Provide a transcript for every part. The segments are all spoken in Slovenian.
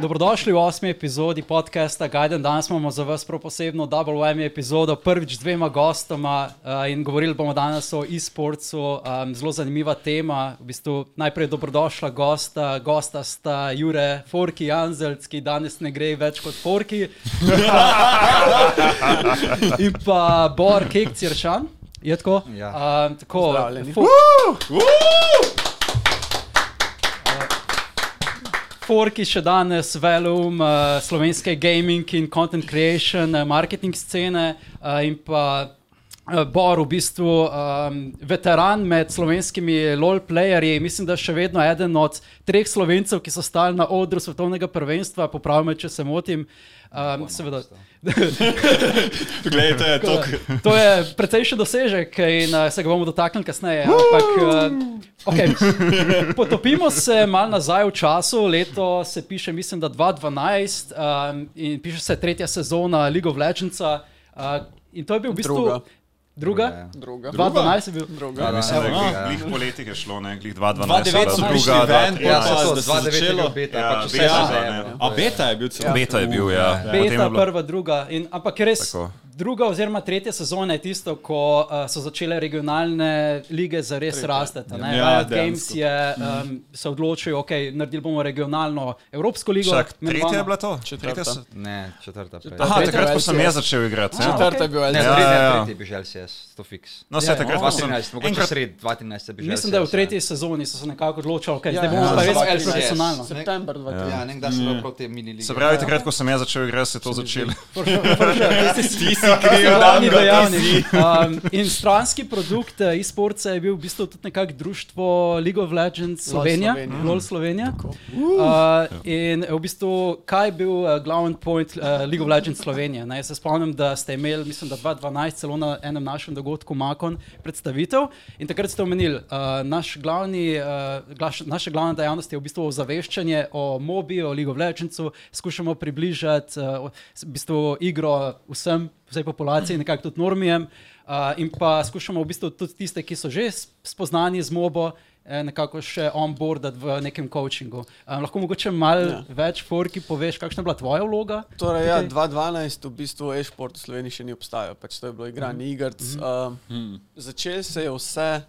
Dobrodošli v osmi epizodi podcasta Gajden. Danes imamo za vas prav posebno Double Whammy epizodo, prvič z dvema gostoma uh, in govorili bomo danes o e-sportu. Um, zelo zanimiva tema. V bistvu najprej dobrodošla gosta, gosta sta Jure Forki Janzelc, ki danes ne gre več kot Forki. in pa Bor Kekc Jeršan. Je tako? Ja. Um, tako Pozdravljeni. fo- Eh, Forki še danes velum uh, slovenske gaming in content creation, uh, marketing scene uh, in pa uh, Bor, v bistvu um, veteran med slovenskimi LOL-playerji, mislim, da še vedno eden od treh slovencev, ki so stali na odru svetovnega prvenstva, popravljam, če se motim. Um, seveda, Glej, to je to. to je precejšen dosežek in uh, se ga bomo dotaknili kasneje. Ampak, uh, okay. Potopimo se malo nazaj v času, leto se piše, mislim, da 2012 um, in piše se tretja sezona League of Legends. Uh, in to je bil v bistvu Druga. druga. Druga. 2012 je bil Druga. Mislim, da je Ja, glih- ja. glih poleti je šlo, ne, glih 2012. 2009 so bila prišli druga, ven, dva- pa ja, so da se se je začelo začelo beta, Ja, pa še vse beta, je ne. zajedno. A beta je bil celo. Beta je bil, ja. Potem je Beta, bilo- prva, druga. In, ampak res, Tako. Tako. druga oziroma tretja sezona je tisto, ko uh, so začele regionalne lige zares rastati. ne. Ja, Riot Games dejansko. je, um, se odločil, ok, naredili bomo regionalno Evropsko ligo. Čak, imenovano- Tretja je bila to? Četrta. Tretja so- Ne, četrta. prej. Četrta. Aha, Tretja takrat ko je sem LCS. jaz začel igrati. ja. Četrta je bila Ne, LCS. Ja, tretji, ja. tretji bi želel CS, to fiks. No, se takrat ko sem 2013, mogoče enkrat- sred 2012 bi želel Mislim, da je v CS, tretji sezoni so se nekako odločili, okay, Ja, da bomo ja, pa ja. res Samo igrali LCS. profesionalno. September ne. 2012. Ja, nekdaj sem bil prav te mini lige. Se pravi, takrat, ko sem jaz začel igrati, se je to začelo. Ja. Ti si kriv, Damko, ti dejavnik. Um, in stranski produkt eh, e-sportsa je bil v bistvu tudi nekako društvo League of Legends LOL Slovenija, Slovenija. LOL Slovenija. Uh, in eh, v bistvu, kaj je bil uh, glavni point uh, League of Legends Slovenije? Ne? Jaz se spomnim, da ste imeli, mislim, da 2012 celo na enem našem dogodku Makon predstavitev in takrat ste omenili, uh, naš glavni, uh, glaš, naša glavna dejavnost je v bistvu ozaveščanje o mobi, o League of Legendsu, skušamo približati uh, o- s- v bistvu igro vsem, vsej populaciji, nekako tudi normijem uh, in pa skušamo v bistvu tudi tiste, ki so že s- spoznani z mobo, eh, nekako še onboardati v nekem coachingu. Um, lahko mogoče malo ja. Ja. več forki poveš, kakšna je bila tvoja vloga? Torej, ja, Tukaj? 2012 v bistvu e-sport v Sloveniji še ni obstajal, pač to je bilo igranje igric. Mhm. Um, začel se je vse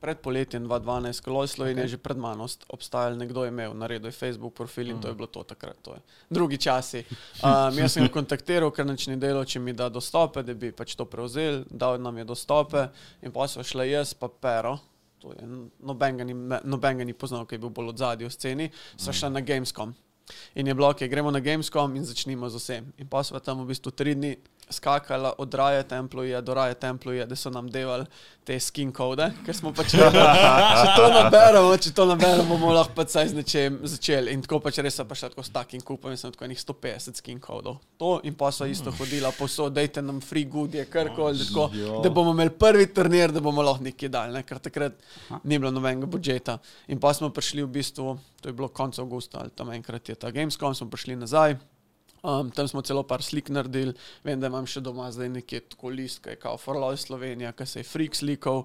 pred poletjem 2012, ko je Slovenija okay. že pred mano ost- obstajala, nekdo je imel, naredil je Facebook profil in to je bilo to takrat. To je. Drugi časi. Um, jaz sem ga kontaktiral, ker nič ni delo, če mi da dostope, da bi pač to prevzel, dal nam je dostope in pa so šla jaz pa pero. to je n- Noben ga, ni, me- noben ga ni poznal, ki je bil bolj od zadnji v sceni, so šli na Gamescom. In je bilo, ki gremo na Gamescom in začnimo z vsem. In pa smo tam v bistvu tri dni skakali od Raja Templuja do Raja Templuja, da so nam delali te skin kode, ker smo pač rekli, če to naberemo, če to naberemo, bomo lahko pač saj z nečem začeli. In tako pač res sem prišel tako s takim kupom in sem tako enih 150 skin kodov. To in pa so isto hodila posod, dajte nam free goodje, karkoli, da tako, da bomo imeli prvi turnir, da bomo lahko nekaj dal, ne? ker takrat ni bilo nobenega budžeta. In pa smo prišli v bistvu, to je bilo konec avgusta ali tam enkrat je ta Gamescom, smo prišli nazaj. Um, tam smo celo par slik naredili, vem, da imam še doma zdaj nekje tako list, ki je kao Forloj Slovenija, ki se je freak slikal,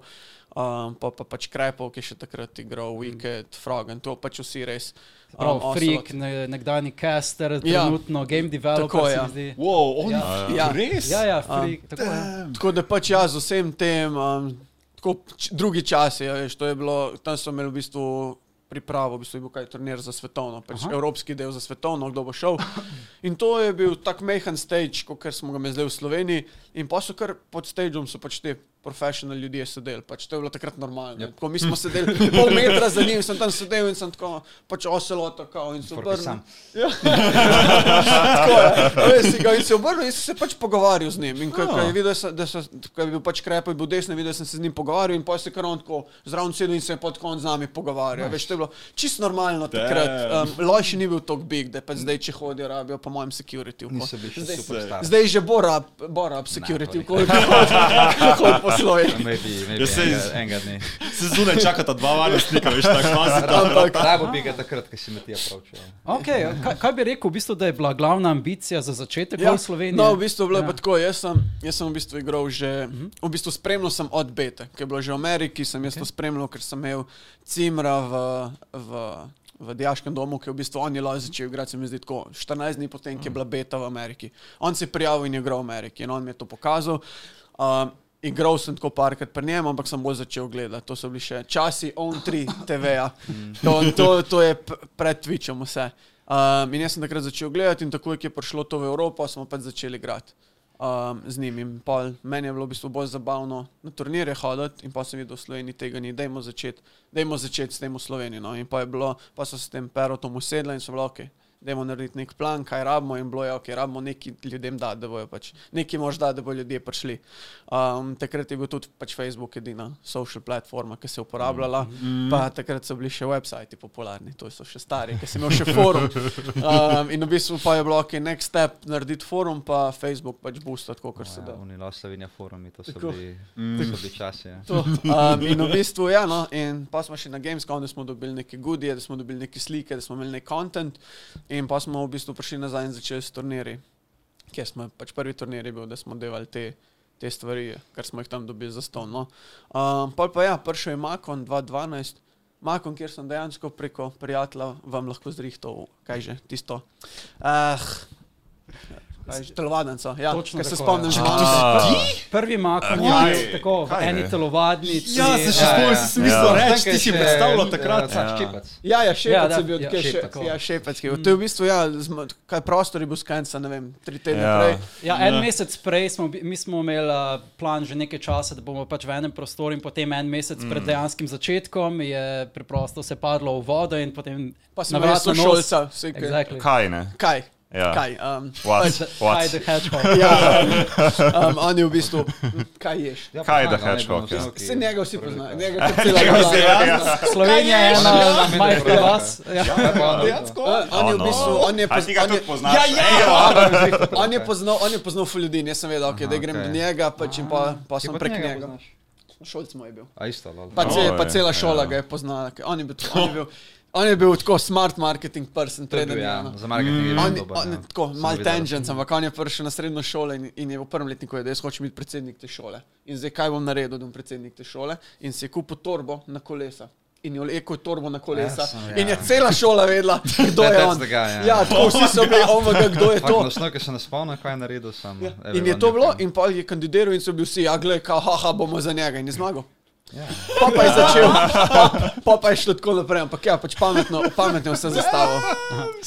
um, pa, pa pač Krepov, ki je še takrat igral Wicked, Frog in to pač vsi res. Mm. um, Prav, Ocelot. freak, ne, nekdani caster, trenutno ja, game developer. tako se ja. mi zdi. Wow, on Ja. Ja. res? Ja, ja, freak, um, tako je. Tako da pač jaz z vsem tem, um, tako č- drugi časi, ja, veš, to je bilo, tam so imeli v bistvu pripravo, v bistvu je bil kaj turnir za svetovno, pač evropski del za svetovno, kdo bo šel. In to je bil tak mehen stage, kot smo ga imeli zdaj v Sloveniji. In pa so kar pod stageom so pač te profesionalni ljudje sedeli, pač to je bilo takrat normalno. Yep. Tako, mi smo sedeli pol metra za njim, sem tam sedel in sem tako, pač oselota, kao in so Forki obrnili. sam. Tako je. Veš, si ga- In se obrnil in sem se pač pogovarjal z njim. In ko Ja. ko je videl, se- da se- ko je bil pač krepo, je bil desno, videl sem se z njim pogovarjal in pa se kar on tako zraven sedel in se je pod konc z nami pogovarjal. Veš, to je bilo čisto normalno takrat. Um, Loj še ni bil tako big, da pa zdaj, če hodijo, rabijo po mojem security. v ko- Niso bili še Zdaj- superstar. Zdaj že bo rab, bo rab security, Ne, v koliko hodi po sloju. Maybe, maybe Ja, sej- enega, enega dne. Se zunaj čakata dva varnostnika, veš, tako kvazi. Ampak rabo bi ga takrat, ko si me ti ja. pravčal. Okay, kaj, kaj bi rekel, v bistvu, da je bila glavna ambicija za začetek ja, Ja, v Sloveniji? No, v bistvu je bilo Ja. Mhm. ja. tako, jaz sem, jaz sem v bistvu igral že, v bistvu spremljal sem od Bete, ki je bilo že v Ameriki, sem jaz okay. to spremljal, ker sem imel Cimra v, v v diaškem domu, ki je v bistvu on je lahko začel igrati, se mi zdi tako, 14 dni potem, Mhm. ki je bila beta v Ameriki. On se je prijavil in je igral v Ameriki in on mi je to pokazal. Um, igral sem tako parkrat pri njem, ampak sem bolj začel gledati. To so bili še časi on-3 TV-ja. Mhm. To, to, to je p- pred Twitchom vse. Um, in jaz sem takrat začel gledati in takoj, ko je prišlo to v Evropo, smo pač začeli igrati um, z njim. In pol, meni je bilo v bistvu bolj zabavno na turnirje hoditi in pa sem videl, da v Sloveniji tega ni, dajmo začeti začet s tem v Sloveniji. No. In pa, je bilo, pa so se s tem perotom usedla in so bili ok. Dajmo narediti nek plan, kaj rabimo, in bilo je, ok, rabimo neki ljudem da, da bojo pač, neki možda, da bodo ljudje prišli. Um, takrat je bil tudi pač Facebook edina social platforma, ki se je uporabljala, mm. pa takrat so bili še websajti popularni, to so še stari, ki sem imel še forum. Um, in v bistvu pa je bilo, ok, next step, narediti forum, pa Facebook pač boostati, kot se da. Unila Slovenija forumi, to so Tako. bili, to so bili časi. ja. To. Um, in v bistvu, ja, no, in pa smo še na Gamescomu, da smo dobili neke goodije, da smo dobili neke slike, da smo imeli nek content, in pa smo v bistvu prišli nazaj in začeli s turnirji. Kjer smo, pač prvi turnir je bil, da smo delali te, te stvari, kar smo jih tam dobili za ston. No. Um, pol pa ja, prišel je Makon 2012, Makon, kjer sem dejansko preko prijatelja vam lahko zrihtal, kaj že, tisto. Ah, kaj že, telovadnico, ja, Točno ker se tako, spomnim ja. že. Prvi makom je Kaj? bil tako, v Kaj eni je? telovadnici. Ja, se še Ja, spomnim, ja. si mislil Ja. reči, ti si predstavljal Ja, takrat. ta ščipec. Ja, ja, šepec Ja, ja, da, je bil, ja, ja, šepec, še, tako. Mm. ja, šepec je bil. To je v bistvu, ja, zma, kaj prostor je bil skanca, ne vem, tri tedne Ja. ja. prej. Ja, en mesec prej smo, bi- mi smo imeli uh, plan že nekaj časa, da bomo pač v enem prostoru in potem en mesec mm. pred dejanskim začetkom je preprosto se padlo v vodo in potem Pa sem na vrat bil na nos. sošolca, vse kaj. Exactly. Kaj ne? Kaj? Ja. Kaj? Um, What? Kaj What? je the hedgehog? ja, um, on je v bistvu, hm, kaj ješ? Ja, Kaj je The pa ne, Ja, ne, Hedgehog, ne, ja. ok. Se njega vsi poznajo, njega kot Kaj celega se ja. vlada. je? Slovenija je ena Ja. od majhnih vas. Ja. Ja, pa ono, Uh, On je v Oh, no. bistvu, on je A ti ga on je- tudi poznaš? Ja, ja, to. on je poznal, on je poznal ful ljudi, jaz sem vedel, okay, da grem okej. do njega, pač in pa, pa Ti sem pa prek njega njega. poznaš? Šolc moj je bil. A isto, lol. Pa, ce, Oj, pa cela ja. šola ja. ga je poznala. ker On je bil, on je bil, on je bil tako smart marketing person, To je bil, preden je. ja, ono. za marketing je On, bil dober, on je ja. tako Sem mal videl. tangent, ampak on je prišel na srednjo šolo in, in je v prvem letniku rekel, da jaz hočem biti predsednik te šole. In zdaj kaj bom naredil, da bom predsednik te šole? In si je kupil torbo na kolesa. In je rekel torbo na kolesa. Jasno, Ja, ja. in je cela šola vedela, kdo That- je that's on. the guy, ja. ja, tako vsi so bili, omega, kdo je to. Fakt, nočno, ker se ne spomnim, kaj je naredil sam. Ja. Everyone In je to bilo, knew him. in pa je kandidiral in so bili vsi, ja, gled, kao, haha, bomo za njega in je zmagal. Ja. Pa pa je začel, pa, pa, pa je šlo tako naprej, ampak ja, pač pametno, pametno vse zastavo.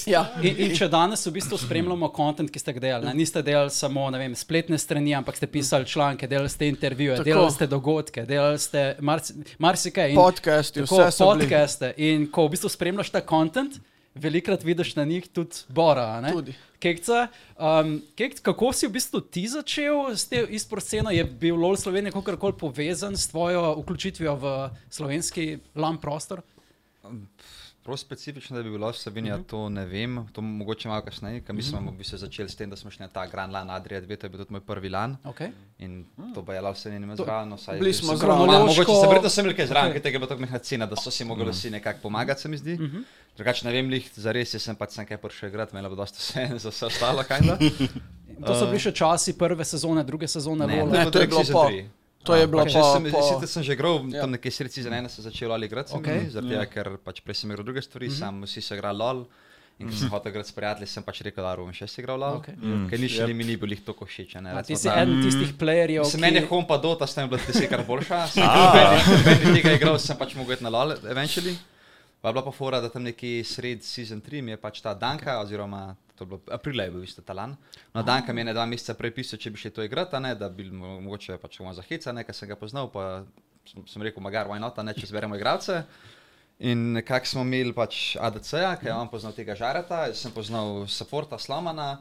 Ja. In, in če danes v bistvu spremljamo kontent, ki ste ga delali, ne? niste delali samo ne vem, spletne strani, ampak ste pisali članke, delali ste intervjuje, Tako. delali ste dogodke, delali ste marsi- marsikaj. in- Podcasti, tako, vse so bili. podcaste. In ko v bistvu spremljaš ta kontent, velikrat vidiš na njih tudi Bora. a ne? Tudi. Kekca, um, Kek, kako si v bistvu ti začel s tem izprosceno? Je bil LOL Slovenija kakorkoli povezan s tvojo vključitvijo v slovenski LAM prostor? Prav specifično, da bi bilo Mhm. Slovenija, to ne vem, to mogoče malo kasneje, ker mi smo v bistvu začeli s tem, da smo šli na ta Grand Lan Adria 2, to je bil tudi moj prvi lan. Okay. Eh, In to pa je lahko vse njim zraven. Mhm. bili smo zraven. Mogoče Kronološko- se verjetno sem bil kaj zraven, ker tega je bilo tako mehna cena, da so si Mhm. mogli vsi nekako pomagati, se mi zdi. Drugače ne vem, lih, za res, jaz sem pač sem kaj prišel igrati, meni je bilo dosta vse, za vse ostalo, kaj da. To so bili še časi prve sezone, druge sezone LOL. Ne, to je bilo po- to Ah, je bilo po- Če sem, po- sicer sem že igral, Ja. tam nekje sredi za ena sem začel ali igrati, se mi Okej. Mhm. zdi, zaradi tega, ker pač prej sem igral druge stvari, sam vsi so igrali LOL. In ko sem hotel igrati s prijatelji, sem pač rekel, da bom še si igral LOL. Okej. Ker ni šli, mi ni bilo jih to košiče. A Ti si eden tistih playerjev, Mislim, meni je Home pa Dota, sta mi bila tisti, kar boljša. Sem tudi Meni tega igral, sem pač mogel iti na LOL, eventually. Pa je bila pa fora, da tam neki sred sezon 3 mi je pač ta Danka, oziroma to je bilo aprila je bil isto talan. No, Danka mi je ne dva meseca prej pisal, če bi še to igral, a ne, da bi mo- mogoče pač mu zaheca, ne, ker sem ga poznal, pa sem, sem rekel, magar, why not, a ne, če zberemo igralce. In kako smo imeli pač ADC-ja, ki je on poznal tega žarata, jaz sem poznal Saporta, Slomana,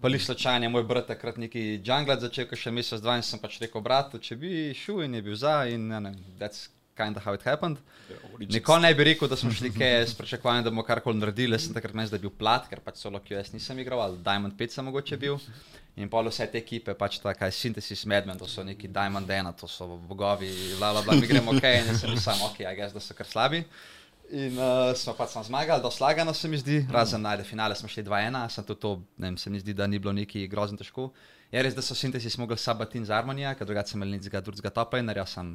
pa li slučajno je moj brat takrat neki džunglat začel, ko še mesec dva in sem pač rekel, brat, če bi šel in je bil za in ne, ne, that's kind of how it happened. Nikoli ne bi rekel, da smo šli kaj s pričakovanjem, da bomo karkoli naredili, jaz sem takrat menil, da je bil plat, ker pač solo QS nisem igral, ali Diamond 5 sem mogoče bil. In pa vse te ekipe, pač ta kaj Synthesis Medmen, to so neki Diamond 1, to so bogovi, bla bla bla, mi gremo ok, in jaz sem bil sam ok, a gess, da so kar slabi. In uh, smo pač sam zmagali, da slagano se mi zdi, razen na finale smo šli 2-1, sem tudi to, ne vem, se mi zdi, da ni bilo neki grozno težko. Je res, da so sintesi smogli sabatin z Armonija, ker drugače sem imel nič drugega topa in naredil sem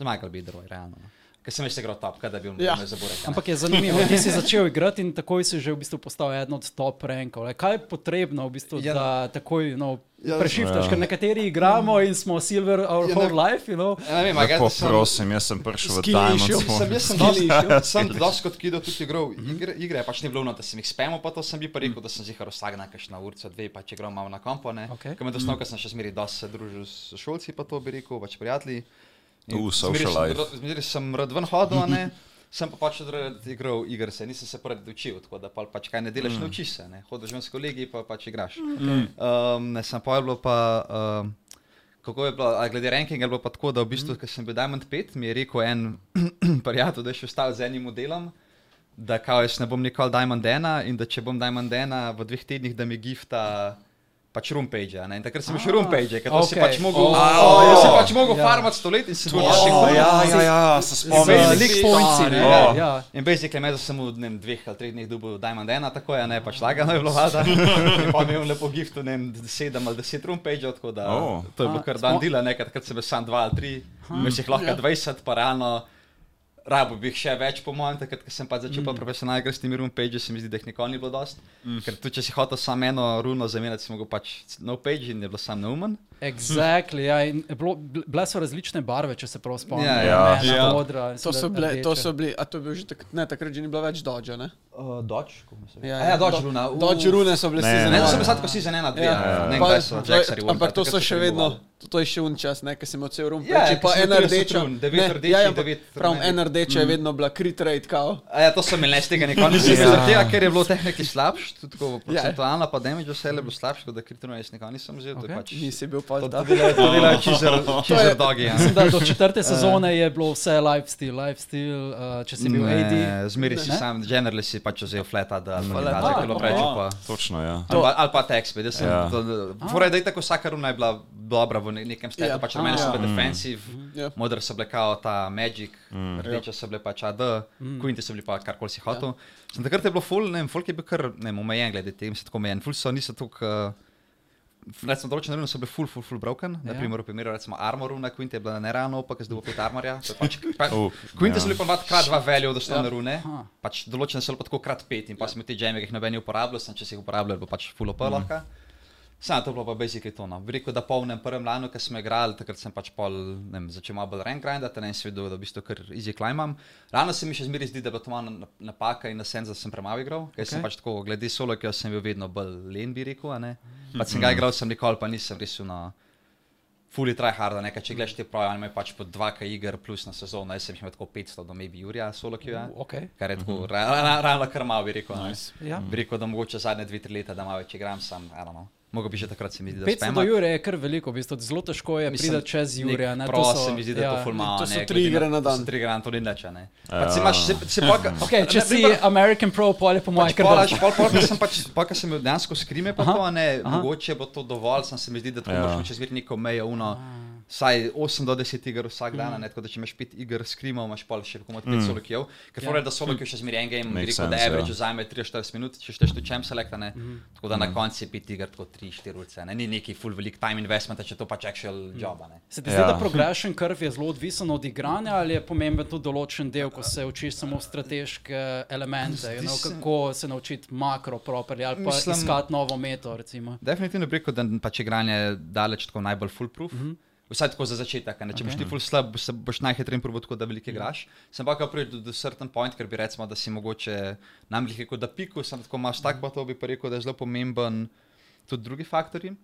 zmagal bi droj, realno. no. Ker sem veš, igral top, kaj da bi Ja. umrl za burek. Ampak je zanimivo, ti si začel igrati in takoj si že v bistvu postal eden od top rankov. Le, Kaj je potrebno, v bistvu, Ja. da takoj no, Ja. prešiftaš, Ja. ker nekateri igramo in smo silver our Ja, ne. whole life. You know? Ne vem, a Lepo jaz sem- prosim, jaz sem prišel v Skili Diamond išel, Sem, Sport. jaz sem dosti- sem dosti kot kido tudi igral igre, igre, pač ni bilo no, da sem jih spemo, pa to sem bi pa rekel, da sem zihar vsak dan kakšna urca, dve, pa če igram malo na kompo, ne. Okej. Ker me dosno, ker sem še zmeri dosti se družil s šolci, pa to bi rekel, pač prijatelji. In U, zmeraj social sem life. rad- Zmeri sem rad ven hodil, a ne. Sem pa pač rad igral igre, se nisem se prvi učil, tako da pa, pač kaj ne Mm. delaš, naučiš se, ne. Hodiš ven s kolegi, pa pač igraš. Mm. Um, ne, sem pa je bilo pa... Um, Kako je bilo, a glede rankinga je bilo pa tako, da v bistvu, mm. ko sem bil Diamond 5, mi je rekel en prijatelj, da je še ostal z enim modelom, da kao jaz ne bom nikoli Diamond 1 in da če bom Diamond 1 v dveh tednih, da mi gifta pač Rumpage. a ne. In takrat sem šel Rumpage, ker to okay. si Ah, okej. pač mogel, Oh. oh, jaz si pač mogel Ja. yeah. farmat stolet in si bil Ja, ja, ja, ja, se Spomnim Z se. spomnim. league pointsi, ne. Ja. Ja. In basically, me sem v dnem, dveh ali treh dneh dobil Diamond 1, tako je, ne pač lagano je bilo vlada. In pa mi je on lepo giftu, ne vem, sedem ali deset rumpežev, tako da Oh. oh. to je bilo A, kar dan smo- dela, nekrat sem bil sam dva ali tri, veš jih ja. lahko dvajset, pa realno. Rabo bi jih še več, po mojem, takrat, ko sem pa začel mm. profesionalno igrati s temi rumpage, se mi zdi, da jih nikoli ni bilo dosti. Mm. Ker tudi, če si hotel samo eno runo zamenjati, si mogel pač no page in je bilo sam neumen. Exactly, ja, in je bilo- bile so različne barve, če se prav spomnim. Ja, ja. Rumena, Ja. modra, To so mislim, da bile, to rdeča. so bili, a to je bil že tak, ne, takrat že ni bilo več Dodge, ne? Uh, Dodge, kako se Ja, A ja, ja, Dodge Do- runa. uh. Dodge rune so bile Ne, season Ne, to one. sem bil sad, ko si za ena, dve. No. Ja. a Ne, Pa- kdaj so to je- Jacksari volili, Ampak to takrat so še bili vedno, volili. to- to je še un čas, ne, ker sem imel cel rum, Ja, peči, ker pa sem ena imel 30 rdeča. run, devet ne, rdečih, ja, ja, devet Pravim, rumenih. ena rdeča je vedno bila crit rate, kao. A ja, to sem imel, ne, z tega nikoli nisem imel. Zaradi tega, ker je bilo tehniki slabše, tudi tako Ja. procentualno, pa damage vse je bilo slabše, tako da kritično jaz nikoli nisem vzel. to je Okej. pač- Nisi bil pa To zdaj. delajo cheeser dogi. ja. Mislim, da do četrte sezone je bilo vse lifestyle, lifestyle, uh, če si bil AD. Ne, Zmeri si Ne? sam, generally si pač vzel fleta, da ne Fleta. da bilo Ah, preveč. okej. pa- Točno, ja. Ali pa- ali pa tekst, jaz sem. Ja. Torej, da je tako vsaka runa je bila dobra v ne- nekem stepu, Ja. pač rumene so Ah. bile defensive, Ja. modre so bile kao ta Magic, rdeče so bile pač AD, Mm. Quinte so bile pa karkoli si Ja. hotel. Sem takrat je bilo full, ne vem, folk je bil kar, ne vem, omejen glede tega, mislim, tako omejen, full so niso tako. eh, Recimo, določene rune so bile full, full, full broken. Ja. Na primer, v primeru recimo armor runa, Quinte je bila nerano, pa ker zdaj bo pet armorja. to je Pač, pa, Uh, Quinte ja. so bile pa dva krat dva veljo od osnovne Ja. rune, Aha. pač določene so bile pa tako krat pet in pa sem te džeme, ki jih noben ni uporabljal, sem če si jih uporabljal, bo pač full opel lahko. Sam to je bilo pa basically to. No. Bi rekel, da polnem prvem lanu, ko smo igrali, takrat sem pač pol, ne vem, začel malo bolj rank grindati, ne sem vedel, da v bistvu kar easy climbam. Rano se mi še zmeraj zdi, da je bila to malo na- napaka in na senza sem premalo igral, ker okay. sem Okej. pač tako, glede solo, ki sem bil vedno bolj len, bi rekel, a ne. Pa sem ga igral, sem nikoli pa nisem resil na fully tryharda, nekaj, če gledaš te pravi, imajo pač po 2K iger plus na sezono, jaz sem jih imel tako 500 do maybe Jurija solo, ki je. Okay. Kar je tako, ra- ra- ravno kar malo bi rekel. Nice. Nice. Mhm. Ja. Bi rekel, da mogoče zadnje dve, tri leta, da malo več igram sam, eno. Mogoče bi že takrat se mi zdi, da 500 do Jure je kar veliko, v bistvu. zelo težko je priti čez Jure. Prav se mi zdi, da je ja. to fulmano. To so tri igre na dan. Tri igre na dan, to ni nič, a ne. Pač si imaš, se- se pa- Okay, če ne, si primer- American Pro, pol je po mojem Pač kar pol, dobro. pač pol, pol, ko sem pač, pol, ko sem imel dejansko skrime, pa Aha, to a ne, aha. mogoče bo to dovolj, sem se mi zdi, da tako Ja. moraš čez vir neko mejo, uno, vsaj 8 do 10 iger vsak dan, a ne, tako da če imaš 5 iger skrima, imaš pol še komod 5 solo kill, ker Ja. fora je, da solo kill še zmeraj en game, bi Mm. Makes rekel, da sense, average ja. vzame 3-40 minut, če šteješ tu champ select, a ne, tako da Mhm. na koncu je 5 iger tako 3-4 urice, a ne, ni neki full velik time investment, če je to pač actual job, a ne. Se ti zdi, Ja. da progression curve je zelo odvisen od igranja ali je pomemben tudi določen del, ko se učiš samo strateške elemente, you know, se- kako se naučiti makro properly ali pa Mislim- iskati novo meto, recimo. Definitivno bi rekel, da n- pač igranje daleč tako najbolj foolproof. Mm -hmm. Vsaj tako za začetek. a Ne? Če okay. boš ti full slab, boš, se- boš najhitreje probo tako, da veliko igraš. Sem pa kar prišel do, do certain point, ker bi recimo, da si mogoče nam jih rekel, da piku, sem tako imaš tak, pa to bi pa rekel, da je zelo pomemben tudi drugi faktori.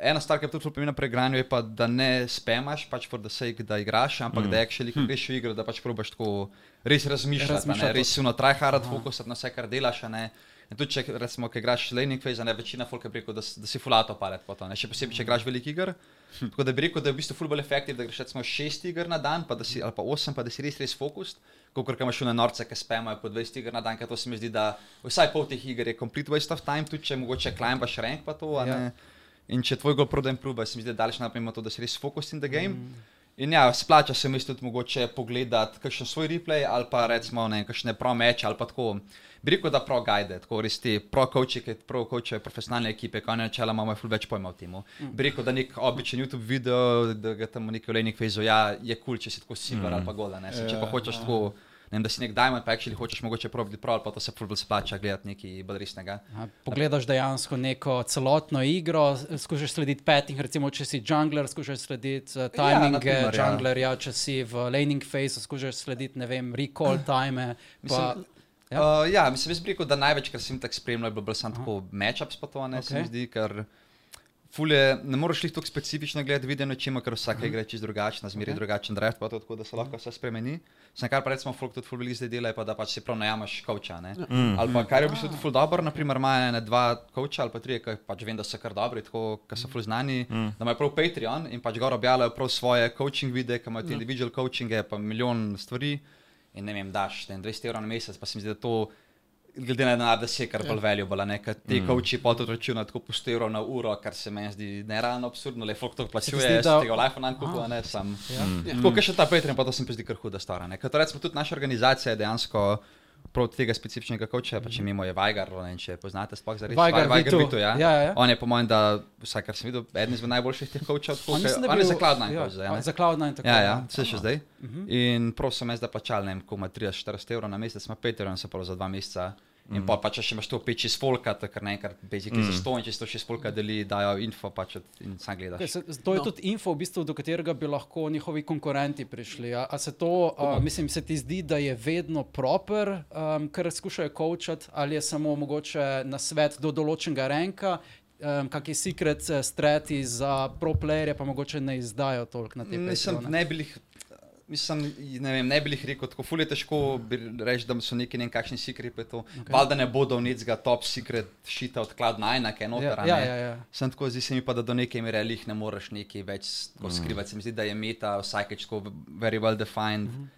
Ena stvar, ki je tudi zelo pomembna pri igranju, je pa, da ne spemaš, pač for the sake, da igraš, ampak mm. da actually, ko greš v igro, da pač probaš tako res razmišljati, razmišljati. Ne, Razmišljati. res si vnotraj harad, fokusati na vse, kar delaš. a ne. In tudi, če recimo, ko igraš laning phase, a ne večina folk je rekel, da, s- da si fulato palet po to, ne? še posebej, če igraš veliko iger. Tako da bi rekel, da je v bistvu fulbol efektiv, da greš recimo šest iger na dan, pa da si, ali pa osem, pa da si res res fokus, kot kar imaš na norce, ki spemajo po 20 iger na dan, ker to se mi zdi, da vsaj pol teh iger je complete waste of time, tudi če mogoče climbaš rank pa to. a Ja. ne. In če tvoj gol prodajem prube, se mi zdi, da daljši naprej ima to, da si res fokus in the game. Mm. In ja, splača se mi tudi mogoče pogledati kakšen svoj replay ali pa recimo ne, kakšne pro meče ali pa tako. Bi rekel, da pro guide, tako res ti pro coachi, ki pro coache profesionalne ekipe, ki oni načela imajo ful več pojma o tem. Bi rekel, da nek običajen YouTube video, da ga tam neki olejnik vezo, ja, je kul, cool, če si tako silver mm. ali pa gola, ne. Se, če pa hočeš tako, ne vem, da si nek diamond, pa actually hočeš mogoče probiti pro ali pa to se ful bolj splača gledati neki bolj resnega. A, Ja, Pogledaš dejansko neko celotno igro, s- skušaš slediti petih, recimo če si jungler, skušaš slediti uh, timinge primer, ja, ja. junglerja, če si v laning phase, skušaš slediti, ne vem, recall time. Pa, Mislim, Ja. Ja. Uh, ja, mislim, jaz bi rekel, da največ, kar sem tako spremljal, je bilo bolj samo tako matchups, pa to ne, okay. se mi Okej. zdi, ker fulje, ne moreš jih tako specifično gledati, videno čima, ker vsaka igra je čisto drugačna, zmeri okay. drugačen draft, pa to tako, da se lahko vse spremeni. Sem kar pa recimo folk tudi ful veliko zdaj dela, je pa da pač si prav najamaš koča, ne. Mm. Ali pa kar je v bistvu tudi ful dobro, naprimer imajo ene dva koča ali pa tri, ki pač vem, da so kar dobri, tako, ker so ful znani, mm. da imajo prav Patreon in pač gor objavljajo prav svoje coaching videe, ki imajo te individual coachinge, pa milijon stvari in ne vem, daš ne, vem, 20 evrov na mesec, pa se mi zdi, da to, glede na denar, da se je kar Ja. bolj valuable, ne, ker ti mm. koči pa to računa tako po 100 evrov na uro, kar se meni zdi nerealno absurdno, le folk to plačuje, zdi, jaz da- da... tega life nam kupujem, ne, sam. Ja. Mm. Tako, ker še ta Patreon, pa to se mi pa zdi kar huda stara, ne, ker to recimo tudi naša organizacija je dejansko. Proti tega specifičnega koča, pa če mimo je Vajgar, ne, vem, če poznate, sploh za res Mhm. Vajgar Vi- Vajgar Vitu. Vitu, ja. Ja, ja, ja. On je po mojem, da vsaj kar sem videl, eden izmed najboljših teh kočev, tako On da mislim, da on je bil- za Cloud9 ja, coach zdaj, a ne? Za Cloud9 tako. Mhm. Ja, ja, vse še zdaj. Uh -huh. In prosim, jaz da plačal, ne vem, ko ima 30-40 evrov na mesec, ima 5 evrov, se pravi za dva meseca. Mhm. In mm. pa, pa če še imaš to peč iz folka, tako naenkrat, basically mm. za 100 in če 100 še iz folka deli, dajo info, pač od- in Kaj sam gledaš. Se, to je no. tudi info, v bistvu, do katerega bi lahko njihovi konkurenti prišli. A, a se to, a, mislim, se ti zdi, da je vedno proper, um, kar skušajo kočati, ali je samo mogoče na svet do določenega renka, um, kakšni secret eh, strati za pro-playerje, pa mogoče ne izdajo toliko na te Mislim, Patreone? ne bi jih. Mislim, ne, vem, ne bi jih rekel, tako fulje težko bi reči, da so neki nekakšni sekrepi. Okay. Valjda ne bodo nečega top secret šita od klad na enake enote. Ja, ja, ja, ja. Sem tako, zdi se mi pa, da do neke mere jih ne moreš neki več mm. skrivati. Se mi zdi, da je meta vsakeč tako very well defined. Mm -hmm.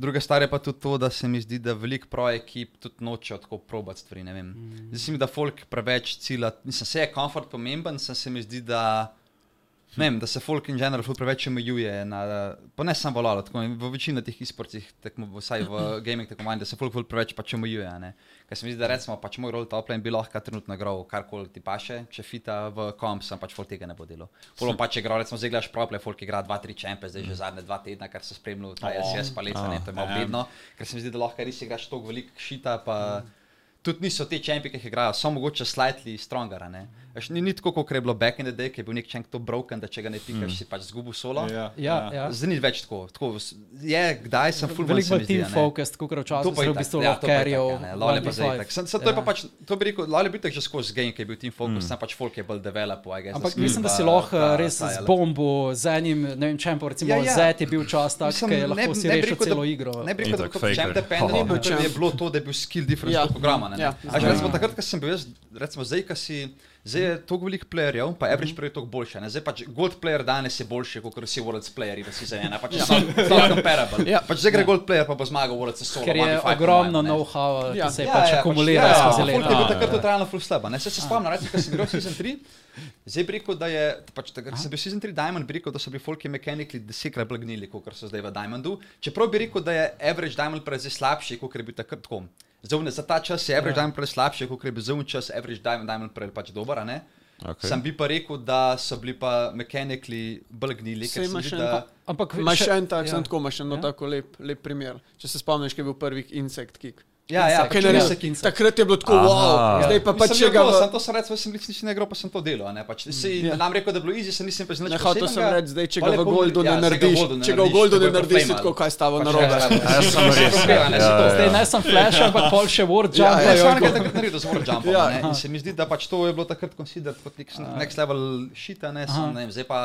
Druga stvar je pa tudi to, da se mi zdi, da veliko projektov tudi noče tako probati stvari. ne vem. Zdi se mi, da folk preveč cilja, mislim, se je komfort pomemben, sem se mi zdi, da. Ne vem, da se folk in general ful preveč omejuje, na, pa ne samo valalo, tako in v večini teh e-sportih, tekmo- vsaj v gaming tekmovanjih, da se folk ful preveč pač omejuje. a ne. Ker se mi zdi, da recimo pač moj rol top lane bi lahko trenutno igral karkoli ti paše, če fita v komp, sem pač folk tega ne bo delal. Polo pač igral, recimo zdaj gledaš prople, folk igra 2-3 čempe, zdaj že zadnje 2 tedna, kar se spremljal, ta SS paleta, ne, to je malo bedno, No, ker se mi zdi, da lahko res igraš toliko velik šita, pa tudi niso te čempi, ki jih igrajo, so mogoče slightly stronger. a ne. Veš, Ni, ni tako, kot je bilo back in the day, ki je bil nek čemp to broken, da če ga ne pikaš, mm. si pač zgubil solo. Ja, Ja, ja. Zdaj ni več tako. tako s- je, kdaj sem full Veliko bolj team focused, kot To včasih, pa v je bistvu tako, ja, to pa je lahkerjev. tako, ja, ne, Lol je pa zdaj 1v5. tako. Sem- sem- to je pa Ja. pač, to bi rekel, lol je bil tako že skozi game, ki je bil team focus, mm. sem pač folk je bolj developal. I guess, Ampak sem mislim, da si pa lahko eh, ta- res ta z ele- bombo, z enim, ne vem, čem, recimo ja, Ja, ja. ja. Zet je bil čas tak, Mislim, ki je lahko bi- si bi rešil rekel, da- celo igro. Ne bi rekel, da Itak, kot champ faker. dependent, Aha. ampak to je bilo to, da je bil skill difference Ja. ja. programa. ne. Ja. Až recimo takrat, ko sem bil jaz, recimo zdaj, ko si, zdaj je toliko velik playerjev, pa average player je toliko boljši, a ne, zdaj pač gold player danes je boljši, kot vsi world's playerji, da si za ena, pač so not comparable. Ja. Pač zdaj gre gold player, pa bo zmagal world's solo. Ker je 1v5 po ogromno mojem, ne. know-howa, ki Ja. se je pač akumulira ja, skozi Ja, Folk je bil leta. takrat tudi realno ful slaba. Ne, Saj se spomnim, no, recimo, ko sem igral Season 3, zdaj bi rekel, da je, pač takrat ko sem bil Season 3 Diamond, bi rekel, da so bili folki mechanically desetkrat bolj gnili, kot so zdaj v Diamondu. Čeprav bi rekel, da je average Diamond player zdaj slabši, kot je bil takrat tako. Zdaj, ne, za ta čas je average ja. Diamond player slabši, kot je bil za un čas average Diamond, Diamond player pač dober, a ne? Okay. Sam bi pa rekel, da so bili pa mechanically bolj gnili, ker Saj se mi imaš zdi, en da... pa- Ampak Imaš še en tak, ja. sem tako, imaš eno Ja. tako lep, lep primer. Če se spomniš, ki je bil prvi insekt kick. Ja, ja, Insect. pač Kaj Ja. naredil? insect, insect. Takrat je bilo tako, Aha. wow, Ja. zdaj pa pač Mislim, če da ga bo, v- sem to sem rekel, sem nič, nič ne igral, pa sem to delal. a ne, Pač, si, Ja. yeah. Nam rekel, da je bilo easy, se nisem pa znal. Ne, hotel sem reči, zdaj, če ga v Goldu ja, ne narediš, če ga v Goldu ne narediš, si tako, kaj je s tabo narobe. Ja, sem res, ja, Zdaj ne sem flash, ampak pol še word jump. Ja, jaz sem ga takrat naredil, zelo jump. Ja. Se mi zdi, da pač to je bilo takrat konsiderat kot nek next level šita, ne, sem, ne vem, zdaj pa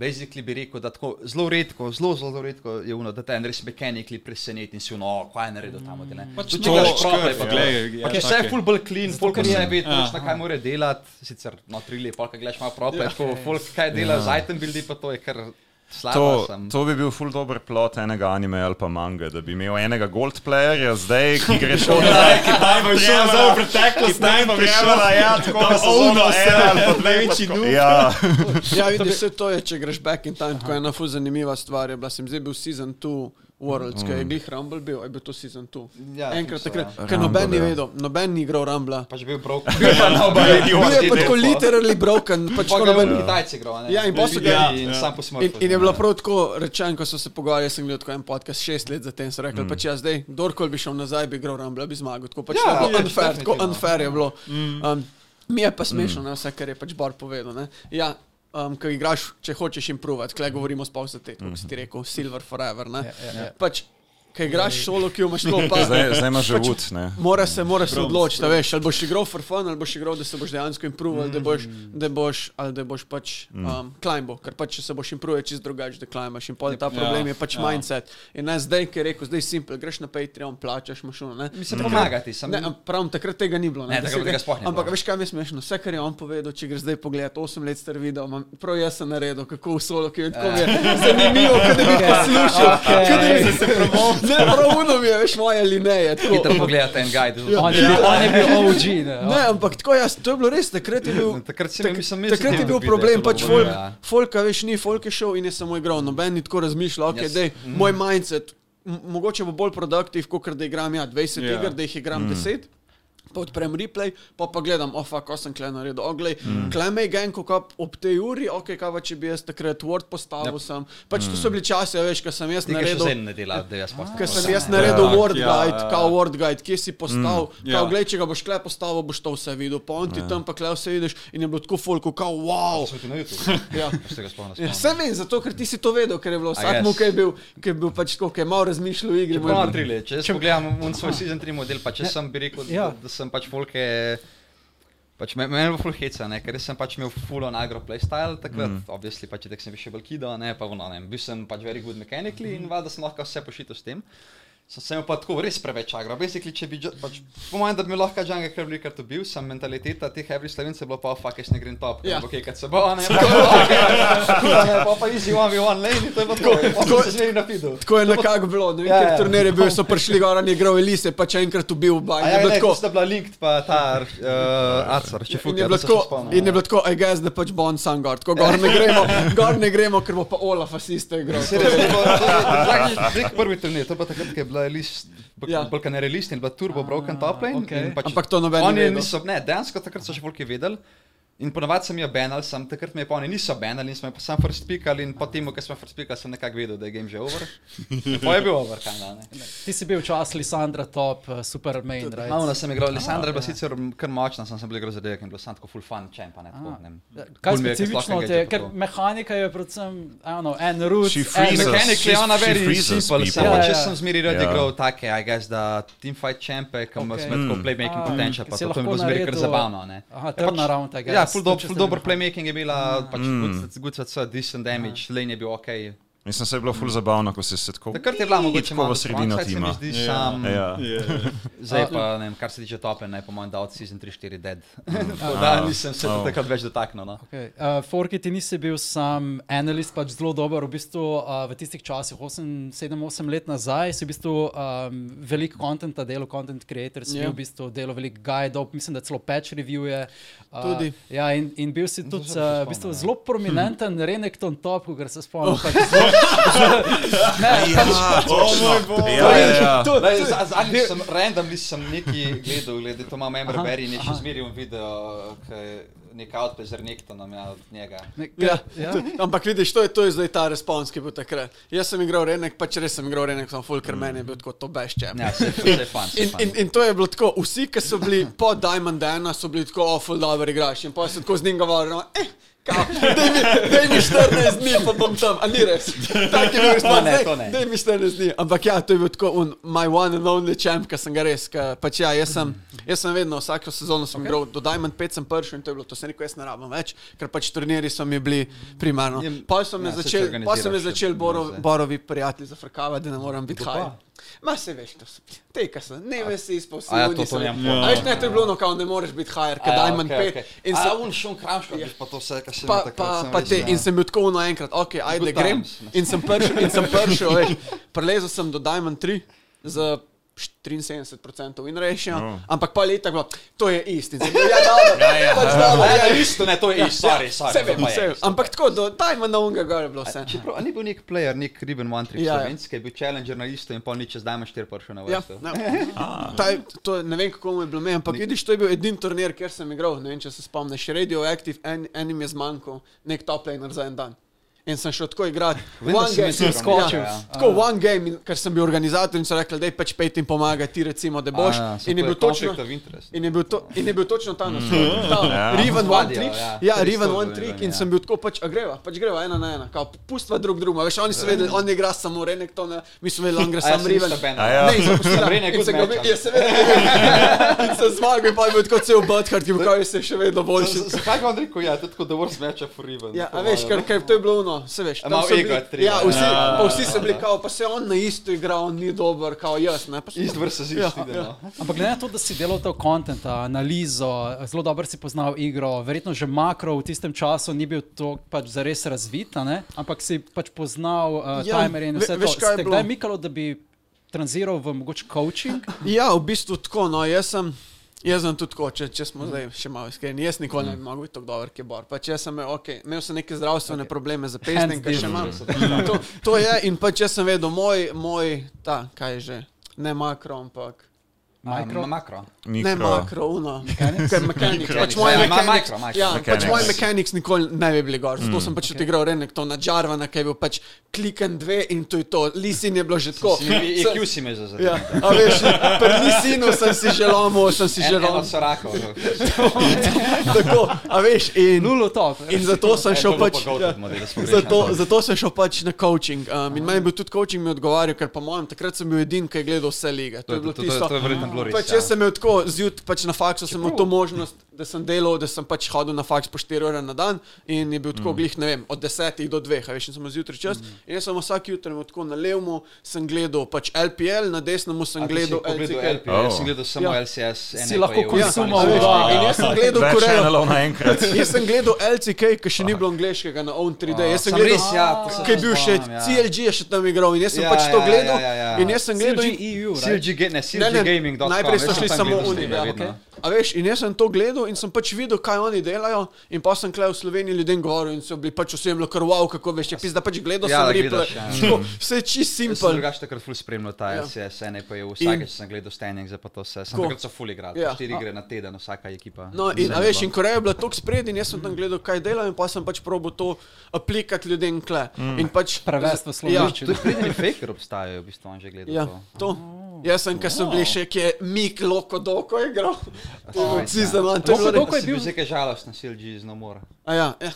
basically bi rekel, da tako zelo redko, zelo, zelo zelo redko je uno, da te en res mechanically preseneti in si uno, kaj je naredil tam od tega. Mm. Pač to škrb, glej, ja, Pač vse je tako je. ful bolj clean, folk ker vse je- ve, točno kaj mora no, Ja. delati, sicer not really, polka gledaš malo prope, tako folk kaj dela z item buildi, pa to je kar slaba To, sem. to bi bil ful dober plot enega anime ali pa manga, da bi imel enega gold playerja zdaj, ki gre šel nazaj, ki Daj, bo šel Treba- zdaj v preteklost, ki tam naj bo šel. prišla, ja, tako Da da sezono ovno se, ena ali pa dve, pa največji tako- noob. Ja, Ja, vidiš, vse to je, če greš back in time, tako je ena fuz zanimiva stvar. Je bila sem zdaj bil season 2 Worlds, mm. ki je glih Rumble bil, a je bil to season 2. Ja, Enkrat mislim, takrat, ja. ker noben Rumble, ni ja. vedel, noben ni igral Rumble. Pač bil brok. Bil je pa tako literally broken, pač Pač ko ga je noben. bil Kitajci igral, ne? Ja, in posel ga- in Ja. sam po smrti. In, in je bilo prav tako rečeno, ko so se pogovarjali, sem gledal tako en podcast, šest let zatem so rekli, mm. pač jaz zdaj, kdorkoli bi šel nazaj, bi igral Rumble, bi zmagal. Tako pač Ja, ja, je, je, unfair, tako definitivno. unfair je bilo. Um, mi je pa smešno, mm. vse, kar je pač Bar povedal. Ne? Ja, um, ko igraš, če hočeš improvati, klej govorimo sploh za te, kot si ti rekel, Silver Forever. Yeah, ja, yeah, ja. yeah. Pač, ko igraš solo, ki imaš to pa. zdaj, zdaj imaš že pač ud, ne. Mora se, mora se odločiti, a veš, ali boš igral for fun, ali boš igral, da se boš dejansko improval, mm. da boš, da boš, ali da boš pač Mm. um, climbo, ker pač če se boš improval, čist drugače, da climbaš in pol je ta problem je pač ja. mindset. In naj zdaj, ki je rekel, zdaj simple, greš na Patreon, plačaš mašuno, ne? Mislim, pomagati sem. Ne, am- pravim, takrat tega ni bilo. Ne, da takrat tega se gre- sploh ni bilo. Ampak veš, kaj mi je smešno? Vse, kar je on povedal, če greš zdaj pogledat 8 let star video, imam, prav jaz sem naredil, kako v solo, ki je tako mi Ja. je zanimivo, kot da bi poslušal. Okej. kot da bi se premoval. Ne, pravno mi je, veš, moje linije. tako. Hitro pogledate en guide. Ja, On je bil, on je bil OG. Ne, Ne, ampak tako jaz, to je bilo res, takrat je bil. Takrat si tak- mislim, mislim, Takrat je bil problem, pač folk, ja. folka, veš, ni folk je šel in je samo igral, noben ni tako razmišljal, ok, Jaz- mhm. yes. dej, mm. moj mindset, m- mogoče bo bolj produktiv, kot da igram ja, 20 Ja. yeah. iger, da jih igram Mhm. mm. 10. Pa odprem replay, pa pa gledam, oh, fuck, ko sem kle naredil, oglej, Mhm. mm. kleme je gen, ko kap ob tej uri, ok, kaj pa če bi jaz takrat Word postavil yep. sem. Pač mm. to so bili časi, a veš, ko sem jaz Nekaj Ja. Mhm. še naredil. zen ne dela, da jaz postam. Ker sem jaz naredil Tak, Word ja, Guide, ja, ja. kao Word Guide, kje si postal, Mm, kao ja. gled, če ga boš kle postavil, boš to vse videl, pa on ti tam pa kle vse vidiš in je bilo tako folko, kao wow. Sem ti na YouTube. Ja. Jaz tega sploh ne spomnim. Ja, Vse vem, zato ker ti si to vedel, ker je bilo A vsak jaz? mu, ki je bil, ki je bil pač tako, ki je malo razmišljal o igri. Če mu je pa bilo- tri leta, če jaz pogledam un svoj season 3 model, pa če sem bi rekel, Ja. da, da sem pač folke, pač me- meni je bilo ful heca, ne, ker jaz sem pač imel full on agro playstyle takrat, mm. obviously pač tek sem bil še bolj kido, ne, pa vono, ne, bil sem pač very good mechanically in vada sem lahko vse pošital s tem. Sem se imel pa tako res preveč agro, basically, če bi, dž- pač, po mojem, da bi me lahko Džanga Krvlikar dobil, sem mentaliteta teh every slovencev bila pa, "Oh, fuck, jaz ne grem top, ja. Ja. ok, kad se bo, a ne, pa, okay, ne, pa, pa easy one, one lane, in to je pa tako, tako se že na pidu. Tako je nekako bilo, ne vem, Ja, ker ja. turnir je bil, so prišli gor, on je igral Elise, pa če enkrat ubil, ba, in je Ja, bilo ne, tako. tako sta bila linked, pa ta uh, Acar, če In fuck, je bilo tako, in ja. je bilo tako, aj gaz, da pač bo on sam gor, tako gor ne gremo, gor ne gremo, ker bo pa Olaf asiste igral. Nek prvi turnir, to pa takrat, ko je bila Elis, Ja. Balkan je Elis in je bila Turbo Broken Top Lane. okej. in pač Ampak to noben ni Oni vedel. niso, ne, dejansko takrat so še volki vedeli. In ponovadi sem jo banal, sem takrat me je pa oni niso banali in smo jo pa sam first pikali in potem, ko smo first pikali, sem nekako vedel, da je game že over. Pa je bil over, kaj no, ne. Ti si bil včasih Lisandra top, eh, super main, right? Malo sem igral, Lisandra je bila sicer kar močna, sem se bil igral za dedek in bilo sam tako full fun, če pa ne tako. A. ne vem. Kaj Ful mi je, ker sploh specifično ne te gre je, to ker tako. mehanika je predvsem, I don't know, en root, She en freezes. Mechanically She- ona she very freezes simple, people. samo Ja, če ja. sem zmeri rad Ja. igral take, I guess da teamfight čempe, ki ima Okej. smet Mm. kot playmaking Ah, potential, ki pa si to je lahko bilo zmeri kar naredil- zabavno, ne. Aha, Ja, pač- turnaround, I guess. Ja, full, do, To, če full se dober ne- playmaking je bila, pač Mm. good- good CC, decent damage, Ja. lane je bil ok. Mislim, se je bilo ful zabavno, ko si se tako... Takrat je bila Tako mogoče malo v sredino downside, se mi tima. zdi, Ja. sam, Ja. zdaj pa, ne vem, kar se tiče tope, ne, po mojem, da od season 3-4 dead. Tako Da, Ah. nisem se Oh. takrat več dotaknil, no. Okay. Uh, Forki, ti nisi bil sam analist, pač zelo dober. V bistvu uh, v tistih časih, 7-8 let nazaj, si v bistvu um, veliko kontenta delal, content creator, si Ja. yeah. bil v bistvu delal veliko guide-ov, mislim, da celo patch review-je. Uh, Tudi. Ja, in, in bil si tudi se uh, v spomnim, bistvu ja. zelo prominenten, Renekton top, kar se spomnim. Oh. Pač zelo, ne, pač, Ja, ja, ja. To, Lej, za- Zadnjič sem randomly sem nekaj gledal, glede to imam member berry in je še zmeraj v video, ki je nek outplay z Renektonom, ja, od njega. ne, kar, Ja. ja. To- Ampak vidiš, to je, to je zdaj ta respons, ki je bil takrat. Jaz sem igral Renek, pač res sem igral Renek, sem full, ker meni je bil tako to bešče. Ja, se je fan. In, in, in to je bilo tako, vsi, ki so bili po Diamond Dana, so bili tako, oh, full dobro igraš. In pa sem tako z njim govoril, no, eh, kao, daj mi, daj mi 14 dni, pa bom tam, a ni res. Tako To je bil ne, responz, to daj, ne. daj mi 14 dni. Ampak ja, to je bil tako, un, my one and only champ, ki sem ga res, ka, pač ja, jaz sem, Jaz sem vedno vsako sezono sem okay. igral, do Diamond 5 sem prišel in to je bilo, to se nikoli jaz ne rabim več, ker pač turnirji so mi bili primarno. Je- Pa so me ja, saj se začeli začel organiziraš, začel ja, boro, zdaj. borovi prijatelji zafrkavati, da ne moram biti Kdo pa? haj. Ma se veš, to so teka so, ne veš si izposil. A ja, to- to nimam pojma. Veš, ne, to je bilo no, kao ne moreš biti haj, ker ja, Diamond 5. in so- un šum ja, kramška, pa to vse, kar se Pa, pa, pa ja. te, in sem bil tako naenkrat, ok, ajde Good grem. times. In sem prišel, in sem prišel, veš, prelezel sem do Diamond 3 z 73% in rešijo, No. no. ampak pa leta, bilo, to je isti. Sem bil, Ja, dobro, pač dobro, ja, Ja, isto ne, to je isto, sorry, sorry. Vse to vem, pa je vse vem. isto. Ampak tako, do Diamond na unga gore je bilo vse. Čeprav a ni bil nek player, nek Riben One Trick Ja, ja. ja, Slovenski, je bil challenger na isto in pa ni čez dajmo štiri pršo na Ja, vrsto. ne, taj, to, ne vem, kako mu je bilo meni, ampak vidiš, to je bil edini turnir, kjer sem igral. Ne vem, če se spomniš, radioaktiv, en, enim je zmanjkal, nek top laner za en dan. In sem šel tako igrati. Vem, da One si game- mislim, Ja, skočil. Ah. ja. Tako one game, in, ker sem bil organizator in so rekli, da je pač pet in pomaga ti, recimo, da boš. A, in je bil točno. Of interest. In je, bil to, in je bil točno ta naslov, Ja. ta Riven One Zadijo, Trick. ja. Ja, Res Riven to One je Trick bilo, in ja. sem bil tako, pač a greva, pač greva ena na ena, kao pustva drug drugega. Veš, oni so vedeli, on ne igra samo Renek, to ne, mi smo vedeli, on igra Ja. A ja, se nista samo Riven. benda. A ja. Ne, in sem Sam posila, Renek in good sem ga match, bil, ali? ja seveda, in sem zmagal in pa je bil tako cel Butthard, ki je bil kao, jaz sem še vedno boljši. Z- z- Zakaj ga on rekel, ja, to je tako the worst match for Riben. Ja, a veš, ker, ker to je bilo ono, se veš. A tam malo so bili- ego je treba, Ja, vsi, ja, pa ja, vsi so bili kao, pa se on na isto igra, on ni dober, kao jaz, ne, pa Ist versus no. ist, Ja, idemo. Ampak glede na to, da si delal to kontent, analizo, zelo dobro si poznal igro, verjetno že makro v tistem času ni bil to pač zares razvit, a ne? ampak si pač poznal uh, ja, Ja, timerje in ve- vse veš, to. kaj je Ste bilo? kdaj mikalo, da bi tranziral v mogoče coaching? Ja, v bistvu tako. No, jaz sem, jaz sem tudi tako, če, če smo Mhm. zdaj še malo iskreni. Jaz nikoli ne bi mogel biti tako dober, ki je bor. Pač jaz sem imel, okay, imel sem neke zdravstvene okay. probleme za pesnik, ki še imam. To, to je in pač jaz sem vedel, moj, moj ta, kaj je že, ne makro, ampak. Mikro? Ma- Makro. Ne makro, uno. Kaj mechanics. Pač moj Ja, ma- mechanics- makro, makro. Ja, pač Mechanics. moj mechanics nikoli ne bi bili gor. Zato sem pač odigral Renek to na Jarvana, ki je bil pač kliken dve in to je to. Lisin je bilo že tako. Si mi- Sem- EQ si me zazrl. Ja, a veš, pri Lisinu sem si želel, sem si Že želel. od Sorakov. Tako, a veš, in, Nulo top. in zato sem šel pač. ja, Zato, Zato, zato sem šel pač na coaching. Um, in meni je bil tudi coaching mi odgovarjal, ker po mojem takrat sem bil edini, ki je gledal vse lige. To je bilo to- to- to- tisto. to je verjetno bilo res, Pač ja. jaz sem imel tako zjutraj, pač na faksu sem imel to možnost, da sem delal, da sem pač hodil na faks po 4 ure na dan in je bil tako glih, ne vem, od 10 do 2, a veš, in sem imel zjutraj čas. In jaz sem vsak jutro imel tako na levemu, sem gledal pač LPL, na desnemu sem gledal LCK. LPL, jaz sem Oh. gledal samo Ja. LCS. ene Si pa lahko EU. konzumal, Ja, da. In jaz sem gledal Več Korejo. kanalov naenkrat. Jaz sem gledal LCK, ki še ni bilo angliškega na Own 3D. Jaz sem Sem gledal, res, ja, to se ki je bil še spomnim, ja. CLG je še tam igral in jaz sem Ja, pač to ja, gledal. ja, ja, ja. In jaz sem gledal. in- EU, E right? CLG, ga- ne, Ne, ne, CLG Gaming. najprej so šli samo oni. Ja, okay. A veš, in jaz sem to gledal in sem pač videl, kaj oni delajo. In pa sem klej v Sloveniji ljudem govoril in so bili pač vsem bilo kar wow, kako veš, je pizda pač gledal Ja, da sem replay. gledaš, ja. Tako, Vse je čist Sem simpel. drugače takrat ful spremljal ta Ja. LCS, ne pa je In- vsak, če sem gledal standing, zdaj pa to vse. Sem Ko- takrat so ful igrali, Ja. po štiri igre na teden, vsaka ekipa. No, in, a veš, in Koreja je bila tako spred in jaz sem tam gledal, kaj delajo in pa sem pač probo to aplikati ljudem kle. Mm. In pač Prevest v Ja, slovenščino. Tudi pridni faker obstajajo, v bistvu on že gledal Ja, to. to. Jaz sem, ker sem bil še kje, Mik Loko Doko je igral. ja. Vsi za manj, to je bilo Lokodoko res. je Ko je bil bil- zdaj žalosten, CLG iz namora. A ja, ja.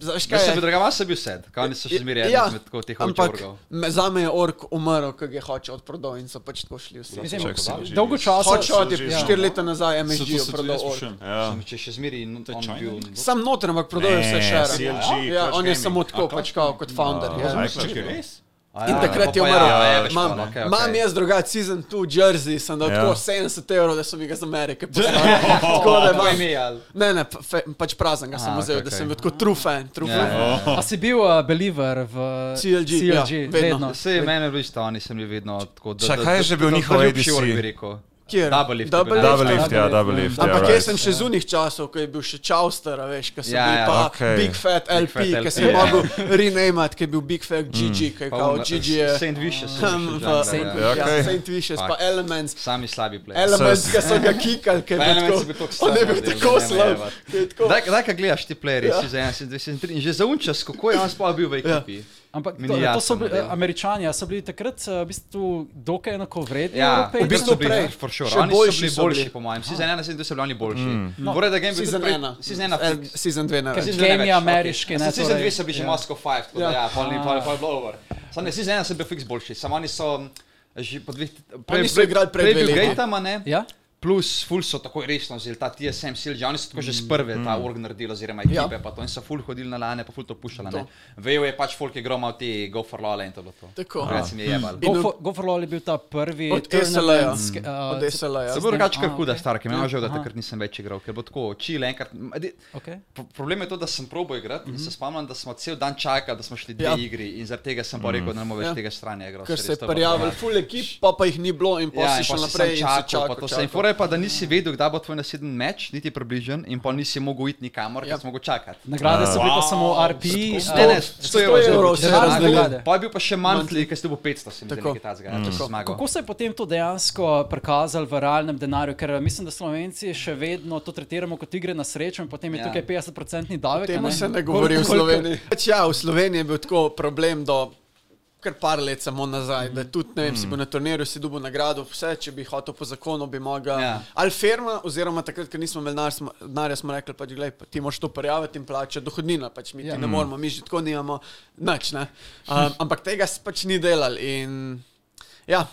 Znaš Jaz kaj sem bil je? drugačen, jaz sem bil sed, kaj oni so še zmeraj ja, med tako teh ampak očorgov. me- zame je ork umrl, ker je hočel odprodal in so pač tako šli vsi. Mislim, Čak, E CLG. dolgo časa Hočel je Ja. že- ja. štiri leta nazaj Se MSG to se tudi odprodal jaz ork. sprašujem. Ja. Če še zmeraj in To je on China? bil. Sam noter, ampak prodal je vse Ne, še. CLG, Ja, Clutch on je Gaming. samo tako, pač kao kot founder. No. ja. Razumem. Res? ja, In takrat je umrl. Ja, Imam okay, imam jaz drugačen sezon 2 jersey, sem dal Ja. tako 70 evrov, da sem ga z Amerike poslal. Tako da imam imel. Ne, ne, pa- fe, pač prazen ga sem Aha, vzel, okay, okej, da sem okej. bil kot true fan. True Ja, yeah, fan. ja, Oh. ja. A si bil uh, believer v CLG, ja, CLG vedno. E vedno. Vse je meni bilo isto, oni so mi vedno tako da. Čakaj, kaj je že bil njihov ADC? Kjer? Double lift. Double lift. Double lift, ja, double lift. ja, Ampak right. jaz sem še zunih časov, ko je bil še Chauster, a veš, ko sem Ja, yeah, bil ja, okej. pa okay. Big Fat LP, Fat ki LP, sem ja. Mm. mogel renamati, ki je bil Big Fat GG, ki je kao GG je. Saint Vicious. hm, v- Saint- Ja, ja, okej. Saint Vicious, pa Fuck. Elements. Sami slabi play. Elements, ki so ga kikali, ki je Pa Elements je bil bil tako tako. On je slab, bil da je tako ne slab. največ. ki je tako- Daj, daj, kaj gledaš ti playerje, Ja. si za 1, 2, 3 in že zaunčas, kako je on sploh bil v ekipi. Ampak Mi to, ni to jasno, so bili, eh, ne. američani, a so bili takrat eh, v bistvu dokaj enakovredni. Ja, Evropejci? v bistvu so bili prej, prej. for sure. Še Oni boljši so bili so boljši, bili. No. po mojem. Season 1 in 2 so bili oni boljši. Mm. Mora da game bil Season tudi prej- 1. Season 1. Eh, Season 2 ne. Ker več. season dve Game ne je več, ameriški, okej. ne, Ja, Season torej, 2 so bili že ja. Ah. Moscow 5, tako da Ja. ja, pa ni pa je bilo over. Samo ne, season 1 so bil fiks boljši, samo oni so m, mm, že po dveh... Oni so igrali pred dve bil leti. Gateama, ne? Ja? Plus, ful so tako resno vzeli ta TSM silž, oni so tako že sprve ta Mm. org naredili, oziroma ekipe, Ja. pa to in so ful hodili na lane, pa ful to puščali. To. ne. Vejo je pač folk je gromal te go for lole in to je bilo to. Tako. Ja. Reci mi je jebal. In od- Goforlol je bil ta prvi. Od tournament SLA-ja. sk- uh, Od SLA-ja. Se bo drugače kar Ah, huda ok. stvar, ki me je žal, da Aha. takrat nisem več igral, ker bo tako čile enkrat. ma, di- Okay. pro- Problem je to, da sem probo igrati in se spomnim, da smo cel dan čakali, da smo šli dve Mhm. Ja. igri in zaradi tega sem pa rekel, da ne morem več Ja. tega stranja igrati. Ker se je prijavil full ekip, pa pa jih ni bilo in pa Ja, si in šel pol si naprej in sam si čakal, pa čakal. to se je čakal. fora je pa, da nisi vedel, kdaj bo tvoj naslednji meč, niti približen, in pa nisi mogel iti nikamor, ker Ja. si mogel čakati. Ja. Nagrade so bile pa samo RP. Ne, ne, a- 100 evrov evrov, se je razdelilo. Pa je bil pa še monthly, ker si dobil 500, sem Tako. videl, kaj tazga, če si no. zmagal. Kako se je potem to dejansko prikazalo v realnem denarju? Ker eh, mislim, da Slovenci še vedno to tretiramo kot igre na srečo in potem je Ja. tukaj 50-procentni davek. a Temu ne? se ne govori v Koliko- koliko- Sloveniji. Pač ja, v Sloveniji je bil tako problem do kar par let samo nazaj, da tudi, ne vem, si bil na turnirju, si dobil nagrado, vse, če bi hotel po zakonu, bi mogel. Ja. Ali firma, oziroma takrat, ker nismo imeli denar, smo- denarja, smo rekli, pač, glej, pa ti moraš to prijaviti in plačati dohodnina, pač mi Ja. ti ne moremo, mi že tako nimamo, nič, ne. Um, ampak tega se pač ni delal in ja,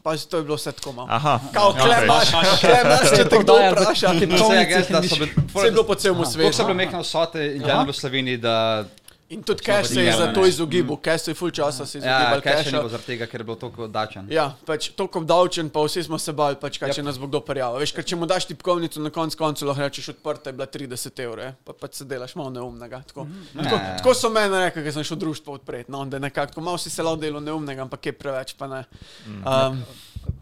pač to je bilo vse tako malo. Aha. Kao, Ja, okej. klemaš, klemaš, če te kdo Prodaja za vpraša, Vse ti je pomeni, gest, da so bili... vse je bilo po celem Kako so svetu. bile mehne vsote in gledano v Sloveniji, da In tudi Cash se je potegnili, zato ne. Mm. izogibal, Cash se je full časa se ja, izogibal kaj še ni bilo Casha. zaradi tega, ker je bilo toliko dačen. Ja, pač toliko obdavčen, pa vsi smo se bali, pač, Ja. kaj, če nas bo kdo prijavil. Veš, ker če mu daš tipkovnico, na koncu koncu lahko rečeš odprta je bila 30 evrov, eh, pa pač se delaš malo neumnega. Tako, No, tako, Ja. tako so meni rekli, ker sem šel društvo odpreti, no, da je nekako tako, malo si se lao delo neumnega, ampak je preveč, pa ne. Mm. Um,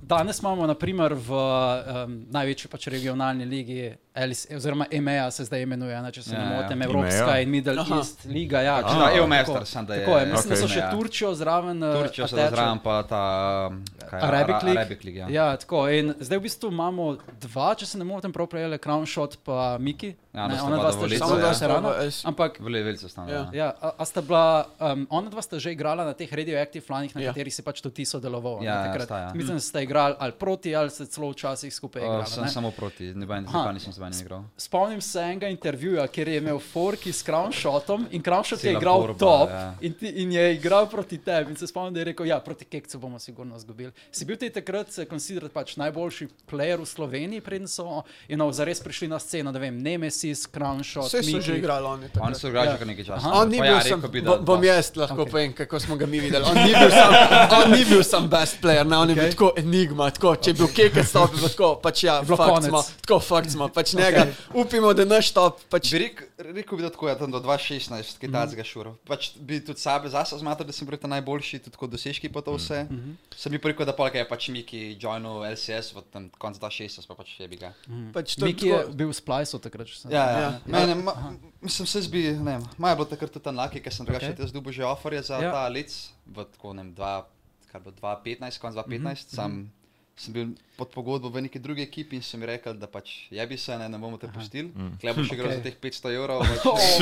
Danes imamo naprimer v um, največji pač regionalni ligi, LS, oziroma EMEA se zdaj imenuje, ne, če se ja, Ja, ne ja. motim, Evropska EMEA? in Middle Aha. Aha. East liga. Ja, Pač če- ta tako, EU-master sem, da je- Tako je, mislim, okay, da so okej. še Ja. Turčijo zraven. eh, Turčijo se attached. zraven, pa ta... um, kaj je, Arabic Ara- League. Arabic League, ja. ja, tako. In zdaj v bistvu imamo dva, če se ne motim, prav prej le Crown Shot pa Miki. Ja, ne, da sta ona bila dva sta dovolj že leta, samo ja. dva serana. Ja, s- Ampak Vele, vele so stane. Ja. Ja. ja, a, a sta bila, um, ona dva sta že igrala na teh radioaktivnih flanih, na Ja. ja. katerih si pač tudi ti sodeloval. Ja, ja, ne, takrat. sta, ja. Mislim, da sta igrali ali proti, ali se celo včasih skupaj Uh, igrala. sem ne. samo proti, ne vem, Aha. zakaj nisem z vami igral. Spomnim se enega intervjuja, kjer je imel Forki s Crownshotom in Crownshot je Cela igral borba, top ja. in, ti, in je igral proti tebi. In se spomnim, da je rekel, ja, proti Kekcu bomo sigurno izgubili. Si bil ti takrat se konsiderat pač najboljši player v Sloveniji, preden so in no, zares prišli na sceno, da vem, Nemesis, Crownshot, Vse so že igrali oni. takrat. Oni so igrali Ja. že kar nekaj časa. Aha. On ni Pa bil ja, sam, rekel bi, da- bom- bom da- jaz lahko Okej. okay. povem, kako smo ga mi videli. On ni bil sam, on ni bil sam best player, ne, on je okay. bil tako enigma, tako, če je bil kekec top, je bilo tako, pač ja, bilo fakt konec. smo, tako fakt smo, pač njega, okay. upimo, da naš top, pač Bi rek- rekel bi, da tako je tam do Mhm. 2016, kitajskega šura. Pač bi tudi sebe zase zmatral, da sem bil ta najboljši, tudi kot dosežki pa to Mhm. vse. Mm -hmm. Sem bi pa rekel, da polka je pač Miki joinil LCS v tem koncu 2016, pa pač je bi ga. pač to Miki je tako. bil v Splajsu takrat, če sem Ja, ja. Ja. ja. Mene, ma, mislim, se zbi, ne vem, maja je bilo takrat tudi enake, ker sem drugače Okej. okay. dobil že oferje za Ja. ja. ta lic, v tako ne vem, dva- kar bo 2015, konc 2015, mm -hmm. sam sem bil pod pogodbo v neki drugi ekipi in sem rekel, da pač jebi se, ne, ne bomo te pustili, klej boš igral za teh 500 evrov. Pač,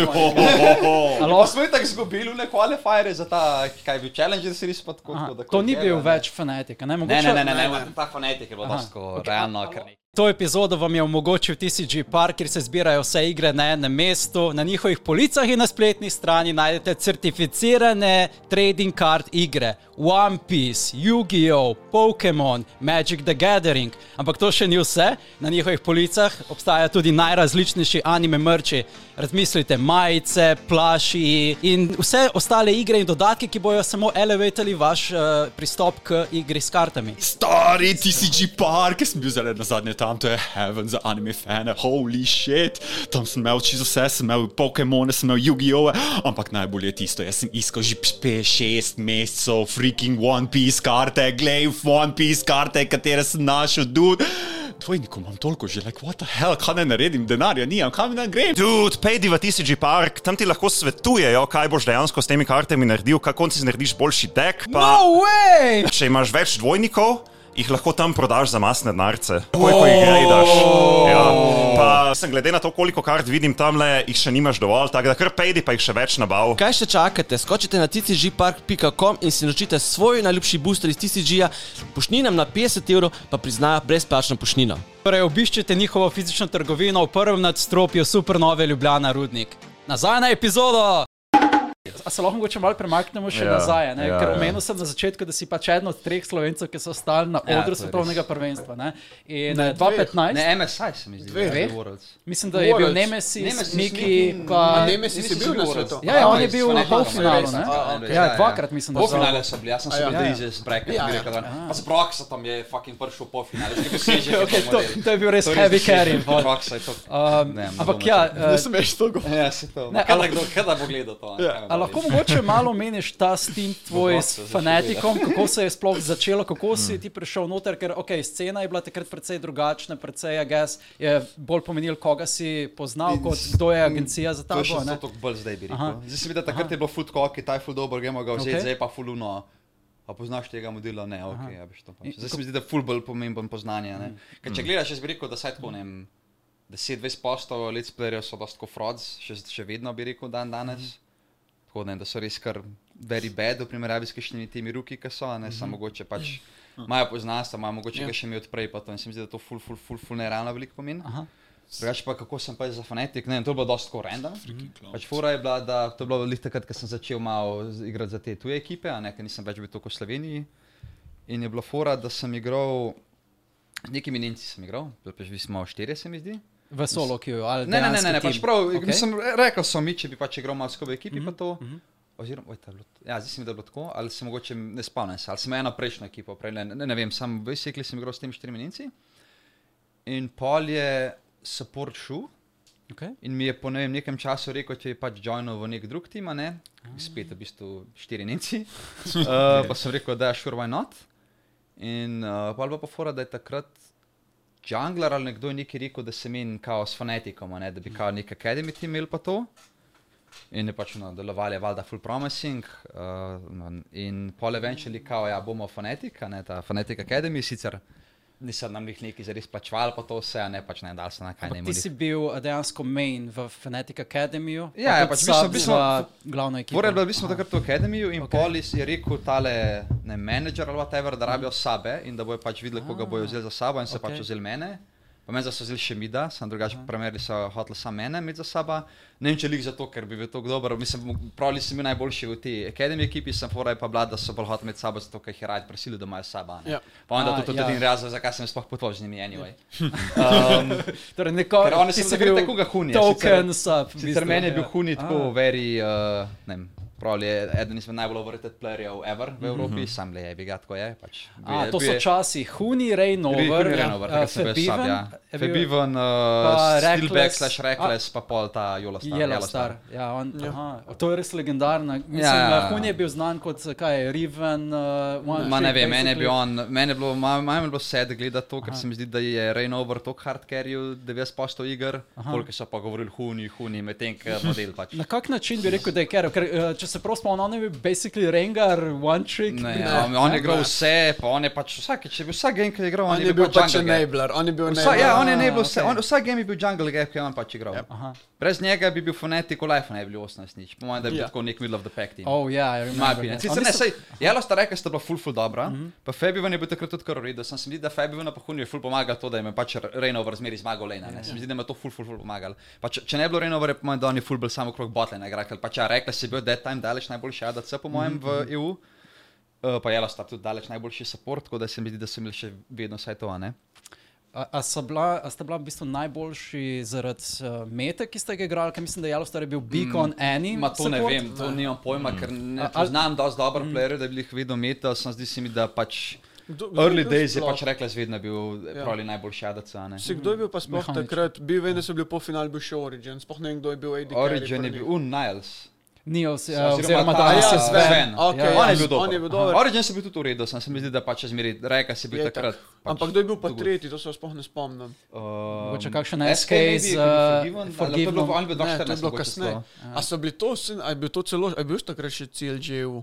Alo? Ali smo jih tako izgubili, ne qualifierje za ta, kaj je bil challenge, si res pa tako. Aha, tako da to ko ni je, bil ne. več fanatik, a ne Ne, mogoče. ne, ne, ne, ne, ne, ta fanatik je bil dosti tako, okej. realno, ker ne. To epizodo vam je omogočil TCG Park, kjer se zbirajo vse igre na enem mestu. Na njihovih policah in na spletni strani najdete certificirane trading card igre One Piece, Yu-Gi-Oh!, Pokémon, Magic the Gathering. Ampak to še ni vse. Na njihovih policah obstajajo tudi najrazličnejši anime mrči. Razmislite, majice, plaši in vse ostale igre in dodatke, ki bojo samo elevatali vaš uh, pristop k igri s kartami. Stari TCG park, jaz sem bil zdaj na zadnje tam, to je heaven za anime fane, holy shit. Tam sem imel čisto vse, sem imel Pokemone, sem imel Yu-Gi-Oh! Ampak najbolje je tisto, jaz sem iskal že 5-6 mesecev, freaking One Piece karte, glej, One Piece karte, katere sem našel, dude. Dvojniku imam toliko že, like, what the hell, kaj naj naredim, denarja nimam, kam naj grem? Dude, pejdi v TCG Park, tam ti lahko svetujejo, kaj boš dejansko s temi kartami naredil, kako si narediš boljši dek. Pa, No way! če imaš več dvojnikov, jih lahko tam prodaš za masne denarce. Takoj, ko jih gledaš. Ja. Pa, sem glede na to, koliko kart vidim tam, jih še nimaš dovolj, tako da kar pejdi, pa jih še več nabav. Kaj še čakate? Skočite na ccgpark.com in si naročite svoj najljubši booster iz TCG-ja, pošninem na 50 evrov pa priznajo brezplačno pošnino. Torej, obiščite njihovo fizično trgovino v prvem nadstropju Supernove Ljubljana Rudnik. Nazaj na epizodo! a se lahko mogoče malo premaknemo Ja, še ja, nazaj. Ne? ja, Ker ja. omenil sem na začetku, da si pač eden od treh slovencev, ki so stali na Ja, odru to je svetovnega prvenstva. Ne? In Ne, eh, 2015, Ne, MSI se mi zdi. Dveh. da je Worlds. mislim, da je bil Morač. Nemesis, Nemesis, Niki, Niki, pa A Nemesis je bil na svetu. Ja, ja, on je Dvanajst, bil v dvanajst, polfinalu. ne? dvanajst, dvanajst, Ja, ja, dvakrat ja. mislim, da so. Polfinale so bili, jaz sem se Ja, bil ja. iz Spreka, Ja, ki ja. je rekel, pa se Proksa tam je fucking prišel po finalu, že dosežek. je Okay, pa to, model. to je bil res heavy carry. pol. Proksa je to. Um, Ne, ne ampak bom ja, rekel. eh, smeš to govoriti. Ja, se to. Ne, Kada ampak- kdo, kada bo gledal to? ne, kaj me A boli. lahko mogoče malo meniš ta stim tvoj s fanatikom, kako se je sploh začelo, kako Mm. si ti prišel noter, ker ok, scena je bila takrat precej drugačna, precej, gas je bolj pomenil, koga si poznal, kot kdo je agencija za ta To je še boj. zato bolj zdaj bi Aha. rekel. Zdaj se vidi, da takrat je bilo fut koki, taj ful dobro, gremo ga vzeti, Okej. zdaj pa ful uno. A poznaš tega modela? Ne, ok, ja, veš to pač. Zdaj se mi zdi, da je ful bolj pomemben poznanje. ne. Mm. Ker če gledaš, jaz bi rekel, da saj tako ne vem, 10-20 postov let's playerjev so dosti kot frauds, še, še vedno bi rekel dan Mhm. danes. Tako ne, da so res kar very bad v primerjavi s kakšnimi temi ruki, ki so, a ne, Mhm. samo mogoče pač imajo poznanstva, imajo mogoče Ja. yeah. še mi odprej, pa to in se mi zdi, da to ful, ful, ful, ful nerealno veliko pomeni. Drugač pa kako sem pa jaz za fanatik, ne vem, to je bilo dosti tako random. No. Pač fora je bila, da to je bilo lih takrat, ko sem začel malo z- igrati za te tuje ekipe, a ne, ker nisem več bil tako v Sloveniji. In je bila fora, da sem igral, z nekimi Nemci sem igral, pač vi smo štirje, se mi zdi. V solo, ki jo ali Ne, ne, ne, ne, ne pač prav, okay. Okay. mislim, rekel sem mi, če bi pač igral malo skupaj v ekipi, mm -hmm. pa to. Mm -hmm. Oziroma, oj, to je bilo, ja, zdaj se mi da je bilo tako, ali se mogoče ne spomnim, se, ali sem eno prejšnjo ekipo, prej ne, ne, ne vem, sam v Isekli sem igral s temi štirimi Nemci. In pol je support šel. Okay. In mi je po ne vem, nekem času rekel, če je pač joinil v nek drug tim, a ne? spet v bistvu štiri nemci. Uh, pa sem rekel, da je sure why not. In uh, pa pa fora, da je takrat jungler ali nekdo je nekaj rekel, da se meni kao s fanatikom, a ne? da bi kao nek akademi tim imel pa to. In je pač nadaljevali, valjda, full promising. Uh, no, in pol eventually, kao, ja, bomo fanatik, a ne ta fanatik akademi sicer. Nisem nam jih neki zares plačval, pa to vse, a ne pač ne dal se na kaj ne Ti si bil eh, dejansko main v Fanatic Academyju. pa Ja, ja, tudi pač mi smo- sub mi smo- za glavno ekipo. Torej, bili smo Aha. takrat v akademiju in okay. Polis je rekel, tale ne menedžer ali whatever, da rabijo sabe in da bojo pač videli, Ah, koga bojo vzeli za sabo in so okay. okej. pač vzeli mene. Pa meni so vzeli še mida, sem drugače primerjali so hoteli samo mene med za sabo. Ne vem, če lih zato, ker bi bil tako dober. Mislim, pravili sem bil najboljši v tej akademiji ekipi, sem foraj pa vlada, da so bolj hoteli med sabo, zato ker jih je rad prisilil, da imajo sabo. Ja. Ja. Pa onda A, to tudi ja. ja. en razlog, zakaj sem sploh potoval z njimi anyway. Um, Torej, neko, Ker oni ti so si takrat bil tako ga hunijo, Token sub. v Sicer bistvu, meni je bil ja. Huni tako Ah. veri, uh, ne vem, pravi je eden izmed najbolj overrated playerjev ever v Evropi, mm -hmm. sam le je, bi ga tako je. Pač, Mhm. A, to so ja. časi, Huni, Rejnover, Renover, Febiven, ja. Febiven, pa uh, Steelback Reckless, slash Reckless, pa pol ta Jola Star. Jela star. Ja, on, aha, to je res legendarna. Mislim, Ja. ja. Hun je bil znan kot eh, kaj, Riven, uh, One. Ma ne Trick, vem, meni je basically. bil on, meni je bilo, ma- malo mi je bilo sed gledati to, ker se mi zdi, da je Reynover tako hardcaril 90% iger, koliko so pa govorili huni, huni, medtem ko model pač. Na kak način bi rekel, da je Kero? Ker, eh, če se prav spomnim, on je bil basically Rengar, One Trick. Ne, on, on je igral vse, pa on je pač vsak, če bi vsak gen, ki je igral, On je bil pač jungle gap. enabler, on je bil Vsa, enabler. ja, on je Ah, ne bil vse, okej. okay. vsak game je bil jungle gap, ki je on pač igral. Yep. Aha. Brez njega bi bil fanatik v life, ne bi bil 18 nič. Po mojem, da bi Ja. bil tako nek middle of the pack team. Oh, ja, yeah, Moja opinija. Sicer ne, sej, jelo sta rekla, sta bila ful ful dobra, Mhm. mm -hmm. pa Fabivan je bil takrat tudi kar uredil. Sem si videl, da Fabivan pa hunju je ful pomagal to, da jim je pač Rejnov v razmeri zmagal Lena. Ja. Yeah. Sem videl, da jim je to ful ful ful pomagal. Pa če, če ne bi bilo Rejnov, je po mojem, da on je ful bil samo krog botlena igra, ker pač ja, rekla si bil dead time daleč najboljši ADC po mojem mm Mhm, -hmm. v EU. Uh, pa jelo sta tudi daleč najboljši support, tako da se mi zdi, da so imeli še vedno vse to, a ne? A, a, so bila, a sta bila v bistvu najboljši zaradi uh, mete, ki ste ga igrali, ker mislim, da je Jalostar je bil Beacon mm. Annie. Ma to ne Mm. support? vem, to nimam pojma, ker ne A- ali- poznam dosti dobro playerjev, da bi jih vedno metal, sem zdi se mi, da pač Mm. Kdo- kdo je early bil days je sploh? pač rekla, zvedno bil ja. pravi najboljši jadac, a ne? Si kdo je bil pa sploh Mehanično. takrat? Bil vem, da so bili po finalu, bil še Origin, sploh ne vem, kdo je bil AD. carry Mm. Origin je prvi. bil, un Niles. Ni, oz, Oziroma uh, oziroma, ta- da ja, nas je Sven. zven. Ok, Ja, on, ja. je bil dober. on je bil Aha. dober. Origin se je bil tudi v redu, sem se mi zdi, da pač še zmeri reka si bil Je takrat. tak. Pač, Ampak kdo je bil pa dobil. tretji, to se jaz sploh ne spomnim. Um, Mogoče kakšen SK z, eh, maybe, Forgiven, ali to je Forgivenom. bilo- On je bil Ne, to je 2014. bilo mogoče kasneje. celo. A so bili to, vsi- a je bil to celo, a je bil takrat še CLJ-u?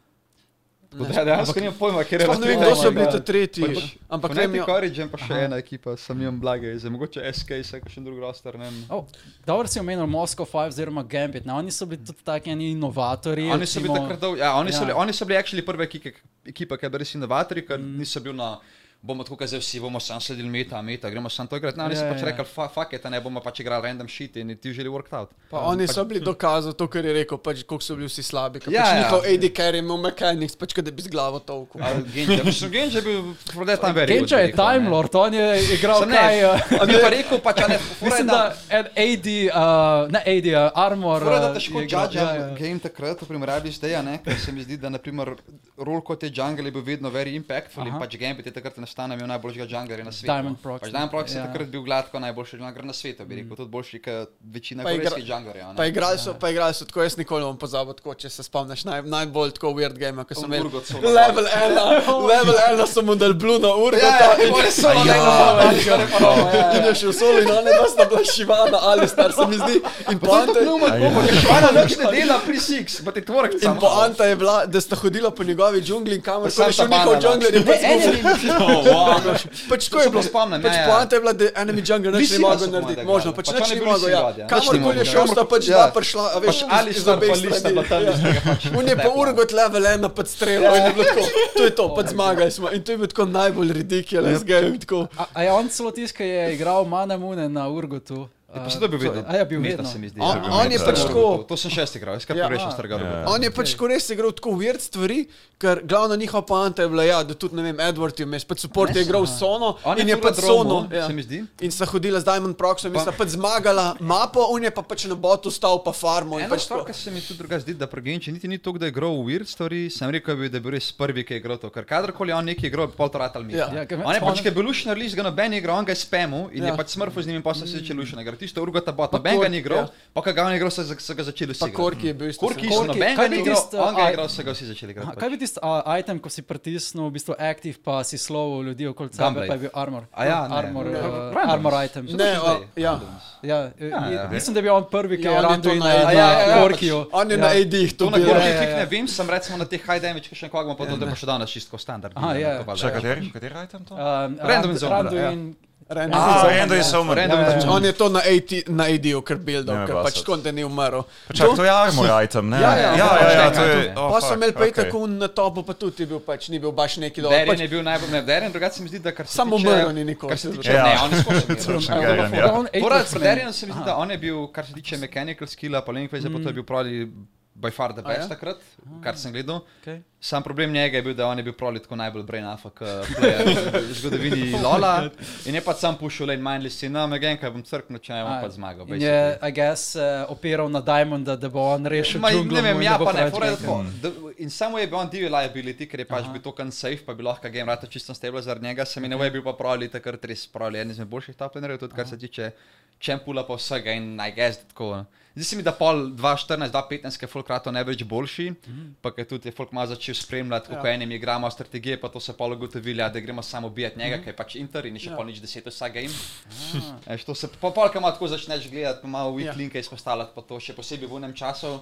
Tako da Dejansko nimam pojma, ker je pač Sploh ne vem, kdo so bili ti tretji. Ampak vem, ja. Ampak jo- Origin pa še ena ekipa, sem jim blage, zdaj mogoče SK, se še drug roster, ne vem. Oh, dobro si omenil Moskvo 5 oziroma Gambit. No, oni so bili tudi taki eni inovatorji. Oni so bili recimo- takrat, dol- ja, oni, ja. Ja. So bili, oni so bili actually prva ekipa, ekipa ki je bila res inovatorji, ker mm. niso bili na, bomo tako, kot zdaj vsi, bomo sam sledili meta, meta, gremo sam to igrati. No, oni Ja, so ja, pač ja. rekli, "Fa- fuck it, a ne bomo pač igrali random shit in ti želi worked out. Pa oni so bili dokazali to, kar je rekel, pač, koliko so bili vsi slabi. Ja, pač Ja, pač ja. njihov AD carry je imel mechanics, pač kot da bi z glavo tolkel. Ali Genja, mislim, Genja je bil, prodaj tam verjetno. Kenča je Time Lord, on je igral Sam ne, kaj. eh, on je pa rekel, pač a ne, fora je, Mislim, da en AD, uh, ne AD, uh, Armor. Prav je, da eh, težko je igral, judžam ja, ja. game takrat v primerjavi z Deja, ne, ker se mi zdi, da naprimer rol kot je jungle je bil vedno very impactful in Aha. pač game je takrat nastane imel najboljšega junglerja na svetu. Diamond Proxy. Pač Diamond Proxy je Ja. Mm. takrat bil gladko najboljši jungler na svetu, bi rekel, tudi boljši kot večina Pa igra- korejskih junglerjev. Pa igrali Ja. so, pa igrali so tako, jaz nikoli ne bom pozabil, tako, če se spomniš naj, najbolj tako weird game, ko sem imel Urgot so napadli. level 1, level 1 sem mu dal blue na urgo. Ja, ja, bolj so na nekaj. In je no, šel solo in ona je vas nablašivana, ali star se mi zdi. In poanta je, Švana nič ne dela pri Six, pa ti tvorek in poanta je bila, da sta hodila po njegovi džungli in kamor Sam sem šel ta njihov banana. jungler in pač mu Oh, Pač ko je se bilo pa spomnim, Pač ja, ja. poanta je bila, da enemy jungler nič Mislim, ni da mogel so narediti, komade možno, igrali. pač Pač nič oni ni bili mogel, vsi ja. radi, ja. Pač ni Kamorkoli je mogel, šel, ja. sta pač Ja. dva prišla, a veš, Pač ali iz sta obeh pa lista strani. pa tam iz tega pač. On je pa urgot level 1 pod strelo in je bilo tako, to je to, Ja. pač zmagali smo. In to je bil tako najbolj ridiculous game, tako. A, a je on celo tisti, ki je igral Mana Mune na Urgotu. Ja, Pa se to je bil vedno. A je bil Meta vedno. se mi zdi. On- da bil on Meta. je pač tako- To sem šest igral, jaz kar Ja. pogrešam starega Roberta. On je pač ko res igral tako weird stvari, ker glavna njihova poanta je bila, ja, da tudi, ne vem, Edward je vmes, pač support je igral Sono On je in je ful na pač Sono. dromu, ja. se mi zdi. In sta hodila z Diamond Proxom in sta pač zmagala mapo, on je pa pač na botu stal pa farmo. in Ena Pač stvar, ki se mi tudi druga zdi, da Progenči niti ni to, da je igral v weird stvari, sem rekel, bi, da je bil res prvi, ki je igral to, ker kadarkoli je on nekaj igral, je pol to ratal mi. Ja. Ja, ker me On je pač, spomnim- ki je bil lušnar list, ga noben je igral, on ga je spemu in Ja. je pač smrfu z njim in pa so se začeli lušnar. Ker tisto urgo ta bot, Pa noben Kork, ga ni igral, ja. pa ko ga on je igral, so se- so ga začeli vsi. Pa igrati. Korki je bil isto. Korki, Korki, noben kaj ga bi ni igral, tisto, on ga a- je igral, so ga vsi začeli Aha, igrati. Kaj bi tisti uh, item, ko si pritisnil, v bistvu aktiv, pa si slovo ljudi okoli sebe, Gunblade. pa je bil armor. A ja, ne. armor, Ne. uh, Randoms. armor item. Saj to Ne, še o, zdaj, ja. randoms. Ja, ja, ja. Mislim, da je bil on prvi, ki Ja, je on je rando to na, na- na, ja, ja, ja, na pač Gorkiju. On je na AD-ih To to na bil. Korki ja, ja, klik ne ja. vem, sem recimo na teh high damage, ki še nekako imamo, pa to, da je pa še danes čistko standard. Ja, Aha, ja. Še kateri? Kateri item to? Um, Random in zone, Rando ja. in Randy Ah, Orton. Rando je samo. Random in Pač zone. On je to na AD-ju na AD kar buildal, Ne, ker pa pač so- tako, da ni umrl. Pač Čak, to je armor item, ne? Ja, ja, ja, ja, ja, to je. Oh, pa so fuck, imeli pa okej. okay. tako na topu, pa tudi je bil pač, ni bil baš ja. neki dober. Deren Pač, je bil najbolj nevderen, drugače se mi zdi, da kar se Samo tiče- Mrn ni nikoli. Kar se tiče, Ja. ne, on je skočil. Točno, Ja. Garen, ja. on je Torej, pri Derenu se mi zdi, da on je bil, kar se tiče mechanical skilla, pa Lengveza, mm. pa to je bil pravi by far the best ja? takrat, kar sem gledal. Okay. Sam problem njega je bil, da on je bil pravi tako najbolj brain afak player v zgodovini Lola in je pa sam pušil lane mindless in nam again, kaj bom crknil, če ne bom pa zmagal. Ja. In basically. je, I guess, uh, opiral na Diamonda, da bo on rešil. Ma, džunglo ne mu vem, in ja, da bo pa ne, preveč fora je rekel. tako. da- In samo je bil on divji liability, ker je pač bil to kan safe, pa bi lahko game rata čisto stable zaradi njega, sem in ne bil pa pravi takrat res pravi eden izmed boljših taplenerjev, tudi kar se tiče čempula pa vsega in I guess da tako. Zdi se mi, da pol 2.14, 2.15, ki je folk rato ne več boljši, pa ki tudi je folk malo začel spremljati, kako ja. enim igramo strategije, pa to se pol ugotovili, ja, da gremo samo ubijati njega, ker je pač Inter in je še ja. pol nič deset vsak game. E, što se pa polka malo tako začneš gledati, pa malo Ja. weak linke izpostavljati, pa to še posebej v unem času.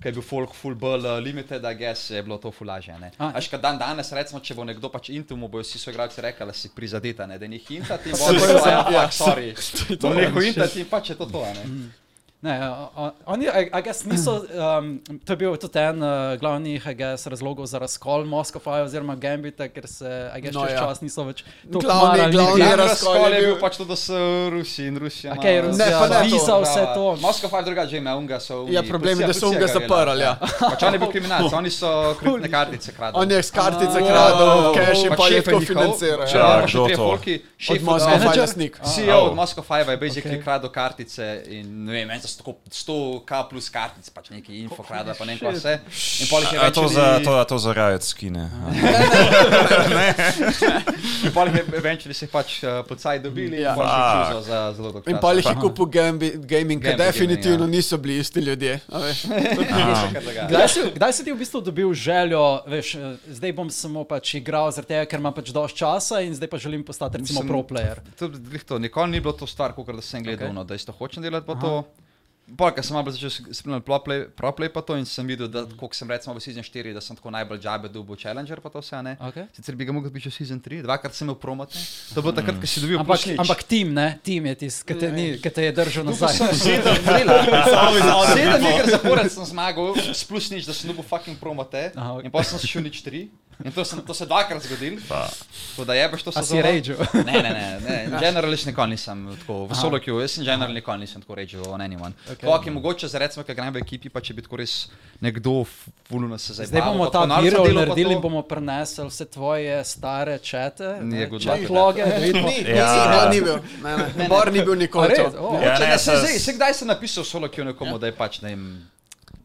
Ker je bil folk full ball uh, limited, da guess je bilo to fulaže. A, ja. Až kad dan danes, recimo, če bo nekdo pač intim, bojo vsi so igralci rekli, da si prizadeta, ne, da ni hinta, ti bo rekel, ja, fuck, sorry. Bom ja. rekel hinta, ti pač je to to, a ne. Mhm. Ne, o- o- oni, I- I guess, niso, um, to je bil tudi en uh, glavnih I guess, razlogov za razkol Moskva oziroma Gambita, ker se I guess, No, no, čez ja. ja. čas niso več tako Glavni- marali glavni niti- je Ja, razkol je razkol je bil bil- pač to, da so Rusi ja, in Rusija. Okej, ima- Rusija, Ne, pa ne to. viza, vse to. Moskva pa je drugače, ima unga so. ja, problem je, da so ga zaprli. Ja. Pač on je bil kriminalc, oni so kreditne kartice kradli. On je s kartice kradel, cash in pa je šefe tako njihov, financiral. Če Ja. ja, Ja, še kdo tri to? folki, šef Od Moskva od- Manager? Finance Nick. CEO od Moskva Five je basically Ok. kradel kartice in ne vem, meni so tako 100k plus kartic, pač neki info kradel, pa ne vem, kaj vse. In pol jih je A več. to za, to, a to za rajec skine. In pol jih je eventually se pač uh, pocaj dobili, Ja. ja. pa še Fuck. čuzo za zelo dolgo. In pa jih je kupil gambi, gaming, ker Gambi, definitivno gaming, niso bili isti ljudje. a veš. kupil. Kdaj si, kdaj si ti v bistvu dobil željo, veš, eh, zdaj bom samo pač igral, zaradi tega, ker imam pač dovolj časa in zdaj pa želim postati recimo Mislim- pro player. To, je glih to, nikoli ni bilo to stvar, kot da sem gledal, Ok. okay. no, da isto hočem delati pa to. Pol, ker sem malo bolj začel spremljati proplay, pa to in sem videl, da koliko sem recimo v Season 4, da sem tako najbolj džabe dobil Challenger, pa to vse, a ne. Okej. Sicer bi ga mogel biti v Season 3, dvakrat sem imel promote, to je bilo takrat, ko si dobil Ampak, plus nič. ampak tim, ne, tim je tisti, ki te, ni- ki te je držal nazaj. Sedem iger zapored sem zmagal, s plus nič, da sem dobil fucking promote. Aha, ok. In pa sem šel nič tri. In to, sem, to se dvakrat zgodil. To da jebeš, to A se si rage. Ne, ne, ne, ne. Generališ nikoli nisem tako, v solo queue, jaz sem general nikoli nisem tako rage on anyone. Okay. Tako, ki mogoče za recimo, kaj grem v ekipi, pa če bi tako res nekdo fulno se zabaval. Zdaj bomo pa ta tako, narod virov delo pa naredili in to. bomo prenesli vse tvoje stare čete, Ni good luck. loge, da vidimo. Ni, Ja. ja. ni bil. Ne, ne. Bor ni bil nikoli. Res, to. o, Ja, Ja, ne, ne, se- se, zdaj, se kdaj sem napisal solo queue nekomu, ja. da je pač ne vem.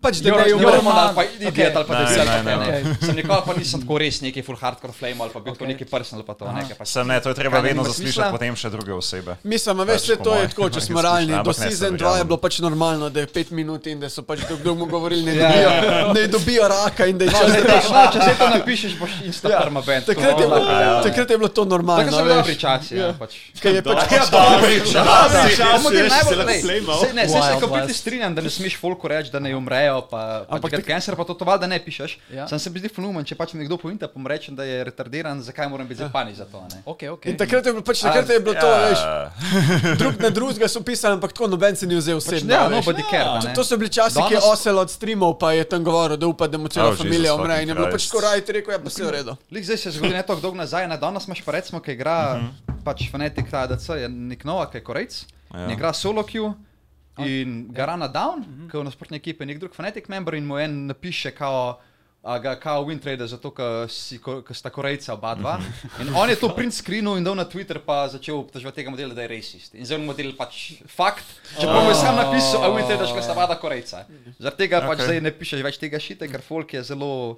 Pač da Ne ne moremo Jorman. dati, pa idiot ali pa Ne, desel. ne, ali pa ne, kaj, ne. ne. Sem nikoli pa nisem tako res neki full hardcore flame ali pa bil okay. Okej. neki prsen ali pa to. Nekaj, pač. Ja, Sem ne, to je treba Kaj nima vedno smisla? zaslišati, potem še druge osebe. Mislim, a veš, Pač vse po to je mojem, tako, če smo nekaj realni. izkušnja, Do ampak ne, ja. se sezon 2 je verjamem. bilo pač normalno, da je 5 minut in da so pač do kdo mu govorili, ne dobijo, ne dobijo raka in da je čas, Ja, da daš no, če se to napišeš, boš instantno ja. bend. Takrat je, bilo, takrat je bilo to Tako normalno. so bili dobri veš. časi. Ja. Pač. Kaj je pač Ja, dobri časi. Ja, ampak je najbolj ne, Sejmal. saj ne, saj se Wild kompletno West. strinjam, da ne smeš folku reči, da ne umrejo, pa, pa ampak ker kancer pa to to valjda ne pišeš. Ja. Ja. Sam se bi zdel fulumen, če pač mi nekdo pointa, pa mu rečem, da je retardiran, zakaj moram biti zapani za to. a Ne? Okay, okay. In takrat je bilo, pač, takrat je bilo to, Ja. ja. veš, drug na drugega so pisali, ampak tako noben se ni vzel Pač osebno. ne, no, veš. bodi ker. To so bili časi, ki je Danes- osel od streamov, pa je tam govoril, da upa, da mu cela Oh, Jesus familija umre. fucking In je bilo pač Christ. skoraj rekel, ja, pa vse v redu. Lik zdaj se zgodi ne tako dolgo nazaj, na danes imaš pa recimo, ki igra pač Fnatic, ta ADC, je nek nova, ki je korejc, ja. igra solo queue. In gara na down, mm -hmm. ki je v nasprotni ekipi nek drug fanatic member in mu en napiše, kao, a ga kao win trade, zato ker si ko- ker sta Korejca oba dva. In on je to print screenil in dal na Twitter, pa začel obtoževati tega modela, da je rasist. In zdaj je model pač fakt, čeprav mu je sam napisal, a win trade, da sta oba dva Korejca. Zaradi tega okay. pač zdaj ne pišeš več tega šite, ker folk je zelo.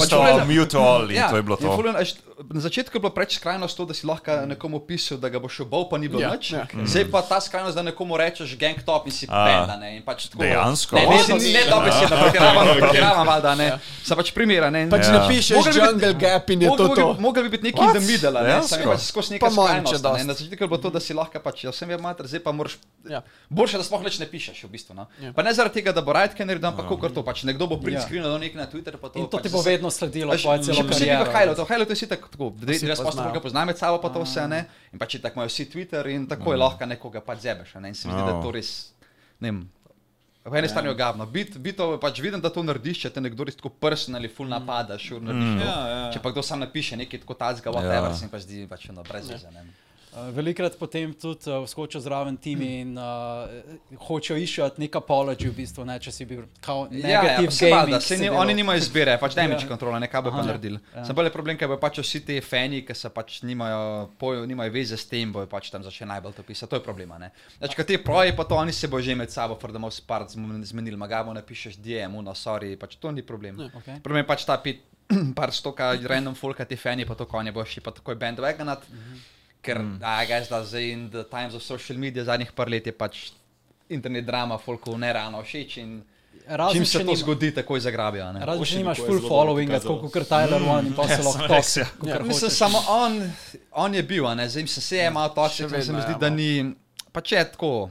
Pač valjda. mute all in to je bilo in to. ful je, a veš, Na začetku je bilo preveč skrajnost to, da si lahko nekomu pisal, da ga boš obal, pa ni bilo Ja, ja, nič. ja. Ja. Zdaj pa ta skrajnost, da nekomu rečeš gang top in si A. penda. Ne, in pač tako, Dejansko? Ne, What? ne, ne, ne dobro si, da pretiravam, pretiravam, valjda, ne. Se pač primera, ne. Ja. Pač Ja. napišeš Mogel bi biti- Jungle Gap in je to Mogel- to. mogel- Mogel bi biti neki in the middle, a ne, Dejansko? samo je pač skozi Pa nekaj manj, če skrajnosti. dosti. Ne, na začetku je bilo to, da si lahko pač, ja, sem je mater, zdaj pa moraš Ja. Boljše, da sploh nič ne pišeš, v bistvu. No. Ja. Ja. Pa ne zaradi tega, da bo rajtke naredil, Ja. ampak kako to pač. Nekdo bo prinskrinil ja. nekaj na Twitter. pa In to pač ti bo zase- vedno sledilo, Veš, tvoja celo Še posebej kariera. kot no. Hajlo, to Hajlo je si tako, tako si jaz pa sem poznajo. ga poznam med sabo, pa to vse ne. In pač tako imajo vsi Twitter in tako je lahko nekoga pač zebeš. a Ne? In se mi zdi, da je to res, ne vem, v eni strani je ogabno. Bit, bito, pač vidim, da to narediš, če te nekdo res tako prsten ali full napada, šur narediš. Mm. Ja, ja, ja. Če pa kdo sam napiše nekaj tako tazga, whatever, se mi pa zdi pač no, brez veze. ne. Uh, Velikrat potem tudi uh, skočijo zraven Hmm. timi in uh, hočejo iščati nek apology, v bistvu, ne, če si bil kao Ja, ja, negativ pa se ja, valjda, gaming. saj si ni, delal. oni nimajo izbire, pač damage kontrola, ne kaj bo pa Aha. naredil. Ja. Sem bolj je problem, ker bojo pač vsi ti fani, ki se pač nimajo, pojo, nimajo veze s tem, bojo pač tam začeli najbolj to pisati. To je problema. ne. Znači, ko ti proji, pa to oni se bojo že med sabo, for the most part, zm- zmenili, magamo napišeš DM, no sorry, pač to ni problem. Ja, Okej. Problem je pač ta pit, par stoka, random folka, ti fani, pa to konje boš šli pa takoj bandwagonat. Mhm. Ker, mm. a gaj zdaj, zdaj in the times of social media zadnjih par let je pač internet drama, folku ne ravno všeč in Razen, Čim če se to nima- zgodi, takoj zagrabijo. ne. Razen, Ošin če nimaš tako je full zelo dobro followinga, prikazalo. tako kot kar Hmm. Tyler One Ja, in pa se lahko toksi. kakor Mislim, hočeš. samo on, on je bil, a ne, zdaj se je malo toksičen, se mi vedno zdi, je da malo. ni, pa če je tako.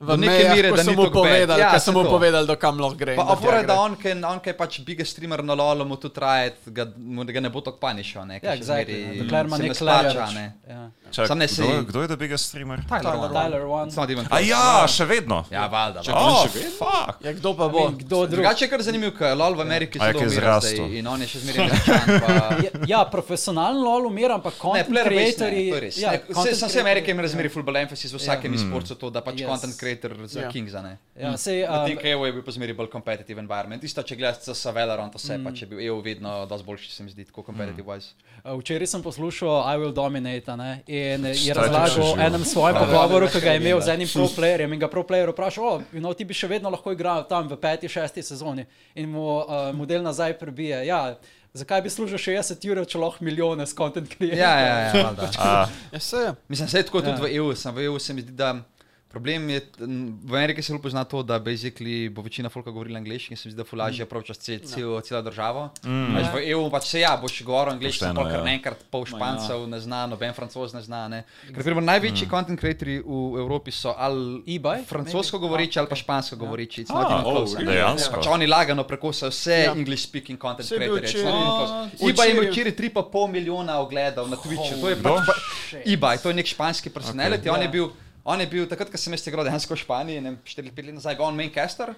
V Do neke mejah, mere, ko da so ni mu tako bad. povedali, Ja, ja, saj so mu to. povedali, do kam lahko gre. in Pa do tja opore, gre. da on, ki on, ki je pač big streamer na lolu, mu tu traje, ga, mu ga ne bo tako panišal, ne, ker Ja, še exactly. zmeraj ne, Dokler ima se nek splača, leverage. ne. Ja. Čak, Sam ne si- kdo, je- kdo je the biggest streamer? Tyler One. Tyler One. It's not even A close. ja, še vedno. Ja, valjda. valjda. Oh, fuck. Ja, kdo pa Bo, bo? kdo drug? Drugače je kar zanimivo, ker lol v Ameriki A ja, je zelo kaj umira zdaj zrastel? in on je še zmeraj nekaj časa. Ja, Ja, profesionalen lol umira, ampak Ne, content player-based ne, creatorji. to je res. ja, Ne, content Saj sem se creatorji- Amerike in razmeri full emphasis v vsakem yeah. e-sportu to, da pač Yes. ja. yes. Uh, content creator za Ja. yeah. Kingsa. ne. Ja, sej, Na um, TKO je bil pa zmeri bolj competitive environment. Isto, če gledaš CSA Veleron, to se mm. pa če bi EU vedno dosti boljši, se mi zdi, tako competitive mm. wise. Eh, včeraj sem poslušal I Will Dominate a ne, in je ti še razlagal živo? o enem svojem Ja. pogovoru, ki ga je Ja. imel z enim pro-playerjem in ga pro-player vprašal, o, you know, ti bi še vedno lahko igral tam v peti, šesti sezoni in mu uh, model nazaj prebije. Ja, zakaj bi služil 60 ur, če lahko milijone s content creatorjem? Ja, ja, ja, valjda. Ja, se je. Mislim, da je tako tudi v EU, sem v EU se mi zdi, da problem je, n- v Ameriki se lepo pozna to, da basically bo večina folka govorila angliško in se mi zdi, da fulažijo prav čez cel, cel, celo državo. Mm. Veš, v EU pač se ja, boš govoril angliško, Pošteno, pa kar ja. naenkrat pol špancev ne zna, noben francoz ne zna. Ne. Ker primer, največji mm. content creatorji v Evropi so ali eBay? francosko govoreči ali pa špansko govoreči. It's not Ah, even oh, close, a ne. really? Dejansko. Pač oni lagano prekosajo vse Ja. ja. English speaking content Saj je bil creatorje. včeraj- Iba je imel včeraj- včeraj 3,5 milijona ogledov na Twitchu. To je Kdo? pač, pa, Iba, to je nek španski personality. Okay. On, je Ja. bil, on je bil takrat, ko sem jaz igral dejansko v Španiji, 4-5 let nazaj, je bil on maincaster.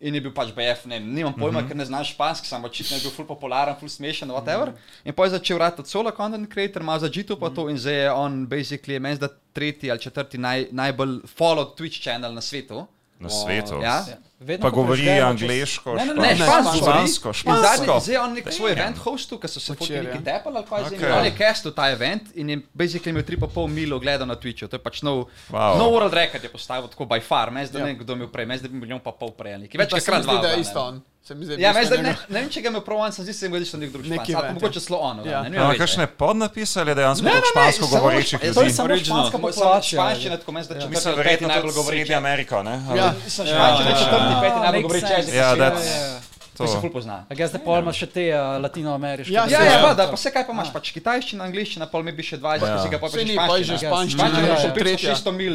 In je bil pač BF, ne, vem, nimam pojma, Mhm. mm -hmm. ker ne znam špansko, samo očitno je bil ful popularen, ful smešen, whatever. Mm -hmm. In potem je začel ratati solo content creator, malo za Jitu Mhm. pa to in zdaj je on basically, meni zda tretji ali četrti naj, najbolj followed Twitch channel na svetu. Na svetu. Ja? Vedno, Pa ko govori prežgemo čez- angliško, Ne, ne, Ne, ne, špansko, špansko, In špansko. Zadnji, zdaj je on nek svoj event hostil, ki so se Včeraj, fotili ja. neki tepel ali kaj Okej. zdaj. On je castil ta event in je basically imel 3,5 milo gledal na Twitchu. To je pač nov, Wow. wow. nov world record je postavil tako by far. Meni zdaj Ja. ne vem, kdo je imel prej, meni zdaj bi milijon pa pol prej. ali Nekaj. Pa Več se mi krat zdi, dva. da je isto on. Se mi zdi, Ja, meni mislim, zdaj da ne, ga- ne vem, če ga je imel prav on, sem zdaj se jim gledal, da je nekdo drug Neki španc. Ampak event, mogoče celo on. Ja. Ja. Ne, Ja, vem, kakšne podnapise ali dejansko Ne, ne, toliko ne, špansko samo govorečih špa- ljudi? To je samo Original. španska populacija. Španščina, tako meni zdaj četrti Mislim, ali peti verjetno najbolj najbolj govori. govori Amerika, ne? Ali- Ja, Španščina je četrti, peti najbolj govori jezik. Ja, ki that's- se- To se ful pozna. A gaj zdaj pol imaš še te uh, latinoameriške. Ja, Ja, države. ja, pa, da, pa vse kaj pa imaš, pač kitajščina, angliščina, pol mi bi še 20, ja. ki si ga pa Saj poješ. ni, pa je že španščina, Španščina ja, je že ja. 500 mil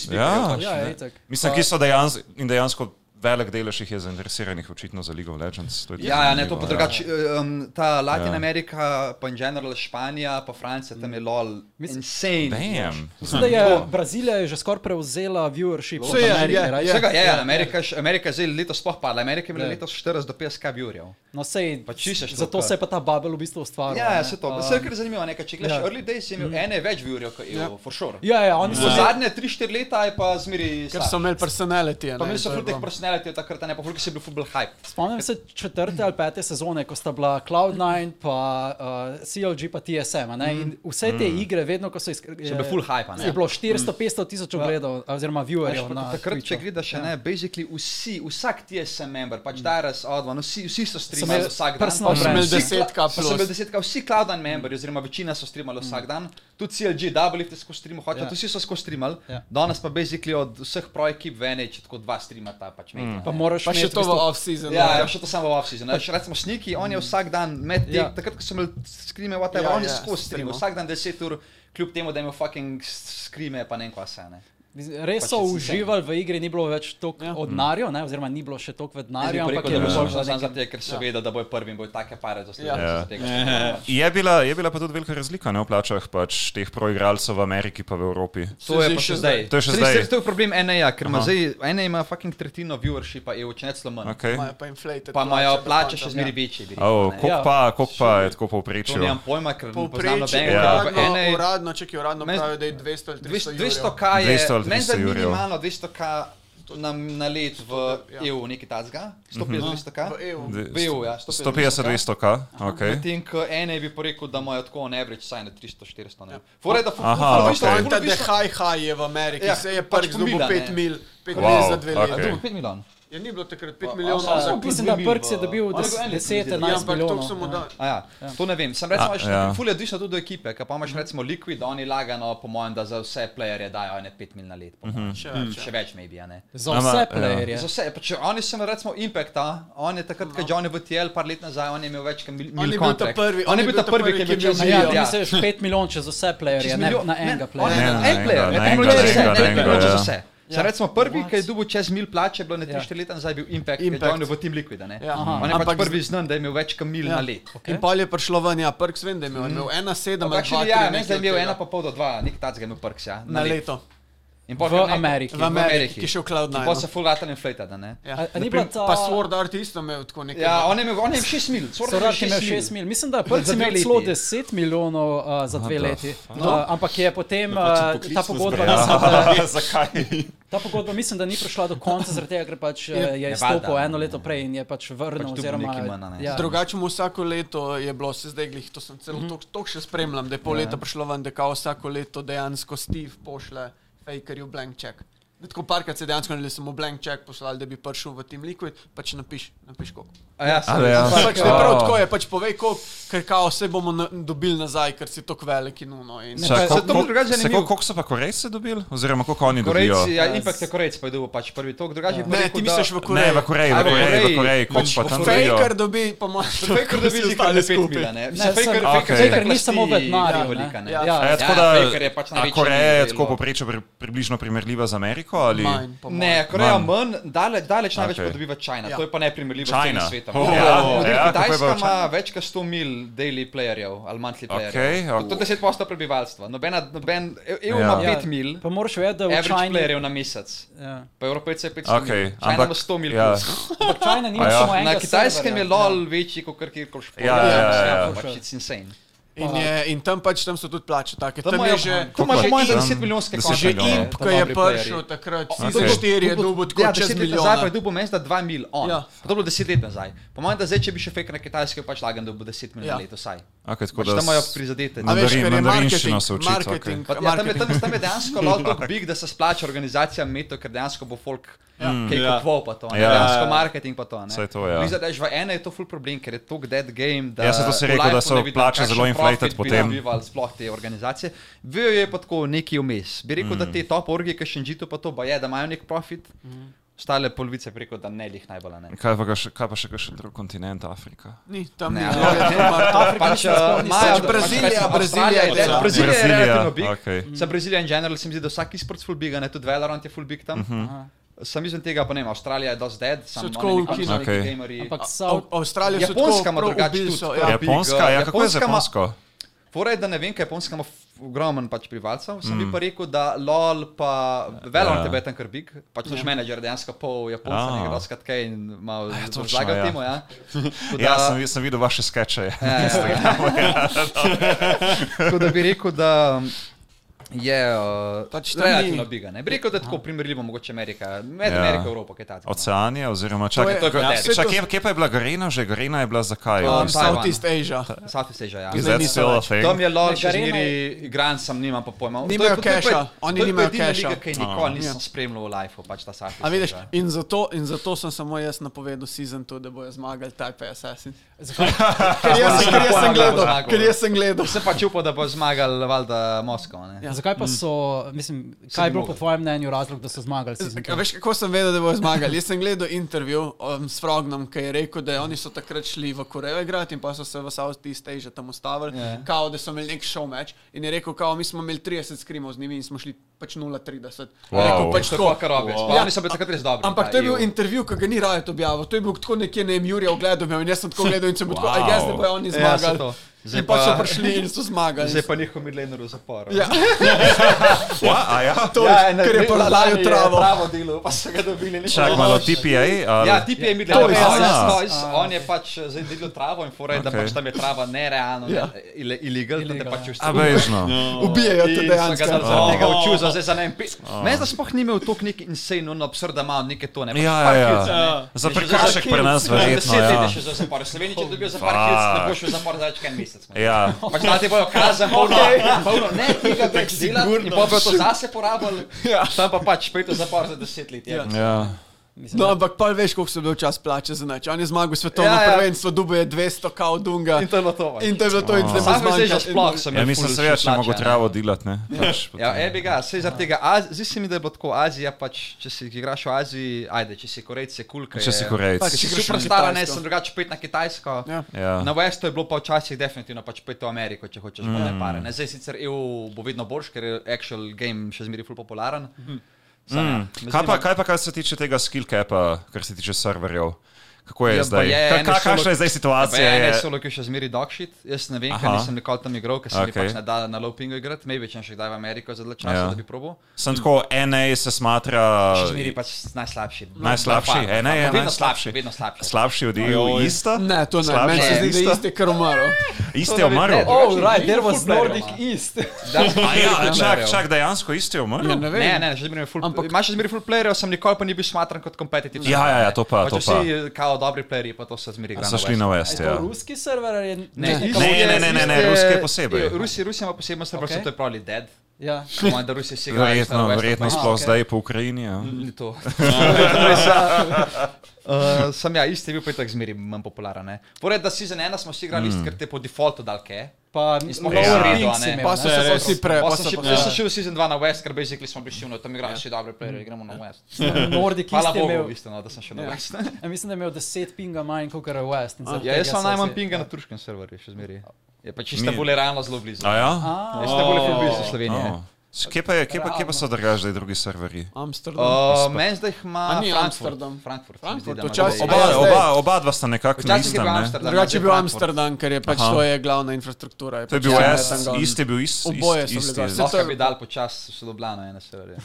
Ja. speakerjev. pač. ja, ja, itak. Mislim, ki so dejansko, in dejansko velik delež jih je zainteresiranih očitno za League of Legends. To je Ja, ja, ne, zanimivo, to pa ja. drugače. Um, ta Latin Ja. ja. Amerika, pa in general Španija, pa Francija, tam je lol. Mislim- Insane. Damn. Mislim, da je Brazilija je že skoraj prevzela viewership. Saj je, Amerike, je, right? je. Vsega je, ja, Amerika, je- Amerika je zdaj letos sploh padla, Amerika je bila Ja. letos 40 do 50 vjurjev. No, sej, Pa čisto štuka. zato se je pa ta bubble v bistvu ustvaril. Ja, ja, ne. se to, Um, vse je kar zanimivo, nekaj, če gledaš ja. early days je imel ene več vjurjev kot EU, for sure. Ja, ja, oni so V že- zadnje 3-4 leta je pa zmeri. Ker slab. so imeli personalitije. Pa mi so ful teh personality takrat, ne pa ful, ki so bili ful hype. Spomnim se četrte ali pete sezone, ko sta bila Cloud9, pa uh, CLG, pa TSM. a ne, In vse te igre, vedno, ko so izkrili, So bili ful hype, a ne? Je bilo 400-500 tisoč ogledov, oziroma Veš, viewerjev. pa na Takrat, če Twitchu. gledaš, ja. ne, basically vsi, vsak TSM member, pač Darius, Odvan, vsi, vsi so imeli streamali vsak Mm. dan. personal Vsi brand. imeli kla- desetka pa so plus. imeli desetka, vsi Cloudon memberi, oziroma večina so streamali vsak dan, tudi CLG, Doublelift je skozi streamo, hoče, Mm. Ja. ja. vsi so skozi streamali, Ja. ja. danes pa basically od vseh projektov v ene, če tako dva streamata, pač mm. Pa moraš Pa še imeti to v v bistvu- off-season. Ja, ne. ja, še to samo v off-seasonu. Še recimo Sniki, on je vsak dan med tem, Ja. ja. takrat, ko so imeli skrime, whatever, Ja, ja, on je ja, ja, skozi streamo, streamal. vsak dan 10 ur, kljub temu, da ima fucking skrime, pa ne vem, kva se ne. Res so Pa če si sam. uživali v igri, ni bilo več toliko ja. Ja. odnarjev, ne, oziroma ni bilo še toliko Jaz denarja, ampak bi rekel, je da bilo bo bolj za šlo za nekaj. te, ker se ve, da bojo prvi in bojo take pare zaslužili. Ja. Ja. Ja. Je bila, je bila pa tudi velika razlika ne, v plačah pač teh proigralcev v Ameriki pa v Evropi. To je zdaj pa še še zdaj. To je še Res, zdaj. res, To je problem NEA, ker ima zdaj, NEA ima fucking tretjino viewershipa EU, če ne celo manj. Okay. Imajo pa inflated. Pa imajo do plače fanta. še zmeri večje. bi rekel, Oh, ne. Ja. Koliko pa, koliko pa je tako To povprečje? nimam pojma, ker ne poznam Povprečje, nobenega. Ja. ampak uradno, NEA uradno, če ki uradno Meni- pravijo, da je 200 ali 300 jurjev. 200k je 200 ali meni zdaj 300 jurjev. minimalno 200k na, na let v Ja. EU, nekaj tacga, 150-200k. v EU. Dve- V EU, ja, 150-200k. Okay. Medtem ko ene bi rekel, da imajo tako na average saj na 300-400. ne. Fora je, da ful- Aha, ful- ful- okej. ful- Pointa, ful- da high high je v Ameriki, Ja, se je pač pač zgubil pobila, 5 ne. mil, 5 Wow, mil za 2 okej. leta. Ja, 5 milijonov. Ja, ni bilo takrat 5 a, milijonov. a, Ja, Mislim, Plus da dve Brc je mil, dobil a, ali pa en let, 10-11 Ja, ampak toliko so mu milijonov. dali. A Ja, to ne vem, sem recimo, ja. ja. fulje odvisno tudi do ekipe, ker pa imaš recimo Liquid, oni lagano, po mojem, da za vse playerje dajo ene 5 mil na let, po mojem. Še Mhm. več, ja. Še več, maybe, a ne. Za Ama, vse ja. playerje. Za vse, pa če oni so imeli recimo Impacta, on je takrat, ko je Johnny VTL par let nazaj, on je imel več kot mil, On je mil bil ta kontrakt. prvi, on je bil ta prvi, ki je bil Ma čez Ja, ja. milijon. Ja, Misliš 5 milijonov čez vse playerje, ne na enega Ne, playerja. Ne, na na en player, enega, na na en enega, player, na vse, enega, ne, na ne, enega, ne, ja. za vse. Zdaj recimo prvi, ki je dobil čez mil plače, bilo je ne 3-4 leta nazaj, bil Impact, Impact. Impact. je Johnny v Team Liquid, a ne. Ja. On je Ampak pač z- prvi znan, da je imel več kot mil na let. In pol je prišlo ven, ja, Perks vem, da je imel, je imel 1,7 ali Ampak še 2,3. ja, mislim, da je imel ena pa pol do dva, nek tac ga je imel prks, ja. na leto. In pol V kar nekaj- Ameriki. V Ameriki. ki je šel Ja. Cloud9. In pol se full ratali in flejtali, ne? A- a ni bila ta- Pa Sword Art isto imel tako nekaj. Ja, on je imel, on je imel šest mil, Sorat Sorat je imel 6 milijonov, mislim, da je prvi Za dve imel celo leti. No. 10 milijonov uh, za dve leti. Uh, ampak je potem uh, pač ta poklicno pogodba, mislim, zbrali. da, Zakaj? ta pogodba mislim, da ni prišla do konca, zaradi tega, ker pač uh, je ne, izstopil valjda, eno leto prej in je pač vrnil. Pač dobil oziroma, nekaj manj, a ne. ja. Drugače mu vsako leto je bilo, se zdaj glih, to sem celo mm -hmm. toliko še spremljal, da je pol leta prišlo ven, da kao vsako leto dejansko Steve pošle fakerju blank check. Da Tako parkrat se dejansko ne le samo blank check poslali, da bi prišel v Team Liquid, pač napiš, napiš koliko. Ja, Ali ja. Pač ne prav tako je, pač povej koliko, ker kao vse bomo na, dobili nazaj, ker si tako velik in uno. In... pa- to bo drugače zanimivo. Koliko so pa Korejci dobili? Oziroma, koliko oni dobijo? Korejci, ja, Impact je Korejci, pa je dobil pač prvi tok, drugače je pa Ja. Ne, rekel, ti da- misliš v Ne, Koreji. v Koreji, v A, v Koreji, v Ja, Koreji. pač Koreji, koliko pa tam dobijo? Faker dobi, pa moraš. Faker dobi nekaj ostali le pet skupaj. mila, ne? Ne, sem- Faker- Okej. Faker je Ja, Faker ni tak samo plasti vetnar, velika, ne. ne? Ja. E, tako da, Ja, Faker je pač a največji Koreja je delo. tako poprečje pri, približno primerljiva z Ameriko ali? Manj, po mojem. Ne, Koreja manj, dale, daleč največ Okej. okay. dobiva Čajna, Ja. ja. to je pa neprimerljivo s China. celim svetom. Oh. Ja, Ja, ja, kako ja, je pa Kitajska v ima več kot 100 mil daily playerjev ali monthly playerjev. Okej, a- To je 10% prebivalstva. Nobena, noben, Ja. EU ja. ima Ja, 5 mil, Pa moraš vedeti, da v average China. Čajni. playerjev na mesec. Ja. Pa Evropejce je 500 Okej, mil, Čajna ampak- ima 100 mil. ja. plus. Ampak Čajna nima A ja. samo enega. Na kitajskem je serverja. lol večji kot kjerkoli šport. Ja, ja, ja, ja. Pač it's insane. In, je, in tam pač tam so tudi plače take. Tam, Tam tam imajo je že. tam imajo po mojem za Tam 10 milijonske 10 konje. milijonov. Ko je prišel takrat, Okej. season 4 je dobil Ja, tako čez deset let nazaj pa je milijon. dobil mesta 2 mil, on. Ja. Ja. To je bilo 10 let nazaj. Po mojem, da zdaj, če bi še fake na kitajskem, pač lagam, da bo 10 mil Ja. na leto, saj. Okay, tako Pač da tam imajo s- prizadete. A A veš, Mandarin- ker je mandarinščino marketing, se učiti, marketing, Pa, ja, tam, je, marketing. Ja. tam, tam je dejansko lol tako big, da se splača organizacija meto, ker dejansko bo folk kaj Ja. kupoval pa to, ne? Mm, Ja. dejansko marketing pa to. ne. Saj to, ja. Blizzard Edge v ene je to full problem, ker je to dead game. Da Ja, saj to si v rekel, da lifeu so ne vidim, plače kakšen zelo inflated profit bi potem. dobival Sploh te organizacije. Bil je pa tako neki vmes. Bi rekel, Mm. da te top orgi, ki še nžito pa to, pa je, da imajo nek profit. Mhm. Stale polovice preko, da ne jih najbolj a ne. Kaj pa, ga še- kaj pa še kakšen drug kontinent, Afrika? Ni, tam ni. Ne, Ja, uh, ampak- ja, Pač, pač, eh, imajo- pač pač Brazilija, Brazilija je Avstralija dela. Brazilija je Brazilija, relativno big. okej. Za Brazilijo in general se mi zdi, da vsak izprt full big, a ne tudi Valorant je full big tam. Mhm. Sam izven tega pa ne, vem, Avstralija je dosti dead, So samo tako oni v nekako Kinu. so neki Okej. gameri. Ampak South, Av- Avstralija so tako Japonska ima prav drugače ubili tudi, so, to ja. je Japonska, ja, kako je z Japonska Japonsko? Fora je, da ne vem, kaj Japonska ima f- ogromen pač prebivalcev, sem mm. bi pa rekel, da LOL pa Mhm. Ja. Valorant ja. je beten kar big, pač Ja. naš manager dejansko pol Japonca, Ah. nekaj doskrat kaj in malo točno, razlagal ja. temu, ja. Tako Ja, da- sem, vi- sem videl vaše skeče. Ja, ja, ja. Tako da bi rekel, da je uh, Pač pač tam ni- relativno biga. Ne bi rekel, da je tako primerljivo mogoče Amerika, med Ja. ja. Ameriko, Evropo, kaj takega. Oceanija, oziroma čakaj, je- čakaj, ja, čakaj, vse to- kje- kje pa je bila Garena že? Garena je bila zakaj? Um, Um, Southeast Asia. South East Asia, ja. Is ne, that niso still a več. thing? Tam je lol, Ne, še Garena zmeri igran, sam nimam pa pojma. To Nimajo je pa- to je pa- cache-a, to oni je pa nimajo edina cache-a. liga, ki je nikoli Ja. nisem spremljal v lifeu, pač ta South East A vidiš, Asia. in zato, in zato sem samo jaz napovedal season 2, da bojo zmagali Type Assassin. Ker Jaz, ker jaz sem gledal, ker jaz sem gledal. Sem pač upal, da bo zmagal valjda Moskva. ne. Ja. Zakaj pa so, mislim, kaj je bil po mogel. tvojem mnenju razlog, da so zmagali? season A two? Veš, kako sem vedel, da bojo zmagali? Jaz sem gledal intervju um, s Frognom, ki je rekel, da oni so takrat šli v Korejo igrati in pa so se v Southeast Asia tam ustavili, Ja. yeah. kao, da so imeli nek show match in je rekel, kao, mi smo imeli 30 skrimov z njimi in smo šli pač 0-30. Wow. Je Rekel, pač To je tako. pa kar obvious. Pa Ja. Oni so bili takrat res dobri. Ampak ta to je bil EU. intervju, ki ga ni Rajot objavil, to je bil tako nekje ne Jurija ogledal imel in jaz sem tako gledal in sem bil tako, a jaz ne bojo oni Ja, saj zmagali. to. Zdaj Zdaj pa pač so pa- prišli in so zmagali. Zdaj pa njihov midlaner v zaporu. Ja, Ja, ja. to je, ker je prodajal travo. Pravo delo, pa so ga dobili. Čak malo TPA. ali- Ja, tip je midlaner, Toys, on, ja. je Toys, on je pač zdaj delal travo in fora je, da Okej. pač tam je trava nerealno, Ja. ne, ile- illegal, da te Illegal, pač ja. A Oh. ustavlja. bežno. Ubijajo te dejansko. Zaradi tega učuza, zdaj za ne vem. Oh. Meni da sploh ni imel toliko nek insane, no absurda ima neke tone. pač Ja, par ja, kilc, ja. ne. Za Je že prekršek kilc, pri nas ne, verjetno, Deset let ja. je še za zapor. Sloveniji, če dobijo zapor kilc, ne boš v zapor za več kaj en mesec. ne. Ja, Pač da ti bojo kazen, polno, polno ne, tega več delati in pa bojo to zase porabili. Ja. Tam pa pač pejte zapor za deset let. Ja. ja. No, ampak pa veš, koliko so bil čas plače za nič. On je zmagal svetovno ja, Ja, ja. ja. prvenstvo, dubo je 200 kao dunga. In to je bilo to. pač. In to je bilo to, in zdaj Sam bo zdaj že zmanjkal. sploh sem. ja imel mislim, ful seveda, še če mogo plača, ne. travo delati, ne. Pač, Ja, ebiga, sej zaradi tega, Az- zdi se mi, da je bilo tako, Azija pač, če si igraš v Aziji, ajde, če si korejc, se kulka. Če si Korejec. Če si Če greš na superstara, ne, Kitajsko. sem drugače pet na Kitajsko. Ja. Ja. Na Westu je bilo pa včasih definitivno pač pet v Ameriko, če hočeš polne Mm. pare. Ne, zdaj sicer EU bo vedno boljš, ker je actual game še zmeri ful popularen. Samo, ja, me Kaj pa, zanima- kaj pa, kar se tiče tega skill capa, kar se tiče serverjev? Kako je Ja, ja, pa zdaj? je Je, eno Ka, kakšna solo- je zdaj situacija? Ja, Je, ne, solo, ki še zmeri dogshit. Jaz ne vem, ker Aha. nisem nikoli tam igral, ker se okay. mi Okej. pač ne da na lopingu igrati. Maybe če še kdaj v Ameriko za dlje časa, Ja. ja. da bi probo. sem tako, NA se smatra Še zmeri pač najslabši. No, Najslabši, Far, ena je far. Vedno najslabši. slabši, vedno slabši. slabši od E EU, ista? Ne, to ne, Slabše meni se je zdi, da je isto? isto, kar umaro. Isti je umrl. Oh, right, there was Nordic East. Da, A ja, čak, čak, dejansko isti je umrl? Ne Ne, vem. ne, še zmeraj full. Ampak- Ampak... Imaš še zmeraj full playerjev, sem nikoli pa ni bil smatran kot kompetitivni. Ja, ja, ja, to pa, to pač vsi pa. eh, kao dobri playerji, pa to se zmeri igra. So šli na West, Ja. ja. Ruski server ali je Ne, neka- isto Ne, je- ne, ne, ne, ne, isto Ruski je posebej. Rusi, Rusi ima posebno srbo, Okej. okay. so to je probably dead. Ja. Komaj, da Rusi si igrajo. Verjetno, verjetno Aha, sploh okej. zdaj po Ukrajini. Ja. Ni to. uh, sem ja, isti je bil pa tako zmeri manj popularen. ne. Pored, da si za ena smo vsi igrali, mm. ker te po defaultu dal kaj. Pa smo Lower ja. King Ja. si imel, Pa ne? so se vsi pre, Ja, pa Jaz so sem pa šel- jaz sem šel v sezon 2 na West, ker basically smo bili šivno, tam igrajo vsi dobre playerje, gremo na West. Nordic East Hvala je Bogu, imel. v bistvu, no, da sem šel na West. Ja, Mislim, da je imel 10 pinga manj kot West. in zaradi Ja, jaz tega sem so najmanj vsi- pinga na turškem serverju, še zmeri. Je pa čisto Mi- bolj realno zelo blizu. A ja? A, Jaz sem bolj ful blizu Slovenije. No. S- Kje pa, je- kje pa, kje pa so drugače zdaj drugi serverji? Ja. Amsterdam. Uh, Meni zdaj jih ima A ni Amsterdam? Frankfurt. Frankfurt. se mi zdi, da Frankfurt, ima včasih- zdaj- Ja, Oba, zdaj- oba, oba dva sta nekako na Včasih je istem. bil ne? Amsterdam. Drugače je zdaj bil Frankfurt. Amsterdam, ker je pač Aha. to je glavna infrastruktura. je To je pač bil vse S, tam gor. isti je bil ist- ist- Oboje isti. so bili isti. gor. Zelo bi dal počasi sodobljeno ene serverje.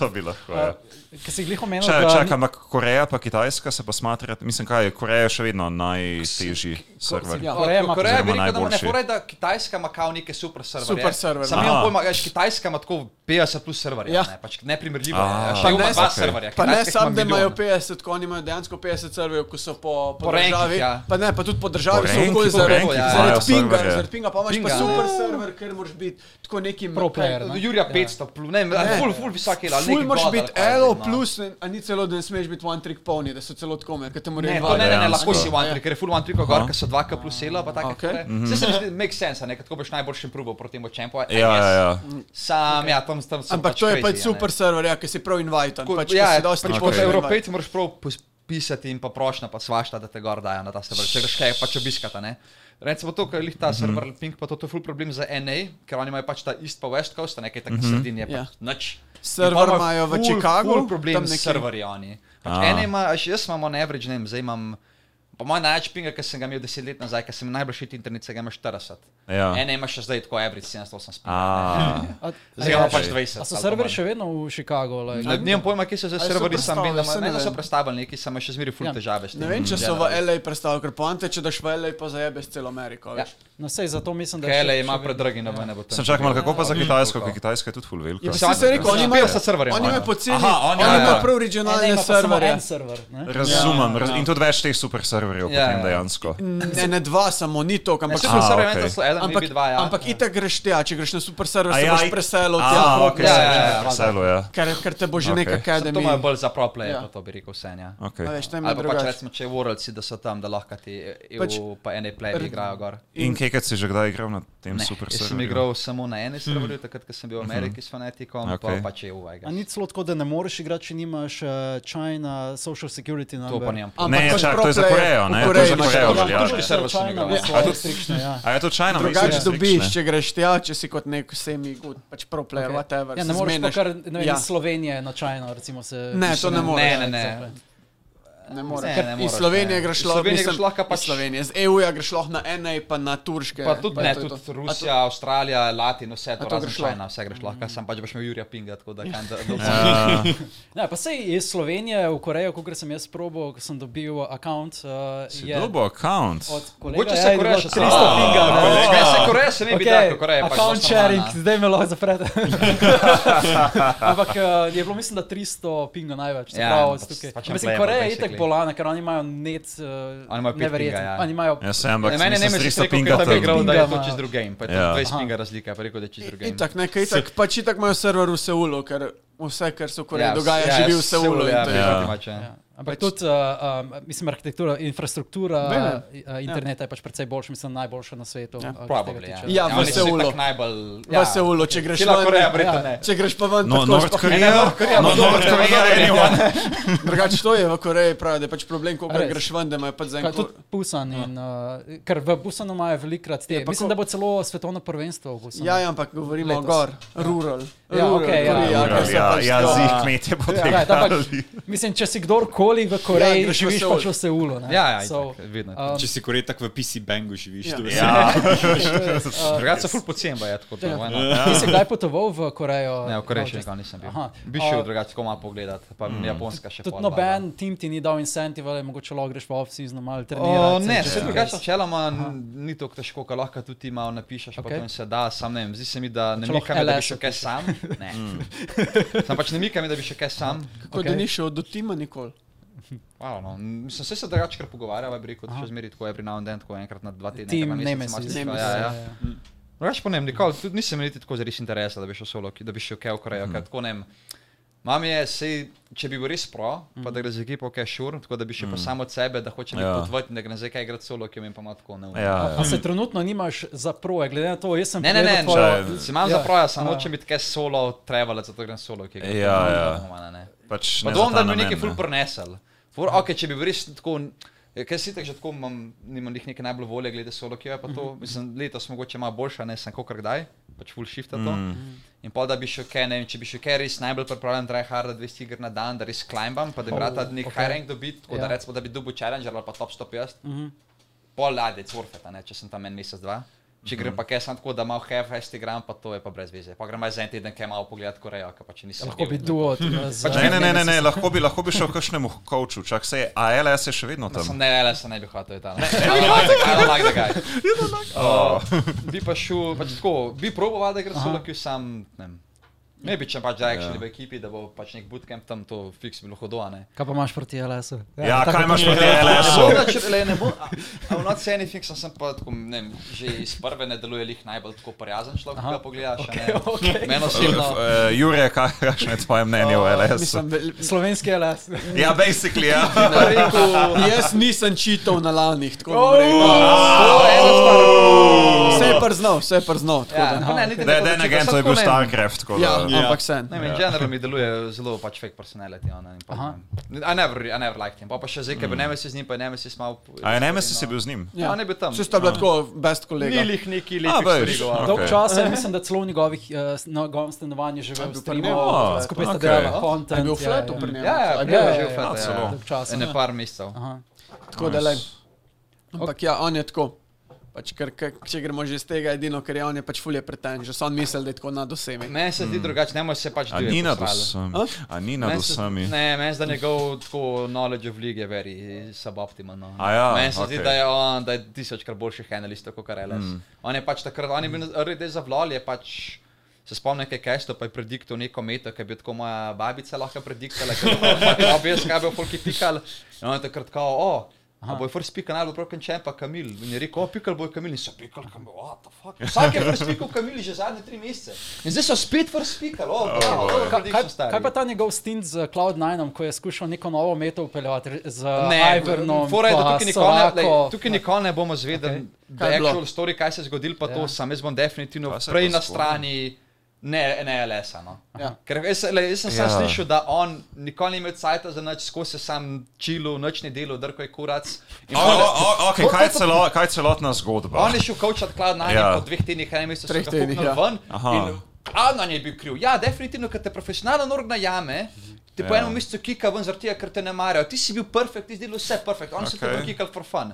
To bi lahko. ja. Ker si glih omenil, Če da čakam, ampak Koreja pa Kitajska se pa smatra, mislim, kaj je Koreja je še vedno najtežji server. ja. Koreja Koreja ima- Koreja bi Oziroma rekel, da ima- ne najboljši. more, da Kitajska ima kao neke super serverje. Super serverje. Sam Aha. imam pojma, veš, Kitajska ima tako 50 plus serverjev, Ja. ne, pač neprimerljivo. Ah. ne. Pa Še ima ne- dva okej. serverja. Pa ne Kitajska jih ima samo, da imajo milijon. 50, ko oni imajo dejansko 50 serverjev, ko so po, po, Po rankih, državi. ja. Pa ne, pa tudi po državi Po so rankih, okoli po zaradi rankih ja. imajo zaradi pinga. serverje. Zaradi pinga pa imaš Pinga, pa ne. super server, ker moraš biti tako neki Pro player, ne. Jurija 500, plus, ne, Ja. Ne. ful, ful visoki, ali Ful neki moraš god ali biti kaj je elo zdaj, no. plus, ne- a ni celo, da ne smeš biti one trick pony, da so celo tkomer, ker te morajo Ne, to ne, ne, ne, lahko si Dejansko. one trick, ker je full one trick, gor, ker so dva k plus elo, pa tako. Okej. Okay. Vse se mi zdi, make sense, a ne, ker tako boš najboljšim probo proti temu čempu. Ja, ja, ja. Sam, ja, tam, tam sem. Ampak pač to je crazy, pač a ne. super server, ja, ki si prav invite. Ko- Pač, ja, ja, je si dosti pač pošlje kot invite. evropejci moraš prav pos- pisati in pa prošnja, pa svašta, da te gor dajo na ta server, če greš kaj pač obiskata, ne. Recimo to, kar je Mhm. lih ta server Ping, pa to, to je full problem za NA, ker oni imajo pač ta East pa West Coast, nekaj takega mm -hmm. sredinje, Ja. pač nič. Server In pol imajo v ful, Chicagu, Ful problem tam s nekje. Ah. serverji oni. Pač A. NA ima, a še jaz imam on average name, zdaj imam, po mojem največ pinga, ker sem ga imel 10 let nazaj, ker sem najbolj šit internet, se ga imaš 40. Ja. NA ima še zdaj tako average 708 pinga. Ah. A, A- Zdaj ga ima pač A 20. so ali pa serverji manj. še vedno v Chicagu? like? Ne, nimam pojma, kje so zdaj Ali so serverji, sam vem, da prestavili, ima- saj ne, ne da so vem. predstavljeni, ki so še zmeraj ful Ja. težave s tem. Ne vem, če so v Generalno. LA predstavili, ker poante, če daš v LA, pa zajebeš celo Ameriko. Ja. veš. No, sej, zato mislim, da Ker LA še- ima še vedno- predragi na mene. bo tam. sem čakal, malo, kako pa za Mm. Kitajsko, ker Kitajska je tudi full velika. Ja, vsi se rekel, oni imajo 50 serverjev Oni imajo. imajo po celi, Aha, oni oni imajo- imajo prav NA originalne ima pa samo serverje. en server. ne? Razumem, raz, in tudi več teh super serverjev Ja, potem ja. dejansko. Ne, ne dva, samo ni to, ampak Ampak so so A, serverji, okej. to so eden, Ampak, ampak dva, ja. ampak itak greš tja, če greš na super server, A se ja, boš i- preselil A, tja, ok, Ja, se ja, že ja. preselo, ja. ker, ker te bo že Okej. okay. nek Samo to akademij. imajo bolj za prople, Ja. ja. to bi rekel vse. Ja. Okay. A Veš, tam je Ali pa pač drugače. recimo, če worldci, da so tam, da lahko ti EU Pač- pač, pa ene plebe igrajo gor. In kekaj si že kdaj igral na tem Ne, super ja. jaz sem serverju? igral samo na Hm. enem serverju, takrat, ko sem bil v Ameriki s Fanaticom, Okej. pa pač EU. I A guess. ni celo tako, da ne moreš igrati, če nimaš uh, China social security number. To pa nimam. pojma. Ne, kot čak, pro to je za player Korejo, v ne, to je Koreji za imaš Korejo drugače. velja. Turški server sem igral. A Ja, to tudi- je strikšne, ja. A je to China? Drugače mislim, dobiš, striktne? če greš tja, če si kot nek semi good, pač pro player, okay. whatever. Ja, se ne moreš pa zmeneš. kar ne vem, Ja. iz Slovenije na Čajno, recimo se... Ne, to ne moreš. Ne, ja, ne, ne. Ne moreš. Ne, Ker ne Iz moreš, Slovenije ne. greš Iz lahko, Slovenije mislim, greš lahko pač- iz Slovenije. Z EU-ja greš lahko na NA, pa na turške. Pa tudi ne, to je to. tudi Rusija, Avstralija, Latin, vse to to razen greš lahko? China, vse greš lahko, sam pač boš imel Jurija Pinga, tako da kam da. Ne, pa sej iz Slovenije v Korejo, ko sem jaz probo, ko sem dobil account, uh, Si je dobo account. od kolega, Mogoče ja, se je Koreja bilo še 300 samo. pinga. ne. Ne, se Koreja se ne bi Okej, tako, Koreja je pač account zelo sharing, normalna. zdaj me lahko zaprete. Ampak uh, je bilo, mislim, da 300 pinga največ. Ja, Ja, prav, pač- tukaj. pač Pač mislim, unplayable, Koreja je basically. itek bolana, ker oni imajo net Oni uh, imajo pet pinga, neverjetno. ja. Oni imajo Ja, sem, ampak Ne, meni ne mislim, misliš, 300 da pinga je tam. igral, da je to Pinga, čez drug game, pa je Ja. to 20 Aha. pinga razlika, pa je rekel, da je čez drug game. Itak, ne, ker itak, pač itak imajo server v Seulu, ker vse, kar se v Koreji dogaja, živi v Seulu. in Ja, to je- Ja. ja. Mače, Ja. Ampak pač, tudi, uh, um, mislim, arhitektura, infrastruktura Ne, ne. uh, interneta je pač precej boljša, mislim, najboljša na svetu. a, Ja, kar se Probably, tega ja. tiče. Ja, v oni so itak Seulu. najbolj... V Seulu, če greš Šila ven- ja. Koreja, verjetno Ja. ne. Če greš pa ven, No, tako North sploh- Korea? No, North Korea, anyone. Drugače to je v Koreji, pravi, da je pač problem, ko A res? greš ven, da imajo pač za Kaj, en tudi kup. Busan, Ja. in, uh, ker v Busanu imajo velikrat te. Je, pa Mislim, ko- da bo celo svetovno prvenstvo v Busanu. Ja, ja, ampak govorimo o Letos. gor, rural. Ja, Rural, okej, ja. Koreja, Ja, ker so ja, pač ja, to- zih kmetje Ja, da, ampak, potegnili. mislim, če si kdorkoli kjerkoli v Ja, Koreji, ja, greš v živiš Seul. pač v Seulu. ne. Ja, ja, So, itak, vedno je um, Če si korej tako v PC bangu živiš, Ja. to je Ja, Drugače so ful pocen, je tako. Ja. Da, why not? eh, Ti si kdaj potoval v Korejo? Pač, ne, v Koreji še Just- nikoli nisem bil. Aha. Bi šel A, drugače, tako malo pogledat, pa Japonska še Tudi pol, valjda. noben tim ti ni dal incentiva, da mogoče lahko greš v off-season malo O, trenirati. ne, se se čez- drugače načeloma n- ni tako težko, kar lahko tudi malo napišeš, pa Ok. potem se da, sam ne vem, zdi se mi, da ne Če mika lahko me, da bi LS še kaj sam. Ne. Hmm. Sam pač ne mika me, da bi še kaj sam. Kot okay. da Okej. ni šel do tima nikoli. Wow, no. Mislim, vse se drugače kar pogovarjava, bi rekel, še zmeri tako je pri now and then, tako enkrat na dva tedna. Tim enkrat na Nemesis. mesec, ima tisto, Nemesis, ja, ja. ja, ja. Drugač pa ne, vem, nikoli, tudi nisem imel niti tako zares interesa, da bi šel solo, ki- da bi šel kaj v Mhm. Korejo, ker tako ne. vem. Mam je, sej, če bi bil res pro, pa Mhm. da gre za ekipo, ki je šur, tako da bi šel pa samo od sebe, da hoče nekaj Ja. potvati, da gre zdaj kaj igrati solo, ki mi pa ima tako neumno. ja, A se trenutno nimaš za proje, glede na to, jaz sem Ne, ne, ne, pogledal tvojo- ne. Si imam Ja. za proja, samo Ja. hočem biti kaj solo, travel, zato grem solo, ki ga Ja, ja. pač Pa ne dvom, za ta da bi mi namen, ne. nekaj no. ful prenesel. Ful, ok, če bi bil res tako, ja, kaj si tak že tako, imam, nimam njih neke najbolj volje glede solo, ki je pa to, Mhm. mislim, letos mogoče malo boljša, ne sem kakor kdaj, pač ful shifta to. Mm. In pa da bi še kaj, ne vem, če bi še kaj res najbolj pripravljen, da je hard 200 iger na dan, da res climbam, pa da bi rad oh, nek ok. okay. high rank dobil, tako yeah. Ja. da recimo, da bi dobil challenger ali pa top 150. Mm Mhm. -hmm. Pol ladec orfeta, ne, če sem tam en mesec, dva. Če Mhm. grem pa kaj sam tako, da malo have, hest igram, pa to je pa brez veze. Pa grem malo za en teden, kaj malo pogledati Korejo, ker pa če nisem. Lahko bil, bi ne. duo. z- Ne, ne, ne, ne, ne, lahko bi, lahko bi šel kakšnemu coachu, čak se je, a LS je še vedno Sam tam. ne, le se ne bi hotel je tam. Ne, ne, ne, Oh. Bi pa šel, pač tako, bi proboval, da gre solo, ki sam, ne vem. Ne bi če pač da Ja. actually v ekipi, da bo pač nek bootcamp tam, to fiks bi bilo hodo, a ne. Kaj pa imaš proti LS-u? Ja, kaj imaš proti Ne LS-u? bom, da če le ne bom, a v not saying anything sem, sem pa tako, ne vem, že iz prve ne deluje lih najbolj tako prijazen človek, ko ga pogledaš, a ne. Meni osebno. Eh, Jure, kaj- kakšno je tvoje mnenje o LS-u? Mislim, vel- Slovenski LS. Ja, basically, ja. bi rekel, jaz nisem čital na lanih, tako bom rekel. to je ena stvar. Vse je priznal, vse je priznal. tako Ja, da. pa ne, niti ne Da, da, povem, ne, če ga gen, sem to je bil tako, ne vem, StarCraft, tako Ja, da. ampak sen. Ne, vem, in general mi deluje zelo pač fake personality. Ona, in pa, Aha. ne, I, never, I never liked him. Pa, pa še zdaj, ker bi Nemesis z njim, pa je Nemesis malo... Mm. A je Nemesis je bil z njim? Ja, on je bil tam. Vsi sta bila tako, best kolega. Nilih A, neki lepih veš. stvari govoril. Dolg Ok. časa je, mislim, da celo v njegovih, eh, s- njegovem stanovanju živel s trima, A, skupaj sta ok. delala A Je content. bil v ja, fletu ja. pri njem. Ja, ja, A je ja, bil? ja, že ja, v fete, celo. ja. Dolg časa. Ene par mesecev. Aha. Tako da le. Ampak ja, on je tako. Pač, ker, ker, če gremo že iz tega, edino, ker je on je pač fulje preten, že sam misel, da je tako nad vsemi. Meni se zdi drugače, ne moreš se pač Mm. A divje ni nad posrali. vsemi? A? A ni nad Meni se- vsemi? Ne, meni se da njegov tako knowledge of league je very suboptimal. No. A ja, meni se zdi, okej. da je on da je tisočkrat boljših analistov kot LS. Mm. On je pač takrat, on je bil rede za vlal, je pač. Se spomnim, kaj je Kajsto, pa je prediktal neko meto, ki bi tako moja babica lahko prediktala, ker je objel, kaj bo polki pikal. In on je takrat kao, o, a bo je first pikal najbolj proken čem, pa Kamil. In je rekel, o, pikal bo je Kamil, in so pikal, Kamil, what the fuck. Vsak je first pikal Kamil že zadnje tri mesece. In zdaj so spet first pikal, o, bravo, Oh, dobro Ka- Kaj, prediction, stari. kaj pa ta njegov stint z Cloud9, ko je skušal neko novo meto upeljati re- z Ne, Ivernom? fora je, da pa tukaj nikoli ne- lej, Sorako. tukaj nikoli ne bomo zvedeli, da Kaj je je bilo? actual story, kaj se je zgodilo, pa to Ja. sam. Jaz bom definitivno Kaj se je prej pa na zgodilo? strani ne, ne LS-a. No. Ja. Ker jaz, lej, jaz sem sam Ja. slišal, da on nikoli ni imel cajta za noč, skozi se sam čilo, noč ne delo, drko je kurac. In O, pol- o, o, okej, kaj je celo- kaj je celotna zgodba? On je šel kočat klad na Ja. ja. po dveh tednih, enem mestu, Treh treh tednih tednih, ja. ja. ven. Aha. Klad na njej je bil kriv. Ja, definitivno, ker te profesionalen org najame. Ti po Ja. enem mestu kika ven zaradi tega, ker te ne marajo. Ti si bil perfekt, ti si delal vse perfekt, on okay. se Okej. te kikal for fun.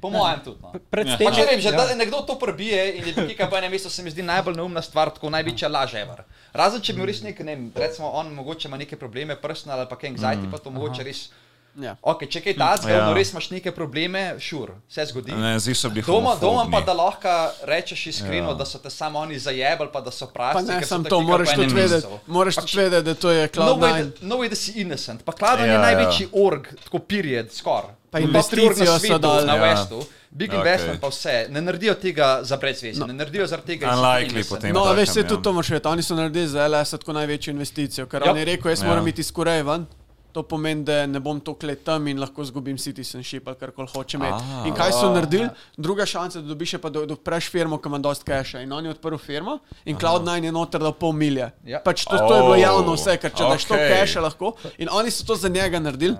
Po mojem tudi. No. Pred Ja. tem Pa če je- vem, že ja. da nekdo to prebije in je kika po enem mestu, se mi zdi najbolj neumna stvar, tako največja laž ever. Razen če bi bil res nek, ne vem, recimo on mogoče ima neke probleme prsne ali pa kaj anxiety, pa to mogoče res. Ja. Ok, če kaj takega, Mm. Ja. ja. res imaš neke probleme, šur, sure, se zgodi. Ne, zdi so bili Doma, doma homofobni. pa da lahko rečeš iskreno, ja. da so te samo oni zajebali, pa da so pravi. Pa ne, sem to, moraš tudi vedeti, moraš tudi vedeti, da to je Pač No way, Cloud9. da- no way, da si innocent. Pa Kladan Ja, je ja. največji org, tako period, skoraj. Pa Top tri org na investicijo so svetu, dali. Na Ja. Westu, Big Okej. Investment pa vse. Ne naredijo tega za brezvezi, no. ne naredijo zaradi tega. da si ti Unlikely innocent. potem. No, takem, veš, se ja. tudi to moraš vedeti. Oni so naredili za LS tako največjo investicijo, ker Ja. on je rekel, jaz Ja. moram iti skoraj ven. To pomeni, da ne bom to klet tam in lahko izgubim citizenship ali kar koli hočem imeti. In kaj ja. so naredili? Druga šansa, da dobiš, je pa da da odpreš firmo, ki ima dost cache. In on je odprl firmo in Cloud9 je noter dal pol milje. Ja. Pač to, to je bilo Oh, javno vse, ker če daš to okej. cache lahko. In oni so to za njega naredili.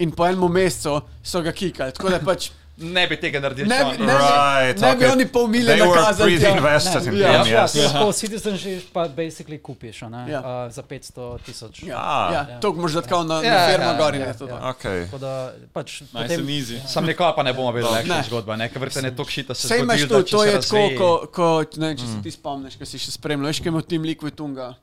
In po enem mesecu so ga kikali. Tako da pač ne bi tega naredil. Ne bi- če on- ne- Right, ne bi okay. oni pol mile They were nakazali, pretty ja. invested in Ja. them, yes. Tako citizenship pa basically kupiš a ne, Ja. uh, za 500 tisoč. Ja, Ah. ja, to moraš dati kao na, Ja, na firma ja, gori. ja, ne, ja. to to. Okay. Tako da pač Nice and potem easy. Sam nikoli pa ne bomo vedeli, kakšna je No. Ne. zgodba, ne, ker verjetno je to šita se Sej imaš zgodil, to, da če to se je tako, razveje- ko, ko, ne, če se ti spomniš, ko si še spremljal, veš, kaj ima Team Liquidunga,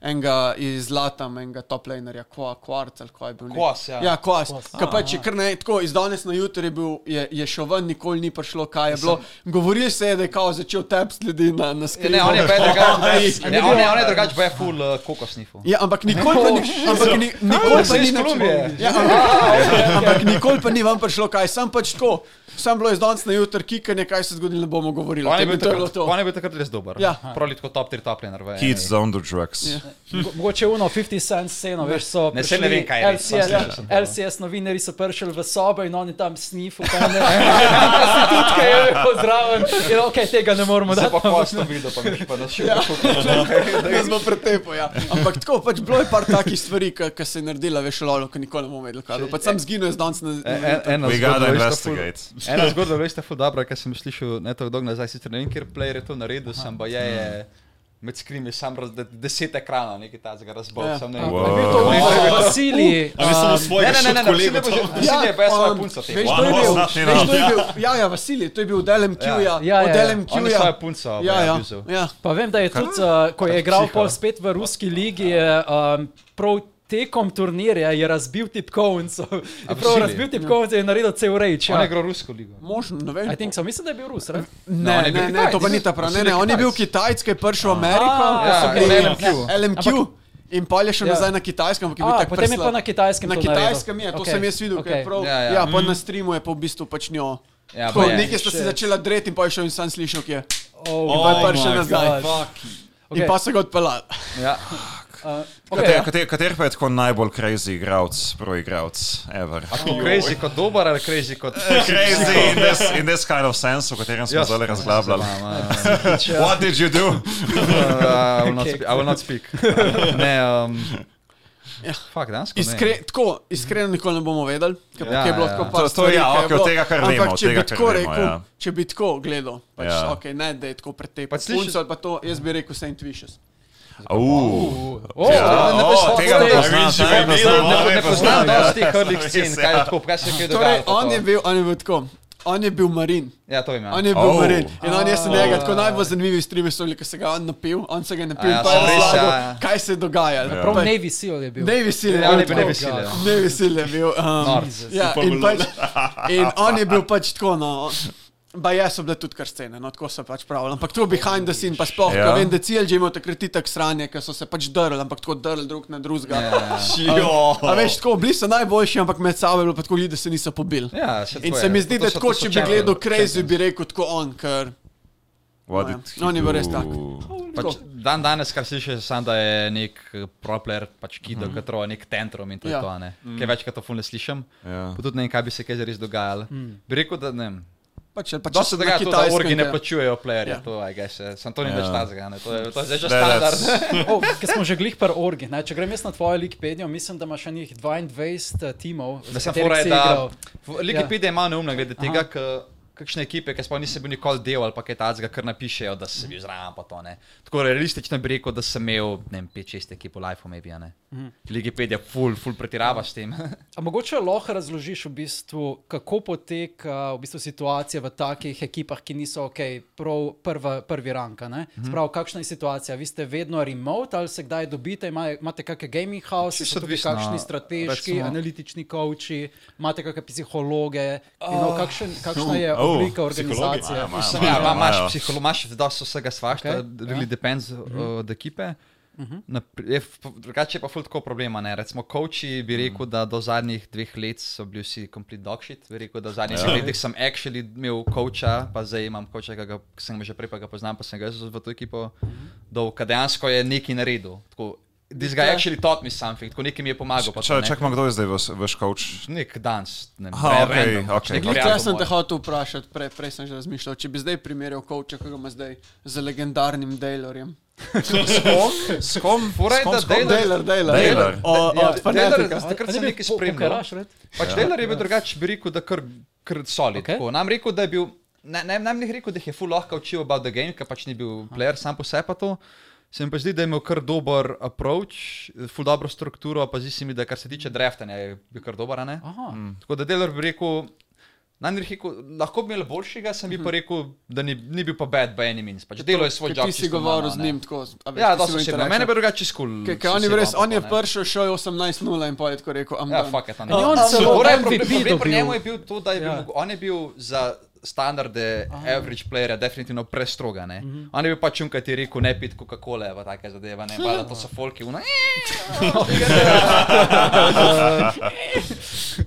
enega iz Latam, enega toplanerja, Quartz ali kaj je bil. lik. Kwas, ja. Ja, kos. Kos. Kaj pa če kar ne, tako iz danes na jutri je, bil, je, je šel ven, nikoli ni prišlo, kaj je bilo. Govoril se je, da je kao začel tep sledi na, na Ja, skrivju. Ne, on je pa drugačen, ne, Aj. on je- on je drugačen, pa je full uh, kokosnifu. Ja, ampak nikoli pa ni, ampak ni, nikoli saj pa ni iz nič Kolumbije. bilo. Ja, ampak- ampak nikoli pa ni vam prišlo, kaj sem pač tako. Sam bilo je danes na jutro kikanje, kaj se je zgodilo, ne bomo govorili. On je To bil bi- to je bilo takrat- to. on je bil takrat res dober. Ja. Pravi tako top 3 top laner. v Kids eni. on the drugs. Ja. Mogo- Mogoče uno 50 cent sceno, veš, so Ne, saj ne prišli vem, kaj je res, samo slišal LCS, sem to. LCS novinari so prišli v sobo in oni tam snifu, tam ne, prostitutke je pozdraven, in ok, tega ne moremo Zdaj dati. pa kosno videl, pa mi pa našel. Ja. Da smo pretepo, ja. Ampak tako, pač bilo je par takih stvari, ki se je naredila, veš, lolo, ki nikoli ne bomo vedeli, kaj je bilo. Pač sam zginil je danes na... E- en- ena We zgodba, gotta veš, ta investigate. ful- Ena zgodba, veš, ta ful dobra, ki sem jo slišal ne tako dolgo nazaj, sicer ne vem, ker player je to naredil, sem pa je, je med skrimi sam raz, de- deset ekranov, nekaj tazga razbol, Ja. sem ne Wow. vem. Bil to Vasilij, A vi samo svojega Ne, ne, ne, ne, ne, še ne, ne, kolega tam. ne, pa je svoja punca Ja, Veš, tega. to je One bil, was not veš, to je enough. bil, ja, ja, Vasilij, to je bil od LMQ-ja, Ja. Ja, od ja, ja. On je LMQ-ja. svoja punca, Ja, ja, ja. ja. Pa vem, da je tudi, uh, ko je igral pol spet v ruski ligi, je um, prav tekom turnirja je razbil tipkovnico. Je prav Vasilij? razbil tipkovnico in je naredil cel rage. On je Ja. igral rusko ligo. Možno, ne I vem. think so, mislim, da je bil Rus, right? No, Ne, on je bil ne, ne, Kitajec. to pa ni ta prav. Ne, ne, on je bil kitajc, ki je prišel v Ameriko, Ah, ja, so ja, bili ja, LMQ. LMQ. In pa je šel Ja. nazaj na kitajskem, ampak je bil A, tako potem je preslab. pa na kitajskem Na to kitajskem je, naredil. to Okej, sem jaz videl, okay. kaj je okej. Mm. prav. Ja, Ja, ja. ja. ja pa na streamu je pa v bistvu pač njo. Ja, Tako, pa je. nekaj sta si Shit. začela dreti in pa je šel in sam slišal, kje je. Oh, Pa je prišel my nazaj. Okay. In pa so ga odpeljali. Ja. Okay, ja. Kater, kater pa je tako najbolj crazy igralec, proigralec, ever? Crazy kot dober ali crazy kot... Crazy in this, in this kind of sense, o katerem smo Jaz- zdaj razglabljali. Ja, Zama, What did you do? Uh, I will not speak. I will not speak. ne, um, ja. Fak, dansko. Iskre, tako, iskreno nikoli ne bomo vedeli, kaj Ja, ja, je bilo ja. tako To- par to stvari, ja, kaj je okej, od bilo. tega kar Ampak vemo, od če tega bi kar tako vemo, rekel, ja. če bi tako gledal, pač, Ja. okay, ne, da je tako pretepen. Pa Pač slišiš- punco ali pa to, jaz bi rekel Saint Vicious. Uh, Oh, ja, ne o, boš- tega to ne je- poznam, Vinci tega ne Vendela, poznam, Ne ne poznam poznam. dosti ja. teh hurlih scen, kaj je tako, kaj se kaj dogaja. Torej, pa on to. je bil, on je bil tako. On je bil marin. Ja, to imam. On je bil Oh. oh. marin. In on je se njega, tako najbolj zanimivi streami so bili, ko se ga je on napil, on se ga je napil, A Oh. ja, ja, pa je so res, razlagal, ja, ja. kaj se je dogajalo. Ja. Prav Pa je- Navy Seal je bil. Ne veselje, Ja, on je tako. bil neveselje. Ne veselje bil. Um, Norc. ja, Super in, bilo. pač, in on je bil pač tako, no. Ba jaz sem bil tudi kar scene, no tako so pač pravili. Ampak to behind the scene, pa sploh, ja. Ja. vem, da cilj že ima takrat tak sranje, ker so se pač drli, ampak tako drli drug na drugega. Ja. Jo. A veš, tako, bili so najboljši, ampak med sabo je bilo pa tako ljudi, da se niso pobili. Ja, še In to se je. mi zdi, To da so- tako, to so če bi champions. gledal Crazy, bi rekel tako on, ker What No, ja. did he No, ni bil res do? tak. Pač, dan danes, kar slišiš, je samo da je nek eh, pro player, pač kido, mm. katero je nek tantrum in to ja. je Ja. to, a ne. Kaj večkrat to ful ne slišim, Ja. pa tudi ne vem, kaj bi se kaj res dogajalo. Mm. Bi rekel, da ne. vem, pač, ali pač Dosti se na dogaja, to, da Kitajskem, orgi ne ja. plačujejo playerja, Ja. to je, gaj se, sem to ni več tazga, ne, to je, to je zdaj Ne, že ne, standard. Oh, Ker smo že glih par orgi. Ne? Če grem jaz na tvojo Wikipedijo, mislim, da imaš še njih 22 timov. Da za sem katerih fora, si da igral. Wikipedia je malo neumna glede tega, k- kakšne ekipe, ki sploh nisem bil nikoli del ali pa kaj takega, kar napišejo, da sem bil zraven, pa to ne. Tako realistično bi rekel, da sem imel, ne vem, 5-6 ekip v Life, maybe, a ne. Wikipedia full, full pretirava s tem. A mogoče lahko razložiš, v bistvu, kako poteka v bistvu, situacija v takih ekipah, ki niso ok, prav prva, prvi ranka. Mm Mhm. -hmm. Sprav, kakšna je situacija? Vi ste vedno remote ali se kdaj dobite, Ima, imate kakšne gaming house, Čisto so tudi odvisno, kakšni strateški, recimo- recimo... analitični coachi, imate kakšne psihologe, oh. you Ah. know, kakšen, kakšna je Oh, oblika psihologi organizacije. imajo, Mislim, imajo, ja, ima- imajo. imaš psiholo, imaš dosti vsega svašta, Okej, okay, really ja. yeah. depends uh Mhm. -huh. od ekipe. Uh -huh. Drugače je pa ful tako problema. Ne? Recimo, coachi Mhm. bi rekel, da do zadnjih dveh let so bili vsi complete dogshit. Bi rekel, da v zadnjih Ja. yeah. letih sem actually imel coacha, pa zdaj imam coacha, ki ga ki sem ga že prej pa ga poznam, pa sem ga jaz v to ekipo, uh -huh. Mhm. do kadejansko je nekaj naredil. Tako, This Ja. guy actually taught me something, tako nekaj mi je pomagal. pa to, Čakaj, ne. čakaj, ma, kdo je zdaj vaš- vaš coach? Nek dans, ne vem, Aha, re- okej, random, pač okej. Glih nek Glej, prijatelj jaz sem moj. te hotel vprašati, prej, prej sem že razmišljal, če bi zdaj primerjal Kovča, ki ga ima zdaj z legendarnim Daylorjem. S kom? Fora je, da Taylor- Daylor, Daylor. Daylor. O, o, Ja, Taylor- Fanatica. A- takrat a ni sem bil nekaj po- spremljal. pokaraš, right? Pač ja. Taylor je bil drugačen, bi rekel, da kar kar solid. Okej. Okay. Nam rekel, da je bil, ne, ne, nam je rekel, da jih je full lahko učil about the game, ker pač ni bil player sam po sebi pa to. Se mi pa zdi, da je imel kar dober approach, full dobro strukturo, pa zdi se mi, da kar se tiče draftanja, je bil kar dober, a ne? Aha. Mm. Tako da delar bi rekel, nam je rekel, lahko bi imel boljšega, sem bi Mhm. pa rekel, da ni, ni bil pa bad by any means. Pač delo je svoj job. Ti si čisto govoril normalno, z ne. njim tako. a veš, Ja, ti si da so v se na interakciji. mene drugače skul. Ker- ker on je res, on je prišel, šel je 18-0 in pol je tako rekel, am Ja, done. fuck it, on A je on bil- celo Problem- MVP problem- problem pri dobil. njemu je bil to, da je bil, Ja. mogo- on je bil za standarde average playera definitivno prestroga. ne. Mhm. On je bil pač čunka ti rekel, ne pit Coca-Cole, pa take zadeve, ne, pa to so folki, "Eh." una.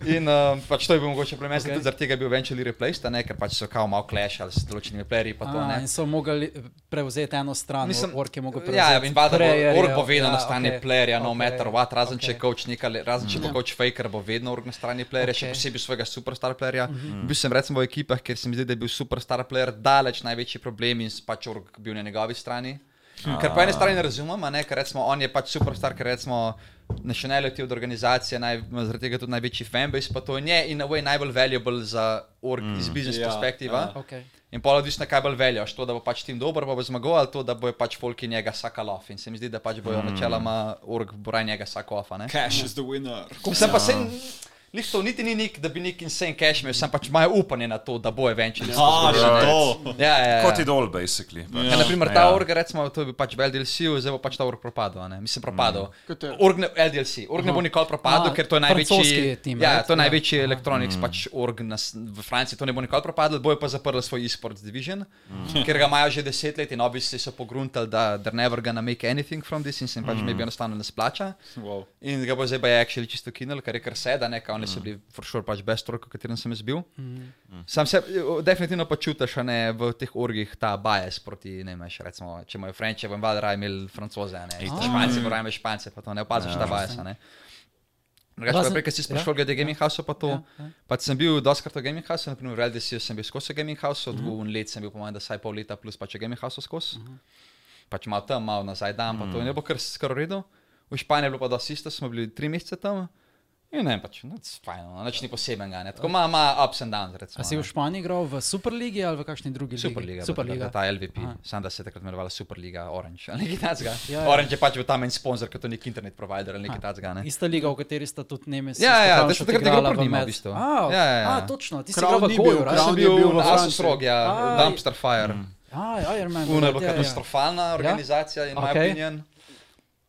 In um, pač to je bil mogoče problem, okay. Okej. zaradi tega je bil eventually replaced, a ne, ker pač so kao malo clashali s določenimi playerji, pa to A, ne. in so mogli prevzeti eno stran, mislim, ork je mogel prevzeti. ja, in vada bo, ork bo vedno ja, ja, na strani okej, okay, playerja, no okej, okay, matter what, razen okay. če okej. Mhm. je coach nekaj, le- razen če bo coach faker, bo vedno ork na strani playerja, okay. še Okej. Mhm. posebej svojega superstar playerja. Mm -hmm. Bil sem recimo v ekipah, ker se mi zdi, da je bil superstar player daleč največji problem in s- pač ork bil na njegovi strani. Hm. Ker po eni strani ne razumem, a ne, ker recimo on je pač superstar, ker recimo nationality od organizacije, naj, ima zaradi tega tudi največji fanbase, pa to je in a way najbolj valuable za org mm. iz business Ja, yeah, perspektiva. ja. Yeah. Hm. Okej. In pa odvisno, kaj bolj veljaš, to, da bo pač tim dober, pa bo zmagoval, ali to, da bo pač folki njega sakal off. In se mi zdi, da pač bojo mm. načeloma org boraj njega sakal off. a ne. Cash is the winner. Sem pa sen, lihtov niti ni nik, da bi nek insane cash imel, sem pač imajo upanje na to, da bo eventually. Ah, že to. Ja, ja, ja. Kot idol, basically. Ja, Ja. naprimer, ta Ja. org, recimo, to je bil pač v LDLC-u, zdaj bo pač ta org propadel. a ne. Mislim, propadel. Kateri? Org ne, LDLC, org ne bo nikoli propadel, A, ker to je največji, francoski tim, ja, right? to je Ja. največji elektroniks pač org na, s- v Franciji, to ne bo nikoli propadel, bojo pa zaprli svoj e-sports division, ker ga imajo že deset let in obviously so pogruntali, da they're never gonna make anything from this in se jim pač maybe enostavno ne splača. Wow. In ga bo zdaj pa je actually čisto kinil, kar je kar seda, ne, kao, oni so bili for sure pač brez trojk, v katerem sem jaz bil. Sam se o, definitivno pa čutiš a ne, v teh orgih ta bias proti, ne veš, recimo, če imajo Frenče, vam vada raje imeli Francoze, a ne, Španci, vam raje imeli Špance, pa to ne opaziš ta bias, a ne. Drugače, Razen- prej, ko si sprašal glede Gaming House, pa to, pa sem bil doskrat v Gaming House, naprimer v LDC sem bil skozi Gaming House, od dveh let sem bil, po mojem, da saj pol leta plus pač v Gaming House skozi pač malo tam, malo nazaj dan, pa to Mhm. in je bilo kar skoro redo. V Španiji je bilo pa dosti isto, smo bili tri mesece tam. In ne, pač, nič fajno, nič ni posebnega, ne. Tako ima, ima ups and downs, A recimo. si v Španiji igral v Superligi ali v kakšni drugi ligi? Superliga. Superliga. Superliga. Ta LVP, sam da se je takrat imenovala Superliga Orange. Ali nekaj tacga. Ja, Ja, ja. ja. Orange je pač bil tam en sponzor, kot nek internet provider ali nekaj tacga, ne. Ista liga, v kateri sta tudi Nemci. Ja, ja, da so sta takrat igral proti njima v bistvu. A, Ja, ja, ja. a, točno, ti si Crown igral v ni Goju, bil, right? Crown Jaz je sem bil bil v v Asus Franciji. Rog, ja, Aj. Dumpster Fire. Mm. A, ja, Iron Man. Uno je right, bila ja, ja. katastrofalna organizacija, in moj Okej. opinion.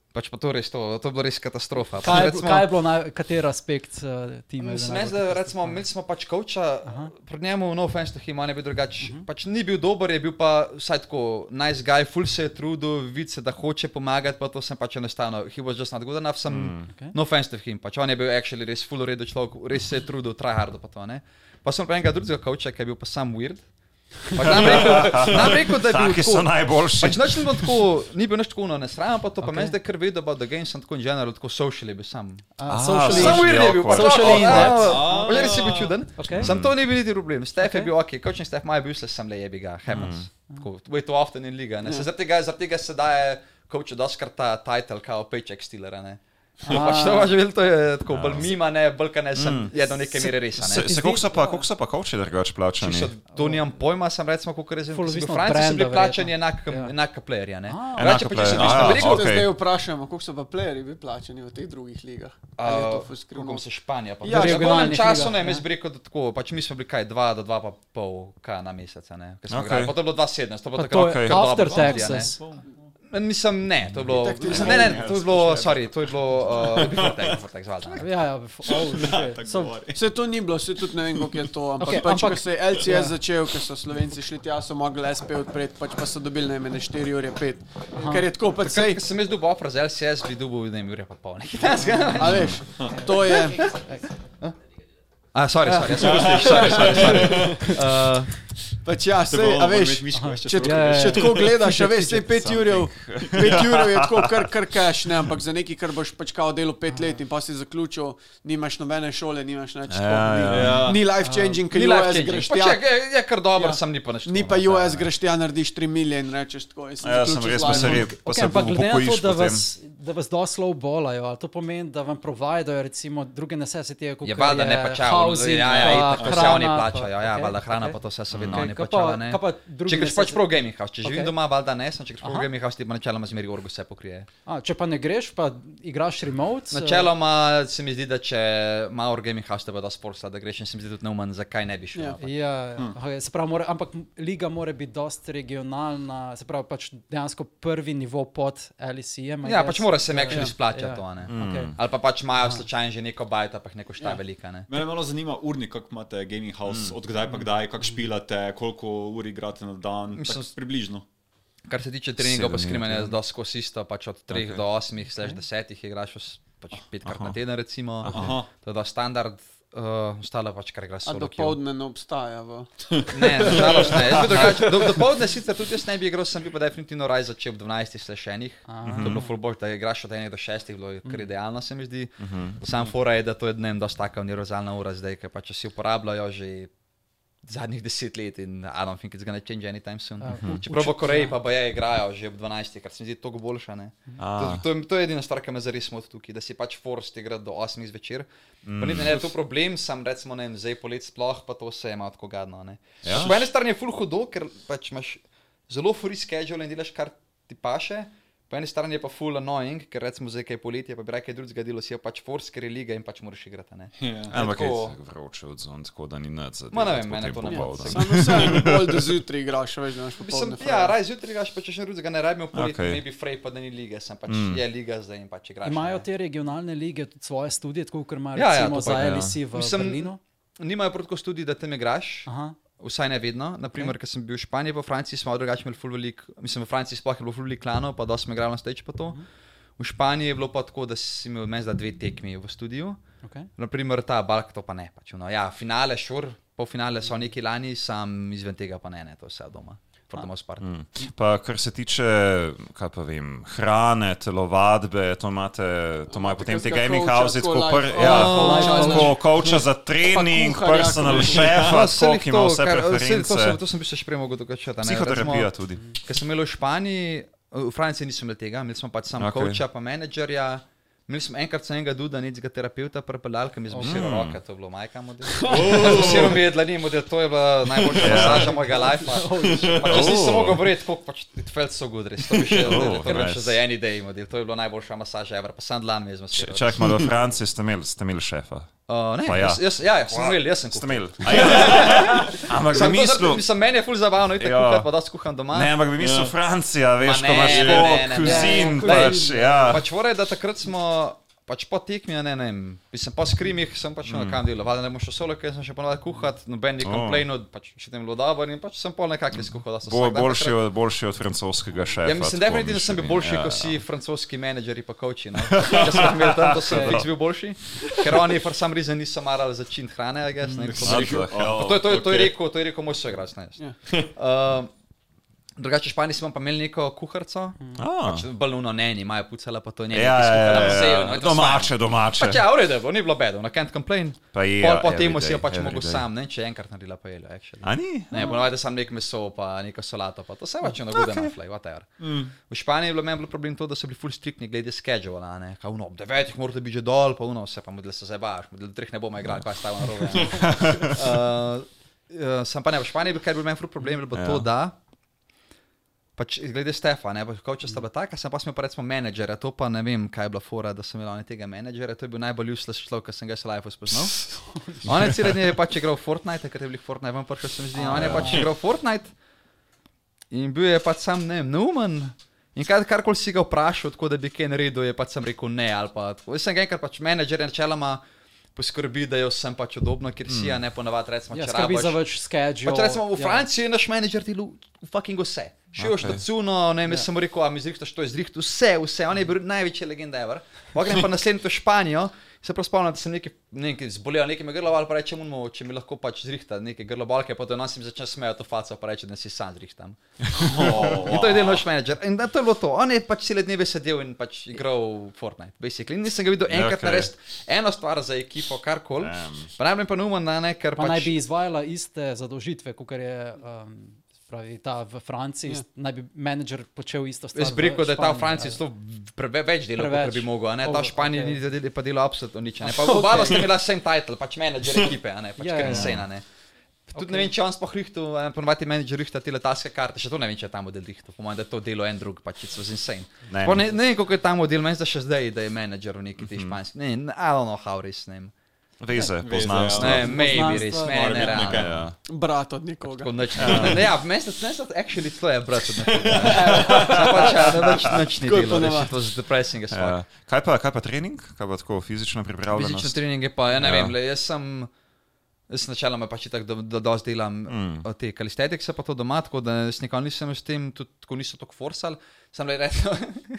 Pač pa to res to, to je bila res katastrofa. Pač Kaj je, Recimo- kaj je bilo, na, kater aspekt uh, tima? je bil Mislim, najbolj da recimo, imeli smo pač koča, pred njemu no offense to him, on je bil drugačen. Uh -huh. Pač ni bil dober, je bil pa vsaj tako nice guy, full se je trudil, vidi se, da hoče pomagati, pa to sem pač enostavno, he was just not good enough, sem mm. Okej. okay. no offense to him, pač on je bil actually res full redo človek, res se je trudil, try hard pa to ne. Pa sem pa enega drugega koča, ki je bil pa sam weird. Pač nam rekel, nam rekel, da je bil Taki so tako- najboljši. Pač nič ni bilo tako, ni bil nič tako na nesramen, pa to pa okay. meni zdaj kar vedel, da game sem tako in general, tako socially bil sam. A, Socially Sam weird je bil, awkward. pač Socially in that. Že res je bil čuden. Okej. Sam to ni bil niti problem. Stef Okej. Mm. je bil ok, kočni Stef Maj je bil vse sem le jebi ga, Hemans. Tako, way too often in liga. Ja. ne. Saj Zaradi tega, zaradi tega se daje koču doskrat ta title, kao paycheck stealer, a ne. Pač to pač bil, to je tako, Ja. bolj mima, ne, bolj ka ne, Mm. sem jedno neke mere res, a ne. Se, se koliko so pa, koliko so pa koči drugače plačani? Čisto, to nimam pojma, sem recimo, kako rečem, Ful v odvisno od Franciji so bili brenda, plačani verjetno. enaka, Ja. enaka playerja, ne. Enaka Rače pa če so playerja, bili, a, sem bi rekel, ok. Tako da zdaj vprašamo, koliko so pa playerji bili plačeni v teh drugih ligah. Ali je to Uh, ful skrivno? Kako se Španija pa Ja, ja, še v regionalnih enem času, ligah, ne, ja. jaz bi rekel, da tako, pač mi smo bili kaj 2 do 2 pa pol k na mesec, a ne. Okej. Okay. Pa to je bilo 2,17, to je bilo Pa takrat to kar je dobro after podjetje, ne. taxes. Mislim, ne, to je bilo, Itak ti ne, ne, to je bilo, sorry, to je bilo, uh, before tax, before tax, valjda. ne. Ja, ja, f- oh, shit. so, Vse to ni bilo, vse tudi ne vem, koliko je to. Ampak, Okej, okay, pač, ampak- ampak ko se je LCS Ja. yeah. začel, ko so Slovenci šli tja, so mogli SP odpreti, pač pa so dobili najmanj 4 ure 5. Ker je tako, pač sej, Ker sem jaz dobil offer za LCS, bi dobil, ne vem, ure pa pol, nekaj takega. a veš, to je. Ja. A, sorry, sorry, sorry, sorry, sorry, sorry. Uh, Pač ja, sej, a veš, če, Ja, ja, ja. ja, če tako gledaš, a veš, sej 5 jurjev, 5 jurjev je tako kar, kar cash, ne, ampak za nekaj, kar boš pač kao delo 5 let in pa si zaključil, nimaš nobene šole, nimaš nič. Ja, ja, ja. Ni life changing, ker Ni life US changing. greš Pač tja. je, je, je kar dobro, Ja. sem ni pa nič. Ni pa US greš tja, narediš 3 milije in rečeš tako. jaz sem Ja, sem zaključil res z life. posredi, pa Okay, se ampak glede na to, upokojiš da potem. vas, da vas doslo bolajo, ali to pomeni, da vam providajo recimo druge necessity, kot Je valjda ne pač eh, avto, housing, ja, ja, itak, to vse hrana, oni plačajo, pa- ja, okej, valjda hrana okej. pa to vse so vedno Okej, oni kaj pa- plačali, ne. kaj pa drugi Če greš mesec? pač prav v gaming house, če živim Okej. doma, valjda ne, sem, če greš prav Aha. v gaming house, ti pa načeloma zmeri orgo vse pokrije. A, če pa ne greš, pa igraš remote. eh, Načeloma se mi zdi, da če ima orgo gaming house, te bo da sporsa, da greš in se mi zdi tudi neumen, zakaj ne bi šel. Ja. ampak- Ja, Hm. ja. Okay, se pravi, mora, ampak m- liga mora biti dosti regionalna, se pravi, pač dejansko prvi nivo pod LCM. Ja, pač mora se jim actually splačati ja. to, a ne. Okay. Ali pa pač imajo slučajno že neko bajta, pa jih neko Ja. šta velika, ne. Mene malo zanima urnik, kako imate gaming house, mm. odkdaj pa kdaj, kako špilate, koliko ur igrate na dan, Mislim, Mislim, približno. Kar se tiče treningov, Sedem pa minut, skrimanje ja. je dosti skozi isto, pač od 3 okay. do 8, slash 10 igraš vs- pač petkrat na teden, recimo. Aha. To je dosti standard, uh, ostalo pač kar igraš A solo. do queue. povdne ne obstaja. V... Ne, nažalost ne. Jaz bi drugače- Do, do povdne sicer tudi jaz ne bi igral, sem bil pa definitivno raj začel ob 12 slešenih. To je bilo fullboard, da igraš od 1 do 6, bilo je kar idealno, se mi zdi. Sam fora je, da to je dnem dosti taka univerzalna ura zdaj, ker pač si uporabljajo že zadnjih deset let in I don't think it's gonna change anytime soon. Mhm. Čeprav v Koreji pa je igrajo že ob 12, kar se mi zdi toliko boljša. ne. To, to, je- to je edina stvar, ki me zares moti tukaj, da si pač forst igra do 8 zvečer. Mm. Ne, ne, to je problem, sam recimo ne vem, zdaj polet sploh, pa to se ima tako gadno. Ne. Ja. Po eni strani je full hudo, ker pač imaš zelo free schedule in delaš kar ti paše. Po eni strani je pa full annoying, ker recimo zdaj kaj je poletje, pa bi rekel, drugega delo si je pač forst, ker je liga in pač moraš igrati. a Ne. Ja. Ampak je Tako. vroče od zon, tako da ni nič. Ma ne vem, mene to ne bo. moti. Samo vse, bolj do zjutraj igraš, veš, da imaš Mislim, popoldne. ja, fraj. raj zjutraj igraš, pa če še drugega ne rabimo, poletje Okej. okay. ne bi frej, pa da ni lige, sem pač mm. je liga zdaj in pač igraš. Imajo ne. te regionalne lige tudi svoje študije, tako kot imajo Ja, ja, ja, recimo to ja, pa za ja. LEC v Mislim- Mislim, Berlinu. Nimajo protko študij, da tam igraš. Aha. Vsaj ne vedno. Naprimer, okay. ker sem bil v Španiji, pa v Franciji smo drugače imeli ful velik, mislim, v Franciji sploh je bilo ful velik klanov, pa dosti smo igrali na stage pa to. Mhm. V Španiji je bilo pa tako, da si imel meni za dve tekmi v studiu. Okay. Naprimer, ta Balk to pa ne. Pač, no, ja, finale, šur, polfinale so neki lani, sam izven tega pa ne, ne, to je vse doma. Fordamo spart. Mm. Pa kar se tiče, kaj pa vem, hrane, telovadbe, to imate, to imajo potem te kakega gaming coacha, houses, tako tako pr, life- ja, Oh, tako koča za trening, kuharja, personal ko- šefa, skok ima vse Ja, To, sem- preference. to sem bil še prej mogoče dokačati. Psihoterapija tudi. Ker sem imel v Španiji, v Franciji nisem imel tega, imel sem pač samo Okej. okay. coacha, pa menedžerja. Imel sem enkrat sem enega duda, nekega terapeuta, prepeljal, ki mi je zbisiral mm. roke, to je bilo majka model. Zbisiral mi je dlani model, to je bila Ja. najboljša masaža mojega lajfa. Pa Jaz nisem mogel verjeti, koliko pač it felt so good, res. To bi še, Oh, oh, to bi nice. še za en idej model, to je bila najboljša masaža ever, pa sam dlan mi je Če- zmasiral. Čakaj, malo v Franciji ste imeli, ste imeli šefa. Uh, ne, Pa ja. ja. Jaz, jaz, ja, jaz sem imel, jaz sem Ste kuhal. imeli. A ja. Ampak za Sam to zaradi- mislo, Mislim, meni je ful zabavno, in Ja. tako kuhati, pa da skuham doma. ne, ampak bi mislil Francija, veš, Ja. Ma ko ne, imaš ne, po ne, ne, ne. kuzin, Ja, pač, ja. Pač vore, da takrat smo, pač po tekmi, ja ne, ne, vem, mislim, po skrimih sem pač mm. nekam delal, valjda ne bom šel solo, ker sem še ponovadi kuhati, noben ni Oh. komplejnil, pač še tem bilo dobro in pač sem pol nekako izkuhal, da sem Bo, boljši, od, boljši od francoskega šefa. Ja, mislim, tako definitivno sem bil mislim. boljši, ja, kot si ja. francoski menedžeri pa koči. ne. Če sem imel tam, Ja. to sem fiks bil boljši, ker oni for some reason niso marali začin hrane, I guess, ne, tako da What the hell? To je, to, je, to, je rekel, to je rekel moj soigralec. ne jaz. Uh, drugače, v Španiji smo pa imeli neko kuharico, A. pač balno ne, ni, imajo pucala, pa to je Ja, Ah. nekaj. ja, ja, ja, ja, ja. Domače, domače. Pač, ja, v redu, je bilo, ni bilo bedo, na can't complain. Pa je, Pol po every tem day, si jo pač every mogel day. sam, ne, če je enkrat naredila pa jeljo. actually. A ni? Ne, ponovadi sam nek meso, pa neko solato, pa to se pač na gude naflej, whatever. V Španiji je bilo meni bilo problem to, da so bili full strictni glede schedula, ne, kao no, ob devetih morate biti že dol, pa uno se pa model se zabaš, model treh ne bomo igrali, kaj stavimo robe. Uh, sam pa ne, v Španiji je bil, kaj je bil meni full problem, je bilo ja. to, da Pač, glede Stefa, ne, pač, kot če sta bila taka, sem pa smel pa recimo menedžerja, to pa ne vem, kaj je bila fora, da sem imel oni tega menedžerja, to je bil najbolj useless človek, ki sem ga jaz v life spoznal. On je cel dan je pač igral Fortnite, ker je bil Fortnite, vam prišel sem zdi, on je pač igral Fortnite in bil je pač sam ne vem, neumen. In kar, karkoli si ga vprašal, tako da bi kaj naredil, je pač sem rekel ne. ali Pa, tako. Jaz sem ga enkrat pač menedžer načeloma poskrbi, da je vsem pač odobno, ker si ja ne ponavadi recimo, Ja, če skrbi rabiš. za več schedule. Pa če rečemo, Pač v ja. Franciji je naš menedžer delal fucking vse. Šel je okay. štacuno, ne vem, Ja. jaz sem mu rekel, a mi zrihtaš to, zrihtaš vse, vse, on je bil največji legend ever. Pogrem pa naslednjič v Španijo Se prav spomnim, da sem nekaj, nekaj zbolel, nekaj me grlo, ali pa rečem, mu, če mi lahko pač zrihta neke grlo balke, pa da nas jim začne smejati to faco, pa reče, da si sam zrihtam. Oh, in to je delno naš menedžer. In da, to je bilo to. On je pač cele dneve sedel in pač igral Fortnite. Basically. In nisem ga videl enkrat Okay. okay. narediti eno stvar za ekipo, karkoli. Um. Pa naj bi pa numen, da ne, ker Pa pač... naj bi izvajala iste zadolžitve, kot je um, pravi, ta v Franciji, yeah. naj bi menedžer počel isto stvar. Ja. Jaz bi rekel, da je ta v Franciji to. to ja. preveč delo, Preveč. kot bi mogel, a ne ta Over, v Španiji okej. ni zadeli, pa delo absolutno nič. a ne. Pa oba okay. sta imela same title, pač menedžer ekipe, a ne pač Ja, yeah, ja, ja. insane, a ne. Tudi okay. ne vem, če on sploh rihtu, ponovadi menedžer rihta te letalske karte, še to ne vem, če je ta model rihtu, po mojem, da je to delo en drug, pač so z insane. Ne. Ne, ne, ne vem, kako je ta model, meni se še zdaj, da je menedžer v neki ti španski, ne, ne, I don't know how res, ne. vem. Veze, ja. poznanstvo. Ne, maybe res, poznanstva. ne, Mora ne, biti realno. nekaj. Ja. Brat od nekoga. Pač Tako nič ne. Ne, ja, meni se meni se actually to je brat od nekoga. Samo pač, ja, da nič, nič ni Tako je delo, pa res, navad. it was depressing as fuck. Ja. Kaj, pa, kaj pa trening, kaj pa tako fizična pripravljenost? Fizične treninge pa, ja ne Ja. ja. vem, le, jaz sem, jaz načeloma pač tako, da, da dosti delam mm. te kalistetikse, pa to doma, tako da jaz nikoli nisem s tem, tudi ko niso tako forsal, sem le rekel,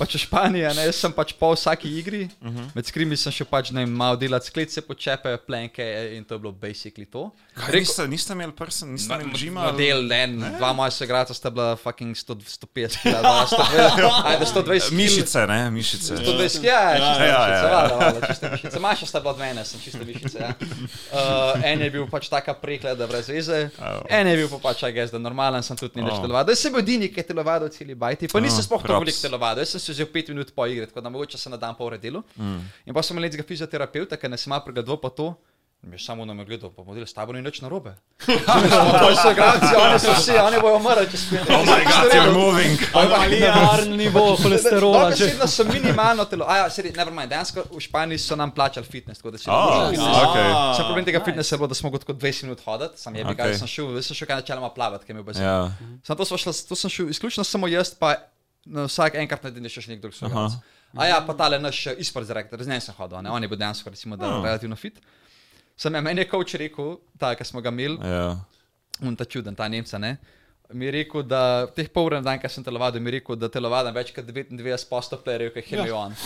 pač v Španiji, a ne, jaz sem pač po vsaki igri, uh -huh. Mhm. med skrimi sem še pač ne vem, malo delati sklice, počepe, plenke in to je bilo basically to. Kaj, niste, niste imeli prsen, niste imeli žima? ali- Model, en, No, dva moja soigrata sta bila fucking 100, 150 kg, dva 120, ajde 120 kil. Mišice, ne, mišice. 120, ja, ja, čiste ja, mišice, ja. valjda, valjda, čiste mišice. Maša sta bila od mene, sem čiste mišice. Ja. Uh, en je bil pač taka prekleda brez veze, en je bil pa pač, a gess, da normalen sem tudi ni več telovadil. Jaz sem bil edini, ki je telovadil celi bajti, pa nisem Oh, sploh props. tako veliko telovadil, jaz sem se vzel 5 minut po igri, tako da mogoče sem na dan pol redel. Mm. In pa sem imel nekega fizioterapeuta, ki nas ima pregledoval pa to. In Je samo na me gledal, pa model, s tabo ni nič narobe. To so igralci, oni so vsi, oni bojo umrli, če spet. Oh my god, You're moving. Malijarn nivo holesterola. že. Dobesedno so minimalno telo. A ja, sedi, never mind. Dejansko v Španiji so nam plačali fitness, tako da si Oh, Ja. lahko šel. Ah. okay. Sam problem tega fitnessa je bilo, da smo kot kot 20 minut hodili, sam je bil, Okay. okay. sem šel, jaz sem šel kaj načeloma plavati, ki mi je bil bazen. Ja. Sam to smo šli, to sem šel izključno samo jaz, pa na vsak enkrat na dan je še še nekdo drug sodelovalec. A ja, pa tale naš eh, e-sport direktor, z njim sem hodil, a ne? on je bil dejansko recimo, da, oh. relativno fit. Sam je meni je coach rekel, ta, ki smo ga imeli, Ja. un ta čuden, ta Nemca. Ne? Mi je rekel, da teh pol ure na dan, ki sem telovadil, mi je rekel, da telovadam več kot 99% playerjev, ki jih je imel on.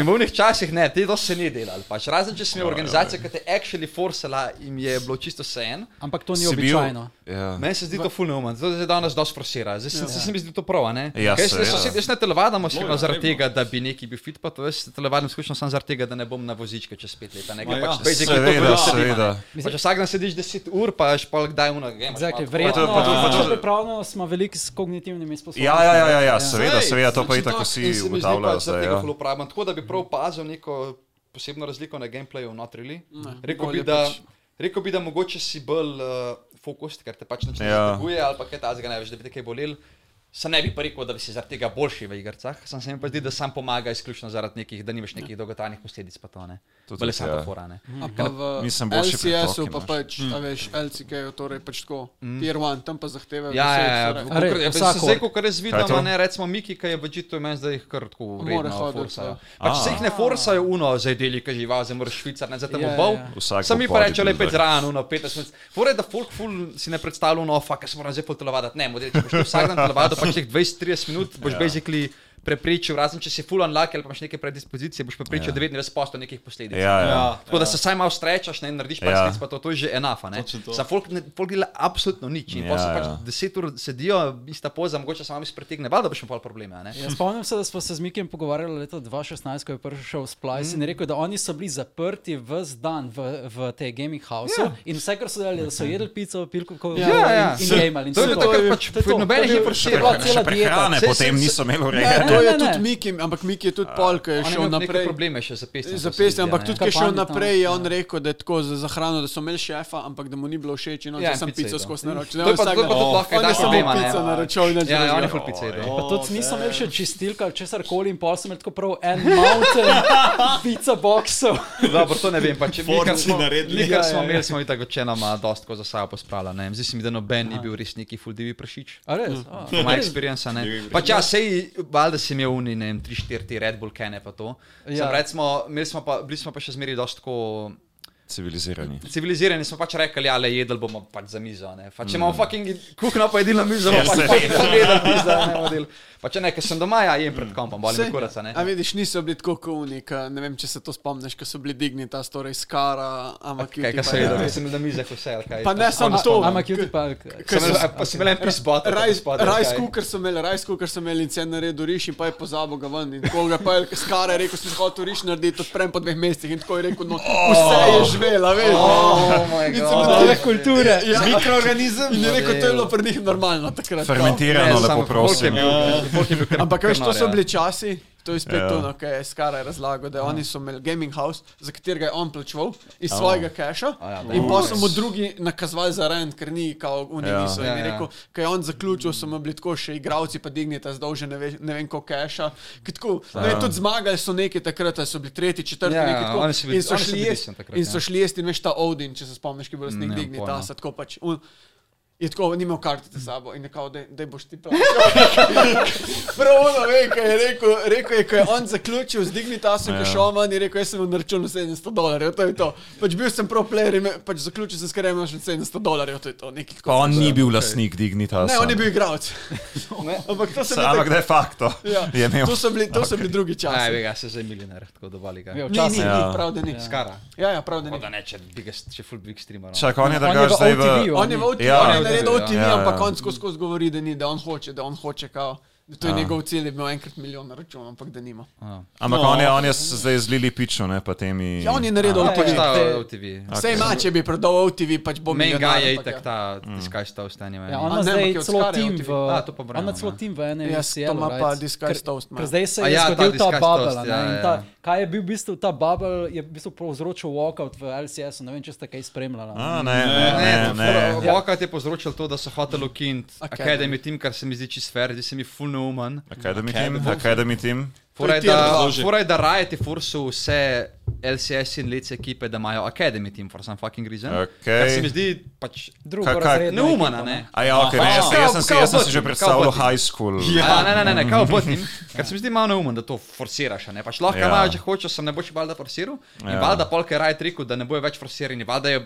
In v njih časih ne, te to se ni delalo. Pač. Razen če Ja, sem imel organizacijo, ki te je actually forsala, jim je bilo čisto vse en. Ampak to ni Si bil- običajno. Ja. Meni se zdi to fulno, zato se danes dosti forsira. Zdaj se, ja. se mi zdi to prav, a ne? Ja, Ker jaz, jaz, seveda. jaz, jaz ne telovadam Moja, osebno zaradi vedno. tega, da bi neki bil fit, pa to jaz telovadim izključno samo zaradi tega, da ne bom na vozičke čez pet let. a Ne, Ma Ker ja. pač basically to Seveda, bolj sedim, a ne. seveda. Pač vsak dan sediš 10 ur, pa še pol kdaj unagrem. Exactly. Pa to- pa to- pa to- Verjetno, če pripravljeno, smo veliki s kognitivnimi Ja, sposobnostmi. ja, ja, ja, ja, seveda, Sej, seveda, to pa znači je tako tak, in vsi se mi zdi ugotavljajo. pač, da zdaj, tega ja. ful uporabljam. Tako da bi prav opazil neko posebno razliko na gameplayu, not really. Rekel bi, bolje da, pač. rekel bi, da mogoče si bolj uh, fokus, ker te pač nič ne Ja. zateguje ali pa kaj tazga ne veš, da bi te kaj bolel. Sam ne bi pa rekel, da bi si zaradi tega boljši v igrah, sam se mi pa zdi, da sam pomaga izključno zaradi nekih, da nimaš Ja. nekih dolgotrajnih posledic, pa to ne. Tudi, Bele samo ja. ja. fora, ne. A pa v Mislim, boljši LCS-u pretoki pa imaš. pač, Mm. a veš, LCK-ju, torej pač tako, tier 1, tam pa zahtevajo. Ja, deset, ja, ja. torej. A res, kakor- ja, vsako. Zdaj, ko res Kaj to? vidim, a ne, recimo Miki, ki je v G2 meni zdaj jih kar tako Mora uredno hoditi, forsajo. ja. Pač se jih ne forsajo, uno, zdaj deli, ki živa, zdaj moraš švicar, ne, zdaj te Ja, bo bol. ja, ja. Vsak Sam bo mi pa bodybuilder. reče, lepe zraven, uno, 15 minut. Fore, da folk ful si ne predstavlja, uno, "Oh, fuck, jaz moram zdaj ful telovaditi. Ne, model, če boš ti vsak dan telovadil, pač teh 20-30 minut Ja. boš basically preprečil, razen če si full unlucky ali pa imaš neke predispozicije, boš preprečil 99% nekih posledic. Ja, ja. Ja. Tako da se vsaj malo strečaš, ne narediš Ja. pa slic, pa to, to je že enako. a ne. Točno to. Za folk, ne- folk dela absolutno nič. Ja, In ja, pa se pač ja. deset ur sedijo, ista poza, mogoče se vam izpretegne, valjda boš imel pol probleme. a ne. Ja, spomnim se, da smo se z Mikijem pogovarjali leta 2016, ko je prišel Splice mm. Mhm. in je rekel, da oni so bili zaprti vse dan v, v tej gaming houseu Ja. yeah. in vse, kar so delali, da so jedli pico, pilko, kako Ja, ja. in gameali. in To je vse bilo tako, to. pač To je to. To nobenih je ni bila forsiral. cela Še dieta. prehrane Sej, potem sej, niso imeli Ne, urejene. E, to je ne, ne. tudi Miki, ampak Miki je tudi pol, ki je On je šel imel neke naprej. probleme še za pesem. Zapestje, ampak tudi, Kaj ki je šel pametno, naprej, je on Ja. rekel, da je tako za, za hrano, da so imeli šefa, ampak da mu ni bilo všeč in on Ja, je in sam pico pico jedel. skozi naročil. To je pa to, kot lahko On je samo problema. ne. pico naročil in nič Ja, ja, on je drugega. full pice. jedel. Pa tudi nismo imeli še čistilka ali česar koli in pol sem imel tako prav en mountain pizza boxov. Hm. Dobro, to ne vem, pa če mi kar Forci smo naredili. naredili. Kar smo Ja, ja. imeli, smo in tako čenoma dosti ko za sabo pospravljali. ne vem. Zdi se mi, da noben ni bil res neki full divi pršič. A res? A, Hm. To je moja experience, ne. Pač ja, sej, valjda si imel uni, ne vem, 3-4 ti Red Bull kene pa to. Ja. Ja. Recimo, imeli smo pa, bili smo pa še zmeri dosti tako Civilizirani. civilizirani smo pač rekli, ja, le jedli bomo pač za mizo. a ne. Pač, če imamo fucking kuhno, pa jedilno mizo, bomo Ja, pač se- fucking jedli mizo, a ne model. Pa če ne, ker sem doma, ja, jem pred kompom, boli me kuraca, ne. A vidiš, niso bili tako kuvnik, ne vem, če se to spomniš, ko so bili dignitas, torej skara, ampak Kaj, kaj se je, da sem bil na mizah vse, ali kaj. ja. Pa ne samo to, Ampak cutie park. Sem imel- a, Pa si imel en pisbot. Rajs kukar so imeli, rajs kukar so imeli in se je naredil riš in pa je pozabil ga ven. In koga pa je skara rekel, si hotel riš narediti, odprem po dveh mestih in tako je rekel, no vse Oh. je žvela, veš. Oh, Tega kulture. Ja, mikroorganizem. In je rekel, to je bilo pri njih normalno takrat. kao. Fermentirano, lepo prosim. Ampak veš, to so ja. bili časi. To je spet ono, kar je Skara razlagal, da Ja. oni so imeli gaming house, za katerega je on plačal iz svojega keša ja, da. in pa so mu drugi nakazali za rent, ker ni kao Ja. unijo. Ja, In je ja. rekel, ko je on zaključil, so mu bili tako še igravci, pa dignita zdolžen ne, ve, ne vem koliko keša. ki Tako, ne, tudi zmagali so neki takrat, ali so bili tretji, četrti, Ja, neki ja, tako. oni so bili- in so oni so šli bili jesti decent takrat, in ja. so šli jesti in veš ta Odin, če se spomniš, ki je bil Ne, lasnik dignitasa, pojma. tako pač. Un, Je tako, nimal kartice s sabo in je kao, da boš ti prav. Pravno ve, kaj je rekel. Rekel je, ko je on zaključil z dignitasom, Ja. ki je šel manj, je rekel, jaz sem na računu 700 dolarjev, to je to. Pač bil sem pro player in me- pač zaključil sem s karjerno še 700 dolarjev, to je to. Nekaj Pa tako. on ni bil lastnik Dignitasa. Ne, on je bil igralec. Ampak to so bili, Ampak tak, de facto ja, je imel. to so bili, to so bili drugi Aj, ve časi. ga, se zdaj milijonar, tako dobali ga. Ja, Ni, ni, včasih. ni, Ja. prav da ni. Skara. Ja, ja, prav da ni. Pa ne, če, biggest, če full big streamer. no. Čak, on je On je drugač v zdaj v... OTV-ju. On je v OTV, Ja. on je naredil Ja, OTV, ja, ja. ampak on skozi skozi govori, da ni, da on hoče, da on hoče kao. da Ja. To je njegov cilj, je imel enkrat milijon na računu, ampak da nima. Ampak on je, on je s- zdaj z Lili Pičo, ne pa temi... Ja, on je naredil Pač OTV. ta te- OTV. Ja. Vse ima, če bi prodal OTV, pač bo Main milijonar, guy je ampak ja. itak ta, tiskaj sta ostanje. Ja, on A ima ne, zdaj ampak je od celo Skare tim OTV. v... A, to pa On brano, ima celo ja. tim v enem Ja, NCL. to ima pa Disguised Toast, ne. Ker zdaj se A je ja, ta zgodil ta Disguised bubble. Toast, ne, ja, in ja, ta- ja. Kaj je bil v bistvu ta bubble, je v bistvu povzročil walkout v LCS-u. Ne vem, če ste kaj spremljali. ne. A, ne, ne, ne, ne. Ja. Vokat je povzročil to, da so hoteli ukiniti Academy. Academy Team, kar se mi zdi čist fair, zdi se mi full neumen. Academy team, Academy team. Fora je, To je tier da, dva že. fora je, da Riot je forsil vse LCS in lice ekipe, da imajo Academy Team, for some fucking reason. Okej. Kar se mi zdi pač Drugorazredna neumen, ekipa, a ne. A ja, ok, ne, jaz, jaz, sem si, jaz sem si že Kao predstavljal Putin. high school. Ja, ne, ne, ne, ne, kao potim. Ker se mi zdi malo neumen, da to forsiraš. a Ne? Pač lahko Ja. ja. imaš, če hočeš, sem ne boš valjda forsiral. In Ja. ja. valjda polk je raj rekel, da ne bojo več forsirani. Valjda je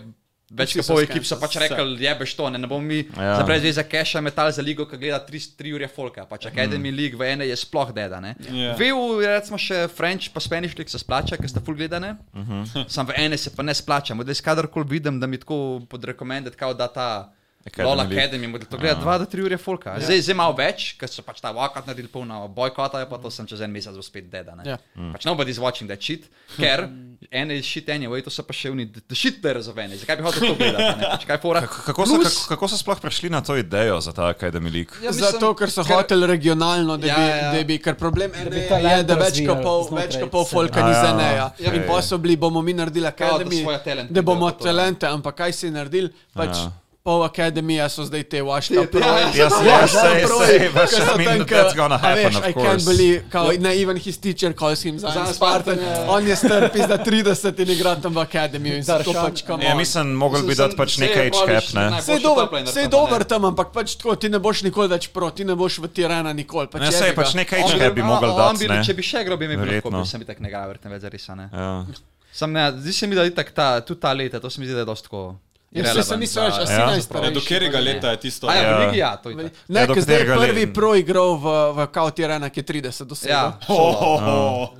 več Vsi kot so pol skenci, ekip so pač vse. rekli, jebeš to, ne, ne bomo mi Ja. ja. za brez veze keša metal za ligo, ki gleda 3 ure folka. Pač Academy mm. League v ene je sploh deda. Ja. Yeah. VU, recimo še French pa Spanish League se splača, ker sta full gledane. Uh -huh. Sam v ene se pa ne splača. Model, kadarkoli vidim, da mi tako podrekomended, kao da ta... Academy Lola League. Academy, model, to gleda 2 do 3 ure folka. Ja. Zdaj, zdaj malo več, ker so pač ta vakat naredili polno bojkota, pa to sem čez en mesec bo spet deda. Ja. Mm. Ja. Mm. Pač nobody's watching that shit, ker en je shit anyway, to so pa še oni, the shitter za ven. Zakaj bi hotel to gledati? a ne? Pač kaj fora? Kako so, kako, kako so sploh prišli na to idejo za ta Academy League? Ja, mislim, Zato, ker so hoteli regionalno, da bi, Ja, ja. da bi ker problem NE bi talent je, da več kot razvijali pol, znotraj več kot pol sebe. folka A ni za ja, neja. ja. E, In pa so bili, bomo mi naredili Ja, da akademijo, svoje talente da bomo delajo to, ja. talente, ampak kaj si naredil, pač Ja. pol akademija so zdaj te vašta Te- ja, ja. Jaz sem jaz sej, sej, veš, Ker so I mean, tam, that's ke- gonna a happen, veš, of I can't course. believe, kao, Ja. ne, even his teacher calls him Zion Zion Spartan, Spartan, ja. on je star pizda 30 in igra tam v akademiji in zato Daršan. pač kam. Ja, mislim, mogli bi Mislim, dati pač sem- nek saj je age cap, praviš, ne. naj- Vse je Boljši dober, top laner vse pa je bo, ne. dober tam, ampak pač tako, ti ne boš nikoli več proti, ne boš v Tirana nikoli. Pač Ne, sej, jebi ga. pač nek On age cap bi a, mogli on dati, bi- ne. Če bi še igral, bi mi bilo Verjetno. tako, bi sem itak ne igral, verjetno več zarisane. Ja. Sam ne, zdi se mi, da je itak ta, tudi ta leta, to se mi zdi, da je dosti tako. Ja, saj se niso več, a si Ja. Ne, najstarejši. do katerega leta je tisto? A ja, Ja. v ligi ja, to je. itak. Ne, Ja, do ker zdaj je katerega prvi leta? pro igral v, v kao Tirana, ki je no. 30 dosegel. Ja,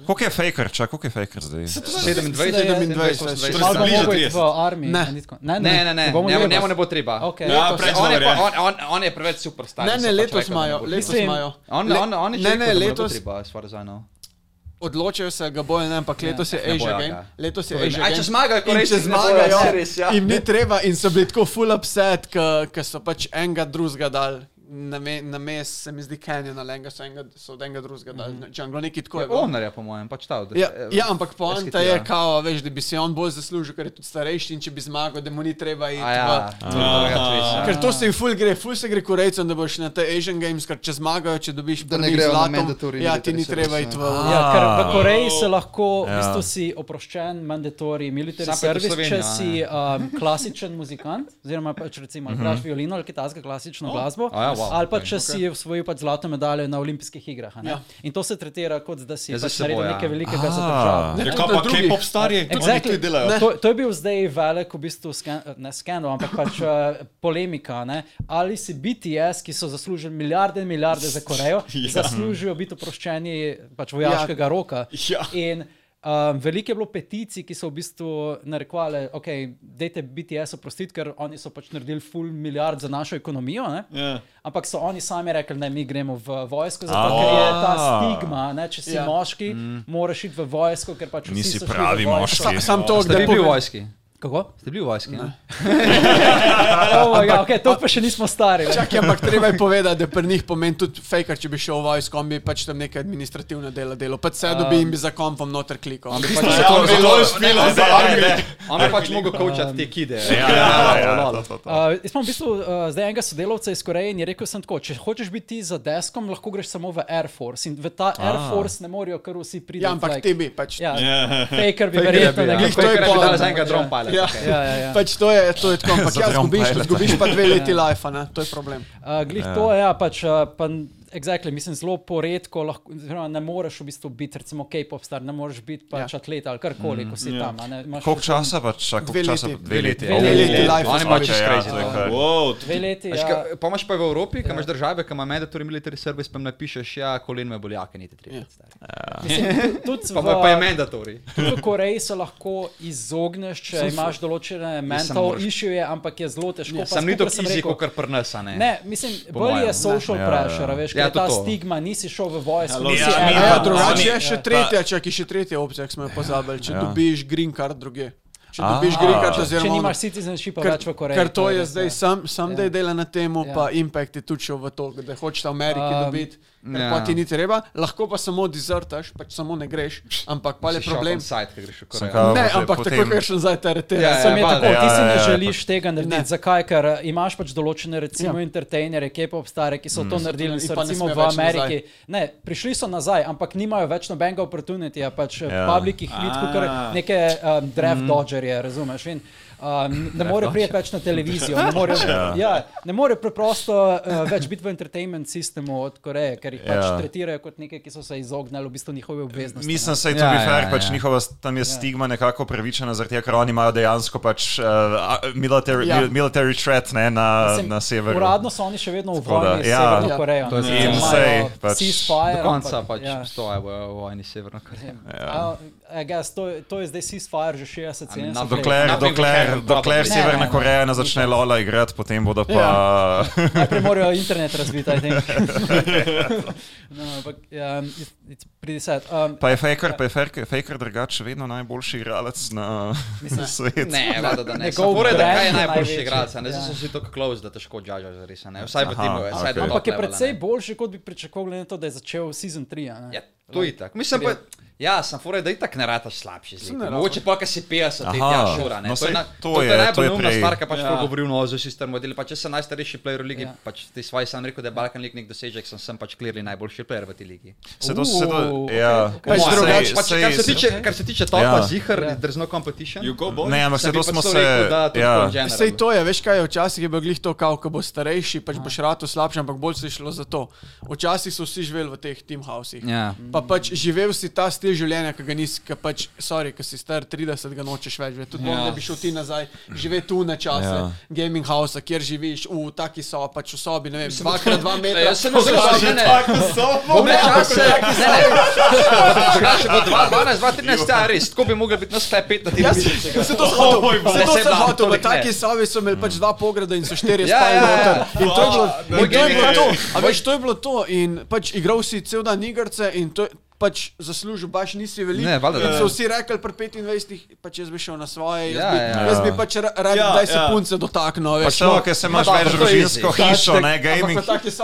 Koliko je faker, čak, koliko je faker zdaj? 27, 27. Mislim, da Malo 28. bo bliže mogel iti 30. v armiji. Ne. nitko- ne, Ne, ne, ne, bomo njemu, jebali. njemu ne bo treba. Okej. Ja, To se- prej on, je smo, pa, ja. on, on, on je preveč superstar. Ne, da ne, se pač letos rekel, da ne imajo, bo letos treba. Mislim, imajo. On, Le- on, on je ne, ne, letos treba, as far as I know. odločajo se, ga bojo, ne, ampak letos je Ja, ne bojo ga. Asia Game. Letos je To je Asia že- A, Game. če zmagajo In Korejci, če ne zmagajo, bojo, ja, res, ja. jim ni treba in so bili tako full upset, ker so pač enega drugega dal. Na, me, na mes se mi zdi Canyon, ali enega so, enega, so od enega drugega dal. Mhm. Mm -hmm. Džunglo, neki Ja, tako je. bilo. Onarja, po mojem, pač ta od. Ja, eh, ja, ampak poanta je, SKT-ja. kao, veš, da bi se on bolj zaslužil, ker je tudi starejši in če bi zmagal, da mu ni treba iti. A ja, v- to je druga tvesa. Ker to se jim ful gre, ful se gre korejcem, da boš na te Asian Games, ker če zmagajo, če dobiš Da ne prvih grejo na zlatom, mandatory Ja, ti military ni treba iti v. Ja, ker v Koreji se lahko, v bistvu si oproščen, mandatori, military Sam pa je to service, če Slovenija, si um, klasičen muzikant, oziroma pač recimo igraš violino ali kitajsko klasično glasbo, A ja, wow, Ali pa okay. če okay. si osvojil pač zlato medaljo na olimpijskih igrah. a ne. Ja. In to se tretira kot da si Ja, za pač seboj, naredil ja. nekaj velikega za državo. Ja, kaj pa K-pop starje? Exactly. delajo. To, to je bil zdaj velik, v bistvu, skan, ne skandal, ampak pač uh, polemika. Ne? Ali si BTS, ki so zaslužili milijarde in milijarde za Korejo, ja. zaslužijo biti oproščeni pač vojaškega ja. roka. Ja. In, Um, veliko je bilo peticij, ki so v bistvu narekovali, da okay, dajte BTS oprostiti, ker oni so pač naredili full milijard za našo ekonomijo. Ne? Ja. Ampak so oni sami rekli, da mi gremo v vojsko, zato ker je ta stigma, ne? če si ja. Ja. moški, mm. moraš iti v vojsko, ker pač vsi Nisi so šli v pravi vojsko. moški. Sam to, Ste da bili v vojski? Kako? Ste bili v vojski? Ne. Oh, ja, okay, to pa še nismo stari. ne. Čakaj, ampak treba je povedati, da pri njih pomeni tudi fejkar, če bi šel v vojsko, on bi pač tam nekaj administrativno dela delo, pa se dobi in bi za kompom noter klikal. bi Ampak pač- Ja, on bi to uspelo za armijo. On bi pač mogel kočati te kide. Ja, ja, ja, to, to, to. Uh, jaz imam v bistvu uh, zdaj enega sodelavca iz Koreje in je rekel: sem tako, Če hočeš biti za deskom, lahko greš samo v Air Force. In v ta ah. Air Force ne morejo kar vsi priti. Ja, ampak ti bi pač. Ja, Faker bi verjetno Ja, nekaj Glih to je Kolikor bi pol, dali ne, za enega pač, dron ja. pale. Ja. Ja, ja, ja. Pač to je, to je tako, ampak ja, Zadrem zgubiš, pilota. zgubiš pa dve leti lajfa, ne? to je problem. Uh, glih ja. to je, ja, pač, uh, pa, n- exactly, mislim, zelo poredko lahko, oziroma ne moreš v bistvu biti, recimo, K-pop star, ne moreš biti pač ja. atlet ali karkoli, ko si mm, tam. a Ne, imaš Koliko časa pa čaka? Dve Koliko časa? leti. Dve leti. Dve leti Oh, life oni is pač crazy. ja, to je kar- Wow, Dve leti. Veš, Ja. ka, pa imaš pa v Evropi, ki imaš države, ki imaš mandatory military service, pa jim napišeš, ja, kolen me boljake, niti tri. Tudi Pa, v- pa je mandatory. Tudi v Koreji se lahko izogneš, če Sem imaš določene mental moraš- issue, ampak je zelo težko. Pa Sam Ja, ni skupaj tako sem easy, rekel- kot kar prnesa, ne. Ne, mislim, Po bolj mojem, je ne. social Ja, pressure, ja. veš, Ja, ker je to ta to. stigma, nisi šel v vojsko, Ja, nisi eden ni pa- od Ja, pa- drugačnih. oni- drugače je še tretja, če je še tretja opcija, ki smo jo pozabili, če dobiš green card druge. Če A. dobiš green card, Če oziroma ono- nimaš citizenshipa Ker, več v Koreji. ker to je res, zdaj ja. sam, sam ja. da je dela na temu, Ja. ja. pa Impact je tudi šel v to, da hočeš v Ameriki Um, um, dobiti, ja. ja. pa ti ni treba, lahko pa samo dizertaš, pač samo ne greš, ampak pa je problem. Sajt, ki greš v Sem Korejo. kao, Ne, potem- ampak potem- tako, ker še zdaj te Ja, aretiraš. ja, Ja, Sem je valjda, tako, ja, ti si ne ja, ja, želiš tega narediti. Ne. Zakaj? Ker eh, imaš pač določene, recimo, entertainerje, K-pop stare, ki so to naredili in so In pa ne recimo smejo v več Ameriki. Ne, prišli so nazaj, ampak nimajo več nobenega opportunitija, pač ja. Ja. public jih vidi, kot kar Ah. neke um, draft mm. dodgerje, razumeš? In, Um, ne morejo priti več na televizijo, ne morejo, ja. Ja, ne morejo preprosto uh, več biti v entertainment sistemu od Koreje, ker jih ja. pač Ja. tretirajo kot nekaj, ki so se izognili v bistvu njihove obveznosti. ne. Mislim, da je to Ja, bi ja, fair, ja. pač njihova s- tam je stigma nekako upravičena, zaradi tega, ker oni imajo dejansko pač uh, a- military, Ja. mil- military threat ne, na, Mislim, na severu. Uradno so oni še vedno v Tako da, vojni s ja. Severno Ja. Korejo. To je ne. in Imajo sej, pač ceasefire, Do konca ampak- pač ja. stoje v v vojni s Severno Korejo. Ja. A, I guess, to, je- to je zdaj ceasefire že 60 Ali let. na- Dokler, Nothing will dokler, happen, Ja. dokler Ne, probably. ne, Severna ne. Koreja ne začne Lola igrati, potem bodo pa. Najprej morajo internet razviti, I think. no, ampak, ja, it's, it's pretty sad. Um, Pa je Faker, pa je Faker, Faker drugače vedno najboljši igralec na na svetu. Ne, vada, da ne. Njegov Spore, da brand kaj je je najboljši največji. igralec, a ne Ja. zdaj so vsi tako close, da težko judžaš zares, a ne. Vsaj v Aha, timu, vsaj okej. do ampak je top levela, precej ne. boljši, kot bi pričakoval, glede na to, da je začel sezon 3. Ja, to je tako. Mislim pa, ja, sem fore, da itak ne rataš slabši. z leti. ne Mogoče pa, ker si 50, ti Aha. ja, šura, ne. No, to saj je, na, to to, to je je- to najbolj je neumna prej- stvar, kar pač Ja. ja. govoril o Ozu sister modeli. Pa če sem najstarejši player v ligi, Ja. ja. pač ti svaj sam rekel, da je Balkan lig nek dosežek, sem, sem pač clearly najboljši player v tej ligi. Se to, se to, Uuu, ja. okej, Po Pač mojem, drugače, Uh. pač, kar se tiče, kar se tiče topa, Ja. zihar, Ja. there's no competition. you go boy. Ne, ja, ampak se Sem to bi smo pač se. rekel, da tudi ja. in general. Sej to je, veš kaj je, včasih je bil glih to, kao, ko boš starejši, Ja. pač boš rado slabši, ampak bolj se je šlo za to. Včasih so vsi živeli v teh teamhausih. Ja. Pa pač živel si ta stil življenja, ki ga nisi, ki pač, sorry, ki si star 30, ga nočeš več. Tudi yeah. bom, da bi Ja. šel ti nazaj, žive tu na čase, yeah. gaming house, kjer živiš, v taki so, pač v sobi, ne vem, dvakrat dva metra. Jaz sem zelo sobi. Bom čase, ne, ne. Drugače, v 2012, 2013, ja, res, tako bi mogel biti na sklep 5 na tem Jaz mesec. sem se to Oh, hotel, bog. zato Ne, sem saj hotel, v toliko ne. taki sobi so imeli pač dva pograda in so štirje Ja, ja, spali ja. noter. In to je bilo, Moj in to je gaming bilo house. to. A veš, to je bilo to in pač igral si cel dan igrice in to je- Pač zaslužil, baš nisi velik. Ne, valjda, in da. so vsi rekli, pri 25, pač jaz bi šel na svoje, jaz, Ja, bi, ja. jaz bi pač ra- rad Ja, 20 ja. punce dotaknil. Pa Veš, no. šlo, ker se imaš Ma več dobro, to je družinsko easy. hišo, ne gaming.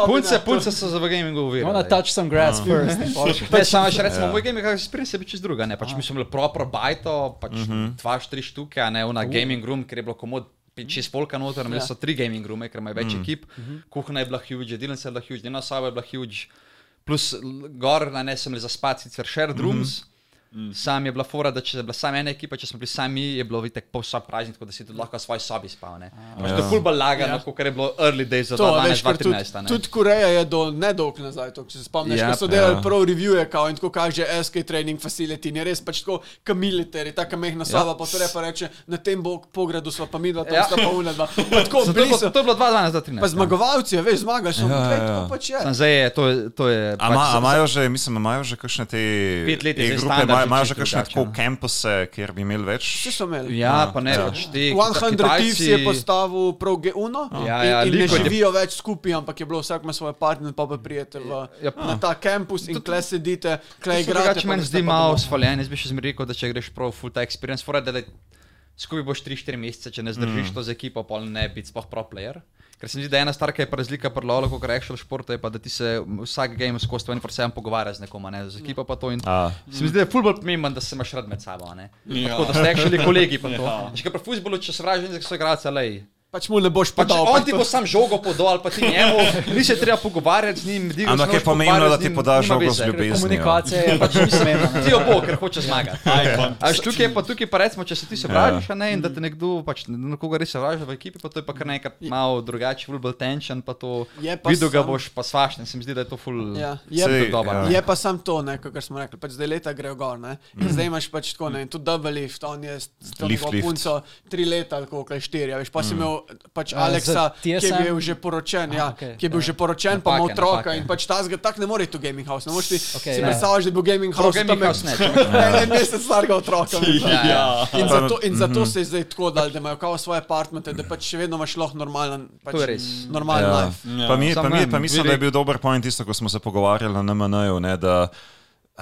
Punce, punce so za v gamingu I uvirali. wanna touch some grass Ja. first. in pol še- Pač, Ne, samo še ja. recimo, moj gaming experience je bil čez druga, ne, pač mi smo imeli propro bajto, pač Mhm. dva, štiri štuke, a ne, ona gaming room, ker je bilo komod. Čez polka noter, Ja. imeli so tri gaming rume, ker imajo Mhm. več ekip, kuhna je bila huge, jedilnica je bila Mhm. huge, njena soba je bila huge, plus l- gor, a ne, sem imeli za spati sicer shared rooms, Mm. Sam je bila fora, da če je bila samo ena ekipa, če smo bili sami, je bilo vitek povsem praznik, tako da si tudi lahko v svoji sobi spal. ne. Pač To je fulba lagano, ja. kot je bilo early days za To, veš, ker 2012-2013. tudi, tudi Koreja je do nedolg nazaj, to, če se spomniš, Ja, yep, so ja. delali yeah. prav revije, kao in tako kaže SK training facility, in je res pač tako, kamiliter, je taka mehna soba, pa torej pa reče, na tem bok pogradu sva pa mi dva, tam Ja. sta pa unadva. Pa tako, To je bili bilo, so, to je bilo 2012-2013. pa zmagovalci, ja, veš, zmagaš, yeah, Ja, yeah, ja, yeah. ja. pač je. Samo Zdaj je to, to je pač Ama- a Imajo že, mislim, imajo že kakšne te Pet let je že e-grupe, standard, imajo imajo že čisto kakšne drugačen. tako kampuse, kjer bi imeli več. Vsi so imeli. Ja, pa ne, pač ti. 100 Thieves Kitajci- je postavil prav G1 Ja, ja, in, in ne Liquid je- živijo več skupaj, ampak je bilo vsak ima svoje partnerje, pa pa prijete v, Ja. na ta kampus in kle sedite, kle igrate. Drugače pa meni greste zdi pa domov. malo svaljen, jaz bi še zmeraj rekel, da če greš prav full ta experience, fora, da le, skupaj boš 3-4 mesece, če ne zdržiš mm. to z ekipo, pol ne biti sploh pro player. Ker se mi zdi, da je ena stvar, ki je pa razlika pri lolo, kot rečeš, športu je pa, da ti se vsak game skozi 24-7 pogovarja z nekom, a ne z ekipo pa to. In, A. se mi zdi, da je fulbol pomemben, da se imaš rad med sabo, a ne. Ja. Tako da ste rekli kolegi pa to. Ja. Že ja. pri futbolu, če se vražen, da so igralci, lej. Pač mu ne boš Pač podal. on pač ti to- bo sam žogo podal, ali pa ti njemu, ni se treba pogovarjati z njim. digo se Ampak je moraš pomembno, pogovarjati da z ti njim, podaš nima žogo z veze. ljubeznijo. Komunikacija je pač smiselna. Ti jo bo, ker hoče zmagati. Icon. A veš, tukaj je pa, tukaj pa recimo, če se ti Ja. sovražiš, a ne, in da Mm. te nekdo, pač nekoga res sovraži v ekipi, pa to je pa kar nekaj malo drugače, full bolj tension, pa to Je pa videl ga sam- boš pa svašten, se mi zdi, da je to full Ja, je je pa- dobro. ja. ne. Je pa sam to, ne, kar smo rekli, pač zdaj leta grejo gor. Ne. Mhm. In zdaj imaš pač tako, ne, in tudi double lift, on je s s to Lift, njegovo lift. punco tri leta, ali koliko je štiri, a veš, pa si Mhm. imel pač Ja, Aleksa, z ki je TSM? bil že poročen, ja, Ah, okej, ki je bil ja. že poročen, pa ima Napake, otroka napake. in pač ta zga tak ne more iti v gaming house. Ne moreš ti Okej, si ja. predstavljati, da bi bil gaming Prav house Gaming tam House ne, če En mesec starega otroka. ne. Ja. In zato, Mhm. in zato se je zdaj tako dal, da imajo kao svoje apartmente, da pač še vedno imaš lahko normalen, pač To je res. normalen Ja. life. Pa, mi, Samo pa, mi, meni, pa mislim, vidi- da je bil dober point tisto, ko smo se pogovarjali na MNU, ne, da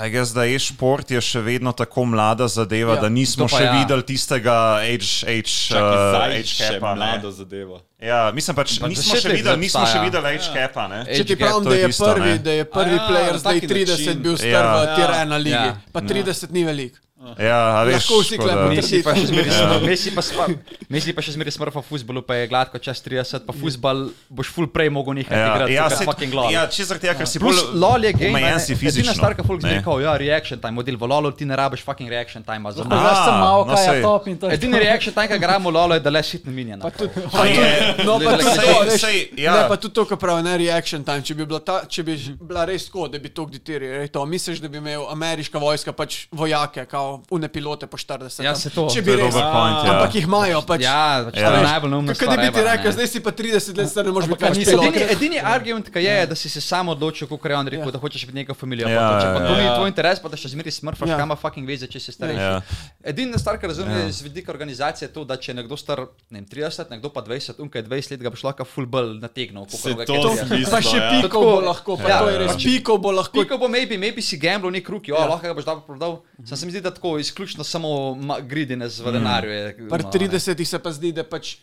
I guess, da e-šport je še vedno tako mlada zadeva, Ja, ja, da nismo to pa še ja. ja. videli tistega age, age, Čakaj, zdaj age še capa, ne. mlado zadevo. Ja, mislim pač, Pa nismo še desetek videli, nismo še obstaja. videli age capa, ne. Age Če ti gap, pravim, to da je je tisto, prvi, ne. da je prvi Aja, player na zdaj taki 30 način. bil star Ja. v tier 1 ligi, Ja. pa 30 ni velik. Ja, a veš, Lahko vsi tako klepamo. da- Messi pa še Ja. zmeraj smr- Messi pa spa- Messi pa še zmeraj smrfa fusbolu, pa je gladko čas 30, pa fusbal boš full prej mogel nekaj Ja, igrati, ja, kot saj- fucking lol. ja, če zaradi tega, ker si bolj Plus, LOL je game. omejen si fizično. Edina stvar, ki folk ne. zmeraj kao, ja, reaction time, model v LOL-u ti ne rabiš fucking reaction time za Znaš sem A, malo, no kaj je sej. top in to je. Edini reaction time, ki ga gramo v LOL-u je, da le shit ne no. minja. Pa tudi Pa je- No, pa Glej, tudi glej, to, sej- veš, sej, ja. ne, pa tudi to, kar pravi, ne reaction time. Če bi bila, ta, če bi ž- bila res tako, da bi to diktirali, to misliš, da bi imel ameriška vojska pač vojake, kao une pilote po 40. Ja, tam? se to. To Če bi je res, dober point, ja. ampak jih imajo pač. Ja, pač Ja. to je Veš, najbolj neumno. Kaj da bi ti rekel, zdaj si pa 30 let star, ne moreš pač biti Ampak več niso pilot. Edini, edini argument, ki je, je, da si se sam odločil, kako je on rekel, Ja. ja. da hočeš biti neka familija. Ja, Ja, če pa to ja, ni ja. tvoj interes, pa da še zmeraj smrfaš, Ja. ja. kam ima fucking veze, če si starejši. Ja. Ja. Edina stvar, ki razumem ja. z vidika organizacije, je to, da če je nekdo star ne vem, 30, nekdo pa 20, unkaj 20 let, ga boš lahko full ball nategnil. kakor Se ga je to 30. zdi- Pa še Ja. pikov bo lahko, pa Ja. to je res. Pač- Pikov bo lahko. Piko bo, maybe, maybe si gamble, nek ruki, ja. lahko ga boš dobro prodal. Sam se mi zdi, da tako izključno samo ma- greediness Mm. v denarju. je, Pri ono, ne. 30 se pa zdi, da pač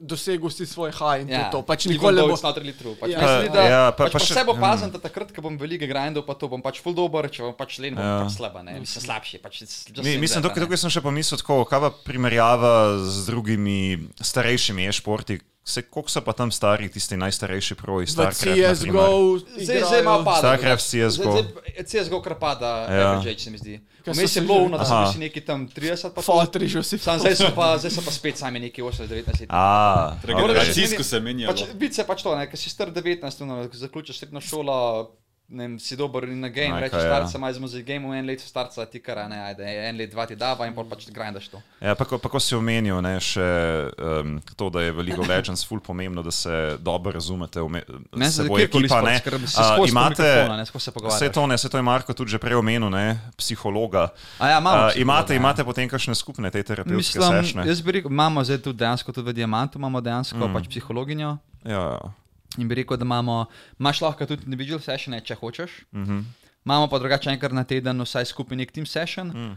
dosegel si svoj high in ja. to, je to pač Even nikoli ne though bo. it's not really true. Pač ja. Ja. Mislim, da, Ja, ja, pa- pa pa, pač pa še- vse bo pazen, da takrat, ko bom veliko grindal, pa to bom pač full dober, če bom pač len, bom Ja. ja. pač slaba, ne, mislim slabši. Pač, it's just Mi, like mislim, that, tukaj, a ne. tukaj sem še pomislil, tako, kaj pa primerjava z drugimi starejšimi e-športi. Se, koliko so pa tam stari, tisti najstarejši proji, V stari CSGO, Zdaj, zdaj ima pa. Starcraft, CS:GO. CSGO Ja. krpada, ja. FJ, se mi zdi. Ker so Vmes se je bilo že- uno, da smo Aha. si neki tam 30, pa to. Fotri že vsi. Sam zdaj so pa, zdaj so pa spet sami neki 18-19 let. A, Moram Moraš reči, okay. Generacijsko meni- se menjalo. Pač, Vice pač to, ne, ker si star 19, no, ko zaključiš srednjo šolo, ne, vem, si dober in na game, Ajka, rečeš, ja. starca imaš ja. z game, en let starca ti kar, a ne, ajde, en let dva ti dava in pol pač grindaš to. ja, pa, ko- pa ko si omenil ne, še um, to, da je v League of Legends ful pomembno, da se dobro razumete vme- s za seboj kjerkoli ekipa. sport, Ne, ker si A, skozi imate, mikrofona, ne, skozi se Vse pogovarjaš. to, ne, vse to je Marko tudi že prej omenil, ne, psihologa. A ja, imamo A, psihologa, imate, ja. imate potem kakšne skupne te terapevtske Mislim, sešne? jaz bi rekel, imamo zdaj tudi dejansko tudi v Diamantu, imamo dejansko Mhm. mm. pač psihologinjo Ja, ja. in bi rekel, da imamo, imaš lahko tudi individual sessione, če hočeš. Mm Mhm. -hmm. Imamo pa drugače enkrat na teden vsaj skupaj nek team session. Mm.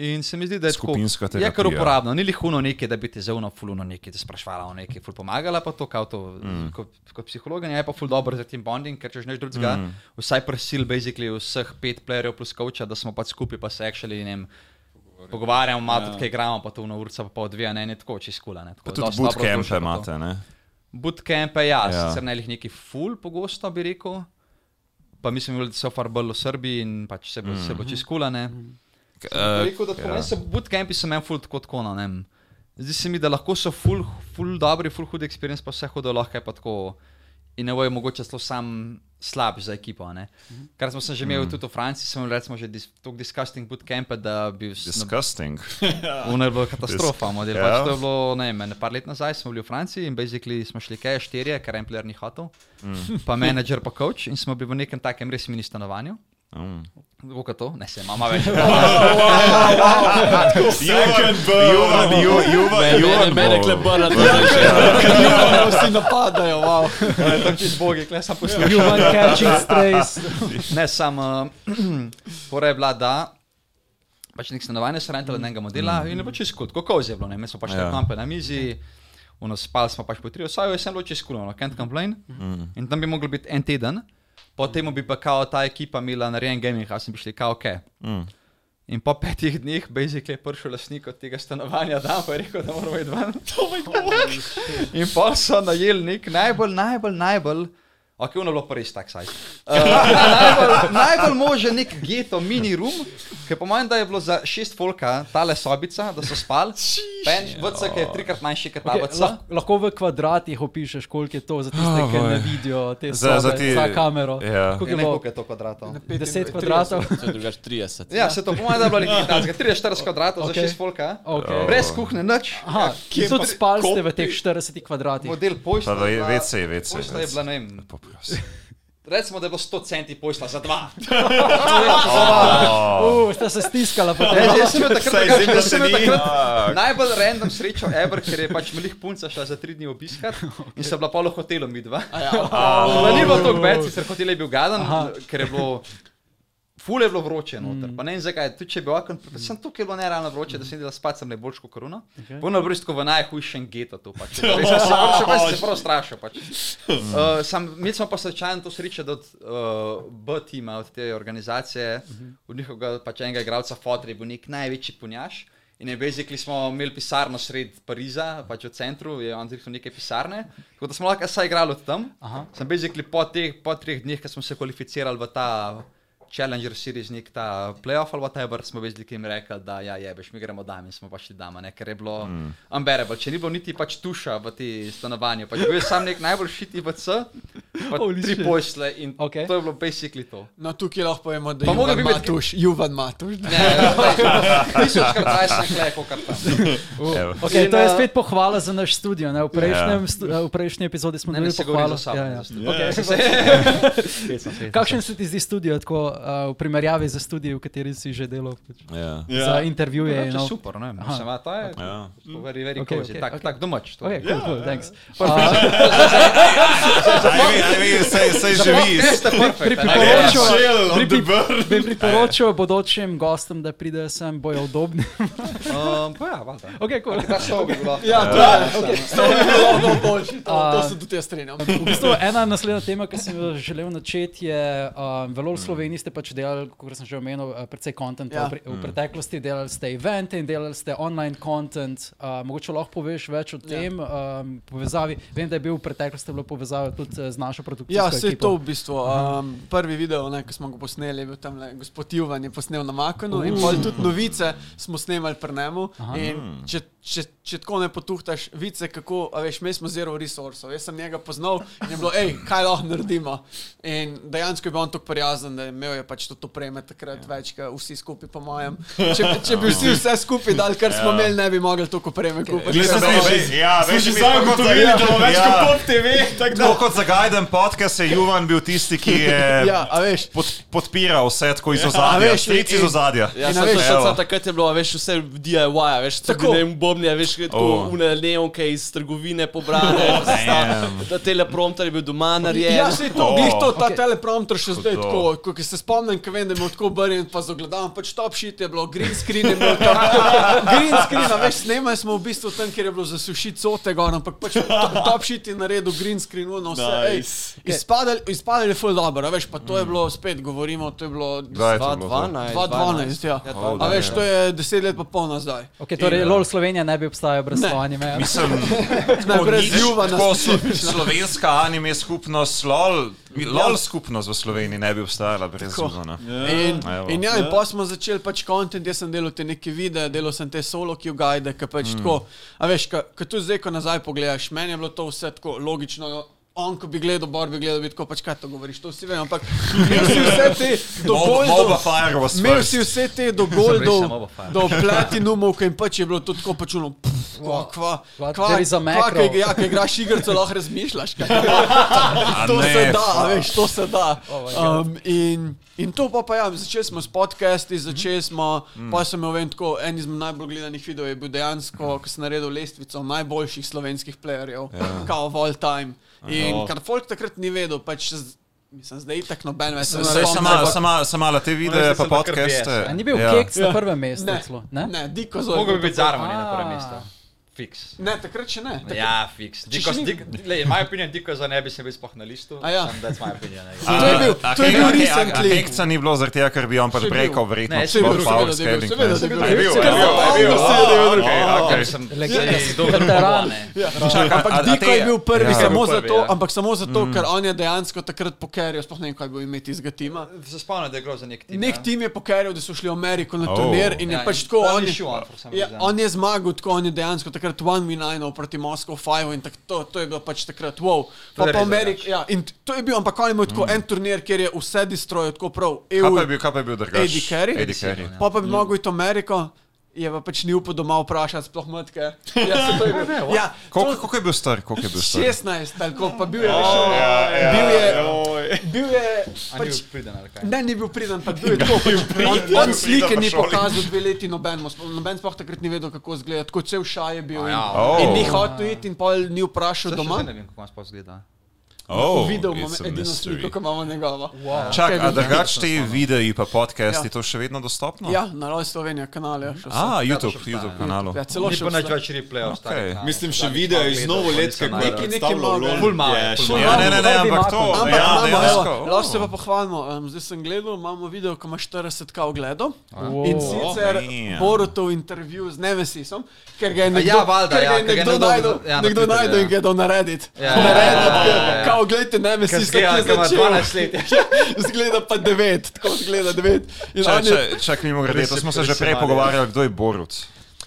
In se mi zdi, da je tako- Skupinska Je kar terapija. uporabno, ni lihuno nekaj, da bi ti zauno fuluno nekaj, da sprašvala o nekaj, ful pomagala pa to, kao to, mm. kot, kot psihologija je pa ful dobro za team bonding, ker če že neš drugega, mm. vsaj prosil basically vseh pet playerjev plus coacha, da smo pač skupaj, pa se actually, ne vem, pogovarjamo, malo ja. tudi kaj igramo, pa to v urca pa pol dve, a ne, ne tako čiskula, ne. Tako, Pa tudi dosti dobro bootcampe vzdušje pa to. imate, ne? Bootcampe, ja, Ja. ja. sicer ne lih neki full pogosto bi Mhm. rekel, pa mislim, da so far bolj v Srbiji in pač se bo, mm. bo čiskula, ne. ampak uh, Rekel, da ja. so bootcampi se meni ful tako tako, no, ne vem. Zdi se mi, da lahko so ful, ful dobri, ful hudi experience, pa vse hodo lahko je pa tako. In ne bo je mogoče celo sam slab za ekipo. ne. Kar smo se že imeli mm. tudi v Franciji, smo imeli recimo že dis, tako disgusting bootcampe, da bi vse. Disgusting. Uno je bila katastrofa, model. Ja. Yeah. Pač to je bilo, ne vem, ene par let nazaj smo bili v Franciji in basically smo šli kaj, štirje, ker en player ni hotel, mm. pa menedžer, pa coach in smo bili v nekem takem res mini stanovanju. Mm. Kako to? Ne, se mama več. Juvan, Juvan, Ju- Juvan, Ja, mene, Juvan. mene bo- klebrna, Ja. to je že. Vsi napadajo, wow. Tako čez bogi, klej sem poslušal. Human catching strays. Ne, sam, uh, pora je bila, da pač nek stanovanje se rentalo enega modela mm. in je bilo čez kut, kako je bilo, ne, mi smo pač ja. na kampe na mizi, ono spali smo pač po tri, vsaj jaz sem bilo čez kut, ono, can't complain. Mm. In tam bi mogel biti en teden, potem bi pa kao ta ekipa imela narejen gaming house in bi šli kao ok. Mm. In po petih dneh, basically, je prišel lastnik od tega stanovanja, da pa je rekel, da moramo iti ven. in pa so najeli nek najbolj, najbolj, najbolj, ok, ono je bilo pa res tak sajt. Uh, najbolj, najbolj možen nek geto, mini room, ki po mojem, da je bilo za šest folka, tale sobica, da so spali. Pen, VCK je trikrat manjši, kot ta Okay, VCK. lahko, lahko v kvadratih opišeš, koliko je to za tiste, ki ne vidijo te Za- sobe, za za, ti- za kamero. ja. Koliko Ne je vem, bilo? koliko je to kvadratov. 10 kvadratov. To je drugače 30. Ja, se to pomeni, da je bilo nekaj takega, 43 kvadratov okay. Okej. za šest folka. Okay. Okay. Brez kuhne, nič. Aha, Kje in tudi pa- spali ste v kopi? teh 40 kvadratih. Model pošta. Pa ve- je bila- WC je WC. Pošta je bila, ne vem, Poprosim. recimo, da je bilo 100 centi pošta za dva. Uh, sta se stiskala po tem. Ja, Jaz jaz sem imel takrat, Saj drugače, zim, da jaz sem se imel ni. takrat najbolj random srečo ever, ker je pač malih punca šla za tri dni obiskat in se bila pa v hotelu midva. Pa ni bilo tako več, sicer hotel je bil gaden, ker je bilo. Ful je bilo vroče, noter. pa ne vem zakaj, tudi če bi okon, predvsem tukaj je bilo nerealno vroče, da sem delal spati, sem najbolj ško korona. Okay. Ponovno brisko v najhujšem getu tu, pač. Res sem se vršil, pa sem se prav strašil. Pač. Uh, sam, mi smo pa srečajno to srečo, da od uh, B-tima, od te organizacije, od njihovega pač enega igralca Fotre je bil nek največji punjaš. In je basically smo imeli pisarno sred Pariza, pač v centru, je on zrihtel neke pisarne. Tako da smo lahko saj igrali od tam. Aha. Sem basically po, teh, po treh dneh, ko smo se kvalificirali v ta Challenger series, nek ta playoff ali whatever, smo basically jim rekli, da ja, jebeš, mi gremo dam in smo pač šli dam, a ne, ker je bilo mm. unbearable. Če ni bilo niti pač tuša v ti stanovanju, pač bil je sam nek najbolj šiti VC, pa Holy tri shit. posle in Okej. okay. to je bilo basically to. No, tukaj lahko povemo, Pa da je mogel bi Juvan biti- Matuš, Juvan Matuš. Ne, tisočkrat rajšem klej, kot tam. Evo. Okay, In, to je uh, spet pohvala za naš studio. Ne? V, prejšnjem, ja. stu, v prejšnji epizodi smo Ne, ne, imeli se govorim pohvalo. za sabo. Ja, ja. Okay. Kakšen se ti zdi studio tako, uh, v primerjavi z studijem, v kateri si že delal? Pač? Ja. Ja. Za intervjuje. je No. super, ne, Aha. mislim, a to je Ja. very, very Okej, okay, cozy, okej, okay, tak, okej. okay. tak domač. to. Okay, cool, cool, thanks. Aj, vi, aj, vi, sej, sej Za živi. podcast je perfekt, a ne. Priporočam- Shell on the pripi- burn. bi priporočal bodočim gostom, da pridejo sem, bojo udobni. Um, Pa ja, valjda. okay, cool. Ta stol bi bila. Ja, to je, okay. to je boljši, to, to A- se tudi jaz strinjam. V bistvu ena naslednja tema, ki sem jo želel načeti, je, um, v LOL Sloveniji ste pač delali, kot sem že omenil, eh, precej kontenta. Ja. Ja. Pre, v preteklosti delali ste evente in delali ste online kontent. Uh, mogoče lahko poveš več o Ja. tem um, povezavi. Vem, da je bil v preteklosti bilo povezave tudi eh, z našo produkcijo. Ja, se je to v bistvu. Um, prvi video, ne, ki smo ga posneli, je bil tam le, gospod Juvan je posnel na Makonu in pol tudi novice smo snemali pri njemu. In Če, če, če tako ne potuhtaš, vice, kako, a veš, mi smo zero resursov. Jaz sem njega poznal in je bilo, hej, kaj lahko naredimo. In dejansko je bil on tako prijazen, da je imel je pač to opreme takrat ja. več, kot vsi skupaj, po mojem. Če, bi- če bi vsi vse skupaj dali, kar smo imeli, ne bi mogli toliko opreme kupiti. Glej, zdaj, zdaj, ja, Smo veš, že mi zdaj smo kot ugotovili, za- da bo več ja. kot pop TV. tako da- Tako kot za Gajden podcast je Juvan bil tisti, ki je Ja, a veš. pod, podpiral vse tako iz A ozadja, veš, stric iz in- ozadja. Ja, In sem veš, veš, evo. sam takrat je bilo, a veš, vse DIY, a veš, Tako. tako ne vem, bobnje, veš, tako Oh. une neonke iz trgovine pobrane, sta- da teleprompter je bil doma narejen. Ja, se to, O. glih to, Okej. ta okay. teleprompter še zdaj To. tako, ko ko se spomnim, ko vem, da me tako brnil, pa zagledam, pač top shit je bilo, green screen je bil tam. green screen, a veš, snemali smo v bistvu tam, kjer je bilo zasušiti cote gor, ampak pač top top shit je naredil green screen, no vse, nice. ej, Nice. Izpadali, izpadali je ful dobro, a veš, pa to je bilo, spet govorimo, to je bilo Kdaj je to bilo? 2012. 2012, ja. Oh, A da, veš, ja. to je 10 let pa polna zdaj. Okay, torej, LOL Slovenija ne bi obstajala brez Ne. to anime. Mislim, Ne, tako brez nič, ljuba tako na slo- Slovenska anime skupnost, LOL, mi- LOL skupnost v Sloveniji ne bi obstajala brez Zugana. In, Evo. in ja, in pa smo začeli pač kontent, jaz sem delal te neke videe, delal sem te solo kill guide, ki pač mm. tako, a veš, ko tu zdaj, ko nazaj pogledaš, meni je bilo to vse tako logično. On, ko bi gledal, Bor bi gledal, bi tako pač kaj to govoriš, to vsi vemo, ampak imel si vse te Boba Boba dogoldov, Fire was imel si first. vse te dogoldov, Samo Fire. do platinumov, ki jim pač je bilo to tako pač uno, pff, kva, kva, Kva, kva, there is a kva, macro. ki- ja, ki igraš igrico, lahko razmišljaš. Kaj, A to ne, se da, fuck. a veš, to se da. Um, in, in to pa, pa ja, začeli smo s podcasti, začeli smo, mm. pa sem imel vem, tako, en izmed najbolj gledanih videov je bil dejansko, ko sem naredil lestvico najboljših slovenskih playerjev, yeah. kao of all time. In oh. kar folk takrat ni vedel, pač z- mislim, zdaj tako noben več ne Saj spomni, sama, ampak- sama, sama la te videe, Oni so pa se tako podcaste. kar A ni bil ja. keks na prvem mestu? Ne, celo, ne, ne? ne, diko zelo. Mogoče bi biti zarmani na Ah. prvem A. mestu. Fiks. Ne, takrat še ne. Takrat, Ja, fiks. Diko, še ni- dik, le, in moja opinija, diko za ne bi se bil spoh na listu. A ja. Sam, that's my opinion. I guess. To je bil- to je bil recently. Hekca ni bilo zaradi tega, ker bi on pač Še bil. brekal verjetno. Ne, še sploh bil, seveda, power da je bil, scaling, ne. seveda, da je A bil. je bil, Kar a je bil, a je bil. zapomnil se, da je bil. Okej, okej. sem Legenda, dober veteran. Čakaj, Ampak a- a Diko te- je bil prvi, Ja. ja, samo, Bil prvi, zato, ja. ja. ampak samo zato, mm. ker on je dejansko takrat pokeril, sploh ne vem, kaj bo ime tistega tima. Se spomnim, da je grozen nek tim. Ja. Nek tim je pokeril, da so šli v Ameriko na Oh. turnir in je Ja, pač in tako. tam On je je, šel on, for some ja, reason. on je zmagal, tako on je dejansko takrat 1v9 proti Moskvu 5 in tako to, to je bilo pač takrat wow. Pa je pa res Amerik, ja, in t- to je bil, ampak on je imel tako mm. en turnir, kjer je vse destrojo, tako prav. Kaj EU, pa je bil, kaj pa je bil drugačen? Eddie Carey? Eddie Carey. ja. pa pa bi mm. mogel iti v Ameriko. Je pa pač ni upal doma vprašati, sploh matke. Ja, se to je bilo. Ja, Koliko Ja, koliko je bil star? Koliko je bil star? 16, ali koliko pa bil je rešil. Bil je, bil je pač, priden ali kaj. ne, ni bil priden, pa bil je tako. Pač, on, on slike ni pokazal dve leti nobenemu, sploh- noben sploh takrat ni vedel, kako zgleda, tako cel šaj je bil. In, Ja. in ni hotel iti in pol ni vprašal Zdaj še doma. zdaj Ne vem, kako nas pa zgleda. Oh, Videl bom it's a edino mystery. sliko, ki imamo njegovo. Čakaj, Kaj bi a bilo? drugače ti videi pa podcasti, Ja. to še vedno dostopno? Ja, na Roj Slovenija kanal je še vse. A, YouTube, Ja, to še YouTube obstaja. kanalu. Ja, celo Ni še pa nič več. več replayov. Okej. Okay. Mislim, še video iz novoletke, ko je Neki- neki predstavljal malo, Lon. Ful malo, Je, ful še- malo. Ja, ne, ne, ne, Prvi ampak makro. to, Ampak ja, imamo, dejansko. evo, lahko se pa pohvalimo. Um, zdaj sem gledal, imamo video, ko ima 40 k ogledov. Wow. In sicer man. Borutov intervju z Nevesisom, ker ga je ja, nekdo, valjda, ker ja, ga je ker ga je nekdo nekdo- najdel, ja, na nekdo Twitterju, najdel ja. in ga je dal narediti. Ja, Narediti, ja, ja, ker- ja. Kao, gledajte Nevesis, Zgleda, kako je da ima začel. 12 let. ja. Zgleda pa 9, tako zgleda 9. In Čak, on je, čak, čak mimo grede, Res to je smo se že prej presenečen. pogovarjali, kdo je Borut.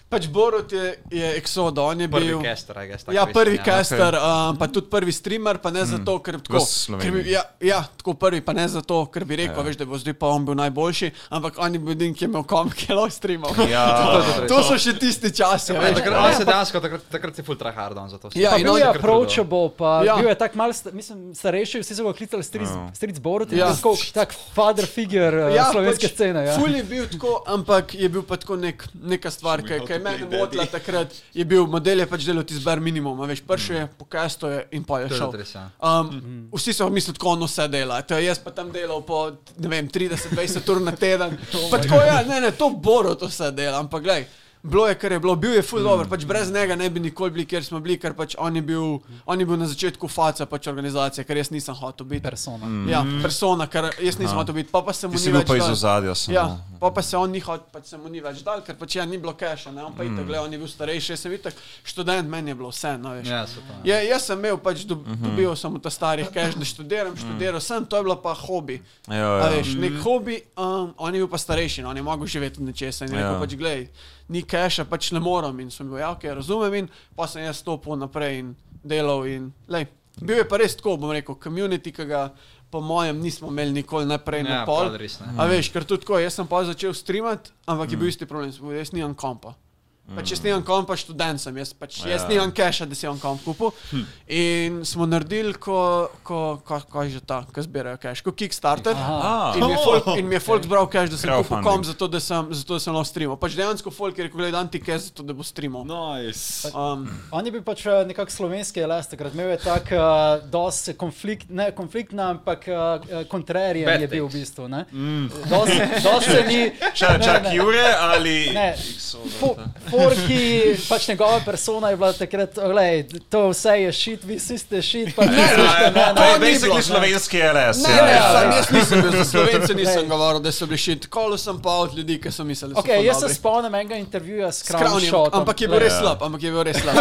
pač Borut je, je Exodo, on je Prvi bil. caster, I guess. tako Ja, veste, prvi ja. caster, um, pa tudi prvi streamer, pa ne zato, ker tako. Ker Sloveniji. bi, ja, ja, tako prvi, pa ne zato, ker bi rekel, ja. veš, da bo zdaj pa on bil najboljši, ampak on je bil edini, ki je imel kom, ki je lahko streamal. Ja, To so še tisti časi, Ja, veš. takrat- on se dejansko, takrat- Takrat je full tryhard on za to. Ja, Pa in bil on je je kar approachable, pa ja. Ja. bil je tako mal, sta- mislim, starejši, vsi so ga klicali Street, Ja. street Board, Ja. ja. tako tak father figure eh, ja, slovenske pač, scene. Ja. Ful je bil tako, ampak je bil pa tako nek, neka stvar, ki ki je meni motila takrat. Je bil model, je pač delal tisti bar minimum, a veš, prši je, pokasto je in pa je To je šel. res, ja. Um, vsi so mislili, tako on vse dela. To je jaz pa tam delal po, ne vem, 30-20 ur na teden. Pa tako ja, ne, ne, to boro to vse dela, ampak gledaj. Bilo je, kar je bilo, bil je Mhm. full dobro, pač brez njega ne bi nikoli bili, kjer smo bili, ker pač on je bil, on je bil na začetku faca pač organizacije, ker jaz nisem hotel biti. Persona. Ja, persona, ker jaz nisem hotel biti, pa, pa se Mhm. mu No. Ti si ni bil več pa iz dal. ozadja. samo. Ja, pa, pa se on ni hotel, pa se mu ni več dal, ker pač ja ni bilo keša, ne, on pa Mhm. itak, gleda, on je bil starejši, jaz sem itak študent, meni je bilo vse, no veš. Ja, se to. Ja, jaz sem imel pač, do, Mhm. dobil sem od ta starih keš, da študiram, študiral sem, to je bilo pa hobi. Ja, A ja. veš, Mhm. nek hobi, um, on je bil pa starejši, no, on je mogel živeti od nečesa in je rekel, Ja. pač glej, ni keša, pač ne morem in sem bil, ja, ok, razumem in pa sem jaz stopil naprej in delal in, lej, bil je pa res tako, bom rekel, community, ki ga po mojem nismo imeli nikoli naprej na Ja, pol. pol res ne. A veš, ker tudi tako, jaz sem pa začel streamati, ampak Mm. je bil isti problem, sem povedal, jaz nimam kompa. Pač jaz nimam kompa, študent sem, jaz, pač, jaz Ja. Hm. nimam keša, da si on komp kupil. In smo naredili, ko, ko, ko, ko je že ta, ko zbirajo keš, kot Kickstarter. Ah. In mi je folk- In mi je folk zbral keš, da sem kupil Crowdfunding. komp, zato da sem, zato da sem lahko streamal. Pač dejansko folk je rekel, gledaj, anti keš, zato da bo streamal. Nice. Um, On je bil pač eh, nekako slovenski elast, takrat imel je tak uh, dosti konflikt, ne konfliktna, ampak uh, kontrarijen Bad je bil v bistvu. Mm. Dosti dost se ni. Čak, Ne, čak, ne. Jure ali... Ne, fo, fo, Borki, pač njegova persona je bila takrat, gledaj, to vse je šit, vi vsi ste šit, pa ne Ja, slišite mene. je basically slovenski LS. Ne, ja, ne, ja. sam jaz nisem bil za slovence, Glej. nisem govoril, da so bili šit. Kolo sem pa od ljudi, ki so mislili, da so Okay, ful jaz se dobri. spomnim enega intervjuja s Skravni, Kravnšom. ampak je bil res slab, ampak je bil res slab.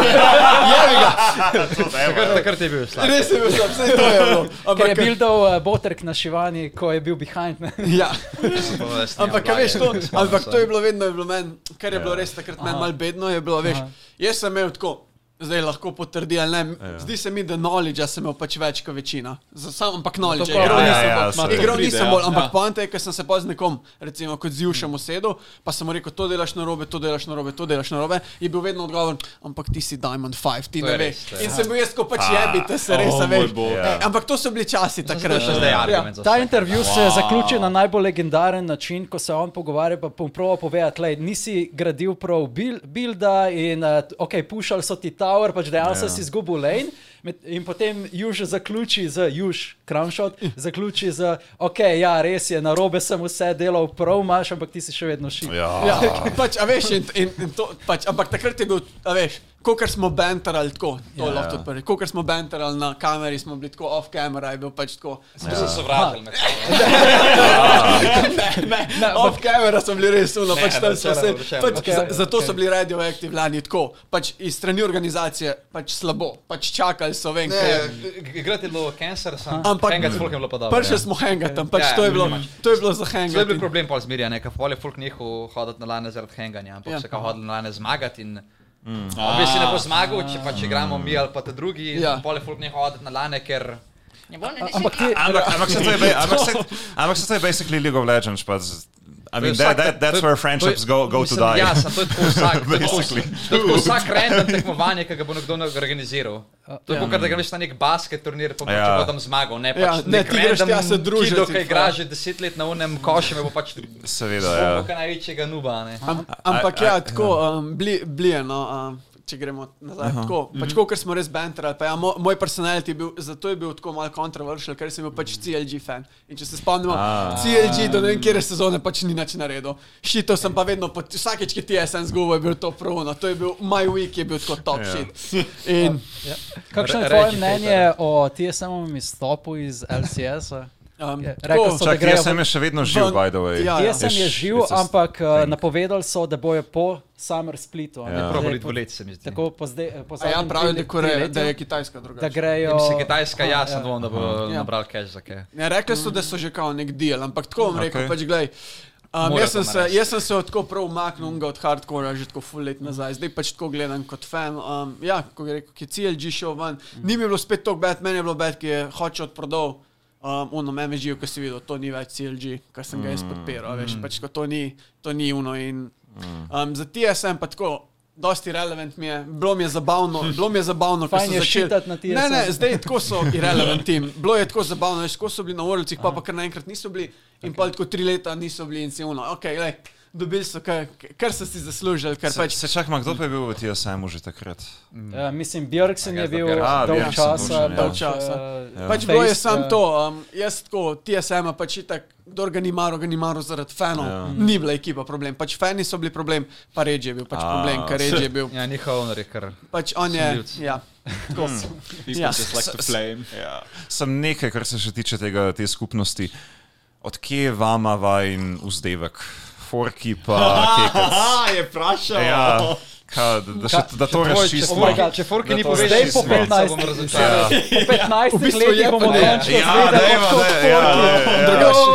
Takrat, takrat je bil slab. Res je bil slab, vse to je bilo. Ker je no. Ampak, bil dol Botrk na Šivani, ko je bil behind. Ne? ja. Ampak, Ja. ampak a veš to, ampak to je bilo vedno, je bilo meni, kar je bilo res takrat meni malo bedno, je bilo, veš, Aha. jaz sem imel tako. Zdaj lahko potrdi ali ne. Ja. Zdi se mi, da knowledge sem imel pač več kot večina. Za sam, ampak knowledge. Tako, igral ja, nisem ja, bolj. ja, saj. Igral Pride, nisem ja. bolj, ampak Ja. poanta je, ker sem se pa z nekom, recimo kot z Jušem usedel, pa sem mu rekel, to delaš na robe, to delaš na robe, to delaš na robe. Je bil vedno odgovor, ampak ti si Diamond 5, ti To ne je res, veš. to je In sem bil jaz, ko pač jebite se, res, a moj veš. bog. Eh, Ampak to so bili časi takrat. še zdaj Ja. argument. za Ta vse. intervju se wow. zaključi na najbolj legendaren način, ko se on pogovarja, pa bom proval povedati, da nisi gradil prav bil- builda in uh, ok, pušali so ti tower, pač dejansko Ja. yeah. si izgubil lane. Med, in potem Juž zaključi z Juž, Crownshot, zaključi z ok, ja, res je, na robe sem vse delal prav, imaš, ampak ti si še vedno šit. Ja. Ja, pač, a veš, in, in, in to, pač, ampak takrat je bil, a veš, kolikor smo bentarali tako, Ja. to ja, lahko tudi prvi, kolikor smo bentarali na kameri, smo bili tako off camera, je bil pač tako. Smo se sovražili med sabo. ne, ne, ne, off camera smo bili res uno, pač ne, tam smo večerno, se. večerno. Pač, Okej, okay, za, zato okej. so bili radioaktivni lani tako, pač iz strani organizacije, pač slabo, pač čakali so ven. Ne, kaj je- Igrati je bilo cancer, sem. Ampak enega s folkom je bilo pa dobro. Prvi ja. smo hengatam, pač Ja, to je bilo, nimaš. to je bilo za To je bil hengatam. problem pol zmerja, ne, ker pol je folk nehal hoditi na lane zaradi henganja, ampak Ja. Ah. ja. se kao hodili na lane zmagati in mm. bi si ne bo zmagal, če pa če igramo mi ali pa te drugi, Ja. ja. pol je folk nehal hoditi na lane, ker Ampak ti, Ampak, ampak se to je, ba- ampak se, ampak se to je basically League of Legends, pa z- I mean, To je that, vsak- that, that's to je- where friendships to je- go, go to mislim, die. Ja, sem to je tako vsak, to je tako Basically. vs- to je tako vsak random tekmovanje, ki ga bo nekdo ne- organiziral. To je ja. kot da greš na nek basket turnir, pa boš Ja. ja. tam zmagal, ne Ja, pač ne, ti greš tja se družit Kdo, in ki fajn. igra že deset let na onem košu, me bo pač Seveda, ja. zvomo, kaj največjega nuba, ne. Am, ampak ja, tako, um, bli, bli je, no, um, če gremo nazaj. Aha. Tako, pač, mm -hmm. ker smo res banterali, pa ja, mo, moj personality je bil, zato je bil tako malo kontroversial, ker sem bil pač CLG fan. In če se spomnimo, ah. CLG do ne vem, kjer sezone pač ni nič naredil. Šito sem pa vedno, pod, vsakeč, ki ti je SN zgubo, je bil to pruno, to je bil my week, je bil tako top yeah. shit. In, kakšno je Re- tvoje Reggie mnenje o TSM-ovem izstopu iz LCS-a? um, Je, tako, Rekel Ja, so, da Čak, jaz grejo sem še vedno živ, Ven- by the way. Ja, ja. Jaz sem je It's- živ, it's a ampak eh, thing. napovedali so, da bojo po Summer Splitu. a ne, zdaj Probali po- dvolet, se mi zdi. Tako po zdaj, eh, po Ja. a ja, zadnjem pravijo, tri- da, Koreja- triletju, da je Ja, Kitajska drugačna. da grejo. Mislim, Kitajska, Aha, ja, sem dvom, da bo Ja. nabral cash za kaj. Ne, rekli so, da so že kao nek deal, ampak tako vam okay. rekel, Okej. pač gledaj. Um, Mora jaz, sem to se, narediti. jaz sem se od tako prav umaknil unga od hardcora, že tako full let nazaj, zdaj pač tako gledam kot fan. Um, ja, ko je rekel, ki je CLG šel ven, ni mi bilo spet tako bad, meni je bilo bad, ki je hoče odprodal. Um, ono MMG, ki si videl, to ni več CLG, kar sem ga jaz Mm. podpiral, a veš, pač ko to ni, to ni uno. In, Mm. um, za TSM pa tako, dosti relevant mi je, bilo mi je zabavno, bilo mi je zabavno, ko Fajn sem je začel. šitati na Ne, ne, TSM. zdaj je tako so irrelevant tim. Bilo je tako zabavno, veš, ko so bili na orlicih, pa pa kar naenkrat niso bili in okay. pa tako tri leta niso bili in si uno. Okay, glej, dobili so, kar, kar so si zaslužili, kar Se, pač. se čakam, kdo pa je bil v TSM-u že takrat? eh, Mislim, Björksen A, je jaz da bil Björksen. Ja, A, dolg Björksen, časa. točno, ja. pač, Dolg časa. eh, Pač bilo je face, samo eh, to, um, jaz tako, TSM-a pač itak, kdo ga ni maro, ga ni maro zaradi fanov. Ja. Ni bila ekipa problem, pač fani so bili problem, pa Reč je bil pač A. problem, ker Reč je bil. Ja, njihov owner je kar. Pač on je, Sumljivci. ja, tako. People Ja. just like to flame. Ja. Sem nekaj, kar se še tiče tega, te skupnosti. Odkje je vama vajen vzdevek? Forki pa kekec. Aha, je vprašal. Ja, ka, da, še, da to oh my razčistimo. god, Če Forki Da ni to povedal, Zdaj po smo. 15 bom letih, razočaran. po 15 bistvu eh, letih je bomo pa ne. končno Ja, dajva, zvedeli, odkot daj, ja, Forki. ja, ja, ja. Drugače-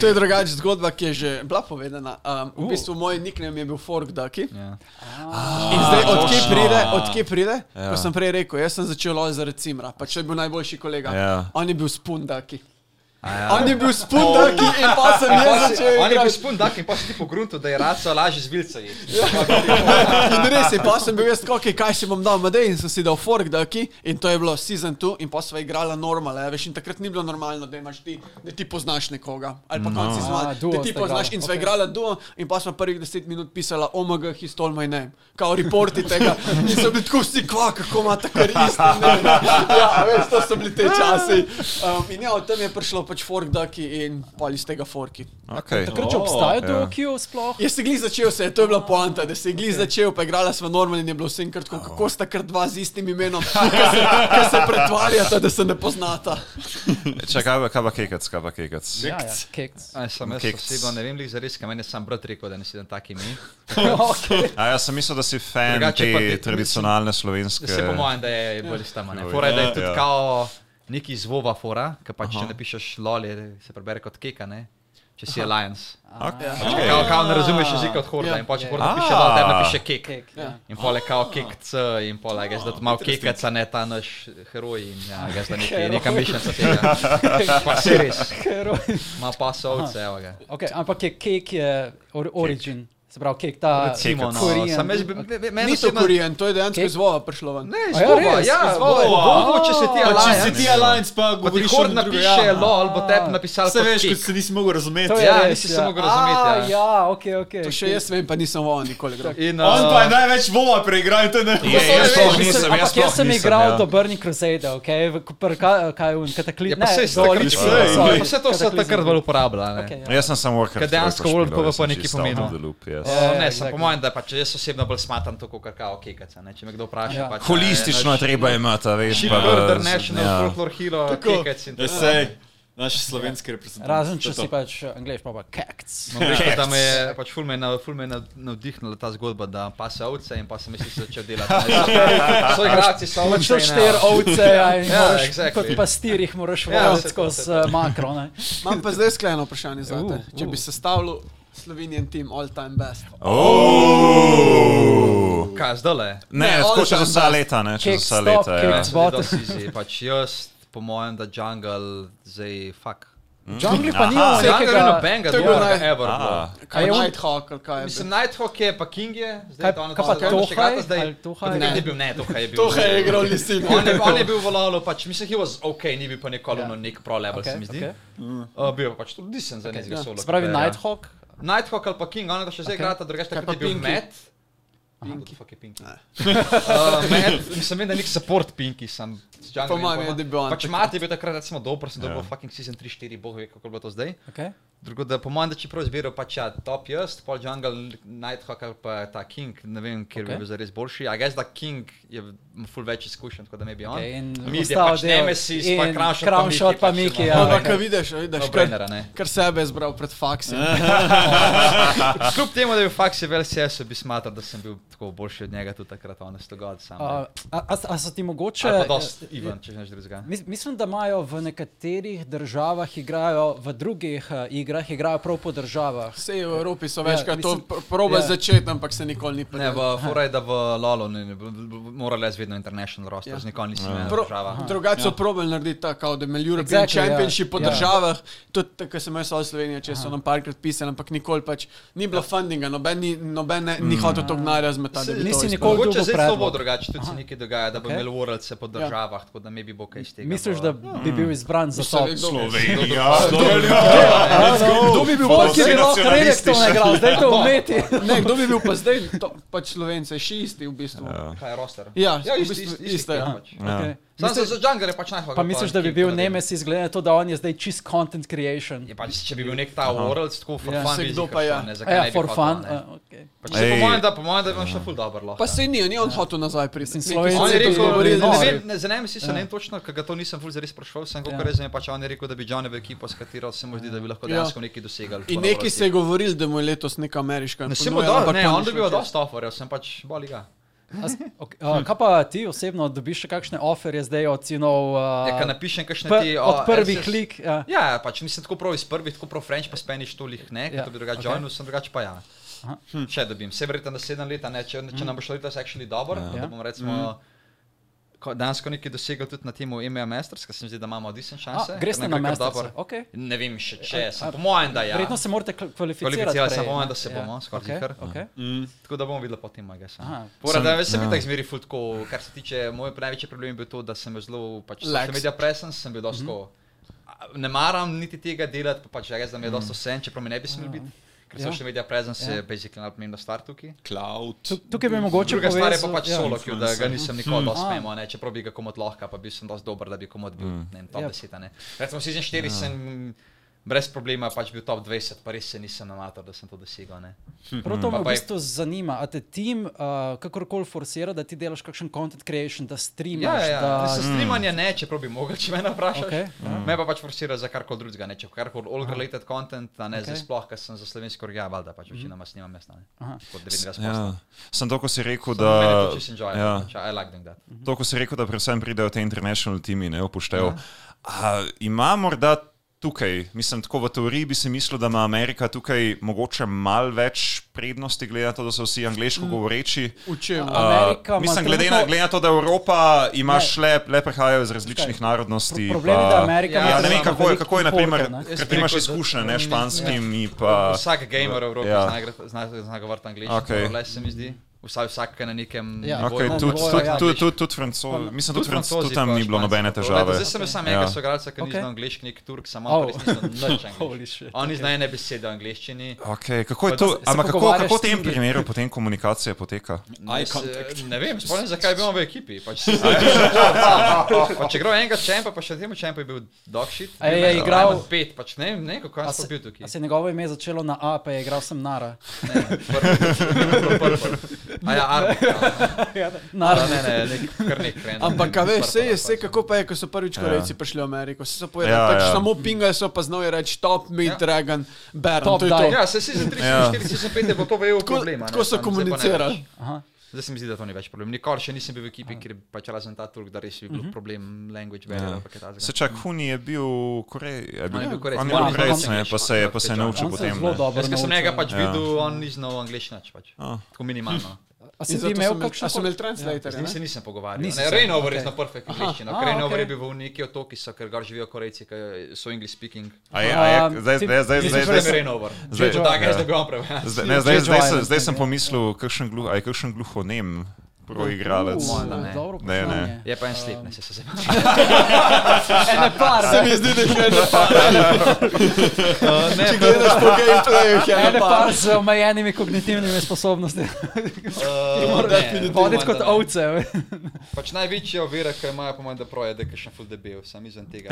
To je drugačna zgodba, ki je že bila povedana. Um, v bistvu moj nickname je bil Fork Ducky. Uh. Ah. Ja. In zdaj, odkje pride, odkje pride? Ja. Ko sem prej rekel, jaz sem začel loj zaradi Cimra, pa če pač je bil najboljši kolega. Ja. On je bil Spundaki. Ja. On je bil Spundaki in pa sem jaz začel On je bil igrati. spun, da je pa si ti pogrunto, da je raco lažje z vilcej. In res je, pa sem bil jaz, okay, kaj si bom dal, madej, in sem si dal Fork Ducky in to je bilo season 2 in pa sva igrala normale, veš, in takrat ni bilo normalno, da imaš ti, da ti poznaš nekoga, ali pa no. konci A, zmaga, duo da ti sta poznaš igrala, in sva okej. igrala duo in pa sva prvih 10 minut pisala OMG, he stole my name, kao reporti tega in so bili tako vsi, kva, kako ima ta kar isti, ne, ja, veš, to so bili te časi. Um, in ja, od tam je prišlo pač pač fork ducky in pali iz tega forki. Okay. Takrat, če obstajajo ja. Tokio, sploh. Jaz se glih začel, se je to je bila poanta, da se je glih začel, pa igrala sva normal in je bilo vsem kratko, kako sta kar dva z istim imenom, ki se, ka se pretvarjata, da se ne poznata. Čakaj, kaj pa kekec, kaj pa kekec. Ja, ja, keks. Aj, sem jaz Keks. osebno, ne vem, li za res, kaj meni je sam brat rekel, da ne sedem taki mi. okay. A jaz sem mislil, da si fan Drugače pa te te- tradicionalne slovenske. Se po mojem, da je bolj stama. Ne? Fora je, da je tudi Ja. kao neki zvova fora, ki pač če napišeš loli, se prebere kot keka, ne? Če si Alliance. Okay. Pač Kao, kao ne razumeš jezika od horda Ja. in pač Ja. horda piše loli, da napiše kek. Kek, ja. In pole kao kekc in pole, gaj zdaj malo kekaca, ne ta naš heroj in ja, gaj zdaj nekaj, neka Heroj. mišljenica tega. Pa si res, Heroj. ima pa sovce, evo ga. Okay, ampak je kek je or, origin, se pravi kek ta Recimo, no, Korean. sam jaz bi, me- me- meni Ni to osebno- korijen, to je dejansko Kek? iz vova prišlo ven. Ne, A ja, izvova, res, ja, iz izvova, Vova. izvova, če se ti Pa če si Alliance. ti Alliance, pa Ko ti govoriš o hord drugem, napiše lol, bo tebi napisal Se kot veš, kek. kot se nisi mogel razumeti. To je Ja, res, nisi se mogel razumeti, A, ja. ja, okej, okej. To še jaz vem, pa nisem vova nikoli igral. In, On uh, pa je največ vova preigral in to je ne. Je, to ne jaz veš, sploh mislim, nisem, jaz Ampak sploh jaz sem nisem, igral ja. do Burning Crusade, okay? v, pr, kaj, kaj je un kataklizem. Je Ja, pa vse to, Dolin, Crusade, sorry, vse ja, to se Cataclysm. takrat bolj uporablja. ne. Okej, ja. No, Jaz sem samo Warcraft. Ker dejansko World Cup pa nekaj pomeni, no. pomeni. Ja, O, exactly. Ne, sem po mojem, da pač jaz osebno bolj smatram to kot kakao kekaca. ne. Če me kdo vpraša, Ja. pač... Holistično je treba imeti, a veš. pa Chipper, da- International, ja. Folklore Hero, kekac in tako. Sej, naši slovenski reprezentanti. Razen če To je si to. pač angliš, pa pa keks. Moram reči, Da me je pač ful me, nav, ful me nav- navdihnila ta zgodba, da pase ovce in pa sem jaz isto začel delati. So igrači, so Pač to ovce. štiri ovce, ja, in Ja, moraš, exactly. kot pastir jih moraš Ja, voditi vse to, skozi vse eh, to. makro. Ne? Imam pa zdaj skleno vprašanje za te. Uh, Če bi uh. sestavljal Slovenian team all time best. Oh. Kaj, zdaj? Ne, Ne, tako all čez time vsa best. leta, ne, čez Keks, vsa stop, leta. ja. keks. Zvote. Zvoto si si, pač jaz, po mojem, da jungle zdaj fuck. Jungle pa Aha. nimamo Jungle je nekega. nobenega, To je bil dobrega naj- ever. bilo. A, Kaj je on- Nighthawk ali kaj je? Mislim, Nighthawk je, pa King je, zdaj Kaj- ta on- kaj pa ta- on še Tohaj? igrata zdaj. Ali Tohaj? Ne, Ne. ni bil, ne, Tohaj je bil. Tohaj je igral lisino. On je, on je bil v Lolo, pač, mislim, he was ok, ni bil pa nikoli Ja. yeah. nek pro level, okay, se mi zdi. okej. Okay. Uh, bil je pa pač tudi decent za okay, nekega ja. yeah. solo. Spravi player. Nighthawk. Nighthawk ali pa King, on je to še zdaj igrata, drugače Kaj takrat pa je bil Pinky? Matt. Pinky, fuck je Pinky. Uh, Matt, mislim, vem, da je nek support Pinky, sem z Jungle. Po mojem in je, da je bil on Pač takrat. Matt je bil takrat, recimo, dober, sem dobil fucking season 3-4, boh ve, kako je bilo to zdaj. Okay. Drugo, da po mojem, da če prav izbiral, pač ja, top jaz, pol jungle, Nighthawk ali pa ta King, ne vem, kjer okay. Ok. bi bil zares boljši. A gaj, da King je ima full več izkušenj, kot da ne bi on. Okay, in Mid je ostal pač del. Nemesis, pa pač, In Crownshot, Crownshot pa Miki, ja. Ampak, kaj vidiš, vidiš, Brainera, kar, ne. kar sebe je zbral pred faksom. Kljub temu, da je bil Faxi v LCS-u, bi smatral, da sem bil tako boljši od njega tudi takrat, on je stogod sam. A, Uh, a, a so ti mogoče. Če je dost even, če že neš drugega. Mis- Mislim, da imajo v nekaterih državah, igrajo v drugih eh, igrah, igrajo prav po državah. Vse v Evropi so večkrat to mislim, pr- proba ja. začeti, ampak se nikoli ni Ne, prijel. v Foraj, da v Lolo, ne, ne, morala je vedno international roster, Ja. yeah. nikoli nisem imel Pro- država. Drugače so probali narediti tako, kao da imeli European Exactly, ja. Championship po Ja. državah, tudi tako sem jaz v Sloveniji, če so nam parkrat pisali, ampak nikoli pač ni bilo fundinga, noben ni, noben ne, ni hotel to gnara zmetati. da bi to Nisi izpeljali. nikoli- Mogoče dobil zdaj to bo predlog. drugače, tudi se nekaj dogaja, da bo Okej. okay. imel Worldse po Ja. državah, tako da ne bi bo kaj iz tega. Misliš, bo- da bi bil izbran za to? Mislim, nekdo- Ja, Slovenija. Kdo bi bil bolj, ki bi lahko rekel, da ne igra, zdaj to Ja. umeti. Ne, kdo bi bil pa zdaj, to, pač Slovenci, še isti v bistvu. Kaj je roster? Ja, ja v isto, isto, bistvu isto, isto, ja. isto, pač. Okay. Sam se za Džangar je pač najhvala. Pa misliš, da bi bil Nemesis, glede na to, da on je zdaj čist content creation? Je pač, če bi bil nek ta Worlds, tako for Ja, fun. saj bi kdo izkakšen, pa ja. ne, A zakaj ne Ja, bi for hotel, fun. ne. a, okej. Pač se po Ej. mojem, da, po mojem, da bi imel še ful dobro. lahko, ja. Pa ne. se ni, ni on hotel nazaj priti. Mislim, Nekaj Slovenci On je bi so rekel, bili govorili, ne da nori. ne vem, ne zanima se, ne vem točno, ker ga to nisem ful zares sprašval, sem Ja. kako rezen, pač on je rekel, da bi John v ekipo, s katero se mu zdi, da bi lahko Ja. dejansko nekaj dosegali. In neki se je govoril, da mu je letos neka ameriška. Ne, se mu ponujala, da, ampak ne, to ni on šlo dobiva čez. dosta oferjev, sem pač boliga. A s- ok, a, Kaj pa ti osebno dobiš še kakšne oferje zdaj od sinov? a, Ja, kaj napišem, kakšne pr- ti... Od o, prvih SS. lig. ja. Ja, pač mislim tako prav iz prvih, tako prav French, pa Spanish tolih ne, Ja, ja. to bi ok. drugače joinil, sem drugače pa ja. Aha. Hm. Hm. Še dobim, se verjetno na sedem let, a ne, če, če nam bo šlo letos actually dobro, ja. Ja. da bom recimo Hm. mm. dansko nekaj dosegel tudi na temu EMEA Masters, ker se mi zdi, da imamo decent A, šanse. Greš ker na nam gre kar namestnice. dobro. Okay. Ne vem še če, a- sem po mojem, da ja. Verjetno se morate kl- kvalificirati. Kvalificirali se prej, bomo, ne? Ja. da se bomo, skoraj okej, kar. Mhm. okej. Tako da bomo videli potem, kaj se. Aha. Pora, Sem- da jaz sem bil ja. tako zmeri futko, kar se tiče, moj največji problem je bil to, da sem zelo, pač Lax. social media presence, sem bil dosto, mm -hmm. ne maram niti tega delati, pa pač jaz, da mi je dosto vse, čeprav mi ne bi smel biti. Ker social media presence je basically najpomembna stvar tukaj. Cloud. Tuk- Tukaj bi mogoče Druga stvar je pa povezal- pač ja. solo, ki da ga nisem nikoli dosti smemo, ne, čeprav bi ga komod lahko, pa bil sem dosti dober, da bi komod bil, ne vem, top Ja. 10. a Ne. Recimo Season 4 sem brez problema pač bil top 20, pa res se nisem namatal, da sem to dosegel. Ne. Prav to me Mhm. Pa v pa je- bistvu zanima, a te tim uh, kakorkoli forsira, da ti delaš kakšen content creation, da Ja, streamaš. ja, ja. da... Za Mm. streamanje ne, čeprav bi mogel, če me vprašaš. Okej, ja. Okay. Ja. Me pa pač forsira za karkoli drugega, ne, če karkoli all related content, a ne okay. Okej. Mhm. zdaj sploh, ker sem za slovensko organ, valjda pač večinoma snimam jaz, ne. Aha. Kot 99%. Ja. Ja. Sem to, ko si rekel, Da, meni je da. to čisto enjoy, ja. ja. pač, I like doing that. To, ko si rekel, da predvsem pridejo te international timi, ne upoštevajo. Ja. Ima morda tukaj, mislim, tako v teoriji bi si mislil, da ima Amerika tukaj mogoče mal več prednosti, glede na to, da so vsi angliško govoreči. Učil. Mm. Amerika A, ima mislim, glede na, trenutno- glede na to, da Evropa ima šle, le prehajajo iz različnih Kaj? narodnosti. Problem je, pa- da Amerika Ja, ima Ja, ne vem, trenutno kako je, veliko kako je importa, naprimer, ne. ker Jaz ti bi imaš rekel, da- izkušnje, ne mm, španskimi, pa... Vsak gamer v Evropi Ja. ja. zna, igra- zna, zna govoriti angliško, Okej. okay. le se mi zdi. Vsaj vsak ki je na nekem. Ja. nivoju. Okay, na tudi, nivoju, tudi, ja. tudi, tudi, tudi, francoz, mislim, tudi, franc, tudi tam pa ni bilo Španci, nobene pa pač to. težave. Zdaj sem jaz sam Ja. enega soigralca, ki ni Okej. znal angliški, nek Turk, samo Oh. on pa res ni znal nič Holy angliško. shit, Oni znajo ene besede v angliščini. Okay, kako je Pa to? se Ampak kako, pogovarjaš kako v s tem njimi. primeru potem komunikacija poteka? Eye Jaz, contact. eh, Ne vem, spomnim, zakaj je bil on v ekipi. Pač, pa če gre enega čempa, pa še temu čempu je bil dogshit. A je igral- pet, pač ne vem, ne, vem, kako A je se- to bil a tukaj. Se je njegovo ime začelo na A, pa je igral sem Nara. Ne, prvo, prvo, prvo. A ja, Arne. Nara. Ne, ne, nek, kar nek. random. Ampak, a veš, vse je, vse Prvo, kako pa je, ko so prvič Korejci prišli v Ameriko, vsi so povedali, Ja, ja, pač ja. ja. samo pingajo so, pa znajo reči top, mid, Ja. ja. dragon, baron, Top to je to. dive. Ja, se si za 3, Ja. 4, 5 je bilo to vejo Tako, problema. ne, tako so tam zdaj pa ne več. komunicirali. Aha. Zdaj se mi zdi, da to ni več problem. Nikoli še nisem bil v ekipi, kjer pač razen ta turk, da res bi Mhm. bil uh -huh. problem language barrier ali kaj takega. Se čak Huni je bil Korej, je bil, On je bil Korejec. on je Ja, bil ampak Korejec, on- ne, pa se je, pa se je On naučil On se je potem. zelo ne. dobro. Jaz, ki sem naučil, njega pač ja. ja. videl, on ni znal angliščina, pač. A. Ah. Tako minimalno. A si In ti zato imel so imeli- a so kakšen? imeli translator. Z njim se nisem pogovarjal. Torej, Nisi Ne, se, Rainover okej. je na perfekt angliščino. aha, Rainover je okej. bil v neki otoki, so, ker gor živijo Korejci, ki so English speaking. A je, a je, Um, zdaj, ti- zdaj, zdaj, ti si zdaj, Zdaj šel zdaj, sem se- Rainover. zdaj- Zdaj je tako, jaz ja. da bi on prevajalal. zdaj, ne, zdaj, Jeju zdaj, sem- Island, zdaj sem ne. pomislil, kakšen glu- a je kakšen gluhonem proigralec. Uh, da pač- ne. Dobro Ne, ne. vprašanje. Je pa en slep, ne se se zavedam. Ne, par. Se mi zdi, da je ena par, Ja. Ne, če gledaš po gameplayu, je Ene ena par. par z omejenimi kognitivnimi sposobnostmi. Voditi Eh, voditi kot ovce. ve. Pač največja ovira, ki jo imajo, po mojem, da proje, da je še full debil, sem izven tega.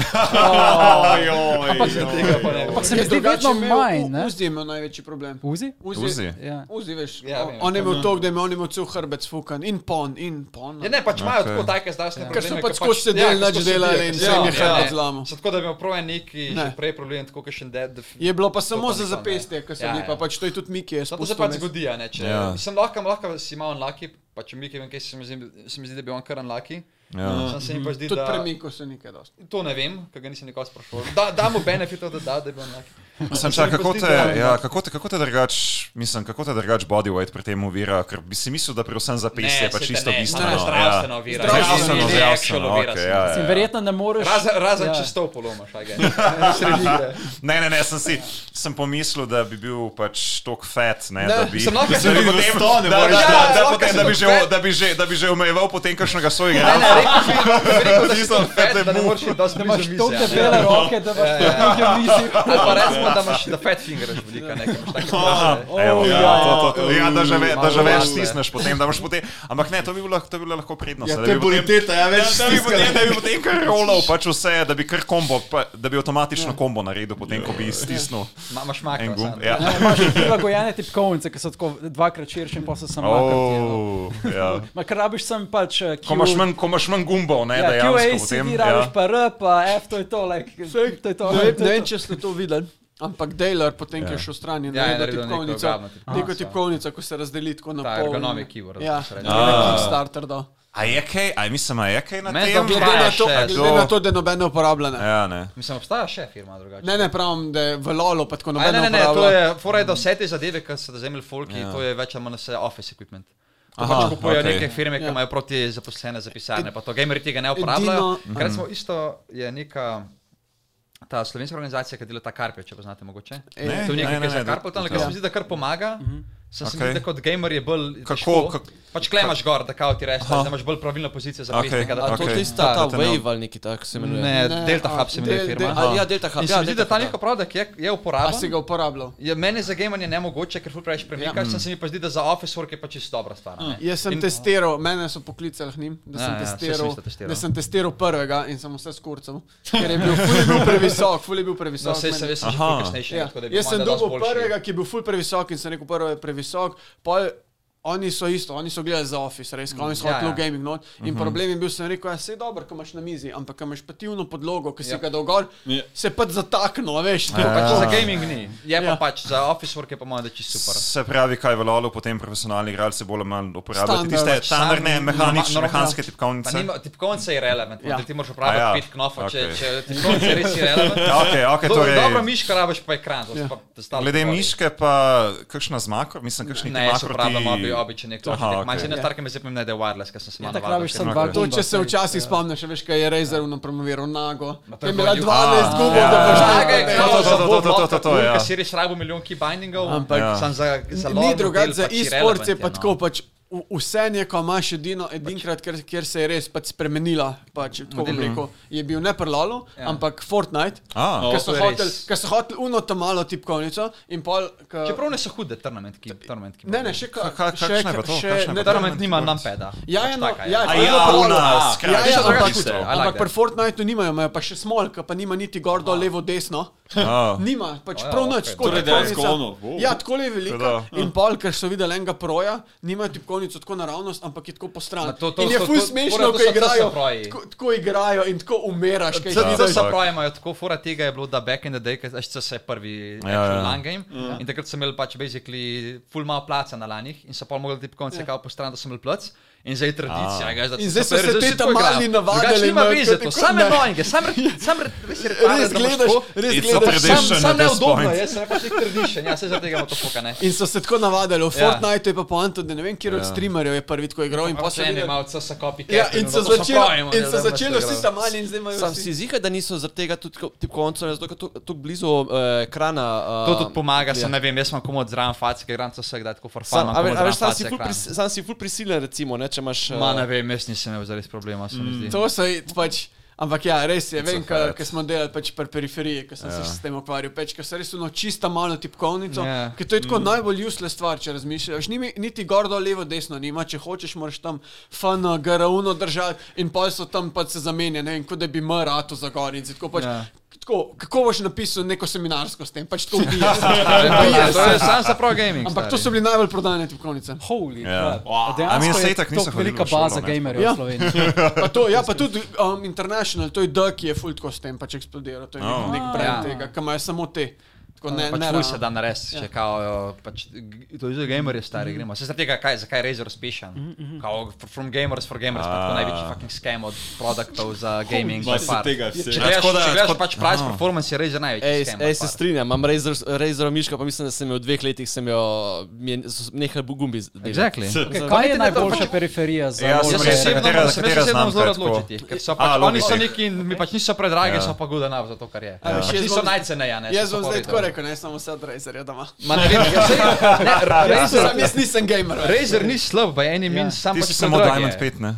Izven tega pa ne. Ampak se mi zdi vedno manj. ne? Uzi je imel največji problem. Uzi? Uzi, Uzi. Uzi. Ja. Uzi veš, Ja, ja, vem, on je imel to, da je imel, on je imel cel hrbet sfukan in pon, in pon. Ja, ne, pač imajo Okej. tako take zdravstvene Ja. Ker so probleme. ja, pač skozi sedeli, nič delali in se jim je hrbet zlomil. zlamo. ja, Tako da bi imel proje neki že Ne. prej problem, tako kot še en dead. Je bilo pa samo To pa za nikoli ne. zapestje, ker so Ja, bili ja. pa pač to je tudi Miki. je Zato se spustil pač mes. zgodi, a ne, če Ja. sem lahko, lahko si malo unlucky, pa če mi kaj vem, kaj se mi zdi, se mi zdi, da bi on kar unlucky. Ja. Sam se mi pa zdi, Tudi da... pri Miku so nekaj dosti. To ne vem, ker ga nisem nikoli sprašoval. Da, da mu benefit od tega, da, da bi on unlucky. Mislim, čak, kako te, ja, kako te, kako te drugač, mislim, kako te drugač bodyweight pri tem uvira, ker bi si mislil, da pri vsem zapisi je pa saj te čisto ne, bistveno. ne, zdravstvena ja. ovira. Zdravstveno, Ne, ne, zdravstveno, actual ovira, okej, se mi ja, ja, Mislim, ja. verjetno ne moreš. Razen, razen Ja. ja. če sto polomaš, aj ga. Sredi igre. Ne, ne, ne, sem si sem pomislil, da bi bil pač tok fet, ne, ne, da bi sem lahko da bi sem potem- bil sto, ne da- moreš da- dati. da- da Ja, potem, lahko da bi sem že- tok fat. da bi že- Da bi že omejeval potem kakšnega Ne, soigralca. ne, rekel bi, rekel, da si Tisto, to kar te fed, da ne mu- moreš iti dosti Da blizu imaš tako mize. a Ja, ne. no. debele roke, da imaš tako debele mizi. Ali pa recimo, da imaš da fat finger velika nekaj. Evo, ja, ja. to- to- to- ja, da že ve- da že Malo več raste. stisneš potem, da boš potem- ampak ne, to bi bilo lahko- to bi bila lahko prednost, ne, da Ja, To je bi potem- boniteta, ja, več Da bi stiskala. potem, da bi potem kar rolal pač vse, da bi kar kombo, pa, da bi avtomatično kombo naredil, potem ko bi stisnil Imaš makro. en gumb. samo. Ja. Imaš prilagojene tipkovnice, ki so tako dvakrat širše in pa so samo makrati. Oh, ja. Makar rabiš sem pač. eh, Ko imaš Q- manj- ko imaš manj gumbov, ne, Ja, dejansko QACD potem. rabiš Ja. pa R, pa F, to je to, like, to je to. Ne vem- to Ne je vem, to. če ste to videli. Ampak Dejler, potem, ko Ja. je šel stran, je Ja, je naredil naredil neko tipkovnico, obrabno tipkovnico. neko Ja. tipkovnico, ko se razdeli tako na Ta pol. ergonomik keyboard, Ja, da se Ah. Ja, ja. reče. Kickstarter, da. A je kaj, a mislim, a je kaj na Meni tem? to Glede na to, Ja, še, glede na to, da je nobene uporabljene. Ja, ne. Mislim, obstaja še firma drugače. Ne, ne, pravim, da je v lolo, pa tako Aj, nobene ne, ne, ne, to uporabljene. je, fora je, da vse te zadeve, ki so zazemljali folki, ja. to je več ali manj vse office equipment. To Aha, pač kupujejo okej. okay. neke firme, ki Ja. ja. imajo proti zaposlene za pisarne, pa to gameri tega ne uporabljajo. Edino- Ker smo isto, je neka ta slovenska organizacija, ki dela ta karpe, če poznate mogoče. Ne, to je ne, ne, nekaj, kar ne, za da- ja. karpo, tam, kar se mi zdi, da kar pomaga. Sem okay. se Okej. mi zdi, da kot gamer je Kako- bolj. težko. kak- pač klemaš gor, da kao ti rečeš, da imaš bolj pravilno pozicijo za Okej, pesnika. da- a A to Okej. je tista ta Ta- ta ne- Wave ali nekaj tak se imenuje. Ne, Delta a, Hub se imenuje Del- firma. A, ja, Delta Hub. In se ja, mi zdi, da Delta ta Hub, ja. njihov produkt je, je A si uporaben. ga uporabljal? Je meni za gamanje nemogoče, ker ful preveč premikaš, ja. se mi pa zdi, da za office work je pa čisto dobra stvar. a ne. Jaz sem in, testiral, mene so poklicali k njim, da sem, Ja, ja, saj sem testiral, isto testiral. da sem testiral prvega in sem vse skurcal, ker je bil, ful je bil previsok, ful je bil No, previsok. sej se meni. veš, še Aha. kasnejši. Ja. tako da bi Jaz sem menda dosti dobil boljši. prvega, ki je bil ful previsok in sem rekel, prvi je previsok. Pol, oni so isto, oni so gledali za office, res, ko oni so Ja, hoteli ja. ja, ja. gaming not. In uh -huh. problem je bil, sem rekel, ja, sej dobro, ko imaš na mizi, ampak ko imaš pativno podlogo, ki si Ja. ga dolgor, Ja. se pa zatakne, veš. tako Ah. Pač pač za za- gaming ni. Je pa Ja. pač za office work je pa moja, da čisto super. Se pravi, kaj je veljalo, potem profesionalni igralci bolj ali manj uporabljajo Standard. tiste standardne Sam- mehanič, norma- mehanske Pa tipkovnice. nima, tipkovnica je irrelevant, Ja. ja. ti moraš uporabljati A ja, ja. pet knofov, okay. okej. če, če tipkovnica je res irrelevant. Okej, okej, Do- torej- Dobro miško rabiš pa ekran, to Ja. ja. pa da stalo Glede govori. miške, pa kakšna zmako, mislim, kakšni Ne, jaz makro uporabljam obi, običajne Aha, knofove. okej. Manj Ja. ena stvar, ki me zdaj pomeni, da je wireless, ker sem se malo Ja, tako navadil. rabiš ker samo Ja. imam- dva To, če se Bomba, včasih ja. spomniš, veš, kaj je Razer unapromoviral nago. to Je je imela bilo- 12 gubov, Ja, da boš ja, Draga To, je kao to, to, za to, World to, to, Warcraft, to, to, ja. ker si res rabo milijon keybindingov, Ampak- Ja. sam za, za Ni lore drugače, model za pač e-sport je irrelevant pa no. tako, pač v- vse neko imaš edino, edinkrat, ker, kjer se je res pač spremenila, pač, tako bom rekel, je bil ne prlalo, ja. ampak Fortnite, A, O, ker so to je res. hoteli hotel uno ta malo tipkovnico in pol... Ka, Čeprav ne so hude, tournament, ki, tournament, ki ne, ne, še kaj. Ka- ka- kakšna je pa to? Kakšna je pa to? Tournament nima numpeda. Ja, ja, Pač no, taka je. ja, a to je ja, bilo prlalo. ona, Ja, ja, skrajšana ampak, v bistvu. I like ampak that. pri Fortniteu nimajo, imajo pa še small, ki pa nima niti gor, dol, levo, desno. A. Nima, pač O ja, prav ok. nič. tako Torej, dejansko tipkovnica- ono, wow. Ja, tako je velika. Teda. In pol, ker so videli enega proja, nimajo tipkovnico tako naravnost, ampak je tako po strani. Ma to- to In je so- ful to- smešno, torej to ko so- to so igrajo. proji. Tako, tako igrajo in tako umiraš. kaj Ja. ti Zato daš. se Tako. pravi, imajo tako fora tega je bilo, da back in the day, ker so se prvi Ja, ja, ja. lan game ja. in takrat so imeli pač basically full malo placa na lanih in so pa mogli tip konce ja. kao po stran, da so imeli plac in zdaj je tradicija. A. Ga, da, In zdaj so se te tako tamali igrajo. navadili, Drugače nima imajo veze, kot to neko- sam ne. annoying, sam, re- sam re- res je retarded, Res da imaš gledaš, tako- res It's a gledaš. predel. Sam, Tradition sam at this neudobno, point. jaz sem pač nek tradition, jaz se zaradi tega imam to foka, ne. In so se tako navadili, v Ja. Fortniteu je pa poanta, da ne vem, kje od streamerjev je prvi tako igral in Pa se potem eni malo no, CSA copy Ja, in so začeli, in so začeli vsi tamali in zdaj imajo Sam vsi- si zika, da niso zaradi tega tudi tip koncev, zato ker to- tako blizu eh, ekrana. To eh, tudi pomaga, ja. sem ne vem, jaz imam komod zraven facke, igram to vsak dan tako for fun. Sam, imam a, ve- komot a, veš, zraven sam, si face ful ekran. pris, sam si ful prisilen, recimo, ne, če imaš. eh, Ma ne vem, jaz nisem imel zares problema, se mi zdi. To so i- pač. Ampak ja, res je, vem, ker smo delali pač pri periferiji, ker sem ja. se s tem ukvarjal, pač, ker sem res uno čista malo tipkovnico, Ja. yeah. ker to je tako mm. najbolj usle stvar, če razmišljaš. Nimi, niti gordo, levo, desno nima, če hočeš, moraš tam fan, garauno držati in pol so tam pač se zamenja, ne vem, kot da bi M rato za gor in si tako pač. Ja. Yeah. Tako, kako boš napisal neko seminarsko s tem, pač to ubiješ. Ja, Ubiješ. to je sam za prav gaming. Ampak to stari. so bili najbolj prodane tipkovnice. Holy Ja. crap. A dejansko A mi je vse itak niso tako hodili velika v šolo, baza ne? gamerjev Ja. v Sloveniji. Pa to, ja, pa tudi um, International, to je D, ki je full tako s tem pač eksplodiral. To je nek, Oh. nek Ja. brand tega, ki imajo samo te. Tako ne, Pač ne, ful ravno. se da nares, če kao, jo, pač, g- to je za gamerje stari, gremo. Se zaradi tega, kaj, zakaj je Razer uspešen? Kao, f- from gamers for gamers, pač to največji fucking scam od produktov za gaming. Ma by se far. tega Če vse. gledaš, tako da- če gledaš tako- pač price Aha. performance, je Razer največji Ej, scam. ej, by se far. strinjam, imam Razor miško, pa mislim, da sem jo v dveh letih sem jo, mi je- so nehali gumbi. delati. Exactly. Kaj je niti ne- to najboljša pač- periferija za Ja, Lord Jaz sem se Raider? res- osebno katera- jaz se katera osebno znamka zelo je tako? odločiti, ker so A, pač, oni so logistik. neki, mi pač niso predragi, so pa good enough za to, kar je. Ja. A, veš, Pač jaz niso bom- najceneja, ne. Jaz so bom zdaj favorite. tako rekel, ne samo vse od Razerja doma. Ma ne vem, jaz se ne, Razer, Sam jaz nisem gamer. Razer ni slab, by any Ja. means, sam Ti pač si samo predrag je. Diamond 5, ne?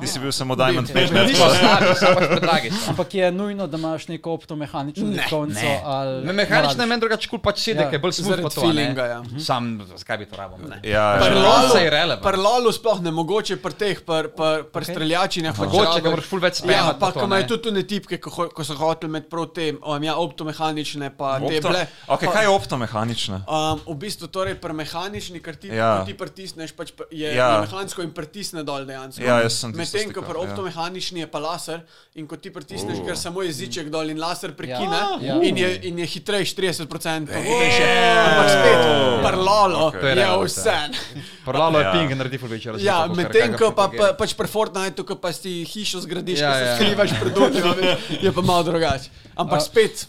Ti si bil samo Diamond 5, ne? Niso slabi, samo pač predragi so. Ampak je nujno, da imaš neko optomehanično konco ali... Me mehanično je moraš. meni drugače kul, pač sedi, Ja. ki je bolj smooth Zaradi kot to. a ne. Mhm. feelinga, ja. Sam, zakaj bi to rabil? ne? Ja, ja. Saj je relevant. Prlalo sploh ne mogoče, pri teh, pri okay. streljačinah. pač Mogoče, rabiš- ker moraš ful več Ja, spamati na pa to, ko imajo ne. tudi tune tipke, ko, ho- ko so hoteli med prav tem, um, ja, optomehanične, pa te Opto... bile. Ok, pa- kaj je optomehanična? Um, v bistvu torej pri mehanični, ker ti, Ja. ja. ti pritisneš, pač pr- je, ja. Ja. je mehansko in pritisne dol dejansko. Ja, jaz sem tisto Medtem ko stikal, pri ja. optomehanični je pa laser in ko ti pritisneš, Uh. ker samo jeziček dol in laser prekine Ja. ja. in, je, in je hitrejši 30%. hitrejše. Eeeeeee. Ampak spet, parlalo Ok. okay. To je je realno, vse. Prlalo je Ja. ping in naredi ful večji razlika. Ja, kot medtem kakega ko pa, ful pa, pač pri Fortniteu, ko pa si hišo zgradiš, Ja, ja, ja. ja. skrivaš pred domom, je pa malo drugače. Ampak A- spet,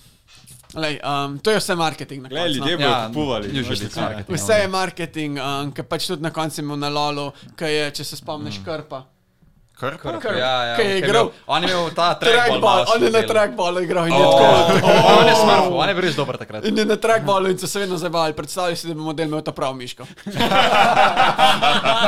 lej, um, to je vse marketing. na Glej, koncu, no. ljudje bodo Ja, kupovali. usually veš, it's kaj. Ja, marketing. Vse Mm. je marketing, um, ki pač tudi na koncu imamo na lolu, ki je, če se spomniš, krpa. Krpa? Ja, ja, Kaj je on igral? imel- On je imel ta Trackball, on je na track. trackballu igral in je tako. On je smrl, on je bil res dober takrat. In je na trackballu in so se vedno zabavali. Predstavljaj si, da bi model imel ta prav miško.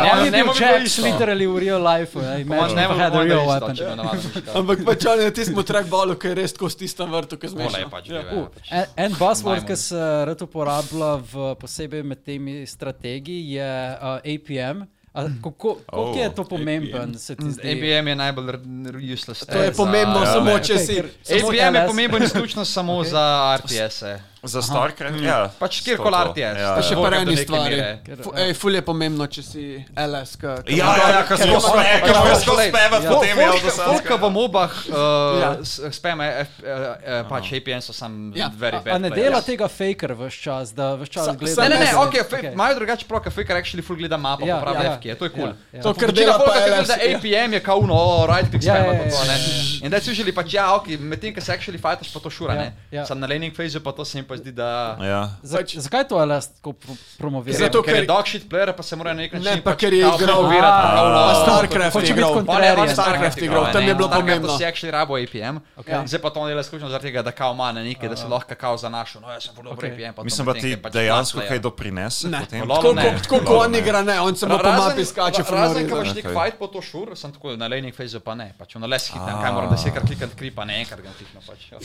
Ne, on ne, je ne, njemu bilo Jack isto. literally v real life. eh, Mož imagine ne if I had a more real real weapon. Ampak pač on je na tistem trackballu, ki je res tako stisnjen vrtu, ki Mola zmeša. je pač. U, En, en buzzword, ki se eh, rad uporablja v posebej med temi strategiji, je uh, APM. A Kako oh, je to pomemben, se ti zdi? ABM je najbolj r- useless. To je za- pomembno Ja. samo, ne. če Okej, si. ker- samo ABM je LS. pomemben izključno samo za RTS-e. Za StarCraft? Ja. Pač to, kjerkoli to. RTS. Ja, Pa To še Volga par do eni neke stvari. mere. Fu- Ej, ful je pomembno, če si LS. ka- ka- Ja, ja, ja, ker smo spevali, ker smo Ker- skozi spevali, Ja. potem je Folk- avtosanska. Folk v mobah Ja. uh, s- spema, eh, f- eh, eh, pač APN so sam Ja. very A bad. ne players. dela tega faker vse čas, da vse čas Sa- gleda. sa- Ne, ne, ne, Message. ok, fe- imajo drugače prav, ker Faker actually full gleda mapo, Ja, ja, pravi ja, ja, FK, to je cool. ja, ja. To, kar Večina dela folka, pa ki gleda LS. ja. APM je kao, no, right click Ja, spam, ja, pa to, ja, ne. In that's usually pač, ja, ok, medtem, ko se actually fightaš, pa to šura, Ja, ne. ja. Sam na laning phase pa to se jim pa zdi, da... Ja. Za, Pač- zakaj to LS tako pro- promovira? Zato, Zato, ker je ker- dog shit player, pa se mora na nek način... pač Ne, pa ker je igral virata, Pa no, Starcraft Hoče je biti igral. kontra- On je Contrarian. on Starcraft igral, Tam je bilo Starcraftu pomembno. si actually rabo APM, Okej. zdaj pa to on dela izključno zaradi tega, da kao ima na nekaj, da se Ja. lahko kao zanašal, no jaz sem full dobro APM, pa to Mislim, da medtem, ti ker pač dejansko flat player. kaj doprinese. Ne. potem? Lolo Tako ne. ko- Tako kot on igra, ne, on samo po mapi skače. ra- razen, ko ful imaš nek Ok. fight po to šur, sem tako na laning phase pa ne, pač na les hitnem, kaj moram desetkrat klikati kripa, ne enkrat ga kliknem pač.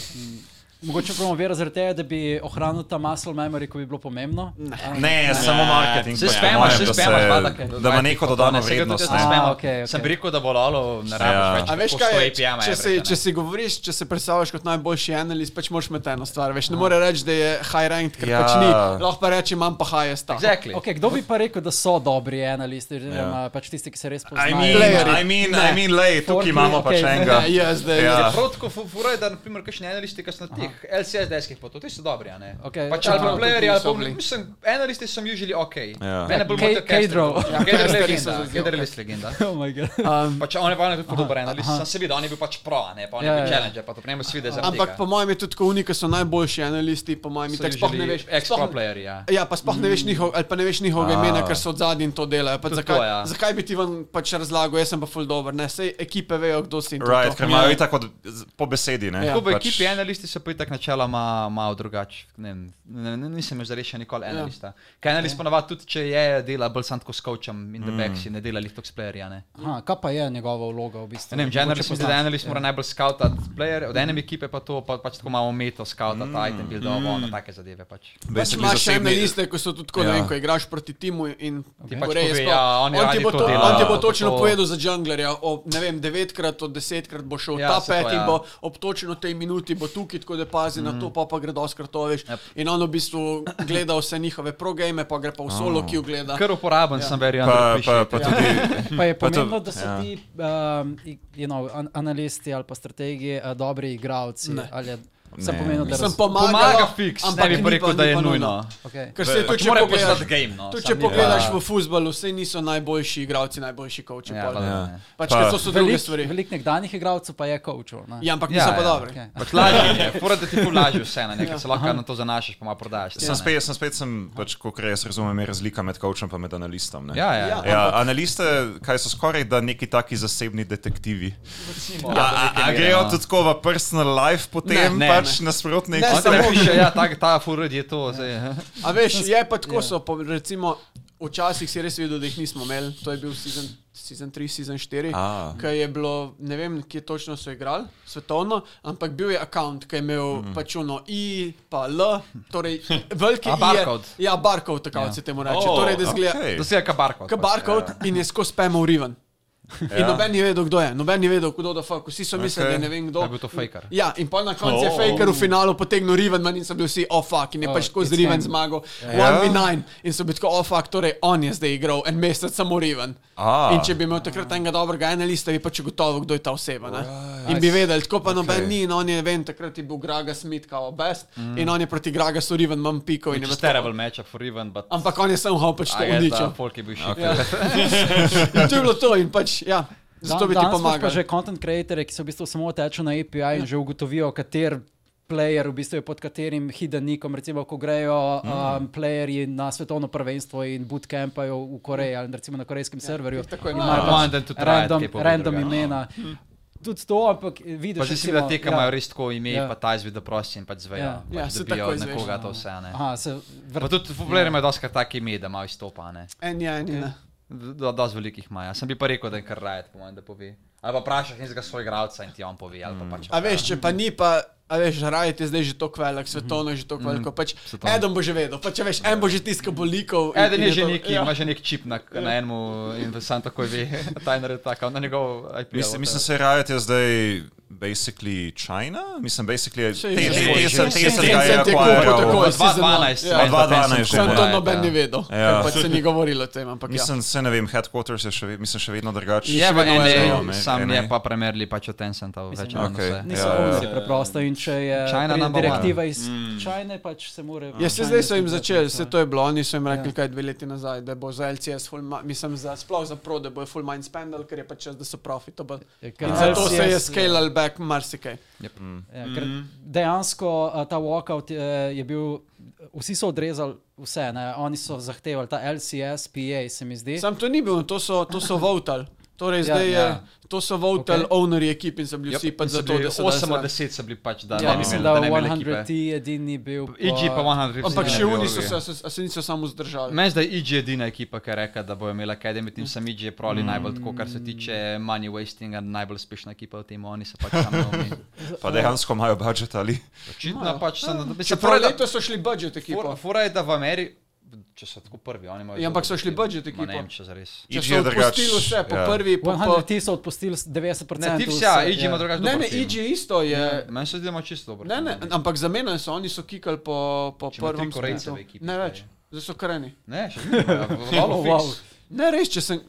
Mogoče promovira zaradi tega, da bi ohranil ta muscle memory, ko bi bilo pomembno. A- Ne, samo marketing. Se po spemaš, mojem, se ja, da spemaš, Da ima neko dodano vrednost. ne. ne. Spema, A, okay, okej, okay. Sem okej. bi rekel, da bo lalo, ne Ja. rabiš več. A veš po kaj 100 je, APM če, si, average, ne. če si govoriš, če se predstavljaš kot najboljši analist, pač moraš imeti eno stvar. Veš, ne more reči, da je high ranked, ker Ja. ja. pač ni. Lahko pa reči, imam pa highest. ta. Exactly. Okay, kdo bi pa rekel, da so dobri analisti, oziroma pač tisti, ki se res I poznajo? mean, I mean, I mean, lej, tukaj Fortnite, imamo pač okej. enega. Ne, jaz zdaj. Ja. Ja. Prav tako fu- fura je, da naprimer kakšni analisti, ki so na teh LCS deskih, pa to ti so dobri, a ne? Okej. Pač Ja, ali pa tudi playeri, ali niso pa bili. mislim, analisti so usually ok. Ja. Mene bolj Kej- moti Kester. Kejdrov. Ja, Kejder je Kesterji legenda, so zelo- Kejder je res legenda. Oh my god. Um, Pač on je pa tudi dober analist, sem se videl, on je bil pač pro, a ne, pa on je Ja, bil ja. challenger, pa to prejme svi, da je zaradi ampak po tega. mojem je tudi tako unika, so najboljši analisti, po mojem, in tako sploh ne veš. Extra sploh- playeri, ja. Ja, pa sploh ne Mm. veš njihov, ali pa ne veš njihovega imena, ker so od zadnji in to delajo. Pa Tudi Zakaj, to, ja. zakaj bi ti vam pač razlagal, jaz sem pa full dober, ne, sej ekipe vejo, kdo si in to je Right, to. ker imajo itak od- z- po besedi, ne. Ja. Tako v Pač- ekipi analisti so pa itak načeloma malo drugače. Ne vem, Ne, ne, nisem jaz rešil nikoli analista. Kaj analist ponavadi tudi, če je dela bolj sam tako s coachom in the back si ne dela lih tok s playeri, a ne. Aha, kaj pa je njegova vloga v bistvu? Ne vem, generalno se mi zdi, da Mogoče analist mora najbolj scoutati player, od ene ekipe pa to, pa pač tako malo meto scoutati, mm. item build, mm. take zadeve pač. Pač Basically imaš še zasebni- ene liste, ko so tudi tako, Ja. ja. ko igraš proti timu in ti Pač pač pove, pove, sploh, ja, on on, je on, ti radi bo to to, dela, on ti bo to točno to. to... povedal za džunglerja, ob, ne vem, devetkrat od desetkrat bo šel Ja, ja, ta saj to, pet ja. in ja. Mhm. bo ob točno tej minuti bo tukaj, tako da pazi mm. na to, pa pa gre doskrat to veš. Ja. Yep. In on v bistvu gleda vse njihove progame, pa gre pa v solo, oh. ki jo gleda. Ker uporaben ja. sem, verjamem, Pa, pa, pa tudi, Pa je Pa to- pomembno, da so ja. ti um, i- you know, an analisti ali pa strategi uh, dobri igravci. Ali je, sem Ne. pomenil, da Sem raz- pomagala, Pomaga fiks, ampak ne bi ni pa rekel, ni da je pa nujno. okay. Ker se Pač tudi, če mora pogledaš, poznati game, no. tudi, sam če ni- pogledaš Ja. v futbalu, vsi niso najboljši igravci, najboljši koči. Ja, Ja, ja. pač, Pa- ker so, so druge stvari. Veliko nekdanjih igralcev pa je coachov. ne? Ja, ampak Ja, niso pa ja, dobri. Okej. Pač lažje je, fura da ti polaži vse, ne, Ja. ker se lahko na to zanašaš, pa malo prodajaš. sem spet, sem spet, sem, pač, kako jaz razumem, je razlika med coachom in med analistom. Ne? Ja, ja. ja. Ja. Ja, analiste, kaj so skoraj da neki taki zasebni detektivi. Recimo, A, a, a grejo tudi tako v personal life, potem no. Ne, ne, ne, pač ne. nasprotnik. Ne, On samo- Ja. te piše, ja, ta, ta fura je to, zdaj. ja. A veš, je pa tako, so pa recimo, včasih si res videl, da jih nismo imeli, to je bil season, season 3, season 4, A. ki je bilo, ne vem, kje točno so igrali, svetovno, ampak bil je account, ki je imel mm. pač uno I, pa L, torej veliki Mhm. A, I je- barcode. Ja, barkov, tako se temu reče. Oh, Oh, torej, da zgleda, okay. okej. To si je pač. kabarko. K barkod ja. in je skozi spemal riven. Ja. In noben je vedel, kdo je, noben je vedel, kdo je fuck, vsi so mislili, Okej. okay. da je ne vem kdo. Da je bil to faker. Ja, in pa na koncu oh. je Oh. faker v finalu potegnil riven, manj in so bili vsi oh fuck, in je Oh, oh, pač skozi it's riven him. zmagal. Ja. 1v9 in so bili tako oh fuck, torej on je zdaj igral en mesec samo riven. Ah. In če bi imel takrat enega dobrega analista, bi pač gotovo, kdo je ta oseba. Ne? In bi vedel, tako pa okay. noben ni, in on je, vem, takrat je bil Graga Smith kao best, mm. in on je proti Graga Suriven, mam piko in je It's a bilo terrible tako. matchup for Riven, but Ampak on je samo hal pač to I guess uničil. da folk je bil shit. In to je bilo to in pač, ja, zato bi ti danes imaš pa pomagal. Ja. že content creatorje, ki se v bistvu samo tečejo na API in že ugotovijo, kater player, v bistvu je pod katerim hidenikom, recimo, ko grejo Mhm. um, playerji na svetovno prvenstvo in bootcampajo v Koreji ali recimo na korejskem ja, serverju. tako imajo imajo. pač One and two triad, random, ki je povem random drugače. imena. Mhm. Tudi to, ampak Ja, vidiš, ja. Pa že si videl te, ki recimo, imajo res tako ime, Ja. pa ta izvid, da prosim, pač Ja. zvejo. Ja, Pač se dobijo takoj od izveš, nekoga no. to vse. Ne. Aha, se Pa vrti. tudi fubler ima doskrat take ime, da malo izstopa. Ne. En je, en je. ne. Do, dosti velikih ima. Jaz sem bi pa rekel, da je kar rajet, po mojem, da pove. Ali pa vprašaš enega svojega igralca in ti on pove. ali Pa pač, Mm. A veš, če pa ni, pa a veš, rajte zdaj že tako velik, svetovno je že tako veliko. Pač, Svetovno. eden bo že vedel, pač veš, en bo že tiskal bolikov. Eden je že to- neki, ja. ima že nek čip na, na enemu in sam takoj ve, ta je naredil tako, na njegov IP. Mislim, mislim se Riot je zdaj basically China, mislim, basically je Saj je že. Tesla, Sej je Tesla že. ga je Tencent je kupil akvariral. takoj. Od 2012. Ja, 2012 že, Sam to Ja, noben ni vedel, Ja. ker pač se ni govorilo o tem, ampak ja. Mislim, se ne vem, headquarters je še, ve- mislim, še vedno drugačen. Je v NA. NA, sam je pa primerli pač od Tencenta v večjem. Okej. Niso Ja, ja, oni preprosto in če je China pride number one. direktiva iz Čajne, pač se mora. Mm. Ja, se zdaj so jim začeli, se to je bilo, oni so jim rekli, kaj dve leti nazaj, da bo za LCS, full, ma- mislim, za, sploh za pro, da bo full mind spendal, ker je pač čas, da so profitable. Ja, ker In zato LCS se je scalal back marsikaj. Ja, ker Mhm. dejansko a, ta walkout je, je bil, vsi so odrezali vse, ne? oni so zahtevali ta LCS, PA, se mi zdi. Sam to ni bil, to so, to so votal. Torej, Ja, zdaj je, ja. to so votal Okej. ownerji ekip in so Ja. bili vsi pač za to, da so 8 dali od zraven. 10 so bili pač, da ja, ne bi mislim, imeli, da da ne bi imeli 100T ekipe. edini bil. IG pa 100. Ampak Ja. še oni so se, so, se niso samo zdržali. Meni se, da je IG edina ekipa, ki je rekla, da bo imela Academy, tim sem IG je pravi najbolj tako, kar Mm. se tiče money wastinga, najbolj uspešna ekipa v tem, oni so pač tam nomi. Pa dejansko imajo budžet ali. Očitno pač sem, da bi se Ja. Čeprav pravi, leto so šli budžet ekipo. Fura je, da v Ameriki, če so tako prvi, oni imajo. Ja, ampak zelo so šli dobro budget ekipo. Ma Ne ekipo. vem, če zares. Če IG so je drugač. odpustili vse po ja. prvi, po, po 100T so odpustili 90%. Ne, ti vse, vsi, ja, IG ja. ima drugačen. Ne, ne, IG isto je. Meni se zdi, da ima čisto dobro. Ne, ne, ampak zamenjali so, oni so kikali po, Ja. po Če ima tri prvem Korejce svetu. v ekipi, Ne zdaj. več, zdaj so kreni. Ne, še ja, ne. Hvala, Oh, wow. wow. Ne, res, če sem.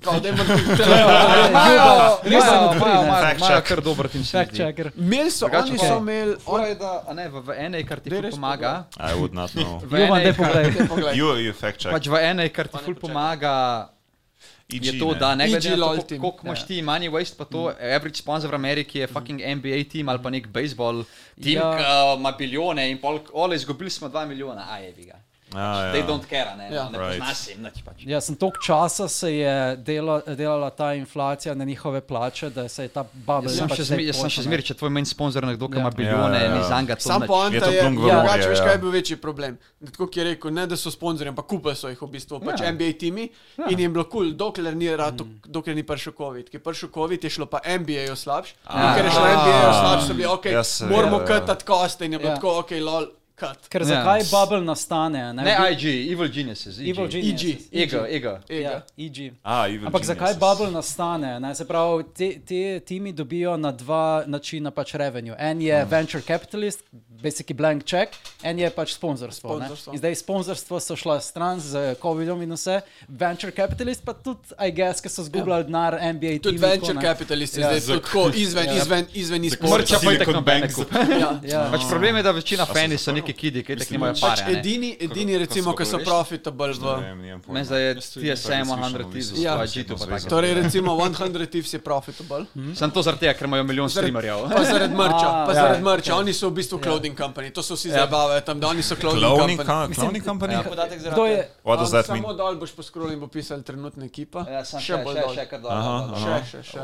Kao, dajmo- Ja, Res sem Imajo Fact imajo check. kar dober tim se mi Fact zdi. checker. Imeli so, Drugače oni pa- so imeli. Fora je, da a ne, v, v enej, kar ti Daj ful res pomaga. I would not know. V Jovan, daj enej, kar, povej. Poglej. You, you fact check. pač v enej, kar ti ful pomaga, IG, je to, ne. da ne IG glede na lol to, team. ja. koliko imaš ti money waste, pa to Mm. average sponsor v Ameriki je fucking NBA team ali pa nek baseball team, Ja. ki uh, ima bilijone in pol, ole, izgubili smo 2 milijona, a je biga. Ah, They ja. don't care, a ne, Ja. ne Right. poznaš jim nič pač. Ja, sem toliko časa se je dela, delala ta inflacija na njihove plače, da se je ta bubble. Jaz sem pač še zdaj zmer- jaz sem še pošla, ne. zmeraj, če tvoj main sponsor je nekdo, ki Ja. ima bilijone, Ja, ja, ja. ni zanga to. Sam nič. poanta Je to je, plumb v ja, morje, drugače, veš, ja. kaj je bil večji problem. Da, Tako kot je rekel, ne da so sponzorji, ampak kupili so jih v bistvu, pač Ja. NBA timi in jim je bilo kul, cool, dokler, ni rato- dokler ni prišel COVID. Ker je prišel COVID, je šlo pa NBA-ju slabš. In ker je šlo NBA-ju slabš, so bili, ok, Ja, seveda, moramo ja. katati koste in je bilo Ja. tako, ok, lol, kat. Ker Ja. zakaj bubble nastane? Ne, Bil- IG, Evil Geniuses, IG. Evil Geniuses. IG. Ego, ego. Ja, EG. Ah, Evil Ampak zakaj Geniuses. bubble nastane? Ne? Se pravi, te, te timi dobijo na dva načina pač revenue. En Ja. je venture capitalist, basically blank check, en je pač sponzorstvo. ne. Sponzorstvo. In Zdaj sponzorstvo so šla stran z COVID-om in vse, venture capitalist pa tudi, I guess, ker so zgubljali denar NBA. Ja. Tudi timi, venture tako, ne. capitalist je Ja. zdaj tudi tako izven, izven, izven, izven. Mrča pa je tako bank. Ja. Pač problem je, da večina fani so neki kidi, ki tako nimajo Pač pare. a ne. edini, edini recimo, ki so profitable v... Ne vem, nimam pojma. Meni se je Jaz tudi nisem TSM 100 tisoč, Ja. pa G2 pa tako. Torej, recimo 100 Thieves je profitable. Sem to zaradi tega, ker imajo milijon streamerjev. Pa zaradi Ah, mrča, pa ja, zaradi mrča. Oni so v bistvu Ja. clothing company, to so vsi zabavajo tam, da oni so clothing Clowning company. co- clowning company? ja. Kdo je? What does that Samo mean? dol boš poskrolil in bo pisal trenutna ekipa. Ja, še bolj dol. kar no. Še, še, še.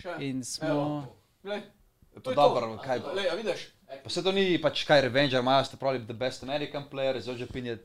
Še. In smo. Evo. Glej, to je dobro, no, kaj bo. Glej, a vidiš? Pa se to ni pač kaj Revenger, imajo ste pravi the best American player, zelo že pinje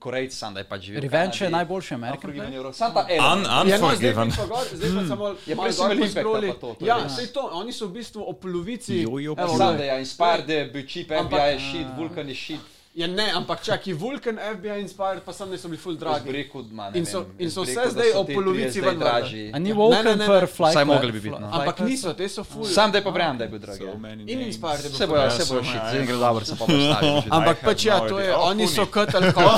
Korejc, sam da je pač živel. Revenge je najboljši American player. Sam pa Un, Eren. Ja, no, zdaj unforgiven. pa pa gor, zdaj pa samo Ja, malo prej so dol imeli Impact-a poskroli. pa to, to je Ja, res. sej to, oni so v bistvu o polovici. Jojo, Evo, Sam da glej. je Inspired, da je bil cheap, Ampak- NBA je shit, Vulkan je shit. Ja, ne, ampak čakaj, Vulcan, FBI Inspired, pa sam ne so bili full Jaz bi dragi. rekel, man, ne In so- vem, in jaz so bi vse rekel, da zdaj so ob ti polovici trije zdaj vendar. A dražji. ni Ja, ne, Woken ne, ne, per ne. Flight? Vsaj mogli bi biti, no. Ampak niso, te so full. Sam da je pa verjamem, da je bil dragi. ja. In Inspired je bil. Se full. bojo, se bojo shit, zdaj gre dobro, se pa postavijo. Ampak I pač have ja, no to je, idea. oni so katali kot.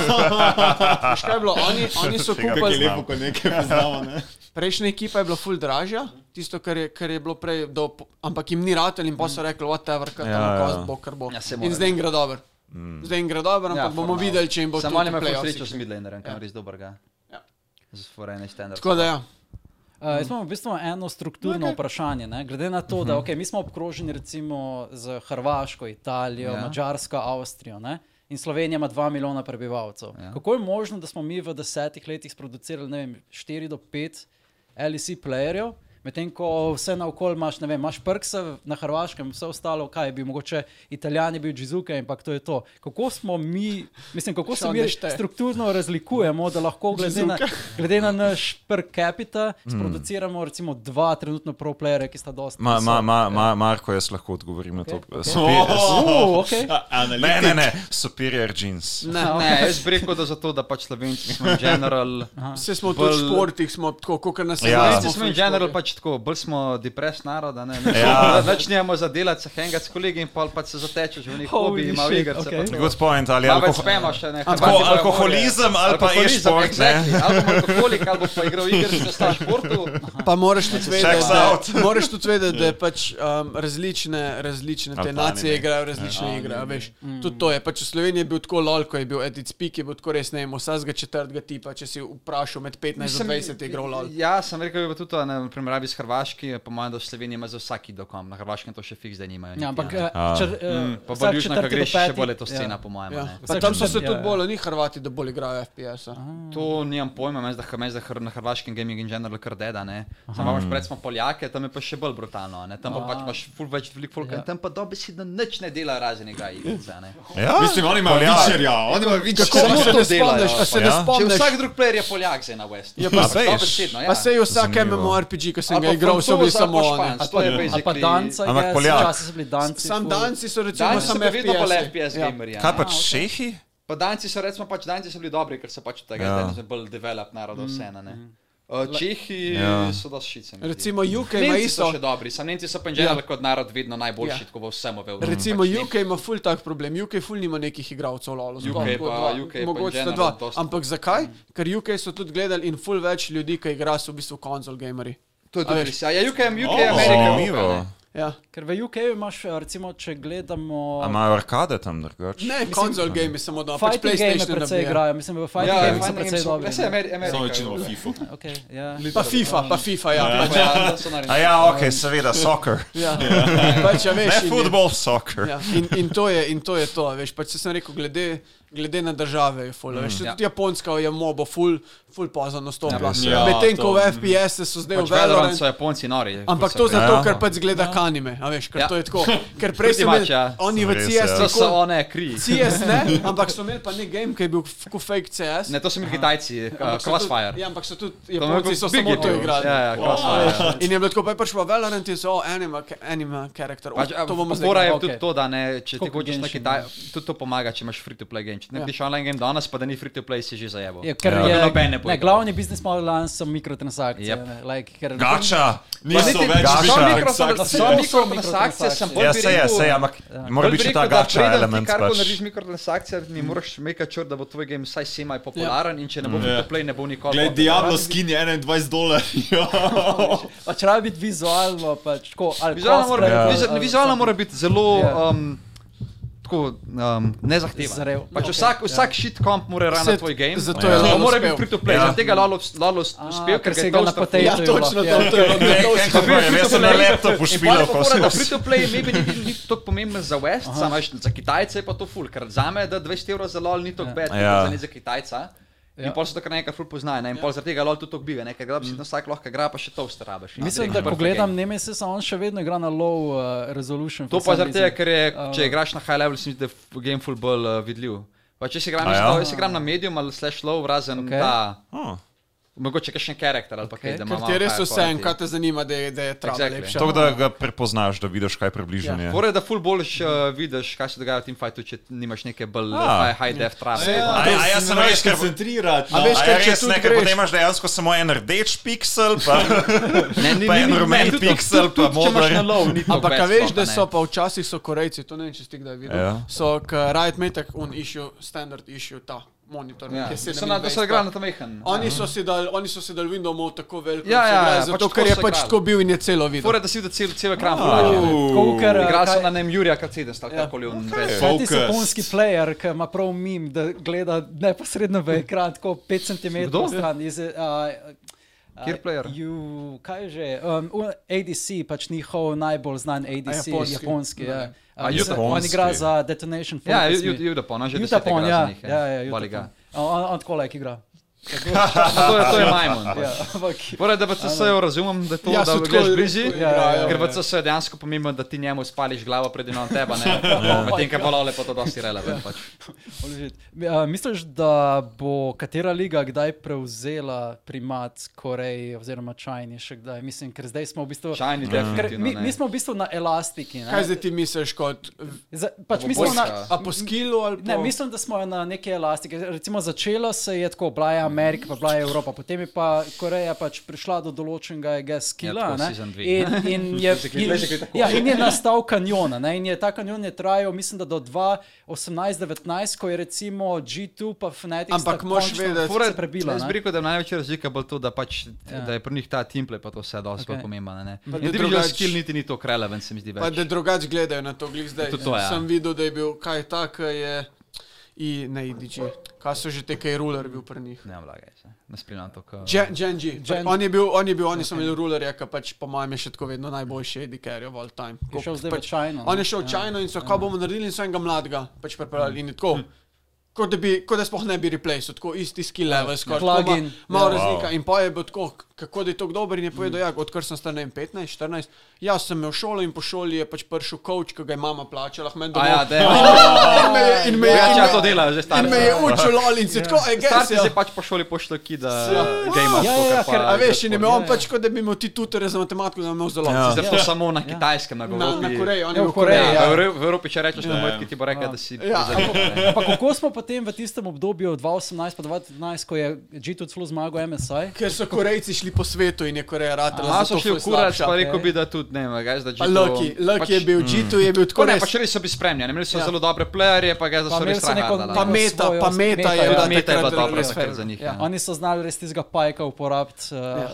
Veš kaj je bilo, oni, oni so Tega Kako je kupili. lepo, ko nekaj poznamo, ne? Prejšnja ekipa je bila full dražja, tisto, kar je, kar je bilo prej, do, po- ampak jim ni ratelj in pa so rekli, whatever, kaj Ja, tam ja. kost bo, kar bo. Ja, se In mora. zdaj jim gre dobro. Zdaj jim gre dobro, Ja, ampak bomo formalno. videli, če jim bo to Ja, no. Ja. Samo ne me uspelo. posrečaš z midlanerjem, ker je res dober ga. Ja. Z forene standard. Tako da ja. Uh, jaz imam v bistvu eno strukturno okay. vprašanje. Ne? Glede na to, Mhm. da okay, mi smo obkroženi recimo z Hrvaško, Italijo, Ja. yeah. Mačarsko, Avstrijo. Ne? In Slovenija ima 2 milijona prebivalcev. Ja. Yeah. Kako je možno, da smo mi v desetih letih producirali ne vem, 4 do 5 LEC playerjev, medtem ko vse naokol imaš, ne vem, imaš prkse na Hrvaškem, vse ostalo, kaj je bil, mogoče Italijan je bil Džizuke, ampak to je to. Kako smo mi, mislim, kako se Sean mi ne šteje. strukturno razlikujemo, da lahko glede na, glede na naš per capita sproduciramo recimo dva trenutno pro playerja, ki sta dosta. Mm. Ma, ma, visoka? ma, ma, Marko, jaz lahko odgovorim na to. Okay, Oh. Superior- Uh, okej. Ne, ne, ne, superior jeans. Ne, ne, jaz bi rekel, da zato, da pač slovenci smo in general. Vse smo bolj- tudi v športih, smo tako, kot nas Ja. Slovenci smo smo in ful general športni. pač tako, bolj smo depresni narod, da ne Ja. začnemo zadelati, se hengati s kolegi in pol pač se zatečeš v neki hobi, Holy ima shit, igrice. okej. pa to. Good point, ali Pa več alkohol- spemo še ne. tako, Hrvati bojo alkoholizem morali. ali pa Alkoholizem, e-šport, ne. exactly. Ali bom alkoholik, ali boš pa igral igrice, če staš v športu. Pa moraš tudi vedeti, Checks da, out. Ja. moraš tudi vedeti, da je pač um, različne, različne te Albanije. nacije igrajo Ja. različne igre. a Veš, Mm. tudi to je. Pač v Sloveniji je bil tako lol, ko je bil Edith Spik, je bil tako res ne vem, vsakega četrtega tipa, če si vprašal med 15 in 20 je igral lol. Ja, sem rekel, da je tudi to, ne, v primerjavi s Hrvaški, po mojem, da v Sloveniji ima za vsaki dokom, na Hrvaškem to še fiks, da nimajo. Ja, niti, ampak ne. eh, če, mm, pa bolj južno, ko greš, še bolj je to scena, po mojem. Ja. ne. Pa Vsak tam so se četrti, tudi ja, ja. bolj, ni Hrvati, da bolj igrajo FPS-a. To nimam pojma, meni se da, da na hrvaškem gaming in general kar deda. ne. Samo imaš pred smo Poljake, tam je pa še bolj brutalno, ne? tam pa pač imaš ful več velik folk, ja. tam pa dobesedno nič ne dela razen igra igrice. ne. Ja, Mislim, oni imajo Poljak. večerja, oni imajo Kako večerja. se to ne delajo? spomniš, a se ne Ja. Če Če spomniš? vsak drug player je Poljak zdaj na West. Ja, pa A veš? dobesedno, ja. Pa se je vsak Zanimivo. MMORPG, ki sem ga igral, so bili samo oni. španci. To je Ali pa basically... danca, Ampak je, Poljak. včasih so bili danci. Sam ful- danci so recimo Danci so samo bili vedno bolj FPS. FPS gamerji. Kaj ja. pač šehi? Pa danci so recimo pač danci so bili dobri, ker so pač od tega Ja. zdaj so bolj develop narodov vseeno. ne. Uh, Čehi Ja. so dosti šice. mi zdi. Recimo UK ima Nemci so isto. še dobri, samo Nemci so pa in Ja. general kot narod vedno najboljši, Ja. tako v vsem v Mm. Evropi. Recimo Pač UK ima ful tak problem. UK ful nima nekih igralcev lolo. UK pa- UK pa mogoče in sta general Mm. dva. dosti. Ampak zakaj? Ker UK so tudi gledali in ful več ljudi, ki igra so v bistvu konzol gameri. To je A tudi veš- res. Ja, UK, UK, O, Amerika. Zanimivo. Ja. Ker v UK imaš, eh, recimo, če gledamo. A imajo arkade tam drugače? Ne, konzol game je samo da, pač Fighting game PlayStation precej nabija. igrajo, mislim, v fighting Ja, game fajn, so precej dobri. Ja, se ne. Ameri- Amerika. Samo večino v FIFO. Okay, ja. Pa FIFA, pa FIFA, ja. Ja, Pač, ja, to so naredili. A ja, ok, seveda, soccer. ja. pač ja, Ne veš. in je- football, soccer. Ja, in, in, to je, in to je to, a veš, pač saj sem rekel, glede, glede na države je ful, a veš, Ja. tudi Japonska je mobo ful, ful pozno nastopila. Ja, Ja, Medtem ko to- v FPS so zdaj Pač v Valorant so Valorant. Japonci nori. Ampak to za... zato, Ja. ker pač gleda ja. kanime, a veš, ker Ja. ja. to je tako. Ker prej so Pritivač, imeli, ja. oni v Res, CS, ja. To so nikoli- one kri. CS ne, ampak so imeli pa nek game, ki je bil f- ko fake CS. Ne, to so bili Kitajci, uh, ampak so tudi- Crossfire. Ja, ampak so tudi To je Japonci bil so big samo to game. igrali. Ja, ja, Crossfire. In je bilo tako, pa je prišel Valorant in so, o, anima, anima karakter. Pač, to bomo zdaj. Mora je gledali. tudi Okej. to, da ne, če ti Tako kot hočeš na Genshin. Kitaj, tudi to pomaga, če imaš free to play game. Če ne Ja. greš online game danes, pa da ni free to play, si že zajebo. Je, ker Ja. je, Noben ne ne, poigra. glavni biznis model danes so mikrotransakcije. Yep. ne, Like, ker, Gača. Niso niti- več gaša. so mikrotrans- mikrotransakcije. So mikrotransakcije, mikrotransakcije. sem bolj Ja, bi se je, rekel- se je, ampak mora Ja. Bolj bi biti rekel, ta da preden gača ti element. Karkoli pač. narediš mikrotransakcije, mi moraš meka črt, da bo tvoj game vsaj semi popularen in Mm. če ne bo Ja. free to play, ne bo nikoli. Glej, popularen. Diablo skin je 21 dolarjev. Pač rabi biti vizualno, pač tako. ali Vizualno mora, cosplay, ja. ali- vizu, ali vizualno something. mora biti zelo Ja. um, tako, um, nezahteven. Zrel. Pač No, ok, okay, vsak, ja. vsak shit komp mora rana Saj- tvoj game. zato je Lalo mora uspel. biti free to play. Ja. Zaradi tega Lalo, Lalo uspel, A, ker ker se se je ga to na potetu Ja, točno to, to je bilo. Kaj pa povem, Jaz sem na laptopu špilal, ko sem Da jaz. free to play maybe ni, ni tako pomemben za West, samo veš, za Kitajce je pa to ful, ker za me da 20 evrov za LOL ni tako bed, kot Ja. za ne za Kitajca. In Ja. Mm. pol so to kar nekaj ful poznajo, ne? in pol zaradi tega LOL tudi tako biva, ne? ker ga bi si vsak lahko igra, pa še to ustrabiš. no. ne, Mislim, direkt da ko perfect gledam game. Nemesis, on še vedno igra na low uh, resolution. To for pa some zaradi tega, reason. ker je, če Uh, igraš na high level, se mi zdi, da je game full bolj uh, vidljiv. Pa če si igram, A ja? ja? zelo, jaz igram na medium ali slash low, razen okay. Okej. ta, Oh. mogoče kakšen karakter ali pa kaj, Okej. da ima Ker Ja. malo. ti je res higher vse en, quality. kaj te zanima, da je, da je trava Exactly. exactly. lepša. To, da ga prepoznaš, da vidiš, kaj približno je. Torej, da full bolj še, uh, vidiš, kaj se dogaja v teamfightu, če nimaš neke bolj A. ah. high def A trave. ja, a ja, sem res, ker koncentrirati. A veš, A kaj, ja, če res tudi ne, ker greš- potem imaš dejansko samo en rdeč piksel, pa Ne, Pa en rumen tudi- tudi- piksel, tudi- pa če imaš moder. na lov, ni to Ampak bad a veš, sploh, da ne. so pa včasih so Korejci, to ne vem, če si ti kdaj videl, Ja. so k Riot Metek un issue, standard issue, ta monitor, Ja. ki se So na- Da so igrali na to mehen. Oni so si dali, oni so si dali Windowsov tako veliko, Ja, da so ja, igrali ja, zato pač ker tako je so pač igrali. tako bil in je celo videl. Torej, da si videl cel, cel ekran full lažje. Koker, uh, Igral sem kaj- No, na nem Jurija Kacida, sta karkoli on. res. Kaj ti Focus. si japonski player, ki ima prav mim, da gleda neposredno v ekran, tako 5 cm Kdo? stran. Iz, uh, Kjer player? Uh, kaj je že? Um, u- ADC, pač njihov najbolj znan ADC, japonski. japonski. ja. A, Uh, mislim, On japonski. igra za Detonation Ja, Fortress. Ju- Ju- Judapon, on že deset Jutapon, igra za ja. njih, ja. Ja, ja, Boli Jutapon. ga. On, on tako lajk igra. To je, to je majmun. Ja, ampak, Torej, da v CSO razumem, da je to, Ja, ja, so da tako greš bližje, igrajo, ja, ja. ja, ker v CSO je dejansko pomembno, da ti njemu spališ glavo pred eno tebe, ne. Medtem, ker malo lepo to dosti relevant. Pač. Legit. Mi- a, Misliš, da bo katera liga kdaj prevzela primat Koreji oziroma Čajni še kdaj? Mislim, ker zdaj smo v bistvu. Čajni Ker definitivno. mi, ne. mi smo v bistvu na elastiki. Kaj Ne? zdaj ti misliš kot. Za, pač Bo mi smo na, Poljska. A po skilu ali po... Ne, mislim, da smo na neki elastiki. Recimo začelo se je tako, bila je Amerika, pa bila je Evropa, potem je pa Koreja pač prišla do določenega geskila. Ja, tako, season dve. in, in, je, in, ja, in je nastal kanjon. ne, In je ta kanjon je trajal, mislim, da do 2018-19, ko je recimo G2 pa Fnatic. Ampak sta moraš končno vedeti- se prebila. Jaz bi ne. rekel, da je največja razlika bolj to, da, pač, Ja. ja. da je pri njih ta teamplay pa to vse dosti Okej. okay. pomembno. Ne? da Individual drugače- skill niti ni to relevant, se mi zdi Pa več. da drugače gledajo na to, glej zdaj. Tudi to, ja. Sem videl, da je bil kaj tak, je i ne IDG. Kaj so že te, kaj je ruler bil pri njih? Ne vlagaj se, ne spremljam to. Ko... Gen- Gen G. Gen- On je bil, on je bil, oni so imeli rulerja, ki pač po mojem je še tako vedno najboljši edikarjev of all time. Je šel Ko- zdaj v Chino, ne? pač, On je šel v Ja. Hm. Čajno in so, kaj bomo naredili, in so enega mladega pač prepeljali in je tako. Kot da, bi, kot da sploh ne bi replaceal, tako isti skill level, skoraj tako ma- Plugin. Ja. Hm. malo razlika. In pa je bil tako, kako da je to dober in je povedal, ja, odkar sem star ne vem, 15, 14, jaz sem imel šolo in po šoli je pač prišel coach, ki ga je mama plačala, k A meni domov. ja, da je. in me je, in me je, Ja, in če to me, delajo, že in stari. me je učil, ali in se tako, e, gej, Starci se se pač po šoli pošljo, ki da gejma. Ja, ja, ja, ker- A veš, in je imel on pač, kot da bi imel ti tutorje za matematiko, da bi imel zelo. Ja. Zato samo na kitajskem Na, na nagovorili. Koreji, on Ja, je v bil Koreji, Koreji. Ja, Ja. v Evro- v Evropi, če rečeš, da je moj, ki ti bo rekel, da si Ja. prizadet. Pa kako smo potem v tistem obdobju 2018-2019, ko je G2 celo zmagal MSI? Ker so Korejci šli po svetu in je Koreja ratela. A zato so šli ful v kurac, slabša. pa rekel bi, da tudi ne, vem, guys, da pač- Pa G2 Lucky, Lucky je bil, G2 je bil tako Tako ne, res. pač res so bili spremljeni, imeli so Ja. ja. zelo dobre playerje, pa ga Pa zdaj so imeli res so neko- trahali. pa Pa me- Pameta, svojo- pameta je Meta, bila ja, Meta Ja, je bila takrat dobra res stvar fair. za njih. Ja, Ja. oni so znali res tistega pajka uporabiti uh, ja.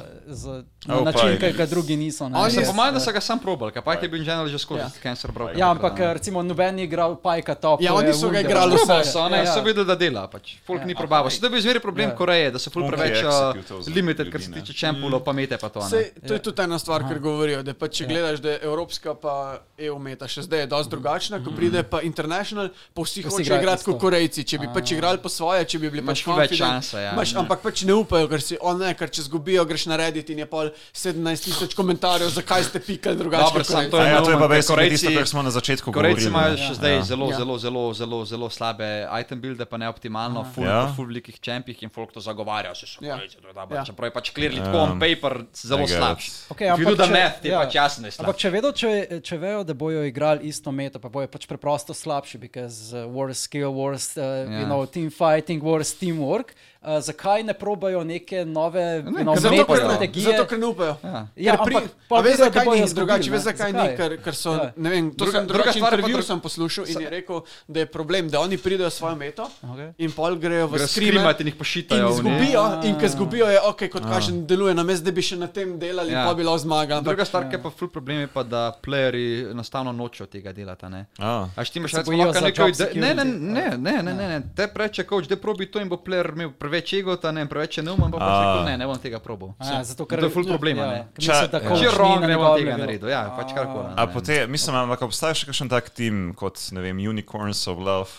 na Oh, način, pajk. ki ga drugi niso. ne. eh, Oni Se Res, pomaga, da so ga sam probali, kaj pa je bil general že skozi Ja. cancer bro. Ja, ampak eh, recimo noben ni igral Pajka top. Ja, to oni je so ga Wunder. igrali Probal vse. so, ne, Ja, ja. so videli, da dela, pač. folk ni probaval. Se to je bil zmeri problem Ja. Koreje, da so folk Folk je preveč uh, executov za limited, ljudi, kar se ne. tiče čempulov, pa mete pa to. ne. Ja. Sej, to je tudi ena stvar, ker govorijo, da pa, če gledaš, da je evropska pa EU meta še zdaj je dosti drugačna, ko pride pa international, pa vsi Vsi hočejo igrajo igrati isto. kot Korejci. Če bi pač igrali po svoje, če bi bili Imaš pač ful več confident, šanse, ja. imaš- Ampak pač ne upajo, ker si on ne, ker če zgubijo, greš na Reddit in je pol 17 tisoč komentarjev, zakaj ste pikali drugače. Dobro, kot sam Korejci. to A je ja, to je pa neumen, ker basically Korejci- tisto, kar smo na začetku Korejci govorili. imajo ne. še zdaj zelo, Ja. zelo, zelo, zelo, zelo slabe item builde, pa neoptimalno, full, Ja. ja. full velikih čempih in folk to zagovarja, se so Ja. korejci, to je dobro, Ja. čeprav je pač clearly tako on paper I zelo get slab. it. Ok, If you ampak do the če- math, ti je ja. pač jasno, je slab. Ampak če vedo, če, če vejo, da bojo igrali isto meto, pa bojo pač preprosto slabši, because uh, worse skill, worse uh, yeah. you Ja. know, team fighting, worse teamwork, uh, zakaj ne probajo neke nove you know, ker Zato, mete, ker ne, strategije? zato, ker ne upajo. Ja. Ja, Ker pri- ampak a pa veš, vedo, da zakaj bojo ni, izgubili, drugače, ne? veš, zakaj ni, Zakaj? ker, ker so, Ja. ne vem, to Druga- sem druga drugačen stvar je pa intervju drug- sem poslušal in je rekel, da je problem, da oni pridejo s svojo meto Okej. in pol grejo v Grejo skrime skrimat in jih in pošitajo. v ne. izgubijo, in ker izgubijo je, ok, kot kaže, deluje na mest, da bi še na tem delali in Ja. pa bila zmaga. ampak- Druga stvar, ki je pa ful problem, je pa, da playerji enostavno nočejo tega delati. ne. A. A ti imaš Se recimo bojijo lahko za neko job ide- ne, ne, security, Ja. ne, ne, ne, ne, ne, te preče coach, da probi to in bo player imel preveč egota, ne, preveč neumen, pa A. pa pač rekel, ne, ne bom tega probal. A, zato, ker ja, To je ful problema, ne. ker mislijo, da Če- coach Če je ni wrong, na ne bom njegovem tega levelu. naredil, ja, pač karkoli. A potem, mislim, ampak obstaja še kakšen tak tim kot, ne vem, Unicorns of Love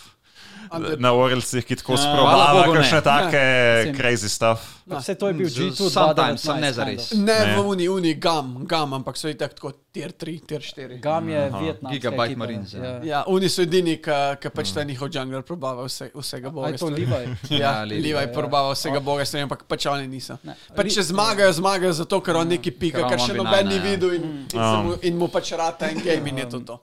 na Orelsih, ki tako Ja. hvala sprobava bogu ne. Ja, kakšne take Mislim. crazy stuff. Pač Vse to je bil Z- G2, 2019, sometimes, samo ne zares. kind of. Ne, Ne. v uni, uni, gam, gam, ampak so itak tako tier 3, tier 4. Gam je Vietnam. Gigabyte Marines, ja. Ja, uni so edini, ki pač ta njihov jungler probava vse, vsega boga. Aj to stvari. Levi. Ja, Ja, Levi, Levi je probava vsega boga, se ne, ampak pač oni niso. Ne. Pa če zmagajo, zmagajo zato, ker on Ja. neki pika, Ker on kar ima še banane, noben ni ja. videl in, in, se mu, in mu pač rata en game in je to to.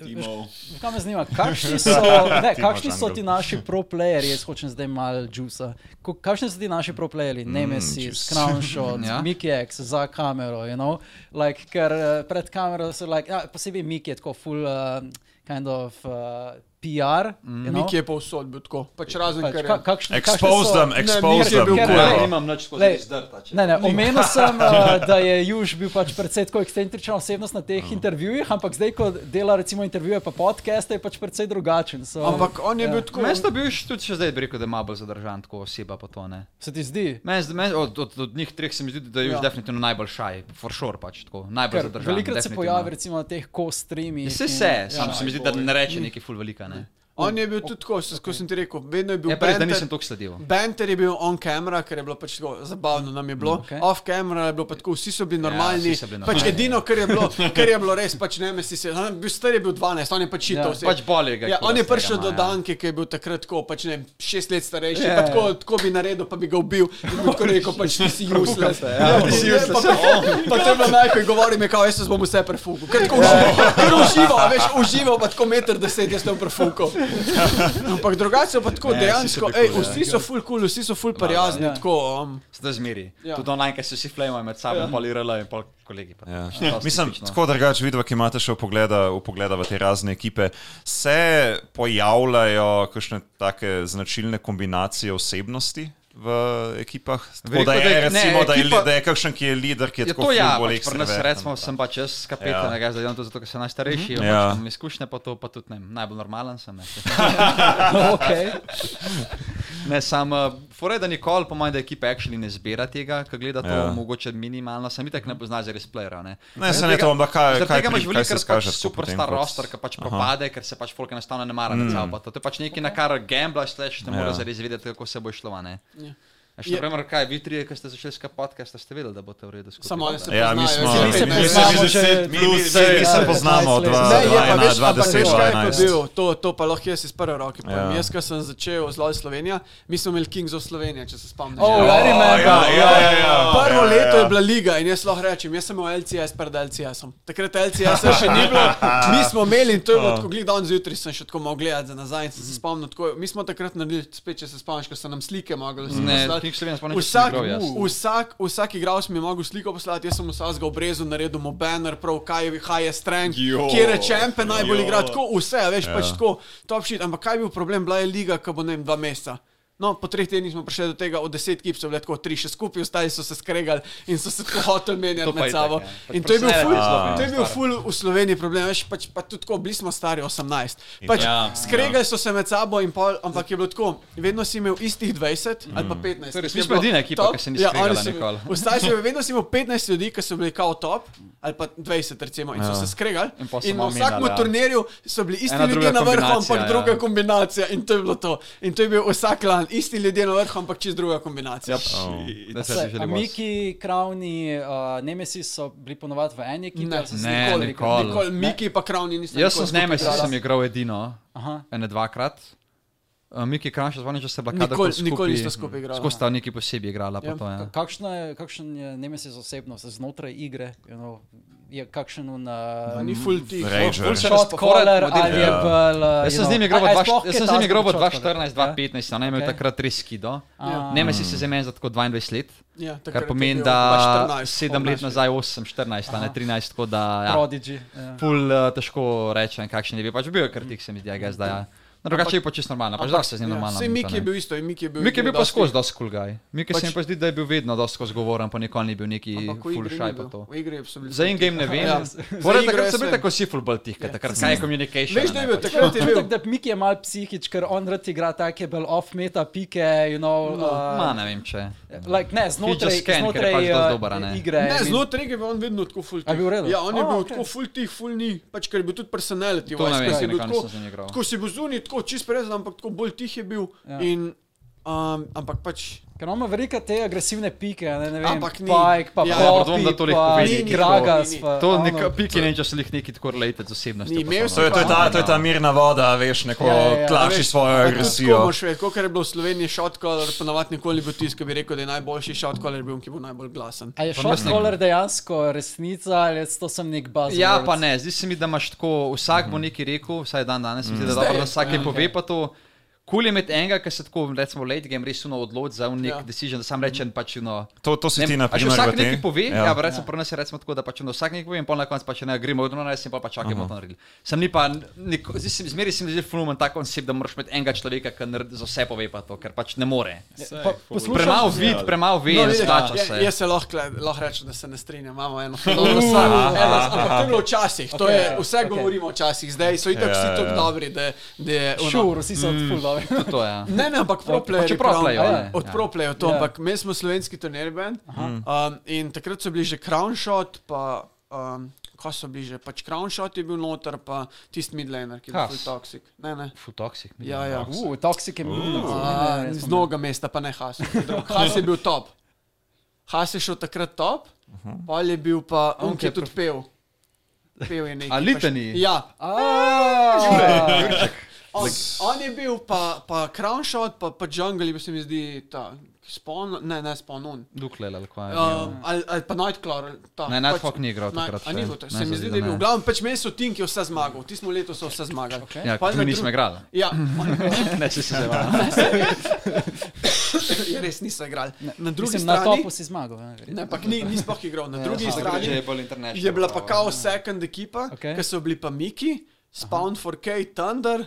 Timov. Kaj me zanima, kakšni so, ne, kakšni so ti naši pro-playerji, jaz hočem zdaj malo juica. Ko- Kakšni so ti naši pro-playerji, Nemesis, juice. Crownshot, ja. Ja. Mickey X za kamero, you know? like, ker eh, pred kamero so, like, ja, posebej Mickey je tako full, uh, kind eh, of. Uh, PR. Mm. No. You know? Nik je povsod bil tako, pač razen Pač, kar ka, je. kakšne, Expose them, expose Nik je them. bil kurva. kurva. Ja, nimam nič skozi Lej, zdrta. če- Ne, ne, omenil sem, uh, da je Juž bil pač precej tako ekscentrična osebnost na teh intervjujih, ampak zdaj, ko dela recimo intervjuje pa podcaste, je pač precej drugačen. So, Ampak on je Ja. bil tako. Meni sta bil še- tudi še zdaj, bi rekel, da je malo bolj zadržan, tako oseba pa to ne. se ti zdi? Meni se- meni- Od, od, od njih treh se mi zdi, da je ja. Ja. definitivno najbolj šaj, for sure pač tako, najbolj Ker zadržan. velikrat se definitivno. pojavi recimo Ja. na teh ko-streamih. Vse se, sam se mi zdi, da ne reče nekaj ful velika. Ne. On je bil tudi tako, se- ko sem ti rekel, vedno je bil Je Ja, pa res, da benter- nisem toliko sledil. Benter je bil on kamera, ker je bilo pač tako zabavno, nam je bilo. Mm, okej. Okay. Off kamera je bilo pa tako, vsi so bili normalni. vsi so Ja, bili bili pač normalni. edino, kar je bilo, kar je bilo res, pač ne mesi se. on je Bil star je bil 12, on je pač Ja. čito vse. Pač bolje ga je Ja, kot on je starega prišel ima, do ja. Danke, ki je bil takrat tako, pač ne, vem, šest let starejši, Ja, yeah. pa tako, ja. tako bi naredil, pa bi ga ubil. In bi tako rekel, pač ti si useless. Ja, No, ti si ne, useless. Pa, pa, pa to je bilo najhuje, govorim je kao, jaz se bom vse prefukal. Ker tako užival, ker užival, veš, užival pa tako meter deset, jaz sem prefukal. Ampak drugače so pa tako Ne, vsi so dejansko, bili ej, kul, ja. vsi so ful kul, cool, vsi so ful prijazni, Ja. tako. Um, Zdaj zmeri. Ja. Ja. Tudi online, ki se vsi flejmajo med sabo, ja. pol IRL in pol kolegi. Pa. Ja. To je dosti Mislim, tipično. tako drugače vidva, ki imate še upogleda, upogleda v te razne ekipe, se pojavljajo kakšne take značilne kombinacije osebnosti v ekipah. Tako, Veliko da, da je, je- recimo, ne, da, je, ekipa- li- da je kakšen, ki je lider, ki je, Je tako to ja, ful bolj pač pri nas ekstroverten, recimo sem pač jaz kapetan, Ja. ja. zdaj delam to zato, ker sem najstarejši, mm -hmm. Ja. pač imam izkušnje pa to, pa tudi ne, vem, najbolj normalen sem. Ne, okay. ne sam, uh, fore da nikoli, po mojem, da ekipa actually ne zbira tega, ker gleda to Ja. ja. mogoče minimalno, sam itak ne pozna za res playera. Ne, Ne, se Zaradi ne tega- to, ampak kaj, Zaradi kaj, tega pri, kaj imaš se velikokrat pač skaže. super star roster, ki pač propade, ker se pač folk enostavno ne mara med sabo. To je pač nekaj, na kar gamblaš, sliš, ne Mm. Ja. moreš zares vedeti, kako se bo šlo. a Ne? Ja. A Še Je- naprimer, kaj vi trije, ki ste začeli skapati, kaj ste vedeli, da boste v redu skupaj. samo oni se Ja, mi smo- poznajo. Mi se Ne, poznamo ne, že Mi, mi, se, mi se 15 poznamo od let. dva- Ne, je pa 2011, več, ampak veš, kaj je 2011. bil, to, to pa lahko jaz iz prve roke povem. Ja. Ja. Jaz, ko sem začel z Love Slovenija, mi smo imeli Kings of Slovenija, če se spomniš. Oh, I remember. Ja, ja, ja, ja. Prvo Ja, ja, leto ja. je bila liga in jaz lahko rečem, jaz sem imel LCS pred LCS-om. Takrat LCS-a še ni bilo, mi smo imeli in to Ja. je bilo tako, gledaj, danes zjutraj sem še tako mogel gledati za nazaj in sem se spomnil, tako, mi smo takrat naredili, spet če se spomniš, ko so nam slike mogli Ne, poslati. King Slovenija sploh ne Vsak, bi igral jaz. vsak, vsak igralec mi je mogel sliko poslati, jaz sem vsakega obrezal, naredil mu banner, prav kaj je, kaj je streng, Jo. kjer je čempe najbolj Jo. igra, tako vse, veš, ja. pač tako, top shit, ampak kaj je bil problem, bila je liga, ki bo ne vem, dva meseca. No, po treh tednih smo prišli do tega, od deset ekip so bile tako tri še skupaj, ostali so se skregali in so se tako hoteli menjati To pa med je tako, ja. sabo. Pač In to je bil presenečenje ful, zelo to je bil ful v Sloveniji problem, veš, pač pa tudi tako, bili smo stari 18. Pač Ja, skregali so se med sabo in pol, ampak je bilo tako, vedno si imel istih 20 ali pa 15. Torej, Mi smo smo edina ekipa, top. Ja, ki se ni skregala oni so- nikoli. Vsaj še vedno si imel 15 ljudi, ki so bili kao top, ali pa 20 recimo, in so se skregali. In pol so In na malo vsakmu menjali, ja. turnirju so bili isti Ena druga ljudje na vrhu, kombinacija, ampak ja. druga kombinacija. In to je bilo to. In to je bil vsak lan, isti ljudje na vrhu, ampak čist druga kombinacija. Yep. Oh. Da se Saj, že a želim. Miki, Kravni, uh, Nemesi so bili ponovadi v eni ekipi, Ne. ali so se Ne, nikoli nikoli. nikoli- Nikoli Miki pa kravni niste. Jaz sem z nikoli njimi, skupaj saj sem igral igrala. edino, Aha. ene dvakrat. Uh, Miki Kranš, zvonič, da se bila Nikoli- kadarkoli nikoli nista skupaj igrala. Skozi sta neki Mm. posebej igrala. Ja. Ja. To, ja. Ka- Kakšna je, kakšen je Nemesis osebnost znotraj igre? You know, je kakšen on, A uh, Ni full tih. Rager. se shot caller Fora- ali je Ja. bil... Uh, Jaz sem you z njim know- igral v A- a je dva- sploh jaz kaj sem z njim takega igral v kot shot caller? 2014, 2015, ne, imel Ok. takrat res skido. A. Ne, mesi se za meni za tako 22 let, Ja, takrat kar je pomeni, bil da 2014, 7 let obnašal. nazaj 8, 14, a ne 13, tako da ja, Prodigy. ja. pol uh, težko rečem, kakšen je bil. Pač bil je kar tik, se mi zdi, ga zdaj. ja. No, Drugače je pa čisto normalno, pač da se z njim normalno. Sej mika, ja, Miki je ne. bil isto, in Miki je bil. Mik je bil pa dosti- skozi dosti kulgaj. Mik se Pač- mi pa zdi, da je bil vedno dosti skozi govoren, pa nikoli ni bil neki Ampak v full igri shy ni pa bil. to. V igri so bili. Za in-game ne vem. Ja. Moram Za igro takrat jaz sem bil vem. Ja. tako si full bolj tih, ker takrat kaj je communication. Veš, a da je ne, bil, pač. takrat je bil. Čutek, da Miki je mal psihič, ker on rad igra take bolj off-meta pike, you know, No, Ma, uh, ne vem če. like, ne, znotraj, just can, ker znotraj je pač dosti uh, dober, a ne. igre. Ne, I mean, znotraj tega je on vedno tako full A je tih. bil v redu? Ja, on je A, bil ok. tako full tih, full ni, pač ker je bil tudi personality. To ne wise, vem, ko si ja, bil nikoli tako- nisem z njim igral. Tako si bil zunaj, tako čist prezen, ampak tako bolj tih je bil. Ja. In, um, ampak pač. Ker on ima veliko te agresivne pike, a ne, ne vem, Ampak ni. Pike, pa Ja, ja, Poppy, dvom, da to lahko pa povedi, ni, Gragas, ni, ni. pa... To ono. neka piki ne, če se jih neki tako related z osebnostjo. Ni, pa so, imel no. sem To je, to, je ta, to je ta Ja. mirna voda, veš, neko Ja, ja, ja. tlači svojo Tako agresijo. moraš vedeti, kot je bilo v Sloveniji shot caller, ponavadi nikoli bo tisti, ki bi rekel, da je najboljši shot caller bil, on, ki bo najbolj glasen. A je Pa šel mislim- skoler dejansko resnica ali je to sem nek baz? Ja, pa Mhm. ja, ne, zdi se mi, da imaš tako, vsak bo nekaj rekel, vsaj dan danes, mislim, da je dobro, da vsak je pove pa to. Kul je imeti enega, ki se tako, recimo, late game res uno odloči za un nek ja. decision, da sam rečem pač uno. To, to si ti a že napisal. vsak nekaj pove, ja, ja recimo, ja. pri nas je recimo tako, da pač uno, vsak nekaj pove in pol na koncu pač ne gremo, odno ne, sem pa, pač pa čakamo, da naredili. Sem ni pa, neko, zdaj se mi- zmeraj se mi zdi flumen ta koncept, da moraš imeti enega človeka, ki naredi- za vse pove pa to, ker pač ne more. Pa, poslušam, Premalo vid, premalo ve, ne vidiš, splača ja, se. Jaz se lahko, lahko rečem, da se ne strinjam, imamo eno podobno stvar. Eno- Ampak to je bilo včasih, to je, vse okej. govorimo včasih, zdaj so itak vsi Ja, tako ja. dobri, da, da je ono- šur, vsi so mm. full dobi. To, to, ja. Ne, ne, ampak proplej. Pač je proplejo, ne? Od Ja. proplejo to, Ja. ampak mi smo slovenski turnir band. Mm. Um, in takrat so bili že crown shot, pa um, ko so bili že, pač crown shot je bil noter, pa tisti midlaner, ki je bil Kas. full toxic. Ne, ne. Full toxic. mi je. Ja, ja. Uh, toksik je bil. A, Z mnoga mesta, pa ne Has. Has je bil top. Has je šel takrat top, Mhm. pol je bil pa, on ki je tudi pel. Pel je nekaj. A litani? Ja, Aaaa. On, on je bil pa, pa crown shot, pa, pa jungle, je bil se mi zdi ta spawn, ne, ne spawn on. Dukle ali kaj. Um, ali, ali pa Nightclaw. ta, pač Ne, Nighthawk ni igral Night- takrat A ni še. bilo to, Ne, se mi zdaj, zdi, da da je bil. ne. V glavnem, pač meni so Tink je vse zmagal, ti smo letos so vse zmagali. Okay. Ja, mi nismo igrali. Ja, Ne, se se zavedam. ja, res nismo igrali. Na drugi Mislim, Mislim, na strani, topu si zmagal. ne, ne, verjetno. ampak ni, ni sploh igral. Na drugi Aha. Takrat strani ja, je bolj ja. international. je bila pa kao second ekipa, Okej. okay. ki so bili pa Miki, Spawn 4K, Thunder.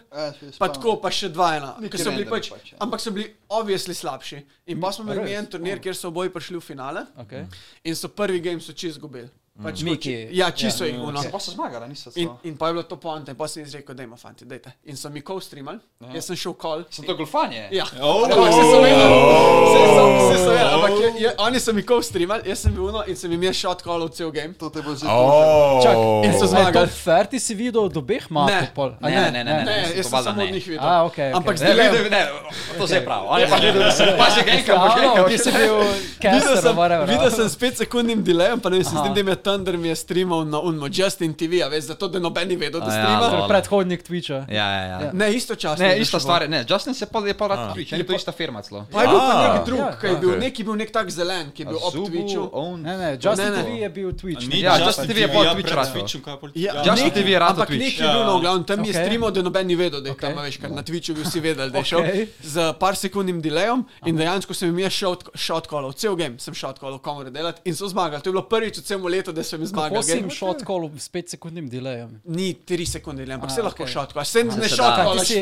Pa tako, pa še dva ena. Neki ki so bili random Pač, pač, ja. ampak so bili obvisli slabši. In pa smo imeli res? en turnir, kjer so oboji prišli v finale Okay. in so prvi game so čist izgubili. Pač ko Miki, či- Ja, čisto jih Se uno. pa so zmagali, niso se. In, in pa je bilo to poanta, in pa sem jaz rekel, da ima fanti, dajte. In so mi kol streamal, jaz sem šel kol. Sem to golfanje? Ja, ampak se so vedeli, se so, se so vedeli, ampak je, je, oni so mi kol streamal, jaz sem bil uno in sem jim jaz shot call cel game. To te bo že Čak, In Zmagal. so zmagali. Fer ti si videl od obeh Ne, map. pol? A Ne, ne, ne, Ne, ne, sem jaz to sem valjda samo ne. od njih videl. A, okej, okej. Ampak Ne, zdaj videl, ne, to zdaj je prav. Ja, On je pa videl, da se pa že enkrat, pa Ravno, že ti enkrat. si bil Videl caster, sem, whatever. videl sem s 5 sekundnim delayem, pa ne vem, se zdi, da mi je Thunder mi je streamal na Unmo, Justin TV, a veš, zato da noben ni vedel, da A ja, streama. lol. Ja, Hvala. Predhodnik Twitcha. Ja, ja, ja. ne, istočasno. je Ne, bil ista še stvar gor. je, ne, Justin se je pa je pa rad Twitch, ne, to je ista firma celo. Pa je bil pa nek A, drug, ja, ki je bil, okej. neki bil nek tak zelen, ki je bil ob Twitchu. own. Ne, ne, Justin Ne, ne. TV je bil Twitch. ne? Ja, Justin TV je pol Twitch no. rastel. Ja, Ja, Justin neki- TV je ratal ampak Twitch. nek je bil, no, v glavnem, tam je Ja. Okej. streamal, da noben ni vedel, da je tam, Okej. a veš, ker na Twitchu bi vsi vedeli, da je šel Okej. z par sekundnim delayem in dejansko sem jim jaz shotkolal, cel game sem shotkolal, komu delati in so zmagali. To je bilo prvič v celem letu, da sem jim zmagal. Posim game. shot call s 5 sekundnim delayem. Ni 3 sekunde, le, A, ampak se lahko okej. okay. šotko. A se ne se šotko, Ti da. ali Si,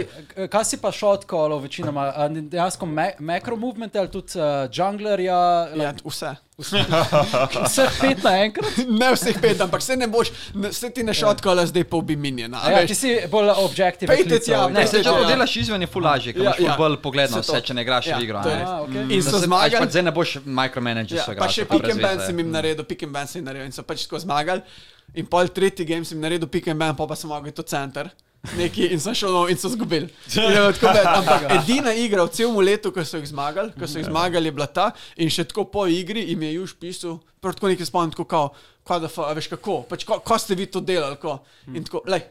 kaj si pa shot call večinoma? A ni Dejansko me, macro movement ali tudi uh, junglerja, Ja, vse. vseh pet naenkrat? Ne vse pet, ampak se ne boš, ne, se ti ne šotko, ali zdaj pa ubi minjena. Ja. A a Ja, veš. ti si bolj objektiven. Pejte tja, Ne, ne, se če ja. to delaš izven je ful lažje, ker Ja, imaš ful ja. bolj pogled na Se to. vse, če ne igraš Ja, v igro. to je. ne. A, okay. In Da so se- a, zmagali. pač Zdaj ne boš micromanager Ja, se igrala. pa še pick and ban sem Mm. jim naredil, pick and ban sem jim naredil in so pač tako zmagali. In pol tretji game sem naredil pick and ban, pa pa sem mogel to center. Neki in sem šel nov in so zgubili. In je bilo tako bed. Ampak edina igra v celem letu, ko so jih zmagali, ko so jih Ja. zmagali, je bila ta in še tako po igri jim je Juž pisal, prav tako nekaj spomnim, tako kao, "Kva da fa, a veš kako, pač ko, ko ste vi to delali, ko. Mm. In tako, lej,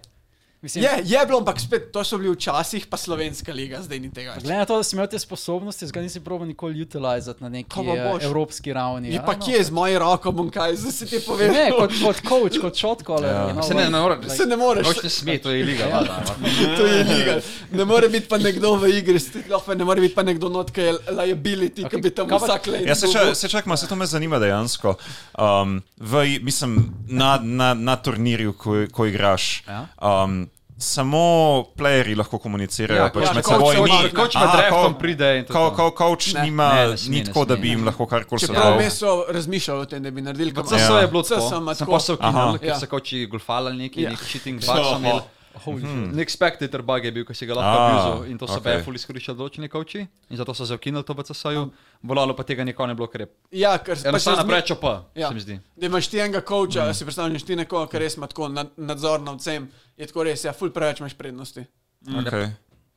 Mislim, je, je bilo, ampak spet to so bili včasih, pa slovenska liga, zdaj ni tega. več. Glede na to, da si imel te sposobnosti, zdaj nisi probil nikoli utilizati na neki Ko eh, pa boš? evropski ravni. Je ja, pa no. kje z moje roko bom kaj, zdaj si ti povem. Ne, kot, kot coach, kot shot caller. Ja. No, Se ne, ne moreš. Ja. Se ne moreš. Noč ne sme, to je liga. valjda, ampak- To je liga. Ne more biti pa nekdo v igri, sti- lahko pa ne more biti pa nekdo not, ki je liability, okay, ki bi tam kaj pa- vsak let. Ja, se izgubil. čak- se čakam, se to me zanima dejansko. Um, v, mislim, na, na, na turnirju, ko, ko igraš. Ja. Um, Samo playerji lahko komunicirajo Ja, pač coach- med coach- seboj. coach- Ni- coach med Aha, draftom ko- pride in to ko- to. ko- Coach Ne. nima Ne, ne sme, ni ne tako, da sme, bi ne. jim lahko karkoli Čeprav svetoval. vmes so razmišljali o tem, da bi naredili V kamor- CSO je bilo CS tako. sem Sem tako. pa so ukinili, ker Ja. so koči golfali neki, Ja. neki cheating bug. so imeli. Nek spectator bug je bil, ki si ga lahko Ah, abuzel in to so okej. okay. beful izkoriščali določeni koči in zato so se ukinili to v CSO-ju. Volalo Mhm. pa tega nikoli ne bilo, ker je Ja, ker pač enostavno razmi- preč pa, Ja. se mi zdi. Da imaš ti enega coacha, mm. si predstavljaš ti nekoga, ki res ima tako nad- nadzor nad vsem, je tako res, ja, ful preveč imaš prednosti. Okay.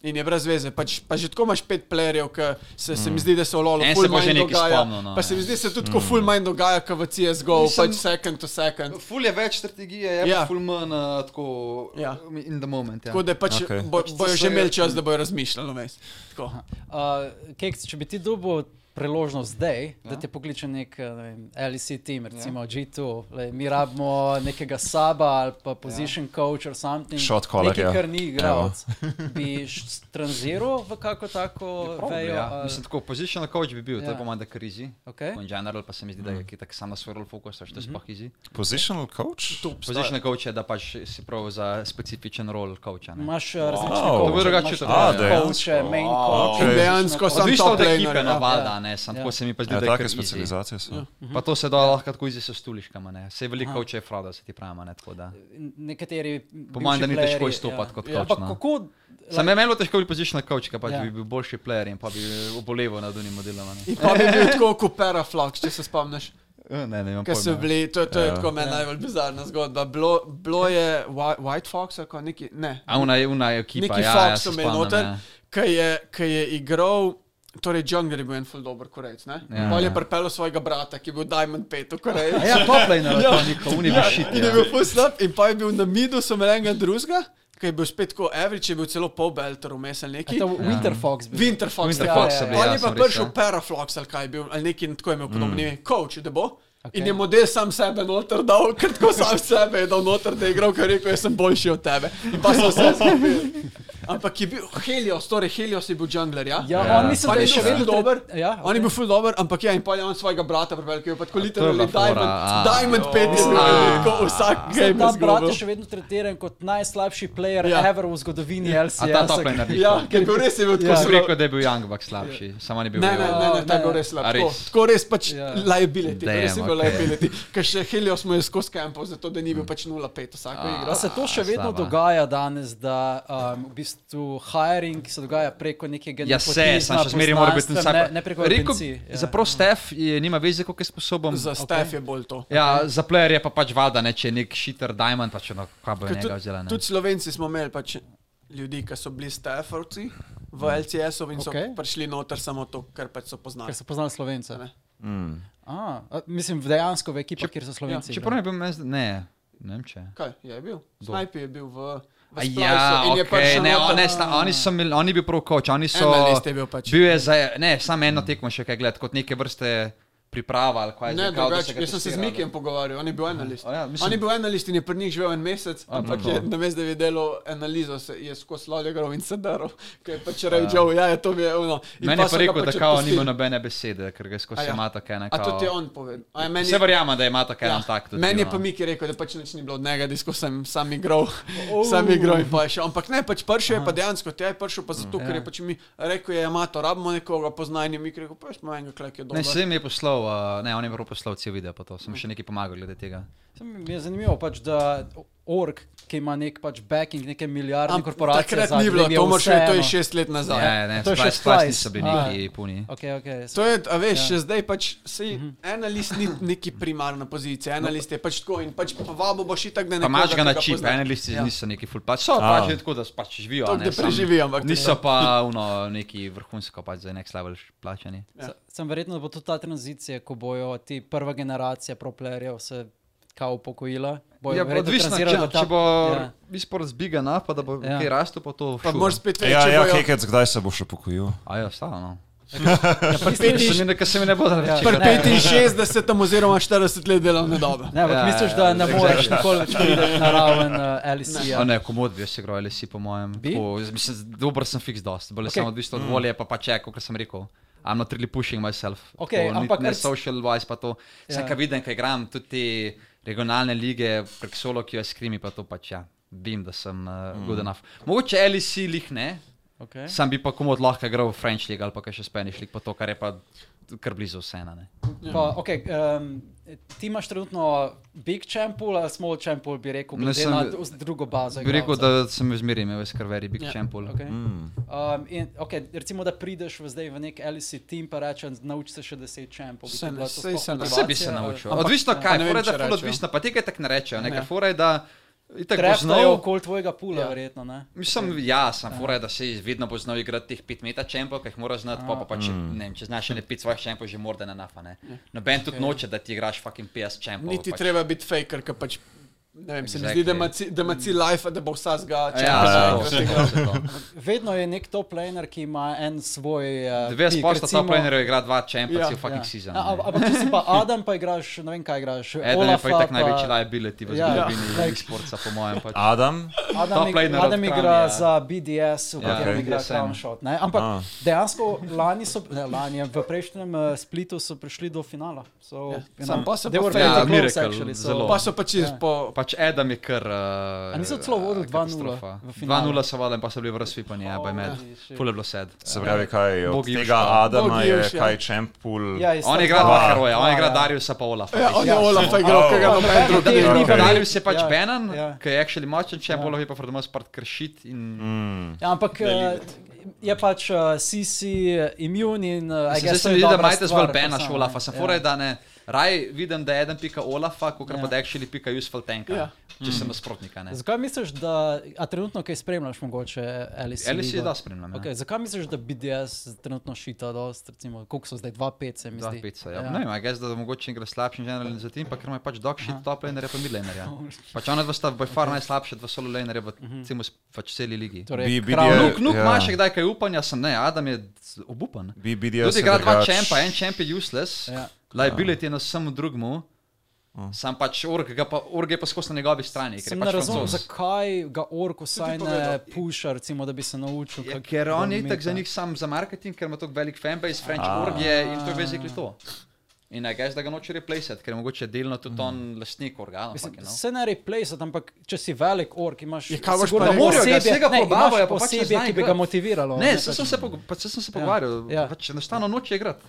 In je brez veze, pač, pa že tako imaš pet playerjev, ki se, se mi zdi, da se v Lolo Mm. En ful se bo že manj nekaj dogaja. spomnil, no, pa se mi ja. zdi, da se tudi tako ful manj dogaja, kot v CSGO, Mislim- pač second to second. Ful je več strategije, je Ja. ja. ful manj uh, tako Ja. ja. in the moment. Ja. Tako da pač Okej. okay. bo, bojo no, so že je- imeli čas, da bojo razmišljali. vmes. Tako. Uh, Keks, eh, če bi ti dobil priložnost zdaj, ja. da te pokliče nek eh, ne vem, LEC team, recimo ja. G2, le, mi rabimo nekega saba ali pa position ja. coach ali something. Shot caller, Nekaj, ja. kar ni igralec. Bi š- tranziral v kako tako vejo? Ja, ali- mislim, tako pozicional coach bi bil, ja. Ja. Eh? to je po mojem, da kar izi. Okej. In general pa se mi zdi, da je ki tako samo svrl fokus, da je sploh izi. Positional coach? Pozicional coach je, da pač si prav za specifičen rol coacha. ne. Imaš eh, Wow. različne coache, To bi drugače imaš to- top A, coache, main coach. Ok. Dejansko so- Sam Odvisno top od ekipe, laner, ja. Mhm. no, valjda, ne, sam Ja. tako se mi pa zdi, Ja, da je take kar izi. specializacije so. Ja. Pa to se da lahko tako izi s tuliškama, ne. Sej veliko coacha je frauda, se ti pravimo, ne, tako da. Nekateri. Po mojem, da ni bivši težko playerji, izstopati kot ja. coach, Ampak no. kako. Sam je meni bilo težko biti pozicional coach, ker pač Ja. bi bil boljši player in pa bi oboleval nad unim modelom. a In pa bi bil tako kot Peraflux, če se spomniš. Ne, Ja, ne, ne, imam Ker so pojma. Ja. bili, to, je- to je tako meni najbolj bizarna zgodba. Bilo, bilo je Whi- White Fox, ali kaj, neki, ne, A ona je, ona je ekipa. Neki ja, ja, Fox se so imeli spomnim, noter, ja. ki je, ki je igral, torej Jungler je bil en ful dober korejc, ne? Ja, Ja, Pol je ja. pripeljal svojega brata, ki je bil Diamond 5 v Koreji. A Ja, toplej na rokovniku, oni bi šit. Ja, In je bil ful slab, in pa je bil na midu, sem enega drugega, ki je bil spet tako average, je bil celo pol belter vmes ali neki. Ta Winter Fox. bi bil. Winter Fox, Winter ja, Fox ja, so ja. bili, Ali ja, je pa sem res, prišel ja. Mm. Peraflox ali kaj je bil, ali neki in tako je imel podobno, ne vem, coach, da bo. Okay. In je model sam sebe noter dal, ker tako sam sebe je dal noter, da je igral, ker je rekel, jaz sem boljši od tebe. In pa so vse zgubili. Ampak je bil Helios, torej Helios je bil jungler, ja? Ja, ja, on mislim, On da je je še še vedno dober, Ja, on je bil ful dober, ampak ja, in pa je on svojega brata pripeljal, ki je pa tako bila literalno fora, Diamond, a. Diamond 5 je bil, ko vsak Mislim, game da je ta brat je zgubil. še vedno tretiran kot najslabši player Ja. ja. ever v zgodovini LCS. A ta toplej na Ja, rokovniku. ki je bil res je bil Ko tako sem zelo- rekel, da je bil Young Buck slabši, samo ne bi bil. Ne, ne, ne, ne, ta je bil res slab. A Tako, res? tako res pač Ja. yeah. liability, Damn, Damn, res je bil ok. okay. liability. Ker še Helios mu je skozi kampal, zato da ni bil pač 0-5 vsako Mm. A, A igro. se to še vedno slaba. dogaja danes, da um, v bistvu hiring se dogaja preko nekega Ja, se, nepotizma, sam še zmeraj mora biti poznanstva, vsak. ne, ne preko Rekel, agencij, ja. za pro Stef je nima veze, koliko je sposoben. Za Stef okay. je bolj to. Ja, za player je pa pač vada, ne, če je nek šiter diamond, pač ono, kaj bo Ker njega tudi, vzela. ne. tudi Slovenci smo imeli pač ljudi, ki so bili Stefovci Mm. v LCS-u in so okay. Okej. prišli noter samo to, ker pač so poznali. Ker so poznali Slovence. Ne. Mm. A, a, mislim, dejansko v ekipah, kjer so Slovenci. ja, Čeprav je bil meni, zd- ne, ne vem če. Kaj je bil? Snajpi je bil v. v A ja, Splice-u in je pač okej, prišel ne, noter. on, ne, sta, oni so imeli, on je bil prav coach, oni so. Analist je bil pač. Bil je za, ne, samo eno tekmo še kaj gledati, kot neke vrste priprava ali kaj. Ne, zdaj, kao, da drugače, ga jaz sem se z testira, Mikijem pogovarjal, on je bil analist. A ja, mislim- On je bil analist in je pri njih živel en mesec, ampak je na mestu, da je delal analizo, se je skozi Loljegrov in Sedarov, ki je pač rekel, ja, je to mi je ono. In Meni je so pa ga rekel, da pač kao odpustili. nima nobene besede, ker ga A skozi ja. ima tako ena. A kao- to ti je on povedal. A je meni- Vse verjamem, da ima tako Ja. ena tak. tudi, Meni je no. pa Miki rekel, da pač nič ni bilo od njega, da skozi sem sam igral, oh. sam igral in pa je šel. Ampak ne, pač prišel je pa dejansko, te je prišel pa Ja. zato, ker je pač mi rekel, je amato, rabimo nekoga poznanja, Miki je rekel, pa jaz imam enega, klek je Ne, dobro. sem jim je poslal, uh, ne, on je prav poslal cel video, pa to sem Hm. še nekaj pomagal glede tega. Se mi je zanimivo, pač, da org, ki ima nek pač backing, neke milijardne Ampak korporacije. takrat zadnje, ni bilo, jim to moraš reči, to je vseeno. šest let nazaj. Ja, ne, to je še splice, splice Splice. niso bili Ah. neki puni. Okay, okay, To je, a veš, Ja. ja. zdaj pač si analist ni neki primarna pozicija, analist je pač tako in pač povabo boš itak, da ne Pa imaš ga na čip, ne? analisti Ja. ja. niso neki ful, pač so pač že tako, da s- pač živijo. Tako, ne, da samo preživijo, ampak Niso pa uno, neki vrhunsko, pač za next level plačani. Ja. Ja. Sem verjetno, da bo tudi ta tranzicija, ko bojo ti prva generacija proplerjev se kao upokojila. Bojo Ja, verjetno odvisno, če, tranzirali v ta- če bo Ja. e-sport zbigan, pa da bo Ja. ja. kaj rastel, pa to Pa moraš spet več, Ja, če ja, bojo- Hekec, kdaj se boš upokojil? Ajo, stalo. No. Misliš- Mislim, da se mi ne bo dalo Ja. reči. Pri 65 oziroma 40 let delovne dobe. Ne, ampak Ja, misliš, ja, da ne ja, moreš nikoli več priti na raven uh, A LCA? ne, komod bi jaz igral, ali si po mojem. Bi? Tako, jaz mislim, dober sem fiks dost, bolj okay. Ok. Mm. sem odvisno od volje, pa pač je, kot sem rekel. I'm not really pushing myself. Ok, Tako, ni- ampak ne rec- social wise pa to. Vse, Ja. kar vidim, kaj igram, tudi te regionalne lige, prek solo, ki jo skrimi, pa to pač ja. Vem, da sem uh, Mm. good enough. Mogoče LEC lih ne, Okay. sam bi pa komod lahko igral v French league ali pa kaj še Spanish league, pa to, kar je pa kar blizu vseeno. ne. Pa, okay, um, ti imaš trenutno Big Champul ali Small Champul, bi rekel, Ne, glede sem- na d- drugo bazo. Bi rekel, igralca? da sem zmeraj imel skrveri Big Ja, yeah. Champion. Okay. Mm. Um, in, okay, recimo, da prideš v zdaj v nek LC team, pa rečeš, nauči se še 10 čempov. Saj ne, saj se ne. Vse bi se naučil. Ampak, odvisno Pa kaj, ne ne vem, vem, če da je rečejo. odvisno, pa tega tako ne rečejo. Ne? Ne. Ker fora je, da itak bo Trefnajo znal. okoli tvojega pula, Ja. ja. verjetno. Ne? Mislim, ja, sem fora je, da se vedno bo znal igrati teh 5 metra čempov, ki jih mora znati, pa, pa, pa če, Mm. ne, vem, če znaš še ne 5 svojih čempov, že Ja. morda ne nafa. Ne? Noben tudi noče, da ti igraš fucking 50 čempov. Niti pač. treba biti faker, ki pač Ne vem, se mi Exactly. zdi, da ima ci- da ima cilj life, da bo vsazga Ja, ja, čakal. vse to, vse to. Vedno je nek top laner, ki ima en svoj. eh, Dve pik, sposta recimo- top lanerjev igra dva champions Ja, ja, v fucking Ja. ja. season. Ja, a- Ampak če si pa Adam, pa igraš, ne vem kaj igraš. Eden je Olafa, pa itak pa- največji liability v Ja, zgodovini ja. like. sporta, po mojem. Pač. Adam, Adam, Top ig laner od Adam igra Kranja. za BDS, v Ja, katerem ok. igra BDSM. Crownshot. ne. Ampak dejansko lani so, ne lani, v prejšnjem uh, splitu so prišli do finala. So, you Sam know, pa so they pa were fail. pretty Ja, close, miracle, actually, so- zelo. Pa so pač iz po. Pač Adam je kar. Uh, A niso celo vodili 2:0 v finalu? 2-0 so vadili, pa so bili v razsvipani, ja, baj med. Pule bilo sed. se pravi, kaj je od Bog Jivša. tega Adama, Bog je Jivša. kaj čempul. Ja, je On star- igra dva- dva heroja, on dva, igra ja. Dariusa pa Olafa. Ja, on je Olaf pa igral, Oh. ki ga Pa noben meni drug teh ni ni igral. pa- Darius je pač Ja, Benan, ja. ki je actually močen, če Olaf je pa pred nami spart kršit in Mm. Ja, ampak eh, je pač uh, CC imun in uh, I Zdaj guess se to je mi zdi, da dobra majte stvar, ja. zgolj Benaš predvsem, Olafa, ne. sem fora je, da ne. Raj vidim, da je eden pika Olafa, ko Ja. kar pa da actually pika useful tanka, Ja. Mm. če sem nasprotnika. ne. Zakaj misliš, da a trenutno kaj spremljaš, mogoče Alice? Alice je da spremljam. ja. Okay, zakaj misliš, da BDS trenutno šita, dost, recimo, koliko so zdaj 2-5, se mi Dva zdi? pica, ja. Ne vem, a jaz da mogoče igra slabši generalni za tim, pa ker ima pač dog shit top lanerja pa mid lanerja. Oh, Pač ona dva sta by far najslabša dva solo lanerja v Mhm. cimu, pač celi ligi. Torej, Bi- Crown- BDS Nuk, nuk, Ja. imaš še kdaj kaj upanja, sem ne, Adam je z- obupan. Bi BDS Tudi je igra dva drugač- čempa, en čemp je useless, Ja. liability je na vsem drugmu, Ja. sam pač org, ga pa, org je pa skozi na njegovi strani. ker je Sem pač ne razumel, Francoz. zakaj ga orko saj ne povedal. puša, recimo, da bi se naučil. Ja, kako ker on je dometa. itak za njih sam za marketing, ker ima tako velik fanbase, French Ah. org je in to je basically to. In I guess, da ga noče replacati, ker je mogoče delno tudi on lastnik organa. Mhm. Mislim, fucking, no. Se ne replace, ampak če si velik ork, imaš Ja, kaj boš sigurno pa rekel? Morajo ga, osebje- vsega ne, imaš probavajo, pa pač ne osebje, znajo ki bi ga igrati. motiviralo. pač Ne, saj sem se pog- pa saj sem se pogovarjal, ja. pač enostavno noče igrati.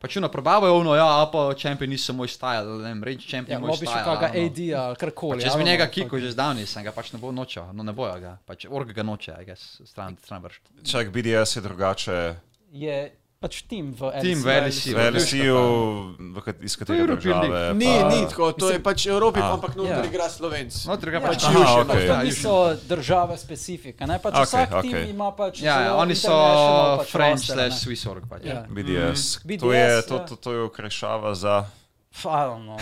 Pač ono, probavajo ono, ja, a pa čempion niso moj style, ne vem, range Ja, čempion moj lobiš style. kakega a ono. AD ali karkoli. ja, no, Pač jaz bi ali njega ono, kiko že zdavni, sem ga pač ne bo nočel, no ne bojo ga, pač org ga noče, I guess, stran, stran vrš. Čak BDS je drugače. Je pač tim v LSU. Tim v LSU. V LSU, v kat- iz katerega European države. Ni, pa- ni tako, to je pač Evropi, ampak noter Ja. igra Slovenc. No, druga pač Aha, Juše, okej. no, ja, To Juše. niso države specifika, ne pač Okej, okay, vsak okay. okej. tim ima pač. Ja, ja, zelo oni so international pač French roster, ne. slash Swiss org pač. Ja. BDS. Mhm. To je, BDS, to, ja. to, to je okrajšava za. F- I don't know.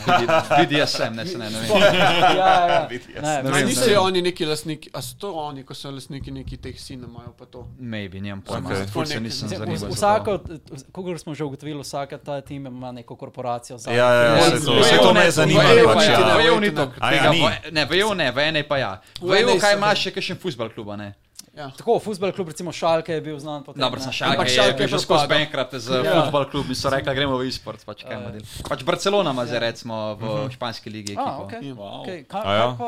BDSM, ne se ne, ne vem. no. Ja, ja. BDS. Ne, Ne A mislim, vem. niso oni neki lastniki, a so to oni, ko so lastniki neki teh sinemajo pa to. Maybe, nimam pojma. Okej. Ful se nisem mislim, zanimal. za Vsako, to. kako smo že ugotovili, vsaka ta tim ima neko korporacijo za. Ja, ja, ja, Ja, se v to, se to EU me ne, zanima. v EU Pač, pa ja. ja. V EU Wait, ni toliko A ja, tega, ni. v- Ne, v EU ne, v ene pa ja. V V EU eni kaj so- imaš še kakšen futbal kluba, ne? Ja. Tako, futbol klub, recimo Šalke je bil znan po tem. Dobro, ne. sem šalke, Ampak je Schalke bil je že skozi propadel. bankrat z futbal klub in so rekli, gremo v e-sport, pač kaj ima del. Pač Barcelona ima zdaj recimo v španski A, ligi ekipo. ok. Wow. okay. Kaj, A ja? kaj pa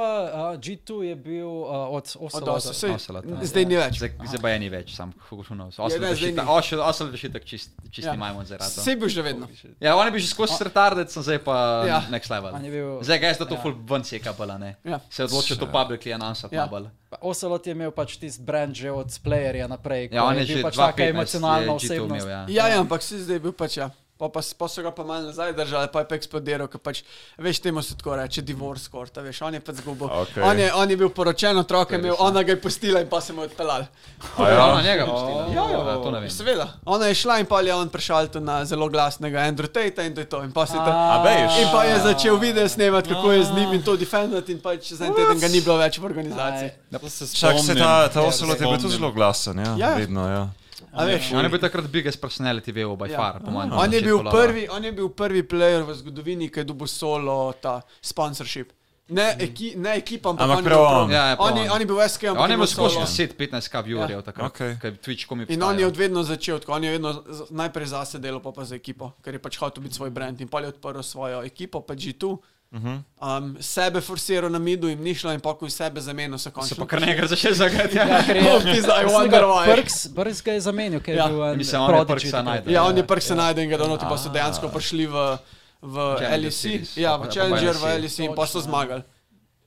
uh, G2 je bil uh, od Od Osla. osa, sej, Oselota, ja. zdaj ni več. Zdaj zdaj pa je ni več, sam huno. Ja, ne, zdaj ni. Osel je še tako čist, čisti Ja. majmon zaradi. Sej bil že vedno. Ja, on je bil že skozi retardec, sem zdaj pa ja. Ja. next level. On je bil- Zdaj ga je zdaj to full ven seka bila, ne. Ja. Se je odločil to publicly announcati ja. Ja. nabal. Oselot je imel pač tisti brand že od playerja naprej. Ja, ko on je bil že pač pač taka 2-5 emocionalna osebnost. ja. Ja, ja, ampak si zdaj bil pač ja. Pa, pa, s- pa so ga pa malo nazaj držali, pa je pa eksplodiral, ker pač, veš, temu se tako reče, divorce court, a veš, on je pač zgubil. Okej. On, je, on je bil poročen otrok, ja. je imel, ona ga je pustila in pa se mu je odpeljal. A ja, ona njega pustila. Ja, ja, ja, to ne vem. Seveda, ona je šla in pa je on prišel tu na zelo glasnega Andrew Tate in to je to. In pa, A se ta, veš? in pa je začel video snemati, kako je z njim in to defendati in pač za en teden ga ni bilo več v organizaciji. Ja, pa se ja, Čak se ta, ta spomnim. oselot je bil tudi zelo glasen, ja, Ja. vedno, ja. A veš, On je bil takrat biggest personality v EU by Ja. far, po mojem. On je, na bil začetku lova. prvi, on je bil prvi player v zgodovini, ki je dobil solo ta sponsorship. Ne, eki, ne ekipa, ampak, Ampak on, je prav bil on. Ja, ja, Mhm. prav on, je, on. on je bil SK, ampak Ja, On je imel solo. skozi 10-15k viewerjev takrat, Okej. okay. kaj Twitch komi In on je od vedno začel tako, on je vedno z- najprej zase delal, pa, pa za ekipo, ker je pač hotel biti svoj brand in pa je odprl svojo ekipo, pa že tu. Mhm. Uh -huh. um, sebe forsiral na midu in ni šlo, in pa ko je sebe zamenil, Se so končno. pa kar nekaj začel zagati. Ja. Ja, ker je Oh, pizda, I wonder why. Brks, Brks ga je zamenil, ker je Ja, bil en mislim, on je prodigy Brksa takrat. najdel. Ja, on je prvi se najde in ga donoti, pa so dejansko prišli v, v Ah. Challenger Series, LEC, ja, pa- v pa Challenger, v LEC. LEC in pa so zmagali.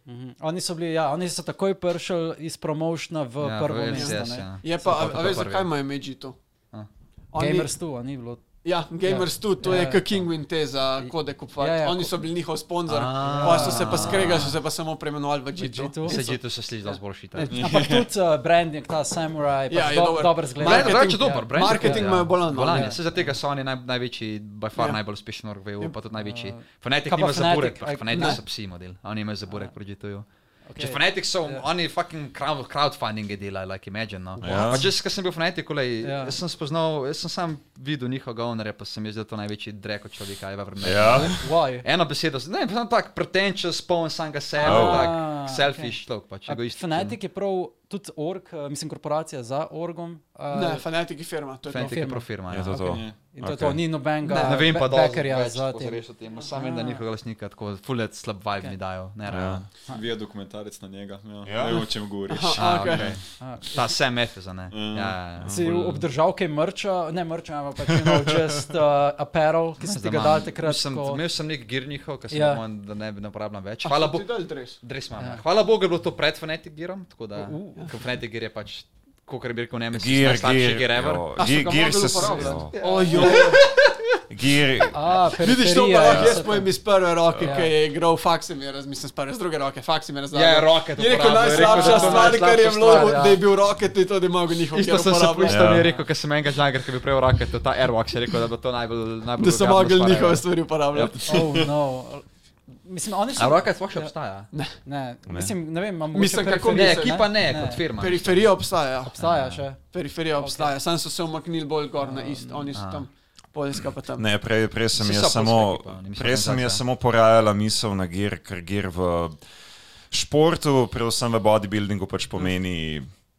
Mhm. Oni so bili, ja, oni so takoj prišli iz promotiona v Ja, prvo v mesto. LCS, ne. ja. Je pa, a, Sem a pa veš, prvi. zakaj ima imidži to? A. Oni- Gamers tu, a ni bilo Ja, Gamers ja. tudi, to Ja, ja, je ja. kot Kingwin te za kode kupovati. Ja, Ja, ja, ja, Oni ko- so bili njihov sponzor, pa so se pa skregali, so se pa samo preimenovali v G2. Vegito. Se že to se sliši, da zboljši ta. Ampak tudi uh, branding, ta samuraj, Ja, ja, je do, dober. dober zgled. Marketing- ja. Brand je dober, brand. marketing imajo bolj na bolan. noge. Se zato, ker so oni naj, največji, by far Ja. najbolj uspešen org v EU, pa tudi največji. Fanatic Ja. Kaj pa nima zaburek, Fnatic? Aj, Fanatic ne. so psi model, a oni imajo zaburek pri GTO. Okay. Če Fnatic so, Ja. yeah. oni fucking crowd, crowdfunding je delali, like imagine. No. Ja. Yeah. Že ker sem bil Fnatic, kolej, Ja. yeah. jaz sem spoznal, jaz sem sam videl njihovega ownerja, pa sem jaz zato največji dreko človek, kaj je ever imel. Ja. Why? Eno besedo, ne, samo tak pretenčen, poln samega sebe, Oh. oh. tak Ah, selfish okay. človek, pač A egoističen. Fnatic je prav tudi org, eh, mislim korporacija za orgom. eh, Ne, Fanatic je firma, to je to. Fnatic je ja. firma. profirma. Je to to. in to, okay. ok. to ni nobenega Ne vem pa, da backerja ja, za tem. rešil tem. Sam vem, da njihovega lastnika tako fulet slab vibe mi dajo. Ne, ja. Vije dokumentarec na njega, ja. Ja. ja. ne vem, o čem govoriš. A, okej. okay. Ta sem F za ne. Ja, ja, Si obdržal kaj mrča, ne mrča, ampak pač you know, just uh, apparel, ki si ti ga dal takrat. Sem, ko- imel sem nek gir njihov, ki sem Ja. ja. da ne bi napravljal več. Hvala Ti Bogu. dal dres. Dres Ja. imam. Hvala Bogu je bilo to pred Fnatic girom, tako da Uh. ker Fnatic gir je pač, kot bi rekel, ne mislim, Gear, najslabši gir gear, ever. jo. A so Ge- ga gear mogli se s- uporabljati? Ja. jo. Ojo, Gear, A, vidiš periferija, to, pa ja, lahko jaz so to. povem iz prve roke, Ja. ki je igral, faks mi je razmislil, s prve, z druge roke, faks mi je razumel. Ja, Rocket Je rekel uporabljajo, je rekel, da najslabša je to stvar, kar je najslabša bilo, stvar, ja. da je bil roket in to, da je mogel njihov Isto gear sem se uporabljati. isto mi Ja. je rekel, ker sem enega žagar, ki bi prej raket, ta Airwalk je rekel, da bo to najbolj najbolj. Da so vulgarna mogli stvar ja. njihove ever. stvari uporabljati. Ja, Oh, no. Mislim, oni so. A Rocket sploh še Ja. obstaja? Ne, mislim, ne vem, imam Mislim, kako Ne, misel, ekipa ne, kot firma. Periferija obstaja. ja. Obstaja še. Periferija obstaja, sam so se umaknili bolj gor Ah, na ist, oni so tam, Poljska pa tam. Ne, prej, prej sem Saj jaz so samo, polska ekipa, oni, mislim, prej sem organizacija. jaz samo porajala misel na gir, ker gir v športu, predvsem v bodybuildingu, pač pomeni.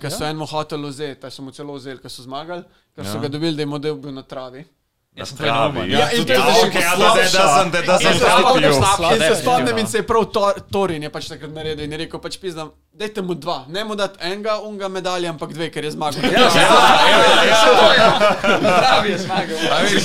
ki so enemu hotelu vzeti, ta so mu celo vzeli, ker so zmagali, ker so Ja. ga dobili, da je model bil na travi. Jaz sem prej Pravi, neumen. ja, in tudi- to je ja, zdaj okej, ja, slabša. that doesn't- that doesn't In se help spomnim- you. slabša, In se definitivno. spomnim in se je prav Tor- Torin je pač takrat naredil in je rekel, pač pizdam, dajte mu dva, ne mu dati enega, unga medalje, ampak dve, ker je zmagal. Ja. Pravi je Ja, zmagal.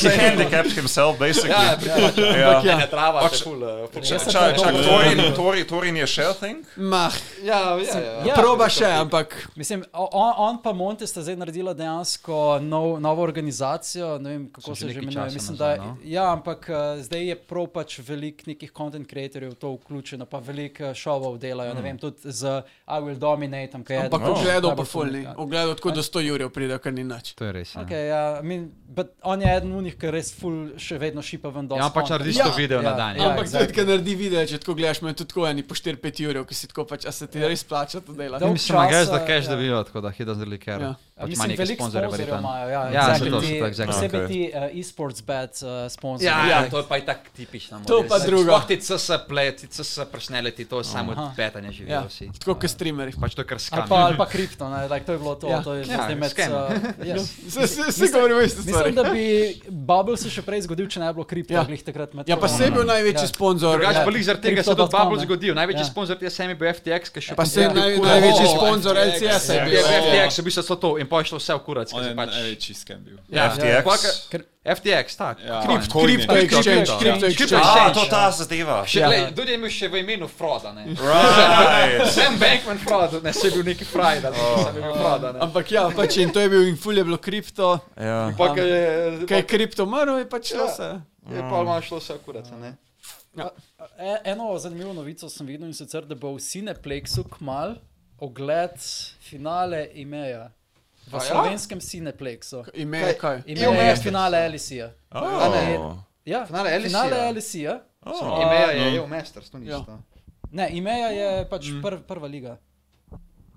He handicapped himself, basically. Ja, pripočil. Ja. Ne, trava, še ful. eh, ful. Jaz sem Čak, pa čak, dobil- Torin, Torin, Torin je še thing? Mah, Ja, ja, ja. Ja, proba še, ampak Mislim, o- on, on pa Monte sta zdaj naredila dejansko nov, novo organizacijo, ne vem kako So se že že nekaj imenuje. časa Mislim, da, nazaj, no. ja, ampak eh, zdaj je prav pač veliko nekih content creatorjev to vključeno, pa veliko eh, šovov delajo, ne vem, tudi z I Will Dominate, tam, kaj je. Ja, Ampak eden no, ogledal najbolj pa fulni, publika- ogledal tako do 100 jurjev pride, kar ni nič. To je res. ja. Okay, ja, I mean, but on je eden unih, ki res ful še vedno šipa ven dol. Ja, on pač naredi Ja, 100 video na ja. dan. Ja, ja. Ampak exactly. tudi, ki naredi video, če tako gledaš, me tudi tako eni po 4-5 jurjev, ki si tako pač, a se ti res plača to delati. Dolg Mislim, da greš, časa, da cash ja. dobijo, tako da he doesn't really care. Ja. Pač ima Mislim, neke veliko sponzorje, sponzorjev verjetno. imajo, ja, Ja, exactly, zato, ti- zato, exactly. Posebej Okay. ti uh, e-sports bet uh, sponzorji. Ja, ja, to je pa itak tipična To pa druga. Sploh ti CS play, ti CS pršneleti, to je samo Aha. od petanja živijo Ja, vsi. tako kot streamerji. Pač to je kar Ali pa, ali skam. pa kripto, ne, like, to je bilo to. Ja. to je Ja, zdaj med, scam. uh, yes. Se, se, se govorimo isto stvar. Mislim, da bi Bubble se še prej zgodil, če ne bi bilo kripto, ja. Ja. glih takrat med. Ja, pa se je bil največji Ja. sponzor. Drugač ja. pa lih zaradi tega se je tudi Crypto.com, Bubble ne. zgodil. Največji Ja. sponsor je sami bil FTX, ki še Pa se je Ja, naj, kurac. največji Oh, sponsor LCS. -a je Je bil. bil FTX, v bistvu so to in pa je šlo vse v kurac. ker Ja. On se je pač- največji skem bil. Ja, FTX. pa ka- FTX, tako. Ja. Kript, Coin je. Kripto exchange, Ja. kripto Kripto exchange. Ah, exchange. A, to tota, ta zadeva. Še, Ja. ja. lej, tudi je imel še v imenu Froda. ne. Right. Sam Bankman Froda, ne, se je bil neki frajd, ali sem bil Froda. ne. Ampak ja, pač in to je bil in ful je bilo kripto. Ja. Pa ga je, Kaj je kripto mrl, je pač šlo se. je pa malo šlo vse v kurac. a ne. E- Eno zanimivo novico sem videl in sicer, da bo v Cineplexu kmal ogled finale Imeja. V A ja? slovenskem Cineplexu. Ime je kaj? Imeja je finale Elisija. Oh. Ja, Finale Elisija. Finale Elisija. Oh. Imeja je, No. je v Masters, to ni Ja. isto. Ne, Imeja Mm. je pač prv, prva liga.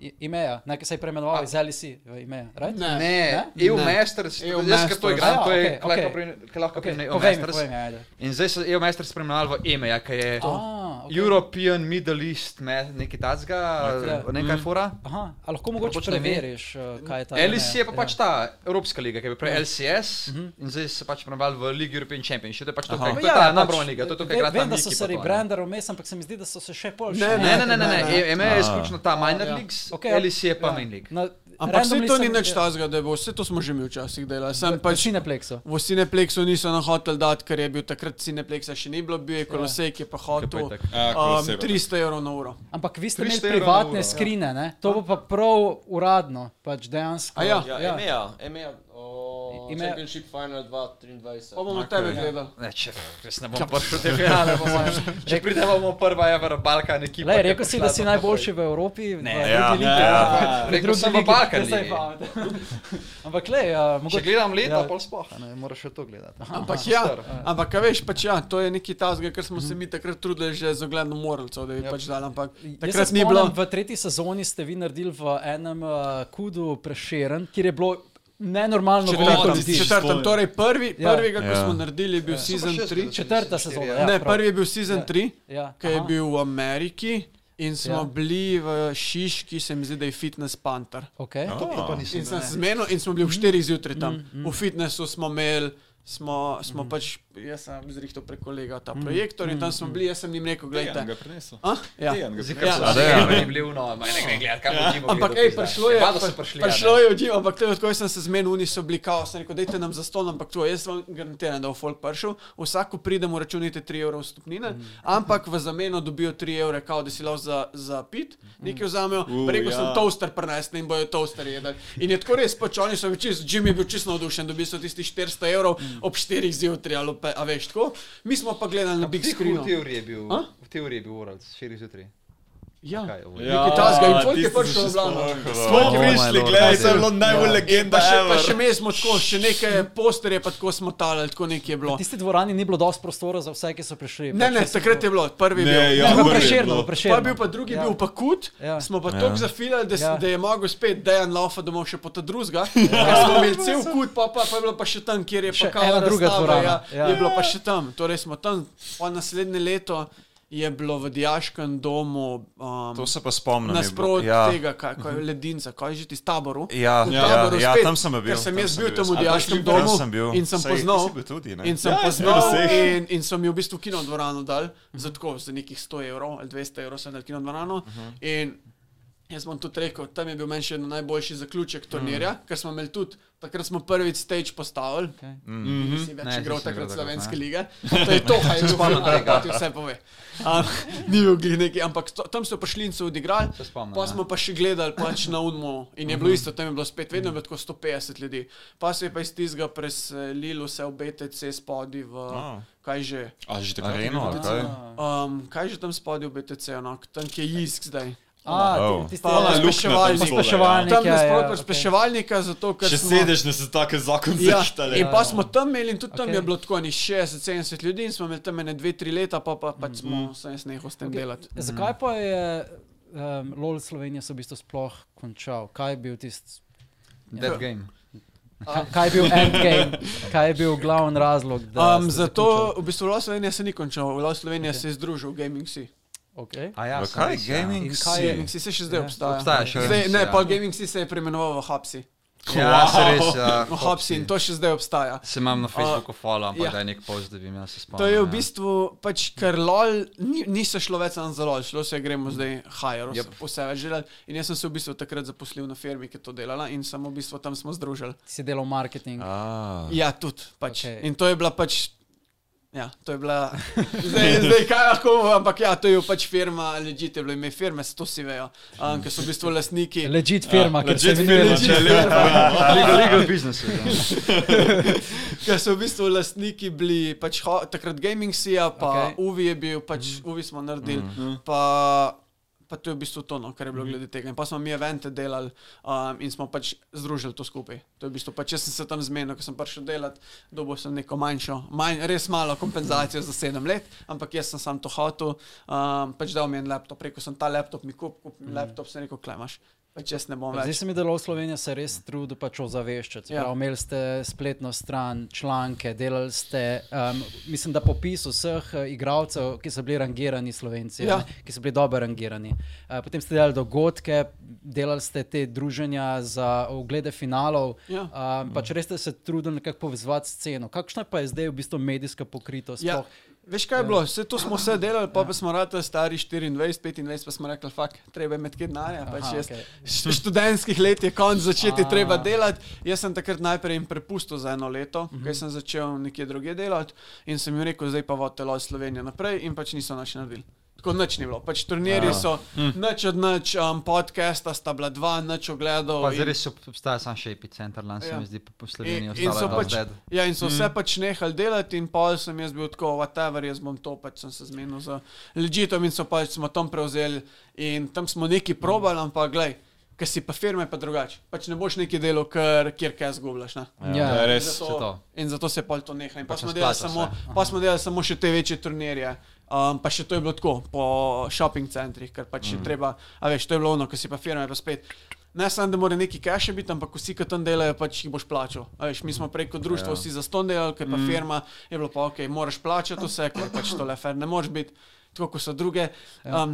I, Imeja, nekaj se je preimenoval iz Elisija v Imeja. Right? Ne. Ne, Ne? EU Ne. Masters, EU jaz ker to Masters. igram, Ah, to okej, je lahko okej. pri- lahko pri Okay, EU povej mi, E Masters. povej mi, ajde. In zdaj so EU Masters spremenovali v EMEA, ki ja, je Ah, Okay. European, Middle East, ne, nekaj tazga, Ja. okay. nekaj mm. fora. Aha, a lahko mogoče Točno ne ve. preveriš, eh, kaj je ta. LEC je pa ja. Mhm. pač ta Evropska liga, ki je prej LCS in zdaj se pač prenaval v League European Championship. To je pač to, kar je Ja, ta pač, nabrona liga, to je to, kar ve- igra ta Vem, da so Niki se pa to, ne. rebrandali vmes, ampak se mi zdi, da so se še boljši. Ne, Ne, E ne, ne, ne, ne, Ne, ne. EME je izključno ta minor leagues, ja. Okej, Ja. LEC je pa main league. Na- Ampak vse randomly to sem- ja, ni nič tazga, da bo vse to smo že mi včasih delali. Sem Pač pač Cineplexu. V Cineplexu niso na hotel dati, ker je bil takrat Cineplexa še ni bilo, bil je Kolosej, ki je pa hotel Kaj pa je tak? Ja, um, Kolosej, pa. 300 evrov na uro. Ampak vi ste imeli 300 evrov na privatne uro, ja. skrine, ne? to bo pa prav uradno, pač dejansko. A ja? E-, Ja. Ja, EMEA, EMEA, o, EMEA. Championship Final 2023. Pa bomo okay. tebe gledali. Ne, če res ne bom prišel do finale, bom če pridemo, bomo prva Ever Balkan ekipa. Lej, ki je rekel si, prišla da si do- najboljši v Evropi. Ne, Ja, ja. Rekel sem v Balkan ligi. Ampak le, uh, Če mogoče. gledam leto, Ja. pol sploh, a ne moraš še to gledati. Ampak ja, ampak a veš, pač ja, to je neki tazga, ker smo se mi takrat trudili že z ogledom moralcev, da bi pač dali, ampak Mhm. Ja. Jaz se takrat ni spomnim, bilo. V tretji sezoni ste vi naredili v enem uh, kudu preširen, kjer je bilo nenormalno veliko Četrtem, ljudi. četrtem, torej prvi, Ja. prvega, ko smo naredili, je bil sezon 3. Četrta sezona. Ja, Ne, prav. prvi je bil sezon Ja. 3. Ja, ki je aha. bil v Ameriki in smo Ja. ja. bili v Šiški, se mi zdi, da je fitness panter. Okay. No. In, sem se zmenil, in smo bili ob 4 zjutraj tam. Mm, mm. V fitnessu smo imeli, smo, smo mm. pač, jaz sem zrihtel prek kolega ta mm, projektor in tam smo bili, jaz sem jim rekel, Dejan gledajte. ga prinesel. A? Ja. Dejan ga Zikar so Ja. se ne bili v novem, no, ne gre gledati, kam bomo imeli. Ampak, hej, prišlo je, Vado Ja, so prišli. prišlo je od njih, ampak to je tako, jaz sem se zmenil, oni so bili kao, sem rekel, dajte nam za ston, ampak to, jaz vam garantiram, da bo folk prišel, vsako pridemo, računite 3 evrov vstopnine, Mm. ampak v zameno dobijo 3 evre, kao, da si lov za, za pit, Mm. nekaj vzamejo, pa rekel sem, ja. toaster prenesli in bojo toaster jedli. In je tako res, pač oni so večer, Jim je bil čisto navdušen, dobili so tisti 400 evrov Mm. ob 4 zjutraj, ali pa, a veš, tako, mi smo pa gledali na big V screen. teoriji Ja, je bil, A? v teoriji je bil Urals, 4 zjutraj. Ja. Kaj je ovo? Nekaj tazga in folk je tisto prišel v sem še Ljubljano. Smo prišli, gledaj, to je bilo najbolj legenda. Ja. Pa še, pa ever. še mi smo tako, še nekaj posterje, pa tako smo talali, tako nekaj je bilo. V tisti dvorani ni bilo dosti prostora za vse, ki so prišli. Ne, ne, Pač jaz- takrat je bilo, Ja, prvi je ja. bil. Ne, pa prvi je preširno, bilo. pa preširno. Pa bil pa drugi ja. bil pa kut, Ja. ja. smo pa tako ja. zafilali, da, Ja. ja. da je mogel spet Dejan Laufa domov še po ta drugega. Ja. Smo imeli cel kut, pa, pa, pa je bilo pa še tam, kjer je Še pa kao ena druga razstava, dvorana. Ja, Ja. ja. Je bilo pa še tam, torej smo tam, pa naslednje leto je bilo v dijaškem domu. Um, To se pa spomnim. je bilo- Nasprot ja. ja. tega, kaj, kaj je ledinca, kaj je že ti s taboru. Ja, v ja, taboru ja, spet, tam sem bil, Ker sem tam jaz sem bil bil, tam v sem- dijaškem tam domu sem bil. in sem Sej, ti poznal. si bil tudi, ne? in sem Ja, jaz sem poznal bil vseh. in, in sem jo v bistvu kino dvorano dal, za tako, za nekih 100 evrov ali 200 evrov sem dal kino dvorano. In jaz bom tudi rekel, tam je bil meni še en najboljši zaključek turnirja, Mm. ker smo imeli tudi, takrat smo prvič stage postavili. Mm. Nisi Mhm. Ne, več igral nisi igral takrat takrat, slovenske ne. lige. To je to, kar je spomnil, da ti vse pove. Um, ni bil glih neki, ampak to, tam so prišli in so odigrali. Se spomnim, Pa ja. smo pa še gledali pač na Unmo in je bilo isto, tam je bilo spet vedno je bilo tako 150 ljudi. Pa se je pa iz tizga preselilo vse v BTC spodi v, A. kaj že, A že takrat. Areno, ali kaj? um, kaj že tam spodi v BTC, no, tam kje je Jisk zdaj. A, Oh. ti- tisti Pa ja, luknja pospeševalnik. tam zgodaj, ja. Pospeševalnik, Tam ja, nasprot ja, pospeševalnika, zato ker Če smo- sedeš, ne se take zakon Ja, zaštale. in pa smo tam imeli, in tudi tam Okej. okay. je bilo tako, ni 60-70 ljudi, in smo imeli tam ene 2-3 leta, pa pa pač smo mm. se jaz nehal s tem okay. delati. Zakaj pa je um, LOL Slovenija se v bistvu sploh končal? Kaj je bil tisti? Ja. Dead game. Kaj je bil endgame? Kaj je bil glavni razlog? da Um, ste zato v bistvu Los Slovenija se ni končal, Los Slovenija okay. se je združil, Gaming Sea. zaključali? Okay. A ja, V sem Kaj res, ja. gaming? In si? kaj je- Gaming Sea se še zdaj Ja. obstaja. Obstaja še Zdaj, Gaming ne, Sea, pa ja. Gaming Sea se je preimenoval v Hapsi. Ja, se res. ja, V Hapsi in to še zdaj obstaja. Se imam na Facebooku follow, ampak ja. da je nek post, da bi jaz se spomnil. To je v ja. bistvu, pač, ker lol, ni, niso šlo več samo za lol, šlo se je gremo zdaj hajer, Yep. yep. vse več delati. In jaz sem se v bistvu takrat zaposlil na firmi, ki je to delala in samo v bistvu tam smo združili. Si delal marketing. Ah, Ja, tudi. Pač. Okej. Okay. In to je bila pač. Ja, to je bila. Zdaj, zdaj kaj lahko, ampak ja, to je pač firma, ležite, bilo ime firme, to si vejo, um, ki so v bistvu lastniki. Legit firma, ki se Legit imenuje firma, Legit. če lepo. ja. Legal, legal business. ja. Ker so v bistvu lastniki bili pač ho, takrat Gaming Sea, Okej. pa okay. UVI je bil, pač mm. UVI smo naredili. Mm. Pa, pa to je v bistvu to, no, kar je bilo glede tega. In pa smo mi evente delali um, in smo pač združili to skupaj. To je v bistvu pač, jaz sem se tam zmenil, ker sem prišel delati, dobil sem neko manjšo, manj, res malo kompenzacijo za sedem let, ampak jaz sem sam to hotel, um, pač dal mi en laptop, rekel sem ta laptop mi kup, kup mi laptop, sem rekel, klemaš. Pač jaz ne bom Zdi več. se mi, da Lov Slovenija se res trudi pač ozaveščati. Ja. Ja. Imeli ste spletno stran, članke, delali ste, um, mislim, da popis vseh uh, igralcev, ki so bili rangirani Slovenci, Ja. ja. ki so bili dobro rangirani. Uh, potem ste delali dogodke, delali ste te druženja za oglede finalov. Ja. Um, pač res ste se trudili nekako povezati sceno. Kakšna pa je zdaj v bistvu medijska pokritost? Ja. sploh? Ja. Veš kaj je bilo, vse to smo vse delali, pa, pa smo ratali stari 24, 25, pa smo rekli, fakt, treba je imeti kaj denarja. Pač Aha, jaz, okej. okay. Študentskih let je konc začeti, je treba delati. Jaz sem takrat najprej jim prepustil za eno Mhm. leto, mm -hmm. ker sem začel nekje druge delati in sem jim rekel, zdaj pa vodite lo Slovenijo naprej in pač niso naš naredili. Tako nič ni bilo, pač Ja. turnirji so, Hm. nič od nič, um, podcasta sta bila dva, nič ogledov. Pa in- zares ob- obstaja samo še epicenter, lani se Ja. mi zdi, po Sloveniji In, in so ostalo pač, pač... ja, in so vse mm. pač nehali delati, in pol sem jaz bil tako, whatever, jaz bom to, pač sem se zmenil za legitom in so pač smo tam prevzeli in tam smo neki probali, ampak glej, ker si pa firme pa drugače. Pač ne boš neki delo, ker kjer kaj zgubljaš. ne. Ja. se res. to. in zato se je pol to neha. In pa Pač smo, ne delali splača samo, se. pa smo delali samo še te večje turnirje. Um, pa še to je bilo tako, po šoping centrih, ker pač mm. je treba, a veš, to je bilo ono, ko si pa firme, pa spet. Ne samo, da mora neki cache biti, ampak vsi, ki tam delajo, pač jih boš plačal. A Veš, mi smo preko društva vsi za ston delali, ker pa mm. firma je bilo pa ok, moraš plačati vse, ker pač to le fer ne moreš biti. Tako kot so druge, um,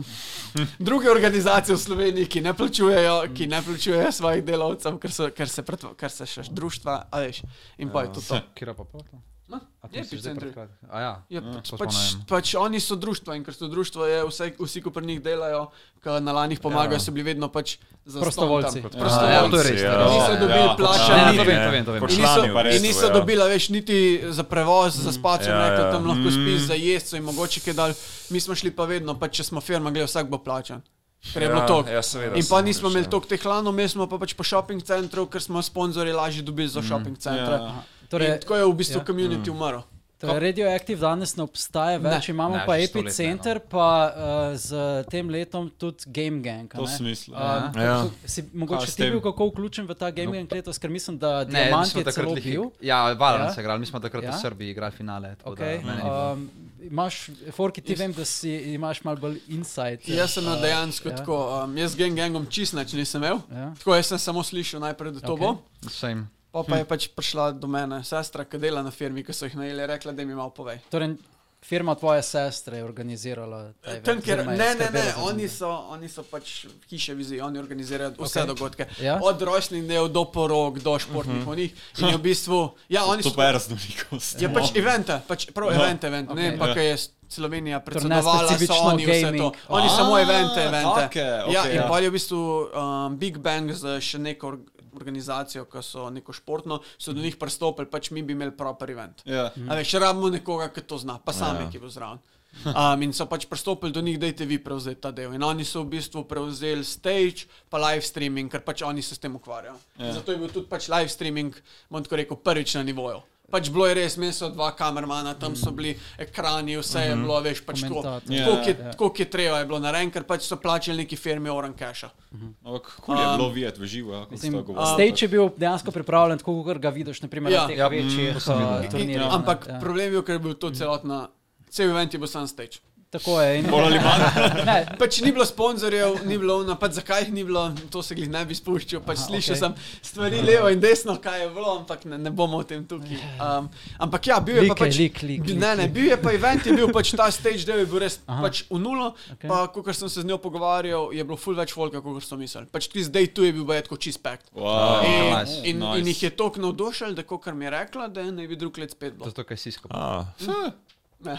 druge organizacije v Sloveniji, ki ne plačujejo, ki ne plačujejo svojih delavcev, ker, so, ker, se, pretva, ker se še društva, a veš, in pa je to to. Kira pa potla? Ma, A ti je si zdaj epicenter. pred kratkim? A ja. Ja, pač, to pač, spomnim. pač oni so društva in ker so društva, je vse, vsi, ki pri njih delajo, ki na lanih pomagajo, so bili vedno pač za ston Prostovoljci. Ja, ja, tam. to je Prostovoljci. res, Ja, to je res. Niso dobili Ja, plače, Ne, ne, nič. to vem, to vem, to vem. Kot In člani niso, v in Brestu, niso ja. dobila več niti za prevoz, za spacem, Ja, ja, rekli, ja. tam lahko spiš za jesti, so jim mogoče kaj dal. Mi smo šli pa vedno, pa če smo firma, gre vsak bo plačan. Ker je bilo Ja, toliko. ja, seveda, in sem pa nismo moraš, imeli ja. toliko teh lanov, mi smo pa pač po šoping centru, ker smo sponzorje lažje dobili Mm. za šoping centre. ja. Ja. Torej, tako je v bistvu ja. komunit ja. umrl. Torej, radioaktiv danes ne obstaja več, ne, imamo Ne, ne, pa že sto let ne, epicenter, ne, no. pa uh, z tem letom tudi Game Gang. a To ne? sem mislil. Um, Ja. ja. Si mogoče Kaj s ti tem? bil kako vključen v ta Game Gang letos, ker mislim, da No. Ne, mi Diamant smo je celo takrat lih, bil. ja, Valorant Ja. se igrali, mi smo takrat Ja. v Srbiji igrali finale. tako da Okay. meni ni bilo. Um, imaš, Forki, ti vem, da si, imaš malo bolj insight. eh, Jaz sem imel dejansko ja. ja. tako, um, jaz gen gangom čist nič nisem imel. Ja. Tako jaz sem samo slišal najprej, da to Okej. Hm. okay. bo. Same. Pa, pa je pač prišla do mene sestra, ki dela na firmi, ki so jih najeli, je rekla, da mi malo pove. Torej, firma tvoje sestre je organizirala. ta event, Tam, kjer, oziroma je ne, ne, skrbela ne, za oni njega. so, oni so pač hiše vizije, oni organizirajo vse okay. dogodke. Ja. Mhm. Od rojstnih dnev do porok, do športnih uh -huh. onih. In je v bistvu, ja, oni so. Super raznolikost. Je pač evente, pač prav evente, event, okay. ne Okej. pa, No. Ja. ker je Slovenija Torej, ne predsedovala, so specifično oni vse to. gaming. Oni samo Ah, evente, evente. take, ja, okej, in ja. pa je v bistvu um, Big Bang z še neko org- organizacijo, ki so neko športno, so do njih pristopili, pač mi bi imeli proper event. Ja. A veš, rabimo nekoga, ki to zna, pa sami, ja. ki bo zraven. Um, in so pač pristopili do njih, da je vi prevzeli ta del. In oni so v bistvu prevzeli stage, pa live streaming, ker pač oni se s tem ukvarjajo. Ja. Zato je bil tudi pač live streaming, bom tako rekel, prvič na nivoju. Pač bilo je res, meso dva kamermana, tam so bili ekrani, vse je bilo, veš, pač Mhm. tako, Komentator. Ja, tako, je, ja. tako je treba je bilo narejen, ker pač so plačali neki firmi Oran Cache. Ampak kul je bilo videti v živo, ja, kako se to Mislim, govori. Stage je bil dejansko pripravljen, tako kot ga vidiš, naprimer, Ja. na teh Ja, večjih mm, to sem videl. uh, turnirjih. ne. Ampak Ja. problem je bil, ker je bil to celotna, cel event je bil sam stage. Tako je. In, eh, Bolj ali manj. ne, Pač ni bilo sponzorjev, ni bilo ono, pač zakaj jih ni bilo, to se jih ne bi spuščal. Pač Aha, slišal okej. okay. sem stvari levo in desno, kaj je bilo, ampak ne, ne bomo o tem tukaj. Um, ampak ja, bil je Ja. Like je, pa pač. like, like, ne, like, ne, bil je pa event, je bil pač ta stage del, je bil res Aha. pač v nulo. Okej. Okay. Pa, ko sem se z njo pogovarjal, je bilo full več folka, kot so mislili. Pač tudi zdaj tu je bil bajet kot čist pekt. Wow. In, nice, in, nice. in jih je toliko navdušil, da kar mi je rekla, da naj bi drug let spet bilo. Zato, ker si skupaj, Ah, Ne.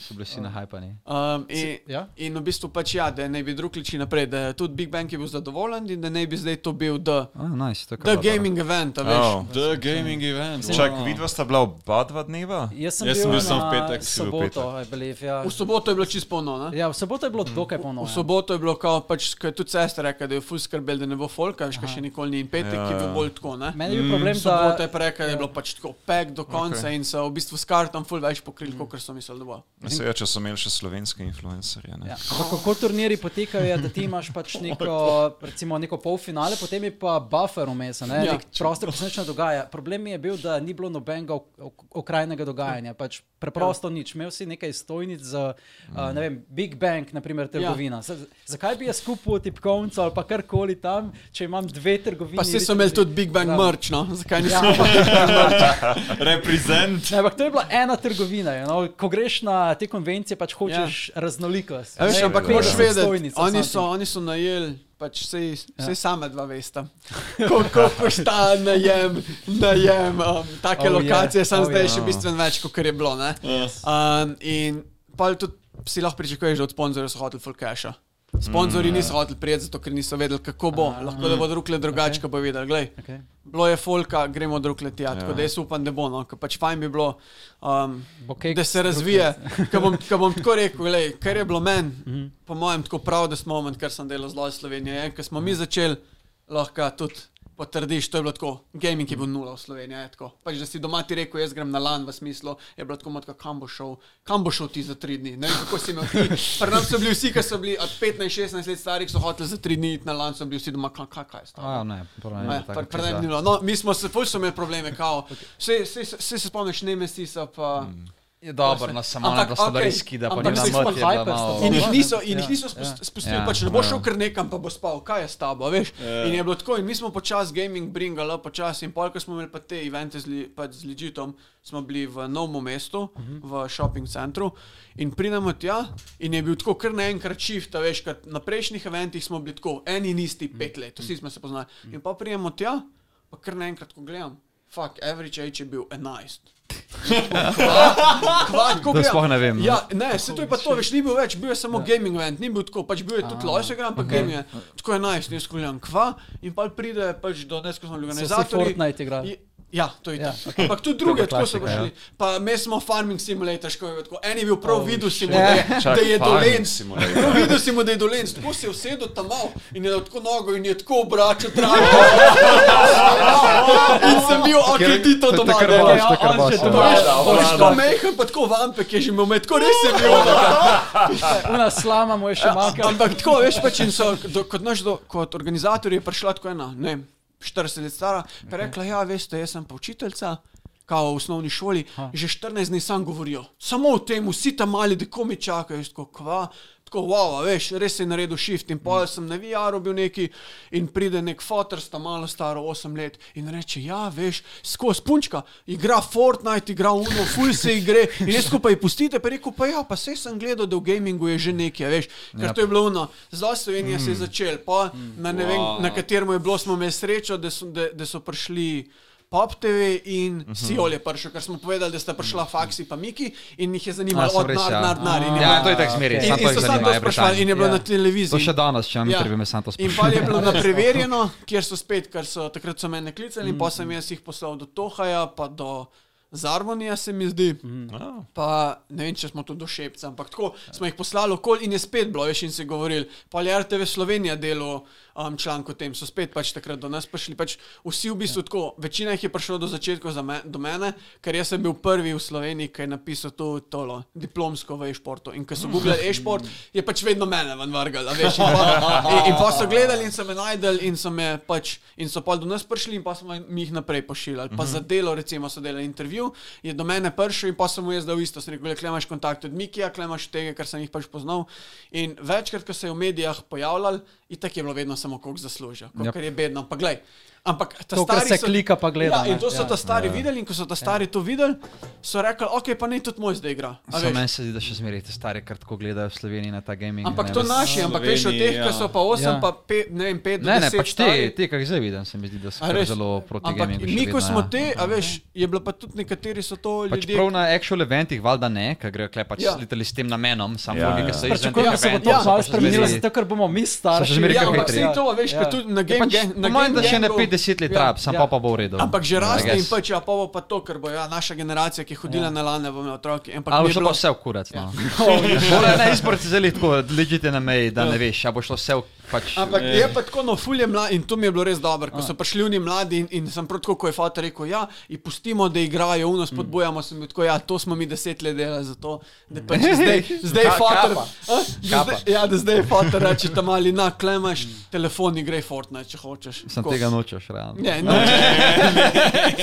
so bili vsi nahajpani. Um, in, ja? ja? in v bistvu pač ja, da naj bi drugi šli naprej, da je tudi Big Bang je bil zadovoljen in da naj bi zdaj to bil the, A, nice, to je the kar dobro. gaming event, a veš. oh. The gaming event. Čak, vidva sta bila oba dva dneva? Jaz sem Jaz bil, sem bil na samo v petek, si bil v Soboto, I believe, ja. V soboto je bilo čisto polno, ne? ja, v soboto je bilo dokaj polno. V ja. soboto je bilo kao pač, ko je tudi sestra rekla, da je full skrbel, da ne bo folka, veš, kar še nikoli ni in petek ja, je bil bolj tako, ne. Meni Ja. je bil problem, da Mhm. Sobota je pa rekla, da je bilo pač tako pek do konca okay. in so v bistvu s kartom full več pokrili, kot so mislili, da bo. ja, Vse je, če so imeli še slovenske influencerje. ne. Ja. ampak Kako turniri potekajo, je, da ti imaš pač neko, recimo, neko polfinale, potem je pa buffer vmes, ne, Ja. ja. prostor, ki se nič ne dogaja. Problem mi je bil, da ni bilo nobenega ok- ok- okrajnega dogajanja, pač preprosto nič. Imel si nekaj stojnic za, a, ne vem, Big Bang, naprimer, trgovina. Ja. Zakaj bi jaz kupil tipkovnico ali pa karkoli tam, če imam dve trgovini? Pa vsi so imeli tudi Big Bang Zraven. merch, no? Ja, zakaj nismo? Ja. ampak- Reprezent. ne, ampak to je bila ena trgovina. You know? Ko greš na te konvencije, pač hočeš ja. raznolikost. Ja, veš, Ne, ampak petdeset moraš vedeti, stojnic ali oni something. so, oni so najeli, pač vse ja. same dva veste. Koliko košta najem, najem um, take Oh, yeah. oh, lokacije, yeah. sam Oh, oh, zdaj yeah. yeah. še bistveno več, kot je bilo. ne. Ja. Um, in pa tudi si lahko pričakuješ, da od sponzorjev so hoteli full cash. Sponzorji mm, niso hoteli prijeti, zato ker niso vedeli, kako bo. Ah, Lahko da bodo rukle drugače, okay. bo videli. Glej, Okay. Bilo je folka, gremo drug leti, ja. tako da jaz upam, da bo, no, ker pač fajn bi bilo, um, Bo keks da se razvije. Ker bom, ker bom tako rekel, glej, kar je bilo meni, mm Mhm. -hmm. po mojem, tako prav, da smo moment, ker sem delal zelo Slovenijo. En, ker smo mi Ja. začeli, lahko tudi potrdiš, to je bilo tako, gaming je bil nula v Sloveniji, je tako. Pač, da si doma ti rekel, jaz grem na lan v smislu, je bilo tako, matka, kam bo šel, kam bo šel ti za tri dni, ne vem, kako si imel ti. Pri nas so bili vsi, ki so bili od 15-16 let starih, so hoteli za tri dni iti na lan, so bili vsi doma, kaj, kaj, kaj je stalo. A, ne, prav ne, Ne, tako pa- čez predaj dan. ni bilo. No, mi smo se, ful so imeli probleme, kao. Vse se spomniš, ne mesisa, pa... Mm. Je dobro, no samo ne, Ampak, da so da okej, riski, da pa ampak ne saj smo hyper znamo. sta- In jih Ja, niso, in ja, jih niso ja. spust- spustili, Ja, pač ne bo ja. šel kar nekam, pa bo spal, kaj je s tabo, veš. In je bilo tako, in mi smo počasi gaming bringali, počasi, in polk smo imeli pa te evente z, li, pač z Legitom, smo bili v novem mestu, Mhm. v shopping centru, in pridemo tja, in je bil tako kar naenkrat shift, a veš, ker na prejšnjih eventih smo bili tako, eni in isti pet let, Mhm. vsi smo se poznali. In pa pridemo tja, pa kar naenkrat, ko gledam, fuck, average age je bil 11. Kvad, Da sploh ne vem, no. Ja, ne, se to je pa to, veš, ni bil več, bil je samo ja. gaming event, ni bil tako, pač bil je tudi lojse gram, pa okay. gaming. event. Tako je najst, ne skuljam kva in pa pride pač do neskončno organizatorja. Fortnite igrali. Je- Ja, to je Ja, ja, to. Okay. Ampak tudi druge, tako so klasika, ja. prišli. Pa mi smo farming simulator, ško je bilo tako. En je bil prav, oh, videl si mu, shit. da je, da je Farming dolenc. Simulator. Prav videl si mu, da je dolenc. Tako se je usedel tam mal in je dal tako nogo in je tako obračal travo. in sem bil, ok, ti to je doma. kar ne, boš, ja, to je kar on boš, še ja. doma. Ja, Veš, veš, ko meham, pa tako vampek je že imel, med, tako res je bil. ono. Una slama mu je še manjkala. Ja, Ampak tako, veš, pač in so, do, kot, naš, do, kot organizator je prišla tako ena, ne vem, 40 let stara, pa je rekla, ja, veste, jaz sem pa učiteljica. Kao v osnovni šoli, ha. že 14 dni sam govorijo. Samo o tem, vsi tam mali, da komi čakajo, jaz tako kva, tako wow, a veš, res je naredil shift in pol sem na VR-u bil neki in pride nek fotor, sta malo staro 8 let in reče, ja, veš, skozi punčka, igra Fortnite, igra Uno, ful se igre in jaz skupaj pustite, pa je rekel, pa ja, pa sej sem gledal, da v gamingu je že nekaj, a veš, Ja. ker to je bilo Uno, zdaj Slovenija mm. se je začel, pa na ne vem, wow. na katerem je bilo, smo imeli srečo, da so, da, da so prišli Pop TV in Mhm. uh -huh. Siol je prišel, ker smo povedali, da sta prišla faksi pa Miki in jih je zanimalo, sem od Mm. res, nar, ja. nar, nar. in je Ja, bilo- to je tako zmeraj, In- samo In, in to jih so samo to zanima, je sprašvali in vprašanje. je bilo Ja. na televiziji. To še danes, če vam intervju, me samo to Ja. In sprašujem. pa je bilo na preverjeno, kjer so spet, ker so takrat so mene klicali, in pa sem jaz jih poslal do Tohaja, pa do Zarmonija, se mi zdi. Ah. Pa ne vem, če smo to do Šepca, ampak tako smo jih poslali okol in je spet bilo, veš, in se govorili. Pa je RTV Slovenija delo um, članek o tem, so spet pač takrat do nas prišli. Pač vsi v bistvu tako, večina jih je prišlo do začetka za me, do mene, ker jaz sem bil prvi v Sloveniji, ki je napisal to tolo, diplomsko v e-športu. In ko so googlali e-šport, je pač vedno mene ven vrgal, a veš. In pa, in, in pa so gledali in so me najdel in so me pač, in so pa do nas prišli in pa smo jim jih naprej pošiljali. Pa Mhm. za delo, recimo, so delali intervju, je do mene prišel in pa sem mu jaz dal isto, sem rekel, klej imaš kontakt od Mikija, klej imaš tega, kar sem jih pač poznal. In večkrat, ko se je v medijih pojavljal, itak je bilo vedno samo koliko zaslužijo, koliko yep. je bedno, pa glej. Ampak ta To, kar stari Ja. se klika pa gleda, Ja, in ne. to so Ja. ta stari videli in ko so ta stari to videli, so rekli, ok, pa ne tudi moj zdaj igra. A Samo veš. meni se zdi, da še zmeraj te stare, ker tako gledajo v Sloveniji na ta gaming. Ampak ne, to ves- naši, ampak veš od teh, ki so pa 8, Ja. ja. pa pe, ne vem, 5, Ne, ne, pač te, te, kak zdaj vidim, se mi zdi, da so A kar res? zelo proti Ampak gamingu. še mi, ko vedno, smo ja. te, a veš, je bilo pa tudi nekateri so to Pač ljudje. prav na actual eventih, valjda ne, ker grejo klepač Ja. ja. s tem namenom, samo Ja, ja, ja. nekaj se izvede. Pričakujem, da se bo to Ja, malo pa še spremenilo, zmeraj- zato ker bomo mi še starši. zmeraj Ja, kako ampak hitri. sej to, a veš, Ja. ja. tudi na game Pač, gang. po mojem, da še ne 50 let trab, sam ja. pa pa bo v redu. Ampak že I raste in guess. pač, ja, pa bo pa to, ker bo ja, naša generacija, ki je hodila ja. na lane, bomo otroci. Ampak A bo mi je šlo bilo pa Ja. vse v kurac. No. Ja. Na izbor si zelo tako, ležite na meji, da ne veš, a bo šlo vse v Pač, Ampak je pa tako, no, fulje mlad in to mi je bilo res dobro, ko so prišli oni mladi in, in sem prav tako, ko je fata rekel, ja, in pustimo, da igrajo, uno spodbujamo, sem bil tako, ja, to smo mi deset let delali, zato da pač zdaj, zdaj je Ka- fata. kapa. Ja, da zdaj je fata, reče tam ali na, klemaš telefon, igraj Fortnite, če hočeš. sem Tako. tega nočeš, realno. Ne, ne,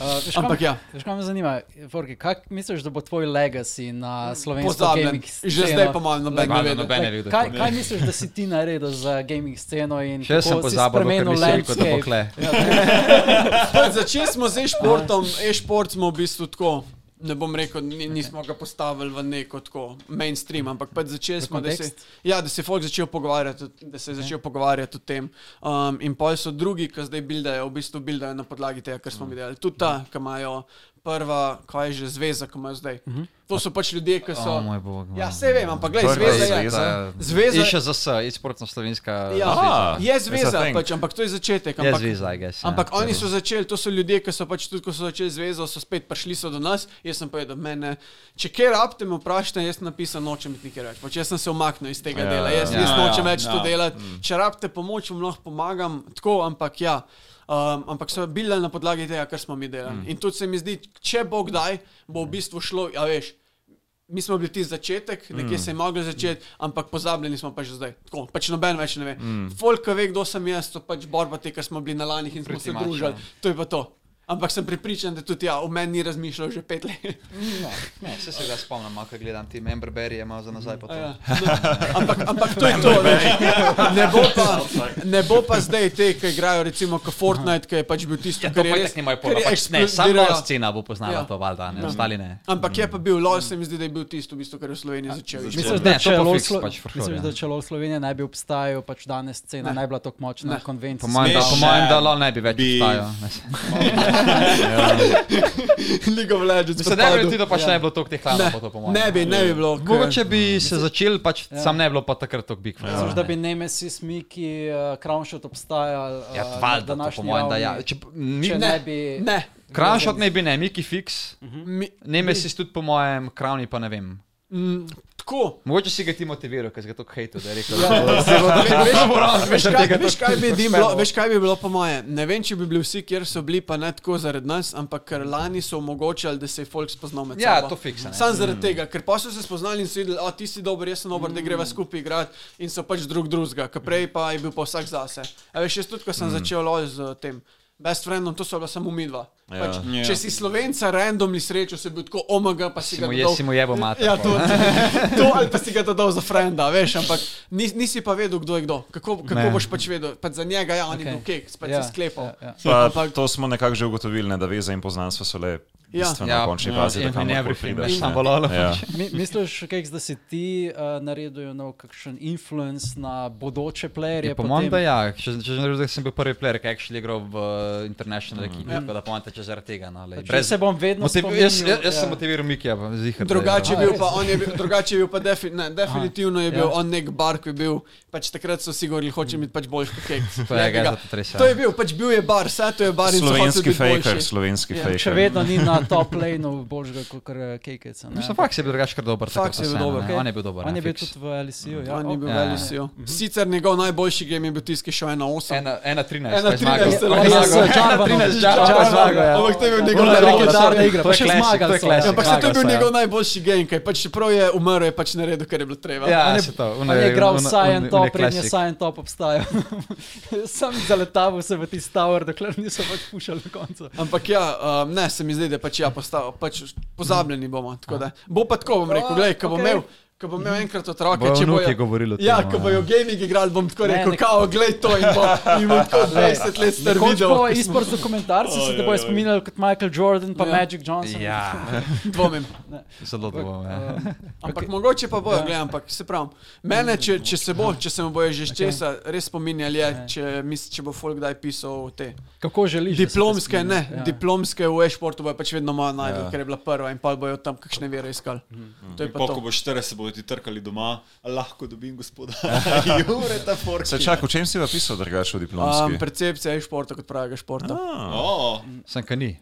Uh, veš, Ampak kaj- ja. Veš, kaj me zanima, Forki, kak misliš, da bo tvoj legacy na slovenskem pozabljen. gaming sceno? Že zdaj pa malo noben ne Valjda ve. no, noben ne ve, Like, kdo je kaj, Forky. kaj misliš, da si ti naredil za gaming sceno in Še kako sem si pozabil, ker spremenil nisem rekel, da bo landscape? kle. Ja, Pač Začeli smo z e-športom, e-šport smo v bistvu tako. Ne bom rekel, ni, nismo ga postavili v neko tako mainstream, ampak pač začeli smo, da se, kontekst? ja, da se je folk začel pogovarjati, o- da se je začel pogovarjati o tem. Um, in pol so drugi, ki zdaj buildajo, v bistvu buildajo na podlagi tega, kar smo mi delali. Tudi ta, ki imajo prva, kaj je že zveza, ki imajo zdaj. To so pač ljudje, ki so. O moj bog. no. Torej, ja, vse vem, ampak gledaj, Prva zveza je. zveza. Zveza- Zveza. Še za S, izportno slovenska. Ja, Aha. je It's a zveza, thing. pač, ampak to je začetek. Je Ampak, zveza, I guess, ja. Ampak To je oni bilo. so začeli, to so ljudje, ki so pač tudi, ko so začeli zvezo, so spet prišli so do nas. Jaz sem povedal, mene, če kje rabite, me vprašajte, jaz sem napisal, nočem biti nikjer več. Pač jaz sem se umaknil iz tega ja, dela, jaz, ja, ja, jaz ja, nočem več ja. ja, to delati. Mm. Če rabite pomoč, vam lahko pomagam, tako, ampak ja. Um, ampak so bili na podlagi tega, kar smo mi delali. Mm. In tudi se mi zdi, če bo kdaj, bo v bistvu šlo, a veš, Mi smo bili ti začetek, nekje mm. se je moglo začeti, ampak pozabljeni smo pa že zdaj. Tako, pač noben več ne ve. Mm. Folk ve, kdo sem jaz, to pač borba te, ker smo bili na lanih in smo se Ultimatum. družili. To je pa to. Ampak sem pripričan, da tudi ja, o meni ni razmišljal že pet let. Se se ga spomnim, ko gledam ti Memberberry, ima za nazaj potem. Ja. Ampak, ampak to je to. veš. Ne bo, pa, ne bo pa zdaj te, ki igrajo, recimo, kot Fortnite, ki je pač bil tisto, Ja, to kar je pa res. itak nimajo kar pojma. je Pač ne, samo eksplodiralo. scena bo poznala Ja. to, valjda, ne, ostali ne. Ampak je pa bil LOL, se mi zdi, da je bil tisto, v bistvu, kar je v Sloveniji Mm. začel. iščiti. Misliš, Ne, da to če pa LoL fiks, Slo- pač, for sure, misliš, ja. da če LoL Slovenija ne bi obstajal, pač danes scena ne bi bila tako močna na konvenciji. Po mojem, da, po Smešen mojem, da LOL ne bi več bi- obstajal. League of Legends. Se ne bi ti, da pač ne bi bilo toliko teh Ne, hlamov, po mojem. ne bi, ne bi bilo. ker- Mogoče bi se začeli, pač sam ne bi bilo pa takrat tako big. Misliš, da bi Nemesis, Miki, uh, Crownshot obstajal uh, Ja, na valjda, to po današnji mojem, da ravni? ja. Če, mi, Če ne, ne bi... Ne. Crownshot ne bi ne, Miki Fix, Mi, Nemesis tudi po mojem, Crowni pa ne vem. m, tako. Mogoče si ga ti motiviral, ker si ga tako hejtil, da je rekel, da Ja, je Veš, veš, zelo kaj, veš, kaj bi Dim bilo, veš, kaj bi bilo po moje? Ne vem, če bi bili vsi, kjer so bili, pa ne tako zaradi nas, ampak ker lani so omogočali, da se je folk spoznal med Ja, sabo. to fiks, ne. Sam zaradi tega, ker pa so se spoznali in so videli, a ti si dober, jaz sem dober, da greva skupaj igrati in so pač drug drugega, ker prej pa je bil pa vsak zase. A veš, jaz tudi, ko sem začel loj z eh, tem. Best friendom, to so bila samo midva. Pač, Ja. Če si slovenca randomni srečo, se bi tako omega, pa si Si ga mu, je, dodal- si mu jebo mater. Ja, to, to ali pa si ga dodal za frenda, veš, ampak nis, nisi pa vedel, kdo je kdo. Kako, kako Ne. boš pač vedel? Pač za njega, ja, on okay. je Okej. bil kek, pač Ja, ja, se sklepal. ja, ja. Pa, Ampak- to smo nekako že ugotovili, ne, da veze in poznanstva so le Ja. bistveno ja. v končni fazi, da in in kamorkoli everything, prideš. ne. veš, samo lolo. Ja. Mi, misliš, keks, da si ti uh, naredil nov kakšen influence na bodoče playerje? Je po mojem, da ja, če že ne rečem, da sem bil prvi player, ki je actually igral v uh, international ekipi, tako da pomete, če zaradi tega. No, lej. Pač jaz se bom vedno motiv, spominjal, jaz, jaz, jaz ja. sem motiviral Mikija, pa zihar. da je Drugače je igral. bil pa, on je bil, drugače je bil pa defi, ne, definitivno je bil ja. on nek bar, ki je bil, pač takrat so si govorili, hočem biti pač boljši kot kek. To je, Glej ga ga. je to tresa. to je bil, pač bil je bar, vse to je bar in so hoteli Slovenski biti faker, boljši. slovenski Ja. Še faker. vedno ni na top laneu božga kot Kekec. Mislim, faks je bil drugače kar dober. Faks takrat je bil vseeno, dober, ne. okej. On je bil dober. On ne, je bil fiks. tudi v LSU. Ja, Mhm. On o- je bil Ja, velik ja. sil. Sicer njegov najboljši game je bil tisti, ki je šel 1-8. Ena- Ena 13. Ena je zmagal. 13 je On je zmagal. zmagal. Ja, Ena 13 je zmagal, Jarvan, zmagal, ja. Ampak to je bil njegov Ona je najboljši. legendarna igra, To pa je še klasik, zmagali to je so, klasik. ja. Ampak se to je bil Zmagal so, ja. njegov najboljši game, kaj pač čeprav je umrl, je pač naredil, kar je bilo treba. Ja, On je, se to, ono on je igral ono- vsaj en ono- ono top, je prednji je klasik. vsaj en top obstajal. Sam zaletaval se v tisti tower, dokler niso pač pušali do konca. Ampak ja, um, ne, se mi zdi, da pač ja, postav, pač pozabljeni bomo. tako da. Bo pa tako, bom rekel, gledaj, ko bom Okej. Mhm. imel. Ko bom imel enkrat otroke, Bojo če bojo, vnuki govorili o tem, ja, ja. ko bojo gaming igrali, bom tako Ne, rekel, ne- kao, glej to in bo, in bom tako 20 let star Nekoč videl, po e-sports dokumentarcu se te bojo spominjali kot Michael Jordan pa Ja. Magic Johnson. Ja, dvomim. zelo dobro. ja. Um, Ampak mogoče pa Ja. bojo, gledaj, ampak se pravim, mene, če, če se bo, če se me bojo že iz česa res spominjali, je, če, mis, če bo folk kdaj pisal te Kako želiš? da se te diplomske, spominja? ne, ja. diplomske v e-sportu bojo pač vedno moja najdel, ja. ker je bila prva in pa bojo tam kakšne vere iskali. To je Mhm. In pa pa, to. ko boš 40, bodo ti trkali doma, lahko dobim gospoda. Jureta Forka. Se čak, v čem si pa pisal drugače v Um, diplomski? percepcija je športa kot pravega športa. Ah. Oh, Sem ka ni.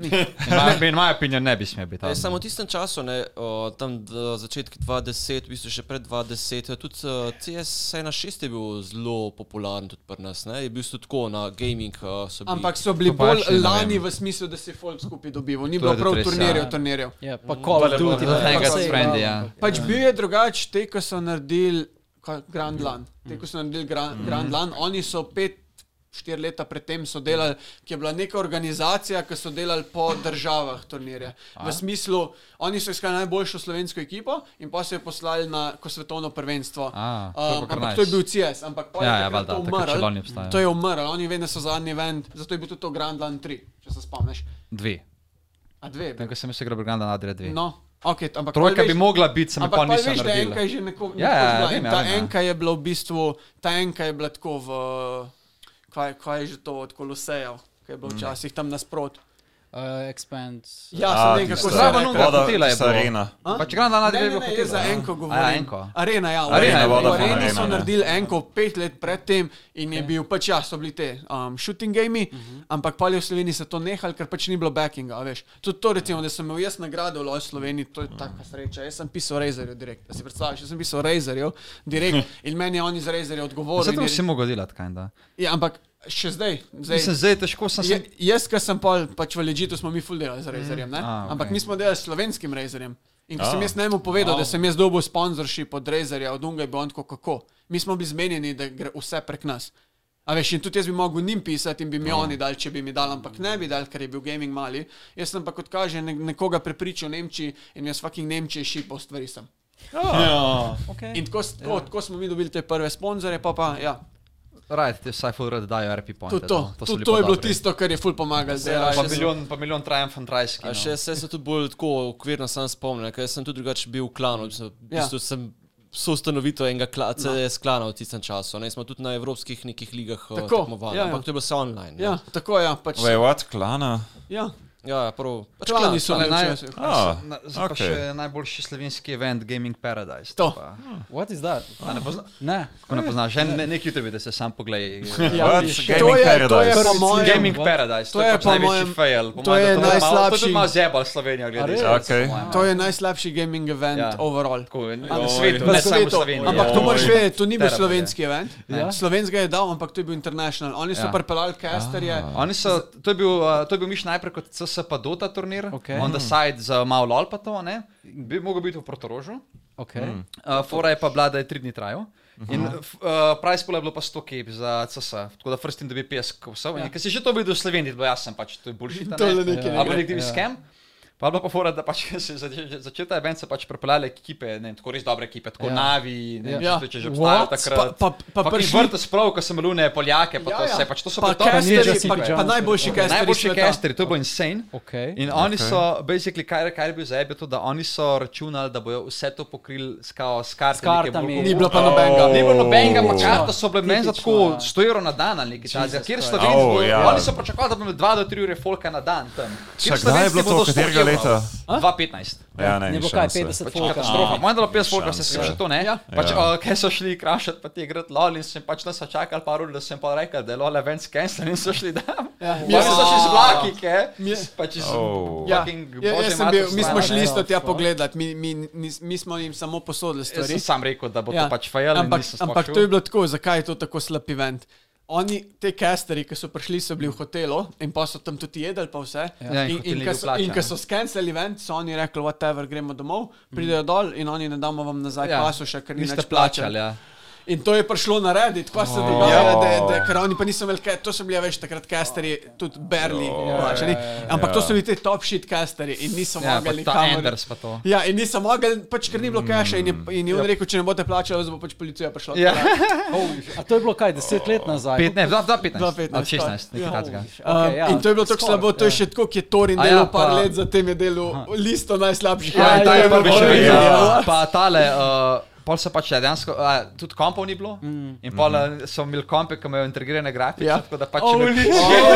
In moja opinija ne bi smela biti. tam. Ne, samo v tistem času, ne, o, tam do začetka 2010, v bistvu še pred 2010, je tudi uh, CS1.6 je bil zelo popularen tudi pri nas, ne, je bil tudi tako na gaming. Uh, Ampak so bili To pa bolj jaz še ne lani vem. v smislu, da si folk skupaj dobival, ni To bilo je prav res, ja. turnirjev, turnirjev. Ja, pa Call of Duty, Za pa enega vse, s frendi, ja. Ja. Pač bil je drugače, te, ko so naredili kaj, Grand Lan. Te, ko so naredili Grand, Mhm. Grand Lan, oni so pet, štiri leta predtem so delali, ki je bila neka organizacija, ki so delali po državah turnirje. V smislu, oni so iskali najboljšo slovensko ekipo in pa so jo poslali na ko svetovno prvenstvo. A, to je pa um, kar ampak nice. to je bil CS, ampak pa je Ja, ja, ja, valjda, to takrat še lani obstaja. umrl. To je umrl, oni vedno so zadnji event, zato je bil tudi to Grand Lan 3, če se spomniš. Dve. A dve? je Tam, bilo? ko sem se igral, Briganda nadre dve. No, okay, ampak pol Trojka veš- bi mogla biti, sem pa Ampak pa nisem veš, da enka naredil. je že neko, Ja, ja, nekoč bila. vem, In ja, ta vem, ja. enka je bila v bistvu, ta enka je bila tako v, kaj, kaj je že to od kolosejev, kaj je bilo Mm. včasih tam nasprot. Uh, expand. Ja, sem nekaj, ko se Zraven reče. unga Voda, hotela je tista bilo. arena. A? Pač Briganda Ne, nadre je ne, bilo ne, jaz hotela. za ja. enko A ja, govorim. enko. Arena, ja, v Arena je Areni- voda v fajn, Areni arena, so ja. naredili enko pet let predtem in je bil pač ja, so bili te um, shooting game, Mhm. ampak pa je v Sloveniji se to nehal, ker pač ni bilo backinga, a veš. Tudi to recimo, da sem imel jaz nagrado v Loj Sloveniji, to je taka sreča. Jaz sem pisal Razerju direkt, da si predstavljaš, jaz sem pisal Razerju direkt in meni je on iz Razerja Zato odgovoril. bi in si je- mogel delati, kajnda. Ja, ampak še zdaj, zdaj Mislim, zdaj je težko sem Je, se... jaz, ki sem pol, pač v Legitu, smo mi full delali z Razerjem, mm. A, okay. okej. ampak mi smo delali s slovenskim Razerjem. In ko A. sem jaz njemu povedal, oh. da sem jaz dobil sponzorship od Razerja, od Unga, je bil on tako kako. Mi smo bili zmenjeni, da gre vse prek nas. A veš, in tudi jaz bi mogel njim pisati in bi No. mi oni dali, če bi mi dali, ampak ne bi dali, ker je bil gaming mali. Jaz sem pa kot kaže ne- nekoga prepričal v Nemčiji in jaz fucking Nemčije šipal stvari sem. Ja. Okay. In tako, s- tako, tako smo mi dobili te prve sponzore, pa pa ja. Rajte, te vsaj full red dajo RP point. Tudi to, to, to, to je bilo tisto, kar je full pomagalo. zdaj, a Ja, Pa še- milijon, pa milijon triumfant rajski. A še se, se tudi bolj tako okvirno sam spomnim, ker jaz sem tudi drugače bil v klanu, v Ja. bistvu sem soustanovitev enega kla, No. CS klana v tistem času, ne, smo tudi na evropskih nekih ligah eh, Tako, tekmovali, ja, ja. ampak to je bilo vse online. ne. Ja, tako je, ja, pač. Wait, what, klana? Ja. ja, ja, prav. Pač klan, Člani so člani bili naj- včasih. Ah, Na, zdaj pa okej. še najboljši slovenski event Gaming Paradise. To. Pa, What is that? a ne pozna, Ne. ko ne poznaš, en, ne, nek jutri bi da se sam pogledaj. What, Ja, To gaming je, to je paradise? po mojem. Gaming Paradise, to je pač po največji mojem- fail. to je To najslabši- je malo zebal Slovenijo, A res? gledaj. Okej. To je najslabši gaming event Ja. ja. overall. Tako, ne, Ampak- na svetu, v ne samo v svetu. Sloveniji. Ampak to Ja. moraš vedeti, to ni bil Terrible je. slovenski event. Ja. Ja. Slovenska je dal, ampak to je bil international. Oni Ja. so Ah. ja. pripeljali casterje. Oni so, to je bil, uh, to je bil miš najprej kot CS pa Dota turnir, Okej. okay. on the side za malo lol pa to, ne? Bi mogel biti v Protorožu. Okay. Mm. Uh, fora je pa bila, da je tri dni trajal. In uh, price pola je bilo pa 100 kip za CS, tako da first in dobi 50 kusov. Ja. Ker si že to videl v Sloveniji, bilo jasno, pač to je boljši tam. To le nekaj ne Ali gre. nek divji Ja. skem. Pa je bila pa fora, da pač se je zač- začel ta event, se pač prepeljale ekipe, ne vem, tako res dobre ekipe, tako Ja. ja. Navi, ne vem, Ja. ja. če že obstajajo What? takrat. Pa- pa- pa prišli- vrte sprav, ko sem lune Poljake, pa ja, Ja, to ja. vse, pač to so pa Pa top casterji, ninja pa- ekipe. Pa najboljši casterji. Najboljši sveta. casterji, to je bilo insane. Okay. In oni okay. so, basically, kar, kar je bil zdaj, je bilo to, da oni so računali, da bojo vse to pokrili s, kao, s kartami. S kartami. ki je Ni bilo pa Oh. Ni nobenega. bilo nobenega, pa Tipično. karta so bile meni za tako Tipično, 100 evrov na dan ali nekaj takega. Jesus Ker Christ. Slovenci, Oh, oh, ja. ja. oni so pričakovali, da bomo 2 do 3 ure folka na dan tam. Čak, kdaj je Kjer Slovenci bilo bodo to, 100 katerega evrov? leta? 2015. Ja, ne, Ne ni bo kaj, šanse. 50 Pač folka. katastrofa, moja dala 50 folka, se Šanse. še to ne. Ja. Pač, Ja. ja. Kaj so šli krašati, pa ti igrati lol in sem pač nas čakal par ur, da sem pa rekel, da je lol event skensen in so šli tam. Ja. Mi smo šli z vlaki, kaj? Pač iz Oh. Ja, fucking ja, Božje jaz sem bil, mater mi smo stran, šli ne. isto tja pogledat, mi, mi, nis- mi smo jim samo posodili Jaz stvari. Ja. sem sam rekel, da bo to pač fajal, ampak, ampak to je bilo tako, zakaj je to tako slab event. Oni, te casterji, ki so prišli, so bili v hotelu in pa so tam tudi jedli, pa vse. Ja, in in hotel ni in ko bil so, plačan. in ko so skenirali event, so oni rekli, whatever, gremo domov, Mm. pridejo dol in oni ne damo vam nazaj ja. pasuša, ker niste plačali. Ja. In to je prišlo na Reddit, pa se dogaja, da, da, ker oni pa niso imeli, kaj- to so bili, ja, veš, takrat casterji, tudi barely plačani, ampak to so bili te top shit casterji in niso Ja, pa mogli ta kamor- Enders pa to. Ja, in nisem mogel, pač ker ni bilo keša in je, in je on rekel, če ne boste plačali, zdaj bo pač policija prišla. Mm. Ja. A to je bilo kaj, 10 let nazaj? Pet, ne, 2015. 2015, 2016, nekaj ja. takega. Um, Okay, ja. in to je bilo tako slabo, to je še tako, ki je Torin A ja, delal par pa- let, zatem je delal listo najslabših. Ja, in ta je eventov. pa Ja, še ja. Pa tale, uh, Pol so pač ja, dejansko, a, tudi kompov ni bilo mm. in pol mm. so imeli kompe, ki imajo integrirane grafike, ja. tako da pač oh, ne moreš.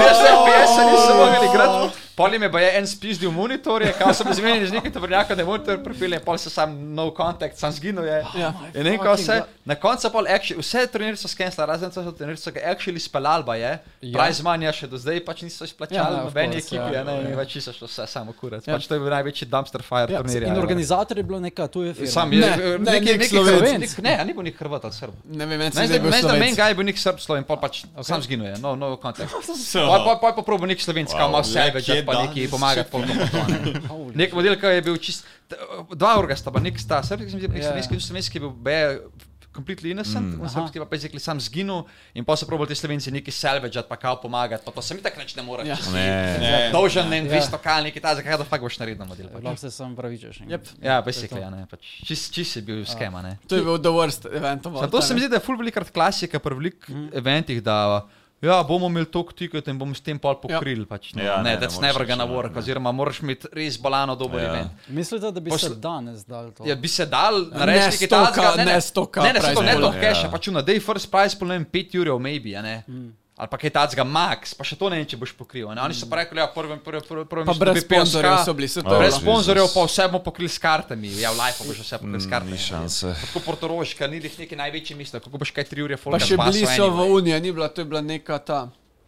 Jaz sem PS nisem mogel igrati, pol jim je baje en spizdil monitorje, kao so bili zmenjeni z nekim tovrnjakom, da je monitor pripelje, pol so sam no contact, sam zginil je. Ja. In ne vem, kako vse. Na koncu pol actually, vse trenirje so skenirali, razen to so trenirje, ki actually spalali baje, Ja. prize money še do zdaj pač niso Ja, izplačali of nobeni course, ekipi, ja, ja, ne, ja. in več so šlo vse samo kurat. Ja. Pač to je bil največji dumpster fire Ja, turnir. in organizator je bilo neka tuja firma. Sam je eh, Ne, ne, neki- nek neki Slovenec. Hrvat, nek- Ne, a ni bil nek Hrvat ali Srb. Ne vem, meni se Ne, zdaj, zdi, da je meni bil zdaj, meni Slovenc. ga je bil nek srb sloven, pa pač okay. sam zginil je, no, no kontekst. So. Pa pa pa probo nek slovenc, kam Wow, ima sebe, le že kje pa neki danes? pomaga pol kompotone. Nek model, ki je bil čist, t- eh, dva orga sta, pa nek sta, srbski sem bil, nek Ja. slovenski, nek slovenski je bil be, completely innocent, mm. srbski pa basically sam zginil in pa so probali ti slovenci neki salvageat, pa kao pomagati, pa to se mi tako nič ne more. Ja. Ja. Ne. Ne. Dolžen ne, 200 kal, nekaj ta, zakaj da fakt boš naredil model. pač. Lahko se sam pravičeš. ne. Yep. Ja, basically, ja, ne, pač čist, čist je bil skema, ne. To je bil the worst event of all. Zato se mi time. zdi, da je ful velikrat klasika pri velik mm. eventih, da ja, bomo imeli toliko tiketov in bomo s tem pol pokrili. Ja. Pač, no. Ja, ja, ne, ne, ne, ne that's moreš never gonna nič, work, ne. oziroma moraš imeti res balano dober ja. Ja. event. Mislite, da bi se Posl- danes dal to? Ja, bi se dal narediti nekaj stoka, takega, ne stoka ne, ne, ne, price ja. to- ne, to poola. cache, pač na day first price pol ne vem 5 jurjev, maybe, a ne. Mm. Ali pa kaj tacga, max, pa še to ne vem, če boš pokril. a Ne? Oni so pa rekli, ja, prvem, prvem, prvem, prvem. Pa brez sponzorjev so bili, se to je Brez Oh, bilo. sponzorjev Jesus. pa vse bomo pokrili s kartami, ja, v life boš vse pokril s kartami. Ni šanse. Tako portoroška, ni jih nekaj največjih misli, kako boš kaj tri ure Pa folkat še bili pasel so v anyway. Uniji, ni bila, to je bila neka ta.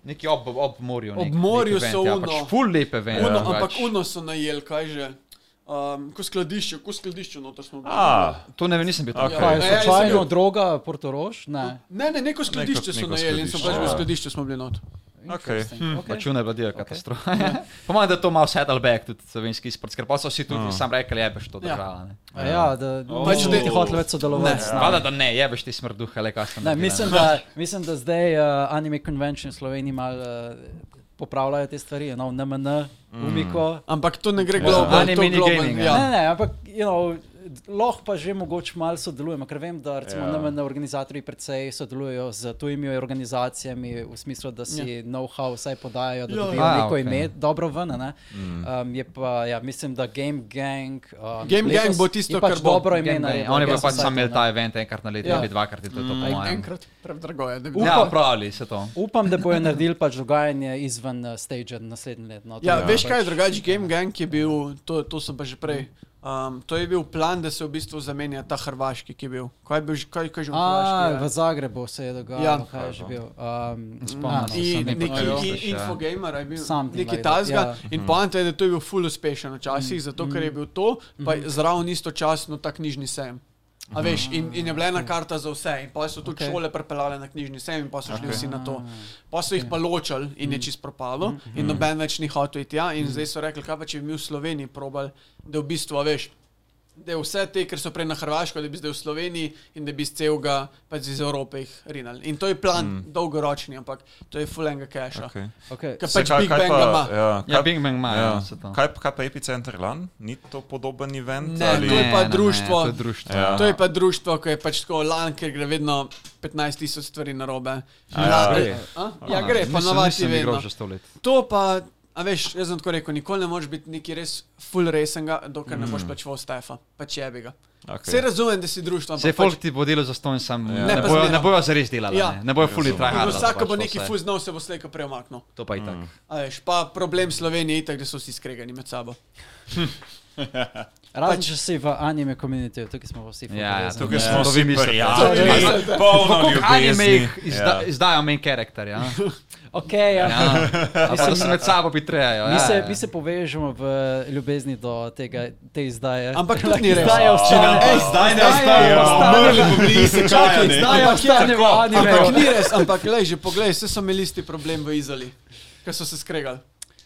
Neki ob, ob morju. Nek, Ob morju nek event, so ja, pač Uno. Ful lepe pač. vende. Uno, ampak uno so najeli, kaj že. Um, ko skladišče, ko skladišče, no to smo bili. Ah, A, To ne vem, nisem bil tam. Ok. Kaj, Ja, ja, jaz sem slučajno bil. droga, portorož? Ne. Ne, ne, neko skladišče so neko najeli in so skladišče, pač v ja. skladišču smo bili not. okay. Hm. Okay. Pač uno je bila dela katastrofa. po mojem, da je to malo settle back, tudi slovenski sport, ker pa so vsi No. tudi sam rekli, jebeš to Ja. država. ne. A Ja, da oh. Pač pač ne ne- bi hotel več sodelovati. z nami. Hvala, da ne, jebeš ti smrduha, le kaj sem. Ne, naredila, mislim, da, mislim, da zdaj uh, Anime Convention v Sloveniji malo uh, popravljajo te stvari, no, NMN, Mm. Umiko. Ampak to ne gre Ja. global, Anime to je ni global. gaming, Ja. Ne, Ja. ne, ampak you know, lahko pa že mogoče malo sodelujemo, ker vem, da recimo Ja. ja. NMN organizatorji precej sodelujejo z tujimi organizacijami v smislu, da si ja. know-how vsaj podajo, da ja. dobijo A, ja, neko Ah, okej. okay. ime dobro ven. a Ne? Mm. Um, je pa, ja, mislim, da Game Gang. Um, Game letos Gang bo tisto, je pač kar bo. dobro ime. Game day. naredil, Oni bodo Game pač Society, sam imeli ne. ta event enkrat na leto, Ja. ali dvakrat je to, to po mojem. Enkrat predrago je, da bi. Ja, pravili se to. Upam, da bojo naredili pač dogajanje izven uh, stage naslednje leto. No, to Ja, bo veš pač- kaj je drugače, Game Gang je bil, to, to so pa že prej. Um, to je bil plan, da se v bistvu zamenja ta hrvaški, ki je bil. Kaj je bil, že- kaj, kaj je že v A, v Hrvaški? Zagrebu se je dogajalo, Ja. ja. kaj je že bil. Um, Spomnim a, se. In Samo neki nekaj i- veš, ja. infogamer je bil, Something neki like that, tasga. ja. Mm. In poanta je, da to je bil full uspešen včasih, zato ker je bil to, pa zraven istočasno ta knjižni sejem. A veš, in, in je bila ena karta za vse, in pa so tudi Mm. Ok. Ah, okay. šole prepeljale na knjižni sejem, in pa so šli okay. vsi na to. Pa so jih pa ločili in Mm. je čist propalo, in noben več ni hotel iti tja. In zdaj so rekli, kaj pa če bi mi v Sloveniji probali, da v bistvu, a veš, da je vse te, ker so prej na Hrvaško, da bi zdaj v Sloveniji in da bi iz celega, pač iz Evrope jih rinali. In to je plan mm. dolgoročni, ampak to je fulenga keša. Okay. Okay. Okay. Ker Se pač Big Bang ga ima. ja, Ja, kaj, Big Bang ima, ja, se to. kaj, kaj pa epicenter lan? Ni to podoben event? Ne, ali... to je pa Ne, ne, ne, društvo. To je društvo. Ja. To je pa društvo, ki je pač tako lan, ker gre vedno 15 tisoč stvari na robe. Ja, gre. ja, gre, pa navadi vedno. že sto let. To pa, a veš, jaz sem tako rekel, nikoli ne moreš biti neki res full resenga, dokler ne boš pač vol Stefa, pač jebi ga. Okay. Se razumem, da si društvo, Se ampak folk pač, ti bo delo za ston, sam Ja. Ne, ne pa bojo- ne zmeram. bojo zares delali, Ja. ne. ne bojo fully in tryhard. vsak bo neki full znal, se bo slejko preomaknil. To pa je Mm. tako. A veš, pa problem Slovenije je itak, da so vsi skregani med sabo. Razen če Pač si v anime komunitiju, tukaj smo pa vsi Ja, ja, povezani. Tukaj Ja, smo to vsi vi mislite. prijatelji, To vi polno Anime ljubezni. Ja. Eh, jih izda, izdajo main karakter, ja. Okay, ja. ja. Ali pa da Mislim, se med sabo pitrejajo. Mi ja, se, ja. mi se povežemo v ljubezni do tega, te izdaje. Ja. Ampak tudi ni res. Izdaja ostane. Ej, zdaj ne ostaja, umrli bomo bili se čakali. Izdaja ostane v Ampak anime. ni res, ampak le že poglej, vse so imeli isti problem v Izoli, ker so se skregali.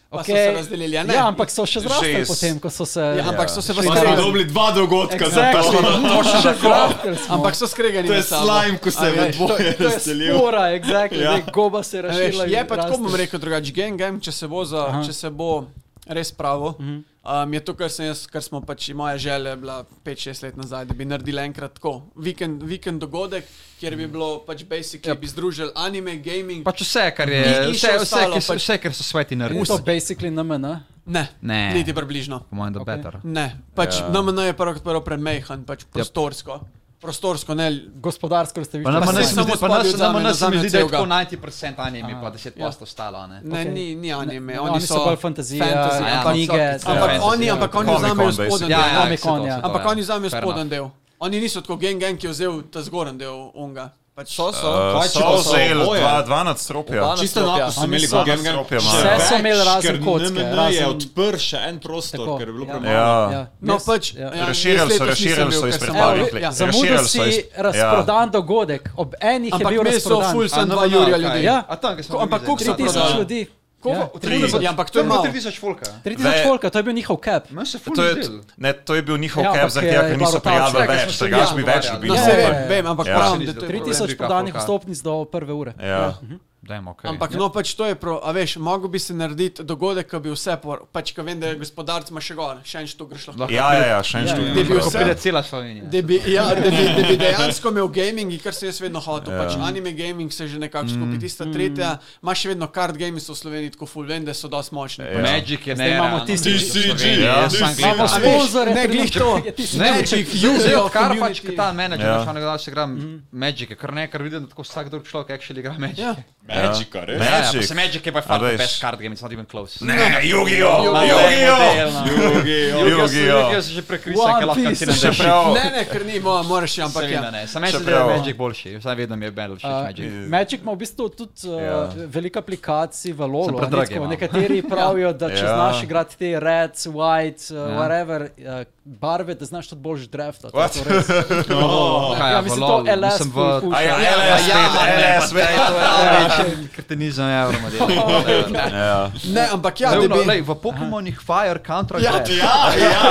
Pa so se razdelili, ja, ne? ja, ampak so še zrasli Že s- potem, ko so se... Ja, ampak so se pa Pa smo skregali. dobili dva dogodka za Exactly. to. Še zrasli smo. Ampak so skregani. To je med sabo. slime, ko A se je veš, to- dvoje To je razdelil. spora, exactly, Ja. ja. goba se je a veš, razširila. in Je pa tako rastel. bom rekel drugače, gen game, če se bo, za, če se bo res pravo. Mhm. Um, je to, kar, sem jaz, kar smo pač moja želja je bila 5-6 let nazaj, da bi naredili enkrat tako. Vikend, vikend dogodek, kjer bi bilo pač Ja. basically, yep. bi združili anime, gaming. Pač vse, kar je, Ni- ni še vse, vse, ostalo, ki so, pač- vse, kar so sveti Je to naredili. basically na mene. ne, Ne. niti približno. Po mojem, da Okej. better. Ja. Ne, pač ja. NMN je prvo kot prvo premehen, pač prostorsko. prostorsko, ne gospodarsko ste vi. Pa ne- pa ne- Samo Pa spadel nas- zame nam- na nas se mi zadnjo zdi, da je cevko. tako 90% anime, pa 10% ostalo. ne. Ne, Okej. okay. ni, ni anime, Ne, oni, oni so bolj fantazija, ja, ampak, knjige, ampak, ampak ja. oni, ampak oni Comic-Con, vzamejo basically. spoden Ja, del. ja, ja, Comic-Con, saj to, ja. saj to, Ampak oni vzamejo Fair enough. spoden del. Oni niso tako gen gen, ki je vzel ta zgoren del unga. Pač, So, so. Uh, če pa so so vzeli oboje? dva, ja. dva nadstropja. Oba Čisto nastopja. enako so imeli so kot Game Gear. nastopja, Še malo. več, Vse so imeli razen ker kocke, NMN je razen- odprl še en prostor, Tako, ker je bilo ja. premalo. Ja. no, jaz- pač, ja. ja, Razširili jaz so, letos nisem razširili bil, so ker iz sem- prepadlih Evo, let. ja. Zamudil Razširili so iz- si razprodan dogodek, ob enih je Ampak bil meni so razprodan. ful A, sem no, dva no, jurja kaj? ljudi. Ja. A tam, kjer smo Ko- mi ampak bili koliko so zadnjič. prodali? 3000 ljudi. Ja. Ja, ampak to je bilo malo. 3000 folka. 3000 Ve- folka, to je bil njihov cap. Meni se To fulno je, zdelo. ne, to je bil njihov Ja, ja, cap, ampak zaradi je tega, ker bila niso rotacija, prijavili ker več, smo se tega bi dogovarjali. več No, dobili. Ja, se ja, vem, ja. vem, ampak Ja. pravim, da to je 3000 Replika prodanih folka. vstopnic do prve ure. Ja. Dajmo, okay. Ampak no, pač to je prav, a veš, mogo bi se narediti dogodek, ko bi vse, por, pač ko vem, da je gospodarc ima še gor, še en štuk greš lahko. Ja, ja, ja, še en štuk. Ti bi ko vse- pride cela Slovenija. Da bi, ja, da, bi, da bi dejansko imel gaming, kar sem jaz vedno hotel. Ja. Pač anime gaming se že nekako skupi. Tista tretja, imaš še vedno kart gaming so v Sloveniji tako full, vem, da so dosti močni. Ja. Magic je Zdaj ne. imamo ravno. tisti- TCG, Ja, ja. sam Imamo gledam. sponzorje, ne, glih to. Ne, Magic, Južno, user kar pač community. ta menedžer, Ja. ja. še nekaj, se igram Magic, ker ne, ker vidim, da tako vsak drug človek actually igra Magic. Ja. Magica, res? Ne. Ja, ja, Magic. pa se Magic je pa A far the veš. best card game, it's not even close. Ne, Jugijo! Jugijo! Yu-Gi-Oh! Drugi, Yu-Gi-Oh! ja. sem- Yu-Gi-Oh! Yu-Gi-Oh! sem že prekrisan, One ker lahko Piece. ti ne Še daš. prav, Ne, ne, ker ni, mo- moraš še, ampak ja. Seveda ne, sem jaz, da Čeprav- je Magic boljši, vsaj vedno mi je bil všeč Uh, Magic. Magic ima v bistvu tudi uh, Ja. veliko aplikacij v LOL. Samo predrage imamo. Nekateri pravijo, da če Ja. znaš igrati te red, white, uh, Ja. whatever uh, barve, da znaš tudi boljš draftati. What? To je to res. Kaj, Ja, v mislim, LoL, to LS mislim v- ful A puša. ja, Ja, LS, ja, spet, ja, LS, spet. Kretenizem je evro, model. Ja. Ne, ampak ja, da Zdaj, bi. no, lej, v Pokémonih Fire Counter ja, greš. Ja, ja,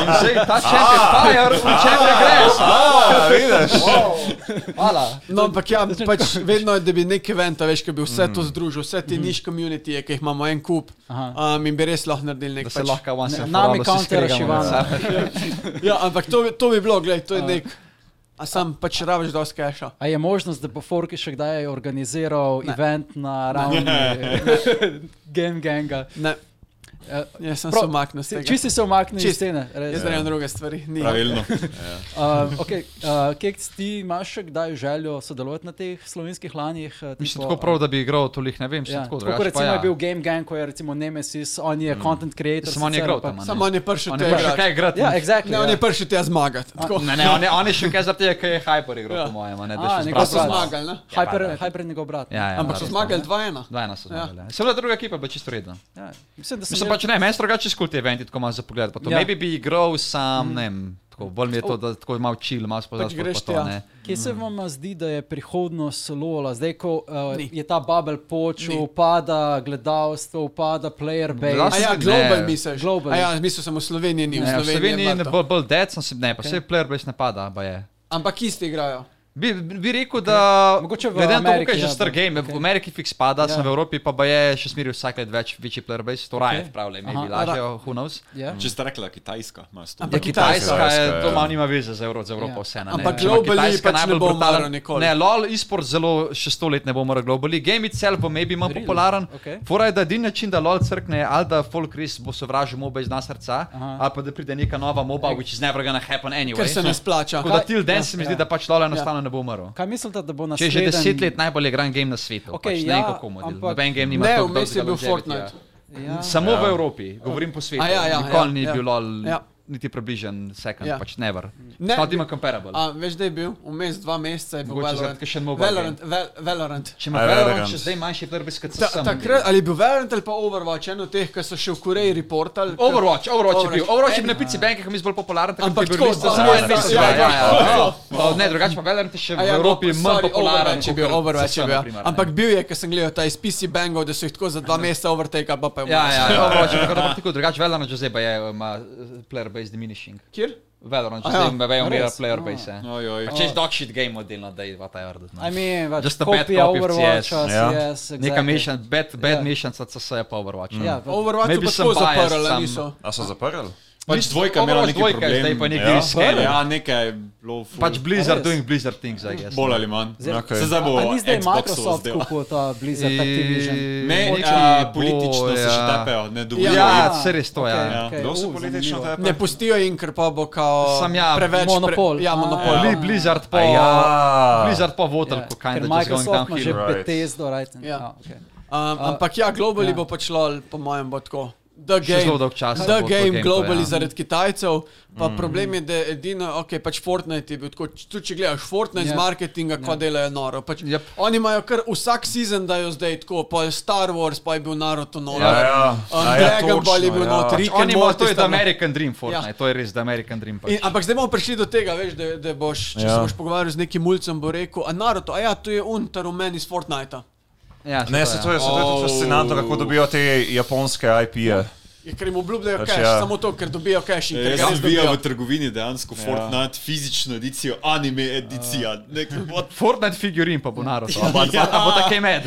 In zdaj ta champion Fire, v champion greš. A, vidiš? Hvala. No, ampak ja, pač vedno je, da bi nek event, a veš, ki bi vse Mm. to združil, vse Mhm. te niš komunitije, ki jih imamo en kup, Aha. um, in bi res lahko naredili Da nek se pač. lahko once Ne, and for nami all vsi counter skregamo med reševamo. sabo. Ja, ampak to, bi- to bi bilo, gledaj, to je A. nek. A sam pač rabiš dosti keša. A je možnost, da bo Forki še kdaj organiziral ne. event na ravni Game Ganga? Ne, Ja. Eh, jaz sem Prav, se umaknil. s si- tega. Čisti se umaknil iz Čist. scene. res. Jaz delam druge stvari. Ni. pravilno. Uh, okay, uh, Keks, ti imaš še kdaj željo sodelovati na teh slovenskih lanjih? eh, Mislim tipo, tako prav, da bi igral tolih, ne vem, Ja, sem tako tako kot drugače. recimo ja. je bil Game Gang, ko je recimo Nemesis, on je mm. content creator. Samo on je sicer, igral ampak- tam, a ne? Samo on je prišel On je tega. pa še kaj igrati. Ja, exactly, Ne, on ja. je prišel tega zmagati. tako. Ne, ne, on je, on je še kaj zaradi tega, ker je Hyper igral, Ja. po mojem, a ne, da A, še njegov Pa so brat. zmagal. zmagali, ne? Hyper, hyper je njegov brat. Ja, ja, Ampak so res, zmagali ne. 2-1. Dva ena so zmagali. Ja. Seveda druga ekipa, pa čisto redno. ja. Mislim, da sem Mislim pač ne, meni so drugače skul ti eventi, tako malo za pogled. Pa to Ja. ja. maybe bi igral sam, mm. ne vem, tako bolj mi je to, da tako malo chill, malo spoznal. Pač greš to, tja. ne. Kje se vam a, zdi, da je prihodnost Lola, zdaj ko uh, Ni. je ta bubble počel, Ni. upada gledalstvo, upada player A base? Gledalstvo- Ne. ja, global misliš. Global. A ja, mislil sem v Sloveniji ni. V Ne, v Sloveniji Sloveniji je ne bilo to. bo bolj dead, sem si, ne, pa vse okay. player base napada, pa je. Ampak isti igrajo. Bi, bi bi rekel, da Mogoče v glede na to, Ameriki, koliko je že ja, star bo- game, okej. v Ameriki fiks Ja. pada, sem v Evropi pa, pa je še smeril vsak let več, večji player base, to raje pravle, mi Aha. lažejo, who knows. Ja. Če ste rekli, Kitajska ima sto. Ampak Kitajska je, Kitajska, to ja. malo nima veze z Evropo, z Evropo Ja. vseeno. Ampak Recimo globally Kitajska pač ne najbolj bo brutalen- umrl nikoli. Ne, LOL e-sport zelo še sto let ne bo umrl globally, game itself bo maybe manj Really? popularen. Okej. Fora je, da edini način, da LOL crkne, je ali da folk res bo sovražil MOBA iz nas srca, Aha. ali pa da pride neka nova MOBA, which is never gonna happen anyway. Ker se ne splača. Tako da Kaj- til den se mi Ja. zdi, da pač LOL enostavno ne bo umrl. Kaj mislite, da bo Če je naslednji? že deset let najbolj igran game na svetu, Okej, okay, ja, pač ja, ne kako model. ampak- Noben game nima Ne, tako vmes je dolgega bil longevity, Fortnite. Ja. Ja. Samo v Evropi, govorim po svetu. A ja, ja, Nikoli ja, ni ja. bil LOL, Ja. niti približen second, Ja. pač never. Ne, Ne, Not even comparable. A veš, da je bil vmes dva meseca, je bil Mogoče Valorant. zaradi kakšen mobile Valorant, Val- Valorant. Če ima A, Valorant Valorant. še zdaj manjši pluribus, kot Ta- sem. Takrat, ali je bil Valorant ali pa Overwatch, eno teh, ki so še v Koreji reportali. Overwatch, Overwatch je bil. Overwatch. Overwatch je bil na pici bankih, mi bolj popularen, tako Ampak kot je tako, bil list, da dva samo en meseca, mesec. ja, Ja, ja, ja, ja. ja. O, Ne, drugače pa Valorant je še v A ja, no, Evropi sorry, manj popularen. Overwatch je bil, kakor Overwatch je CS:GO, bil. na primer, ne. Ampak bil je, ker sem gledal ta iz PC bangov, da so jih tako za dva meseca overtake, pa pa je Ja, umrl. ja, ja, Overwatch je tako, ampak tako drugače Valorant že zdaj pa je ima eh, player base diminishing. Kjer? Valorant že Aja. zdaj ima baje umira Res? player Ah. base. eh. Ojoj. Pač je dog shit game modelno, da je whatever. da I znaš. mean, pač Just a bad kopija copy of Overwatcha, CS, ja. CS, Neka exactly. mešan, Mm. bad, Ja. bad mešanica CS je pa Overwatch. Ja, pač- Overwatch je No, Maybe pa sem tako biased, zaprl, ali sam- niso. A so zaprli? Pač dvojka je imela Overwatch neki dvojka je problem. zdaj pa nek ja. Blizzard. ja, nekaj je bilo. ful- Pač A Blizzard res? doing Blizzard things, I guess. Bolj ali manj. Zdaj- Okay. Se zdaj bo. A ni zdaj Xboxu Microsoft zdel. kupil ta E, Blizzard Activision? Ne, Mogoče a, bo, politično se še ja. tepejo, ne dobijo. Ja, se res to, okej, ja. okej. Kdo se U, politično zanimivo. tepe? Ne pustijo jim, ker pa bo kao Sam ja, preveč monopol. Pre, ja, A, monopol. Bli- ja. Blizzard pa, Aja. Blizzard pa Ja, votel, ko kaj ker da Microsoft ima že downhill. right. Bethesdo, right? Ja. Ah, okay. Um, ampak ja, ja. globally ja. bo pač lol, po mojem, bo tako. The Še game, zelo dolg čas the bo to game gameplay, globally ja. ja. zaradi Kitajcev. Pa mm. problem je, da je edino, ok, pač Fortnite je bil tako, č- tudi če gledaš Fortnite Ja. yeah. z marketinga, ko yeah. delajo noro. Pač Yep. yep. Oni imajo kar vsak sezon, da jo zdaj tako, pa je Star Wars, pa je bil Naruto noro. Ja, ja. Um, A ja, Dragon točno, Ball je bil ja. notri, Pač Rick and Oni imajo, Morty to je sta the not- American Dream Fortnite, to je res the American Dream. In, Pač. ampak zdaj bomo prišli do tega, veš, da, da boš, če ja. Ja. se boš pogovarjal z nekim mulcem, bo rekel, a Naruto, a ja, to je un, ta rumen iz Fortnita. Ja, Ne, se to je, se to je tudi fascinantno, kako dobijo te japonske IP-je. Je, ker jim obljubljajo Pač cash, ja. ja. samo to, ker dobijo cash in ker Jaz ga sem res bil dobijo. v trgovini Ja. dejansko Fortnite, fizično edicijo, anime edicija. Nek, what Fortnite figurin pa bo narod. Ja, bo, ja. bo tako med.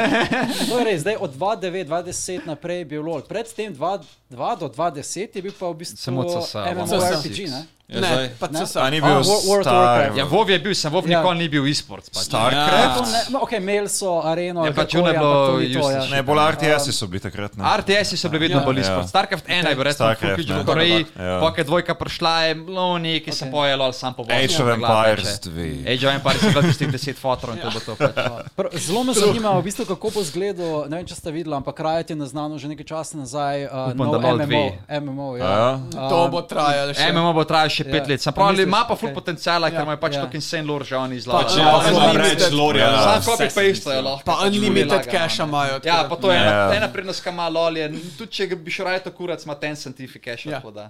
To je res, Torej, zdaj od 2009, 2010 naprej je bil LOL. Predtem 2002 do 2010 je bil pa v bistvu Samo CS:GO. MMORPG. Ne? Ja, Ne, zdaj- pa Ne? CSA. A ni A, bil War- World of star. Warcraft. Ja, Vov je bil, sem Vov Ja. nikoli ni bil e-sport. Ja, Pač. Starcraft? to ne, no, ok, imeli so areno, ja, Ja, pač pač je ono je bilo bilo to. Ja. useless. Ne, bolj RTS-i so bili takrat. ne. RTS-i so bili vedno Ja. Torej, bolj Ja. e-sport. StarCraft 1 je bil res Starcraft, Starcraft, ne. v Koreji, Ja. pokaj Torej, dvojka prišla je lovni, ki se Okej. poje lol sam po Ja. Age of Empires 2. Age of Empires je bilo tistih 10 fotrov in to bo to. Pač. Ja. Pr- Zelo me zanima, v bistvu, kako bo izgledal. Ne vem, če ste videli, ampak Riot je naznano že nekaj časa nazaj. Uh, Upam, nov da LOL MMO, dve. MMO, ja. Ja. To bo trajalo še. MMO bo trajal še 5 Ja. yeah. let, sem Pa pravi, ali misliš, ima pa ful okej. okay. potencijala, ker Ja. imajo pač Ja. yeah. tako insane lore že oni Pač, izlagali. ja, Ja, zelo unlimited- preveč lorja. Ja. za Sam vse copy paste jo smisle. lahko. Pa pač unlimited lagano, cache-a ne. imajo, Ja, tako da- pa to je ena, Ja. ena prednost, ki ima lol, je tudi če ga bi še raje to kurac, ima ten scientific cache. Ja. tako da.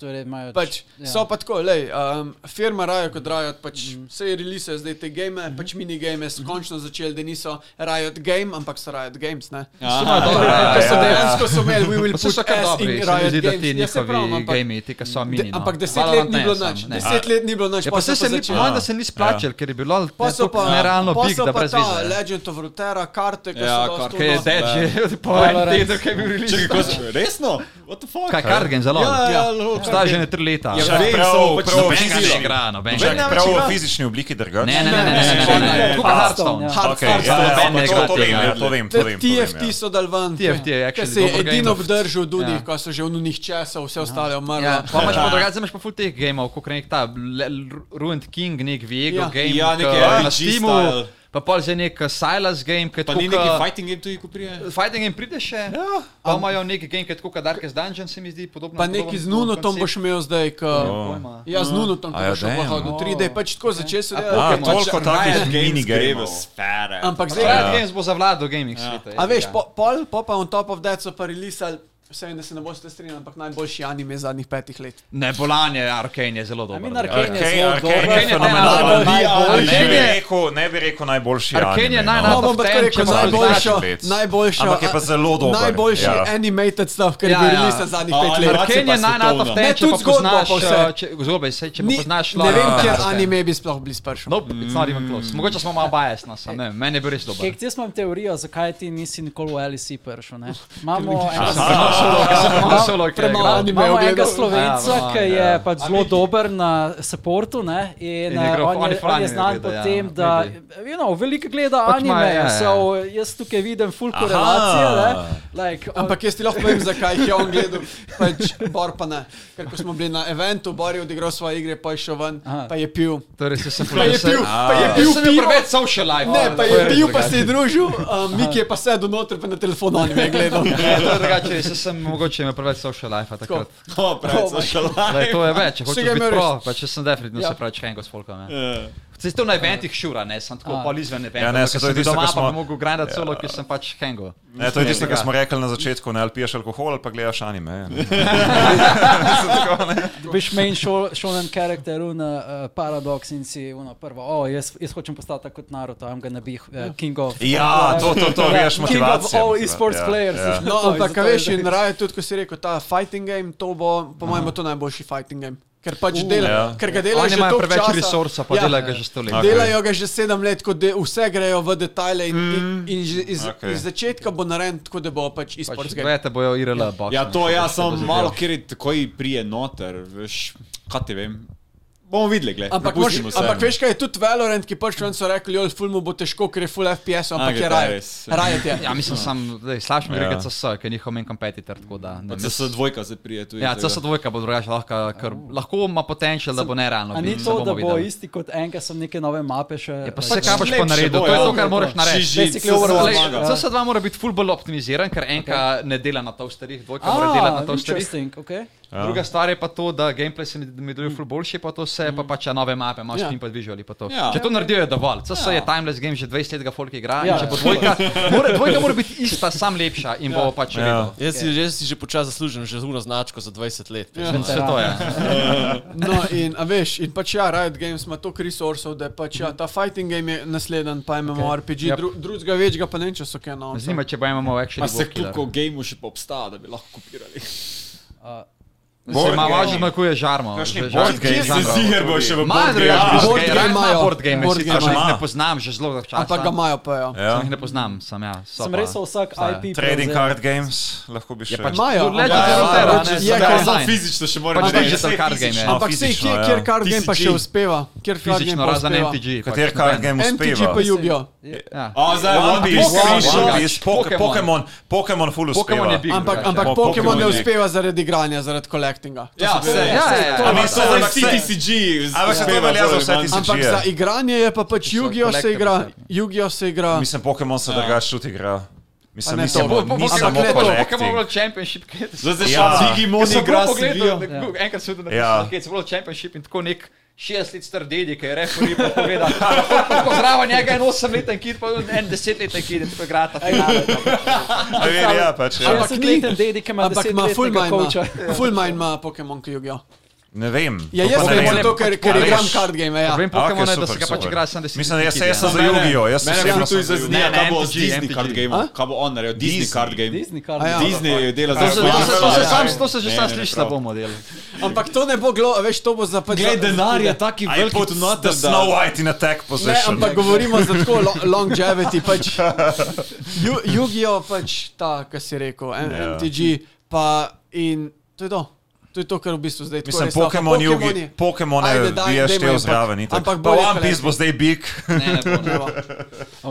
Torej, imajo, Pač, ja. ja. So pa tako, lej, um, firma Riot kot Riot, pač Mhm. mm. se je release zdaj te game, mm -hmm. pač minigame, so mm -hmm. končno začeli, da niso Riot Game, ampak so Riot Games. Ne? Ja, Ker so ja. dejansko so imeli, we will Pa so put še kar S dobri, se in mi Riot zdi, da Games. ti Ja, saj njihovi pravim, ampak- gamei, ti, ki so mini. De, no. ampak deset Valorant let ni ne, bilo sam, nič, ne. deset let ni bilo nič, Ja, pa Ja, se se ni, po mojem, da začelo. se ni splačal, ker je bilo Pa so pa nerealno pa big, so da pa brez ta veze. Legend of Runeterra, karte, ki Ja, so dosti karte. Ker je vnosi. dead že po enem Valorant. tednu, ker je bil Čakaj, release. kako se resno? What the fuck? Kaj, card game, zelo. Ja, ja, lol. Obstaja že ne tri leta. Ja, Čak, vem, prav- samo pač prav noben fizično. ga ne igra, noben Čak, ga ne Prav igra. v fizični obliki drugače. Ne, ne, ne, ne, ne, ne, ne, ne. ne. Kupa Hearthstone. Ja. Okay, ja, ja, Hearthstone, noben ne ja, igra to, to vem, tega. ja, to vem, to vem. to vem, TFT ja. so dal ven. TFT je Ker actually se je dober game edino of- obdržal od unih, Ja. ko so že v unih časov, vse ostale umrlo. Ja, pa imaš pa drugače, imaš pa full teh gameov, kot nek ta Le- L- Ruined King, nek Viego Ja. game, Ja, ke neki na RPG Steamu, style. pa pol že nek uh, Silas game, ki je Pa tako ni neki ke- fighting game tudi, ko prije? Fighting game pride še, ja, pa imajo neki game, ki je tako kot Darkest Dungeon, se mi zdi podobno. Pa neki z Nunotom boš imel zdaj. K, ja, z Nunotom A ja, boš damn. obahal do 3D, pač tako začel so A, delati. Pokemon. toliko Ja, takih Ja. minigameov. sfere. pač Ampak zdaj, Riot Games bo zavladal gaming ja. sveta. a veš, po, pol, pol pa on top of that so pa releasali, vse vem, da se ne boste strinjali, ampak najboljši anime zadnjih petih let. Ne, bolan je, Arkane je zelo I dober. ja. mean, drugače. Arkane Arkane- je zelo Arkane je dober. fenomenalen. Najbolj- Ne najbolj- bi Arkane je- rekel, ne bi rekel najboljši. Arkane je anime, no. najna- No, Out bom of pa tako 10, rekel, če pa najboljši, znaš pet. najboljši, Ampak je pa zelo dober. najboljši Ja. animated stuff, kar je Ja, bil ja. release zadnjih A, pet animacija let. pa Arkane je najnato v svetovna. tem, Ne, če tudi pa zgodba poznaš, pa vse. uh, če, zgodba, sej, če pa Ni, poznaš ne lore, vem, ja, ker vse. anime Mm. bi sploh bili spršali. Nope, it's not even close. Mogoče smo malo biased, no, sam ne vem, meni je bil res dober. Kek, jaz imam teorijo, zakaj ti nisi nikoli v LEC prišel. ne? Imamo Ja, Solo, ki je Ah. premalo igral. anime. Imamo ogledal. enega slovenca, Ja, ja, ki je pač zelo dober na supportu ne, in In eh, igral- on on je, je ful on je anime znan po gleda, ja, tem, da you know, veliko gleda Pač ima, anime. ja, ja. So, jaz tukaj vidim full korelacijo. ne, Like, on- Ampak jaz ti lahko povem, zakaj jih je on gledal, pač Bor pa ne. Ker ko smo bili na eventu, Bor je odigral svoje igre, pa je šel ven, Aha. pa je pil. Torej, se sem Pa je pil, pa je Bil pil, sem bil pil, preveč social life. Torej, ne, pa je pil, pa se je družil, um, Miki je pa sedel noter, pa na telefonu on je gledal. Ne, to je drugače, jaz torej, sem mogoče imel preveč social life takrat. No, Oh prav, so še Zdaj, to je več, če Vsi hočeš ga biti imajo pro, res. pa če sem definitivno Ja. se pravi, če enega spolka. Ne. lažje. Se to na eventih šura, ne, sem tako A. pol izven eventov. Ja, ne, ampak saj ker to je sem bil tisto, doma, ko smo- Ja. pa bi mogel grindati solo, ker sem pač hengo. Ne, to je tisto, kar smo rekli na začetku, ne ali piješ alkohol, pa gledaš anime. ne. Veš, main šo- shonen karakter, un uh, paradoks in si uno prvo, o, oh, jaz, jaz hočem postati tako kot Naruto, I'm gonna be uh, king of. Ja, to, to, to, veš, King of motivacija. all motivacija, e-sports ja, players. ja. No, To Torej, je ampak zato, a veš, da- in raje tudi, ko si rekel, ta fighting game, to bo, po mojem, bo to najboljši fighting game. Ker pač delajo. Ja. Ja. Ker ga delajo Uh, Oni že imajo toliko preveč časa. Ja. resursa, Ja. pa delajo ga že sto let. Okej. Delajo ga že sedem let, tako da vse grejo v detajle in, mm, in, in že iz, okej. okay. iz začetka bo narejen tako, da bo pač Pač, e-sports game. Vete bojo IRL box. Ja, to jaz sem malo, ker je takoj prije noter, veš, kaj ti vem. Bomo videli, gledaj. Ampak, mož, ampak veš, kaj je tudi Valorant, ki pač ven so rekli, joj, ful mu bo težko, ker je full FPS, ampak Aga, je ta rajet. res. Rajet je. Ja, mislim, sam, daj, slaš mi Ja. reke CS, ker je njihov main competitor, tako da. ne Zdaj se No, dvojka zdaj prije tu. Ja, CS2 bo drugače lahko, ker lahko ima potencial, da bo Oh. nerealno. A bil, ni se to, bomo da bo videli. isti kot enka, so neke nove mape še. pač- Je pa like- vse, kar boš pa naredil, to je to, kar moraš narediti. Basically overall Glej, zmaga. CS2 mora biti full bolj optimiziran, ker enka okay. ne dela na toasterjih, dvojka mora delati na Ah, toasterjih. interesting, ok. Ja. Druga stvar je pa to, da gameplay se mi- mi deluje ful boljši, pa to vse, pa pač nove mape, imaš Ja. in pa vizuali. Pa to. Ja. Če to naredijo, je dovolj. CS je timeless game, že 20 let ga folk igra. Ja. Ja. Če bo dvojka, mora, dvojka mora biti ista, sam lepša in bo pač ja. Jaz si, jaz si že počasi zaslužim, že zuno značko za 20 let. Ja. Vse to je. No, in a veš, in pač ja, Riot Games ima toliko resursov, da je pač ja, ta fighting game je nasleden, pa imamo okay. RPG, Yep. yep. dru, drugega večjega pa ne vem, če so kaj novega. Zanima me, če bo imamo action. Pa se kuko gameu še pa obstaja, da bi lahko kopirali. Se ima važno, kako je žarmo. Kakšni Že- board žarmo. game Kje se žanrov. ziger bo še v Malo board game? drugače, Ja. board Board game, game ima imajo. board game, Board sicer game že jih ne imajo. poznam, že zelo dolgo časa. Ampak ga imajo pa ja. Ja. Samo jih ne poznam, sem ja. so Sem pa- res vsak obstajajo. IP. Trading prevzel. card games, lahko bi še. Je pač Imajo, Legend of ampak- Ja, Runeterra, pač ne, je, so ker online. Samo ja, fizično še moram Pač reči. digital Vse card game je. fizično. No, Ampak sej, fizično, kjer, ja. kjer card game pa TCG. še uspeva, kjer card game Fizično, pa razen uspeva. MTG. pač Kater noben. card game MTG uspeva? pa Jugijo. Ja. A zdaj One Piece, Pokemon, One One Piece, Piece, Poke- Pokemon. Pokemon, Pokemon full Pokemon uspeva. je big. Ampak, drugače. ampak Ja, Pokemon Pokemon ne je- uspeva zaradi igranja, zaradi kolektinga. To Ja, se ve. vse. Ja, ja, ja. To je Ampak vse to za zdaj vsi CTCG. Ampak se to velja za vse tisti Ampak za igranje je pa pač so Jugijo se igra, collectibles, Jugijo se igra. Mislim, Pokemon se drugače tudi igra. Mislim, ne ni to. samo- Bo- Bo- bo- ni Pokemon- samo Pokemon- Pokemon collecting. World Championship. kaj je to? Zdaj se še Ja. Digimon Sem igra prav s pogledal, Vijo. na Google- enkrat sem videl, Ja. da je World Championship in tako nek 60 let star dedi, ki je rekel, da je pogledal. Pozdrav, njega je en 8-leten kid, pa en 10-leten kid, in tako igrata. Ja, ja, ja, pač, ja. Ampak Ampak ni. ni ten dedi, ki ima Ampak ima full no. mind, koča. ima- full mind ima Pokemon, ki Jugijo. Ne vem. Ja, Ja. to jaz pa vem, vem. zato ker, ker A veš? igram card game, ja. Problem A, okej, Pokemona je, super, da se ga pač super. igra 70 Mislim, jaz, kid, jaz ja. sem za Jugijo, jaz Mene osebno ful sem za tu Jugijo. izaznijo, kaj bo z MTG, Disney MTG. card game. Kaj bo on naredil? Disney card game. Disney kar. A ja. Disney To dela za se- svoje to se- to se stvari. sam- To se že Ne, sam ne, sliši, prav. da bomo delali. Ampak to ne bo glo, veš, to bo za pač. Glej, za- denar je taki I velik put tu the noter, Snow da... White in attack Ne, position. ampak govorimo za tako lo- longevity. Pač, Ju- Jugijo pač ta, kar si rekel, M- Ja. MTG. Pa in to je to. To je to, kar v bistvu zdaj Mislim, tako res- Pokemon, Pokemon Jugi, je- Pokemon Ajde, je daj, bi dajmo jaz štel jim, zraven, ampak- itak. ampak Pa bolje One Piece kolektiv. bo zdaj big.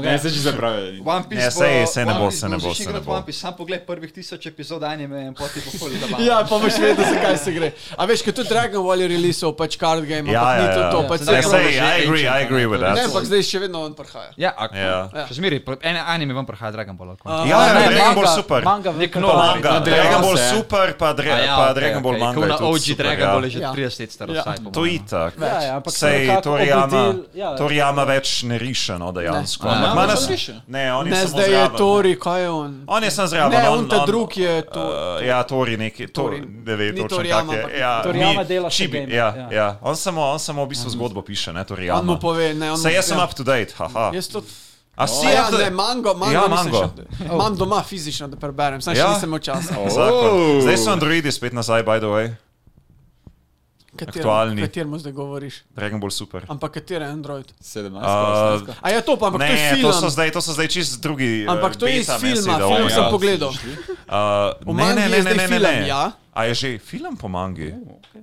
Ne, zdaj že zapravljali. One Piece Ne, bo- sej, sej ne One bo, Piece sej ne bo, začneš sej ne igrati bo. One Piece, Sam pogled prvih tisoč epizod anime in poti bo ful zabavno. Ja, pa boš vedel, zakaj se gre. A veš, kot tudi Dragon Ball je releasal, pač card game, Ja, ampak ni ja, to ja. to. Pač Ne, se- sej, I agree, I agree with that. Ne, ampak zdaj še vedno on prihaja. Ja, akko. Ja. Ja. Še zmeraj, pr- ene anime vam prihaja Dragon Ball. akko. Ja, ja, ne, Dragon Ball manga, super. Manga, Nek veliko nov manga. Manga, Ja, Nadaljeval Dragon Ball se je. super, pa, A dra- ja, pa okej, Dragon Ball okej, manga. ko je na tudi OG super, Dragon ja. Ball je že Ja. 30 let star, Ja. vsaj po To mojem. itak. Ja, ja, ampak Sej, nekako Toriyama, obudil- ja. Toriyama več ne riše, no, dejansko. Ne. Ampak A, ima ne, nas- ne riše? Ne, on je Ne, samo zdaj je zraven. Tori, kaj je on? On je sam zraven. Ne, on, on ta drug je to. Uh, ja, Tori neki, to, Tori. ne ve, Ni točno Toriyama, kak ampak je. Ja, Toriyama ni. dela še Chibi, game, Ja, ja. ja. ja. On, samo, on samo v bistvu zgodbo piše, ne Toriyama. Mm. On mu pove, ne, on Se mu- Ja, no. jaz sem ja. up to date, haha. Jaz to A si Oh, ja, up to ne, date? mango, mango, Ja, ja, mango. mango. Še, imam doma fizično, da preberem, sam ja. Ja. še nisem imel časa. Oh. Zakon. Zdaj so androidi spet nazaj, by the way. Kater, Aktualni. kateremu zdaj govoriš? Dragon Ball Super. Ampak kater je Android? 17. Uh, A ja, to pa, ampak to je Ne, film. to so zdaj, to so zdaj čist drugi. eh, Ampak to je iz beta filma, message, film ja. sem pogledal. Uh, V ne, mangi ne, je ne, ne, zdaj ne, ne, film, ne. ja. A je že film po mangi?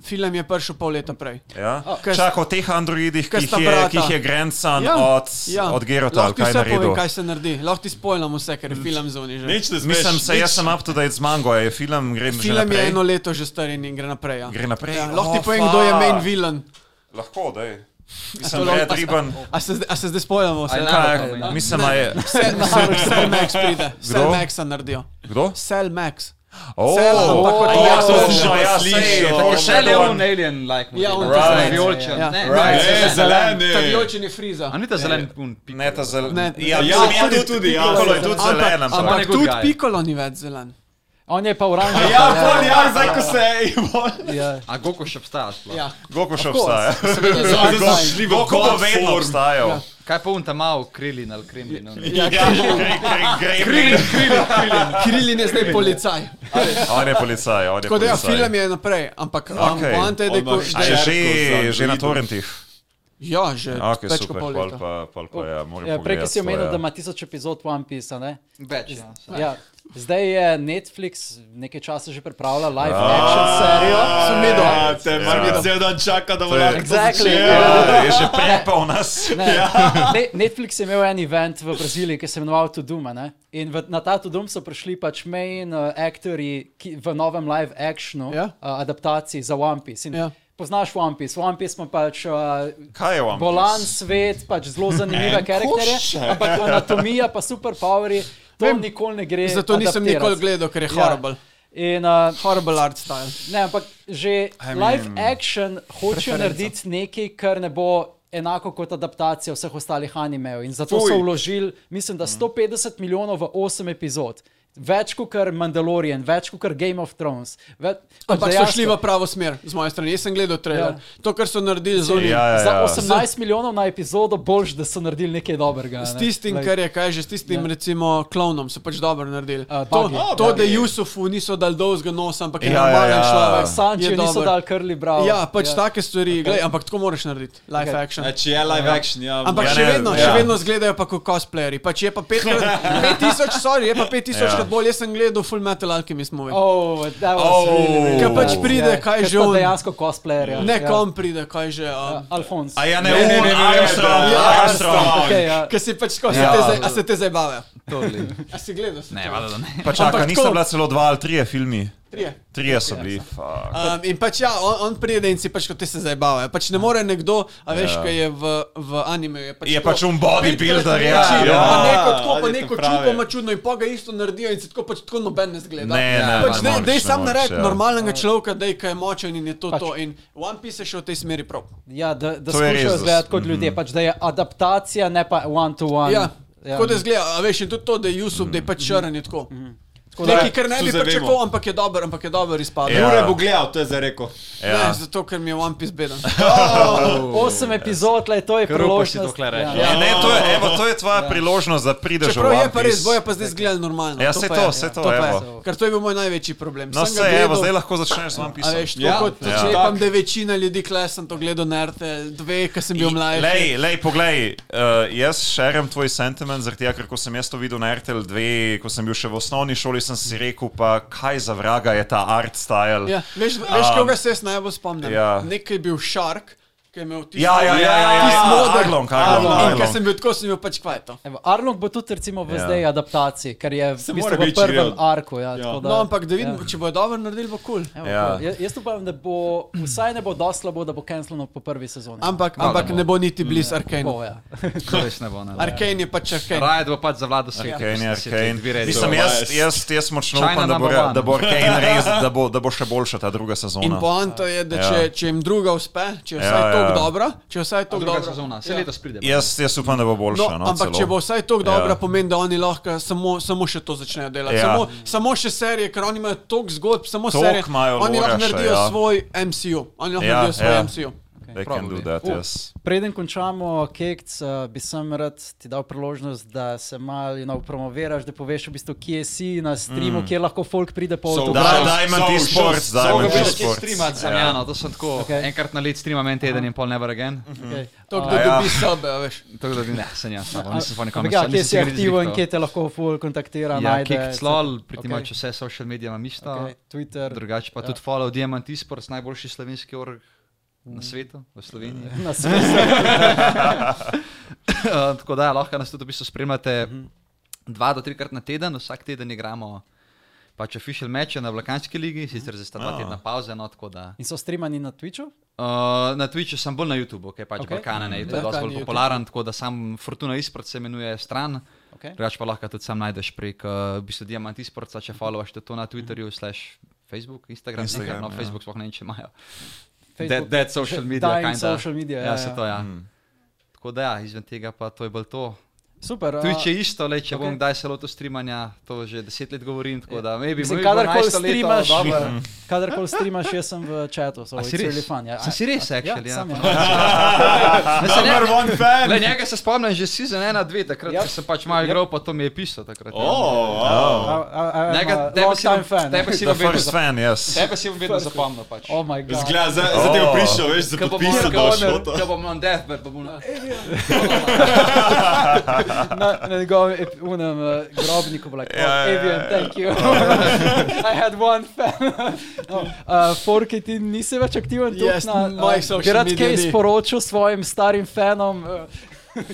Film je prišel pol leta prej. Ja? kaj s- Čak o teh androidih, kaj ki jih sta je, brata? ki jih je grandson ja, od, ja. od Gerota, ali Lahko ti kaj je vse naredil. povem, kaj se naredi. Lahko ti spojlam vse, ker je film zunaj že. Nič ne smeš. Mislim, se jaz sem up to date z mango, je film, grem že Film je naprej. eno leto že star in gre naprej. Ja. Gre naprej? Ja, lahko ti Oh, povem, kdo je fuck. main villain. Lahko, da je. To Mislim, lahko- Red Ribbon. A se, zd- a se zdaj spojljamo vse? Kaj, mislim, da je. Cell Max pride. Cell Maxa naredijo. Kdo? Cell Max. Oh, Cell, ampak kot ja, Lego. to sem že Ja, slišal. slišal. Šel je on alien like Ja, on model. to Right. Vijoličen. Ja. Ne, Right. ne, Ne, ne, zeleni. Tavijočen je friza. A ni ta zelen un pik. Ne, ta zelen. Ne. Ja, Ja, mislim, tudi- tudi, ja. Piccolo je tudi zelen, Ampak, ampak ampak. good tudi guy. Pikolo ni več zelen. On je pa uranjen. Ja, pol, ja, zdaj ko se je imel. ja. A Goku še obstaja sploh. Ja. Goku še obstaja. Zdaj so šli v Goku bo god vedno form. obstajal. Kaj pa unta malo krilin ali kremlin? ali- Ja, gre, gre, gre. Kirilin je zdaj policaj. On je policaj, on je Tako da ja, policaj. film je naprej, ampak okay. Okej. poanta je, da je On ima ko- št- A je Šterko že, za že na druido. torrentih? Ja, že Ok, več kot super, pol pol leta. pa, pol pa, ja, moram Ja, prej pogledati si to, omenil, ja. da ima tisoč epizod One Piece. a Ne? Več. ja. Ja. Zdaj je Netflix nekaj časa že pripravlja live action serijo. Sem videl. Ja, te Ja. mami cel dan čaka, da bo je- lahko to Exactly. začel. Ja, je že prepal nas. Ne, Ja. ne, Netflix je imel en event v Braziliji, ki se je imenoval Tuduma. Ne? In v, na ta Tudum so prišli pač main uh, aktori ki- v novem live actionu, yeah. Ja. uh, adaptaciji za One Piece. In Ja. yeah. Poznaš One Piece, One Piece ima pač uh, Kaj je vam? bolan svet, pač zelo zanimive En koš. eh. karakterje, ampak anatomija pa superpoweri, to Vem. Vem, nikoli ne gre. Zato nisem adaptirati. nikoli gledal, ker je Ja. horrible. In, uh, Horrible art style. Ne, ampak že I mean, live action hoče narediti nekaj, kar ne bo enako kot adaptacija vseh ostalih animejev. In zato Fuj. so vložili, mislim, da 150 milijonov v 8 epizod. Več kot kar Mandalorian, več kot kar Game of Thrones. Ve, Ampak so šli v pravo smer, z moje strani. Jaz sem gledal trailer. Ja. To, kar so naredili z onim. Ja, ja, Za ja. 18 milijonov na epizodo boljš, da so naredili nekaj dobrega. S tistim, kar je kaj že, s tistim, Ja. recimo, klovnom so pač dobro naredili. A, to, Buggy. to, da Jusufu niso dal dolgega nosa, ampak Ja, je ja, normalen ja. človek. je Sančijo niso dober. dali krli bravo. Ja, pač take stvari, glej, ampak tako moraš narediti, live Okej. action. Znači E, je live action, ja. Ampak Ja, še ne, vedno, ja. še vedno zgledajo pa kot cosplayeri. Pač je pa 5000, sorry, je pa 5000 Ja. krat bolj. Jaz sem gledal Full Metal Alchemist movie. Oh, Oh. oh. really, Ker pač bad. pride, kaj ker že sta on- Dejansko cosplayer. Ja. Ne, ja. kom pride, kaj že. Ja, Um, Alfons. A ja, ne, Ne, ne, ne, ne, ne, Armstrong, ne, ne, ne. Armstrong. Okay, ja. Ker si pač tako, Ja. ja. a se te zabavajo. To li- A si gledal? si Ne, to? valjda da ne. Pa čaka, Ampak nista tako- bila celo dva ali trije filmi. Trije. Trije so bili. fuck. Um, in pač ja, on, on pride in si pač kot te se zabavajo. Pač ne more nekdo, a veš, Ja. kaj je v, v animeju. Je pač, Je tako pač un bodybuilder, ja. večji, ja. Pa neko tako, pa Ja, neko pravi. čupo ima čudno in pa ga isto naredijo in se tako pač tako noben ne zgleda. Ne, ne, pač ne dej, moreš, dej ne sam moreš, naredi ja. normalnega človeka, dej, ki je močen in je to Pač- to. In One Piece je šel v tej smeri prav. Ja, da, da To je skušajo res, Mhm. da izgledati s- kot ljudje, pač da je adaptacija, ne pa one-to-one. Ja. Ja. Tako da zgleda, a veš, in tudi to, da je Jusuf, da je pač črn in tako. Mhm. Tako da- Nekaj, kar ne Tu bi zdaj vemo. pričakoval, ampak je dober, ampak je dober izpadel. Ja. Jure bo gledal, to je zdaj rekel. Ne, Ja. zato, ker mi je One Piece beden. Osem epizod, le to je Kar upaš priložnost. si Ja. dokler rečeš. Ne, ne, to je, evo, to je tvoja priložnost, da prideš v Čeprav je One pa res, Piece. bojo pa zdaj zgledali normalno. Ja, to saj pa to, je, saj ja, to, pa je. evo. Ker to je bil moj največji problem. No, Sem se ga evo, gledal- zdaj lahko začneš z One A Piece. veš, tako Ja, kot ja. sklepam, Tak. da večina ljudi, ki sem to gledal na RTL 2, ki sem bil mlajši. Lej, lej, poglej, uh, jaz šerim tvoj sentiment, zaradi tega, ker ko sem jaz to videl na RTL 2, ko sem bil še v osnovni šoli, sem si rekel, pa kaj za vraga je ta art style. Ja, veš, veš Um, koga se jaz najbolj spomnim? ja. Nek je bil šark, ki je imel tisti Ja, ja, ja, ja, ja, tisti ja, moder. Arlong, Arlong, In Arlong. ker sem bil tako, sem bil pač kvato. Evo, Arnold bo tudi recimo v Ja. zdaj adaptaciji, ker je v, Se bistvu mora v biti prvem real. arku. Ja, tako Da, No, ampak da vidim, Ja. če bojo dobro naredili, bo kul. Cool. Evo, Ja. ja. Jaz upam, da bo vsaj ne bo dosti slabo, da bo cancelno po prvi sezoni. Ampak, ampak ne bo niti blizu Arkane. Bo, ja. To res ne bo. ne. Arkane je pač Arkane. Raje, da bo pač zavladal svet. Arkane, Mislim, da si dve Arkane. reči. Mislim, jaz, jaz, jaz močno China upam, da bo, number one. da bo Arkane res, da bo, da bo še boljša ta druga In sezona. poanta je, da Ja. če, če jim druga uspe, če je Ja, vsaj ja. tako dobra, če je vsaj tako Druga dobra. sezona, vse Ja. letos pride. Jaz, jaz upam, da bo No, boljša. No, ampak celo. če bo vsaj tako dobra, Ja. ja. pomeni, da oni lahko samo, samo še to začnejo delati. Ja. Ja. Samo, samo še serije, ker oni imajo toliko zgodb, samo Toliko serije. imajo Oni lore lahko še, naredijo ja. svoj MCU. Oni lahko Ja, ja, naredijo svoj ja. ja. MCU. They can do that, yes. Preden končamo, Kekc, eh, bi sem rad ti dal priložnost, da se malo you know, promoviraš, da poveš, v bistvu, kje si na streamu, mm. kje lahko folk pride po So- avtobusu. Da, Social- Diamond social- T-Sports, social- Diamond social- T-Sports. streamati za Jano, to sem tako Okej. enkrat na let streamam en teden in pol never again. Okay. To, kdo A ja. ja. dobi sebe, a veš. Tako da bi- ne, sem jaz, samo nisem spomnil, kam Ja, sem- kje si nisem se nikoli aktiven, zrihtal. kje te lahko ful kontaktira, Ja, najde. kick slol, pritima Okej. če vse social medije imam isto. Okay, Twitter, Drugače pa Ja. tudi follow Diamant Esports, najboljši slovenski org Mm. na svetu, v Sloveniji. na svetu. Eh, Tako da lahko nas tudi v bistvu spremljate Mhm. dva do trikrat na teden, vsak teden igramo pač official meče na Balkanski ligi, Mhm. sicer zdaj sta Ah. dva tedna pauze, no tako da. In so streamani na Twitchu? Uh, na Twitchu sem bolj na YouTubu, ker je pač Okej. okay. Balkana na YouTubu Balkan dosti je bolj YouTube. popularen, tako da sam Fortuna Esport se imenuje stran. Okay. Drugač pa lahko tudi sam najdeš prek uh, v bistvu Diamant Esports, če followaš tudi to na Mhm. Twitterju, slash Facebook, Instagram, Instagram, Instagram nekaj, no ja. ja. Facebook sploh ne vem, če imajo. Facebook- Dead, dead social že media, dying kinda. social media, ja, Ja, se ja. to ja. Mm. Tako da ja, izven tega pa to je bolj to. Super. a- Tudi če isto, le, če okay. bom okej. kdaj se lotil streamanja, to že deset let govorim, tako da maybe Mislim, bom kadarkoli streamaš, kadarkoli streamaš, jaz sem v chatu, so A si it's really res? fun. Ja, Sem si res, actually, ja. ja. sam Number one fan! Le, njega se spomnim že season 1, 2, takrat Yep. yep. sem pač malo Yep. igral, pa to mi je pisal takrat. ja. Oh, wow. Njega, Njega, da tebe je si bom- time fan. Tebe si The bom vedno first zap- fan, yes. tebe si bom vedno zapomnil pač. Oh my god. Zgleda, zdaj zdaj ti je Oh. prišel, veš, za Ko bom podpis, da boš no, šel. ko bom on deathbed, pa bom na... Na, na njegovem ep- unem uh, grobniku bo like, Ja, oh, ja, Avian, ja. thank you. I had one fan. no, uh, Forky, ti nisi več aktiven tu Yes, na mojih social Bi rad media kaj ni. sporočil svojim starim fanom. Uh,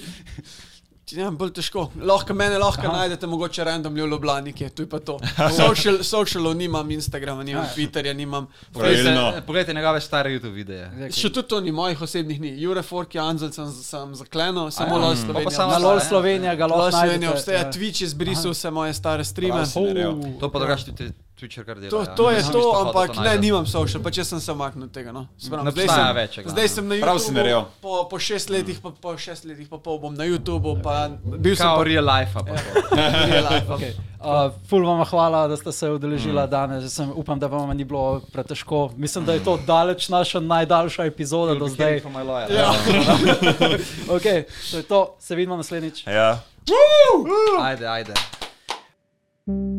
Ja, bolj težko. Lahko mene lahko Aha. Aha. najdete, mogoče random v Ljubljani, ki je tu je pa to. Social, socialov nimam, Instagrama nimam, Ja. Twitterja nimam. Pravilno. Poglejte- Poglejte njegove stare YouTube videe. Še tudi to ni mojih osebnih ni. Jure Fork je Anzel, sem, sem zaklenil, samo ja. Pa LOL pa Slovenija. samo na obstaja. LOL ja. Slovenija ga LOL lahko Slovenija najdete. obstaja, ja. Uh, Twitch je zbrisal vse moje stare streame. Prav si naredil. To pa drugače tudi Twitcher kar dela. To, ja. to je Nisem to, isto hotel ampak ne, najdem. nimam social, pa če sem se omaknil od tega. No. Se pravi, Ne zdaj obstaja sem- več, ja, Zdaj glavno. sem na Prav si naredil. YouTubu, po, po šest letih, pa, po šest letih pa pol bom na YouTubu, pa bil sem Kao pa real life, pa Ja. to. Okay. Uh, ful vam hvala, da ste se udeležila mm. danes. Sem, upam, da vam ni bilo pretežko. Mislim, da je to daleč naša najdaljša epizoda do zdaj. Ja. Okay, to je to, se vidimo naslednjič. Ja. Ajde, ajde.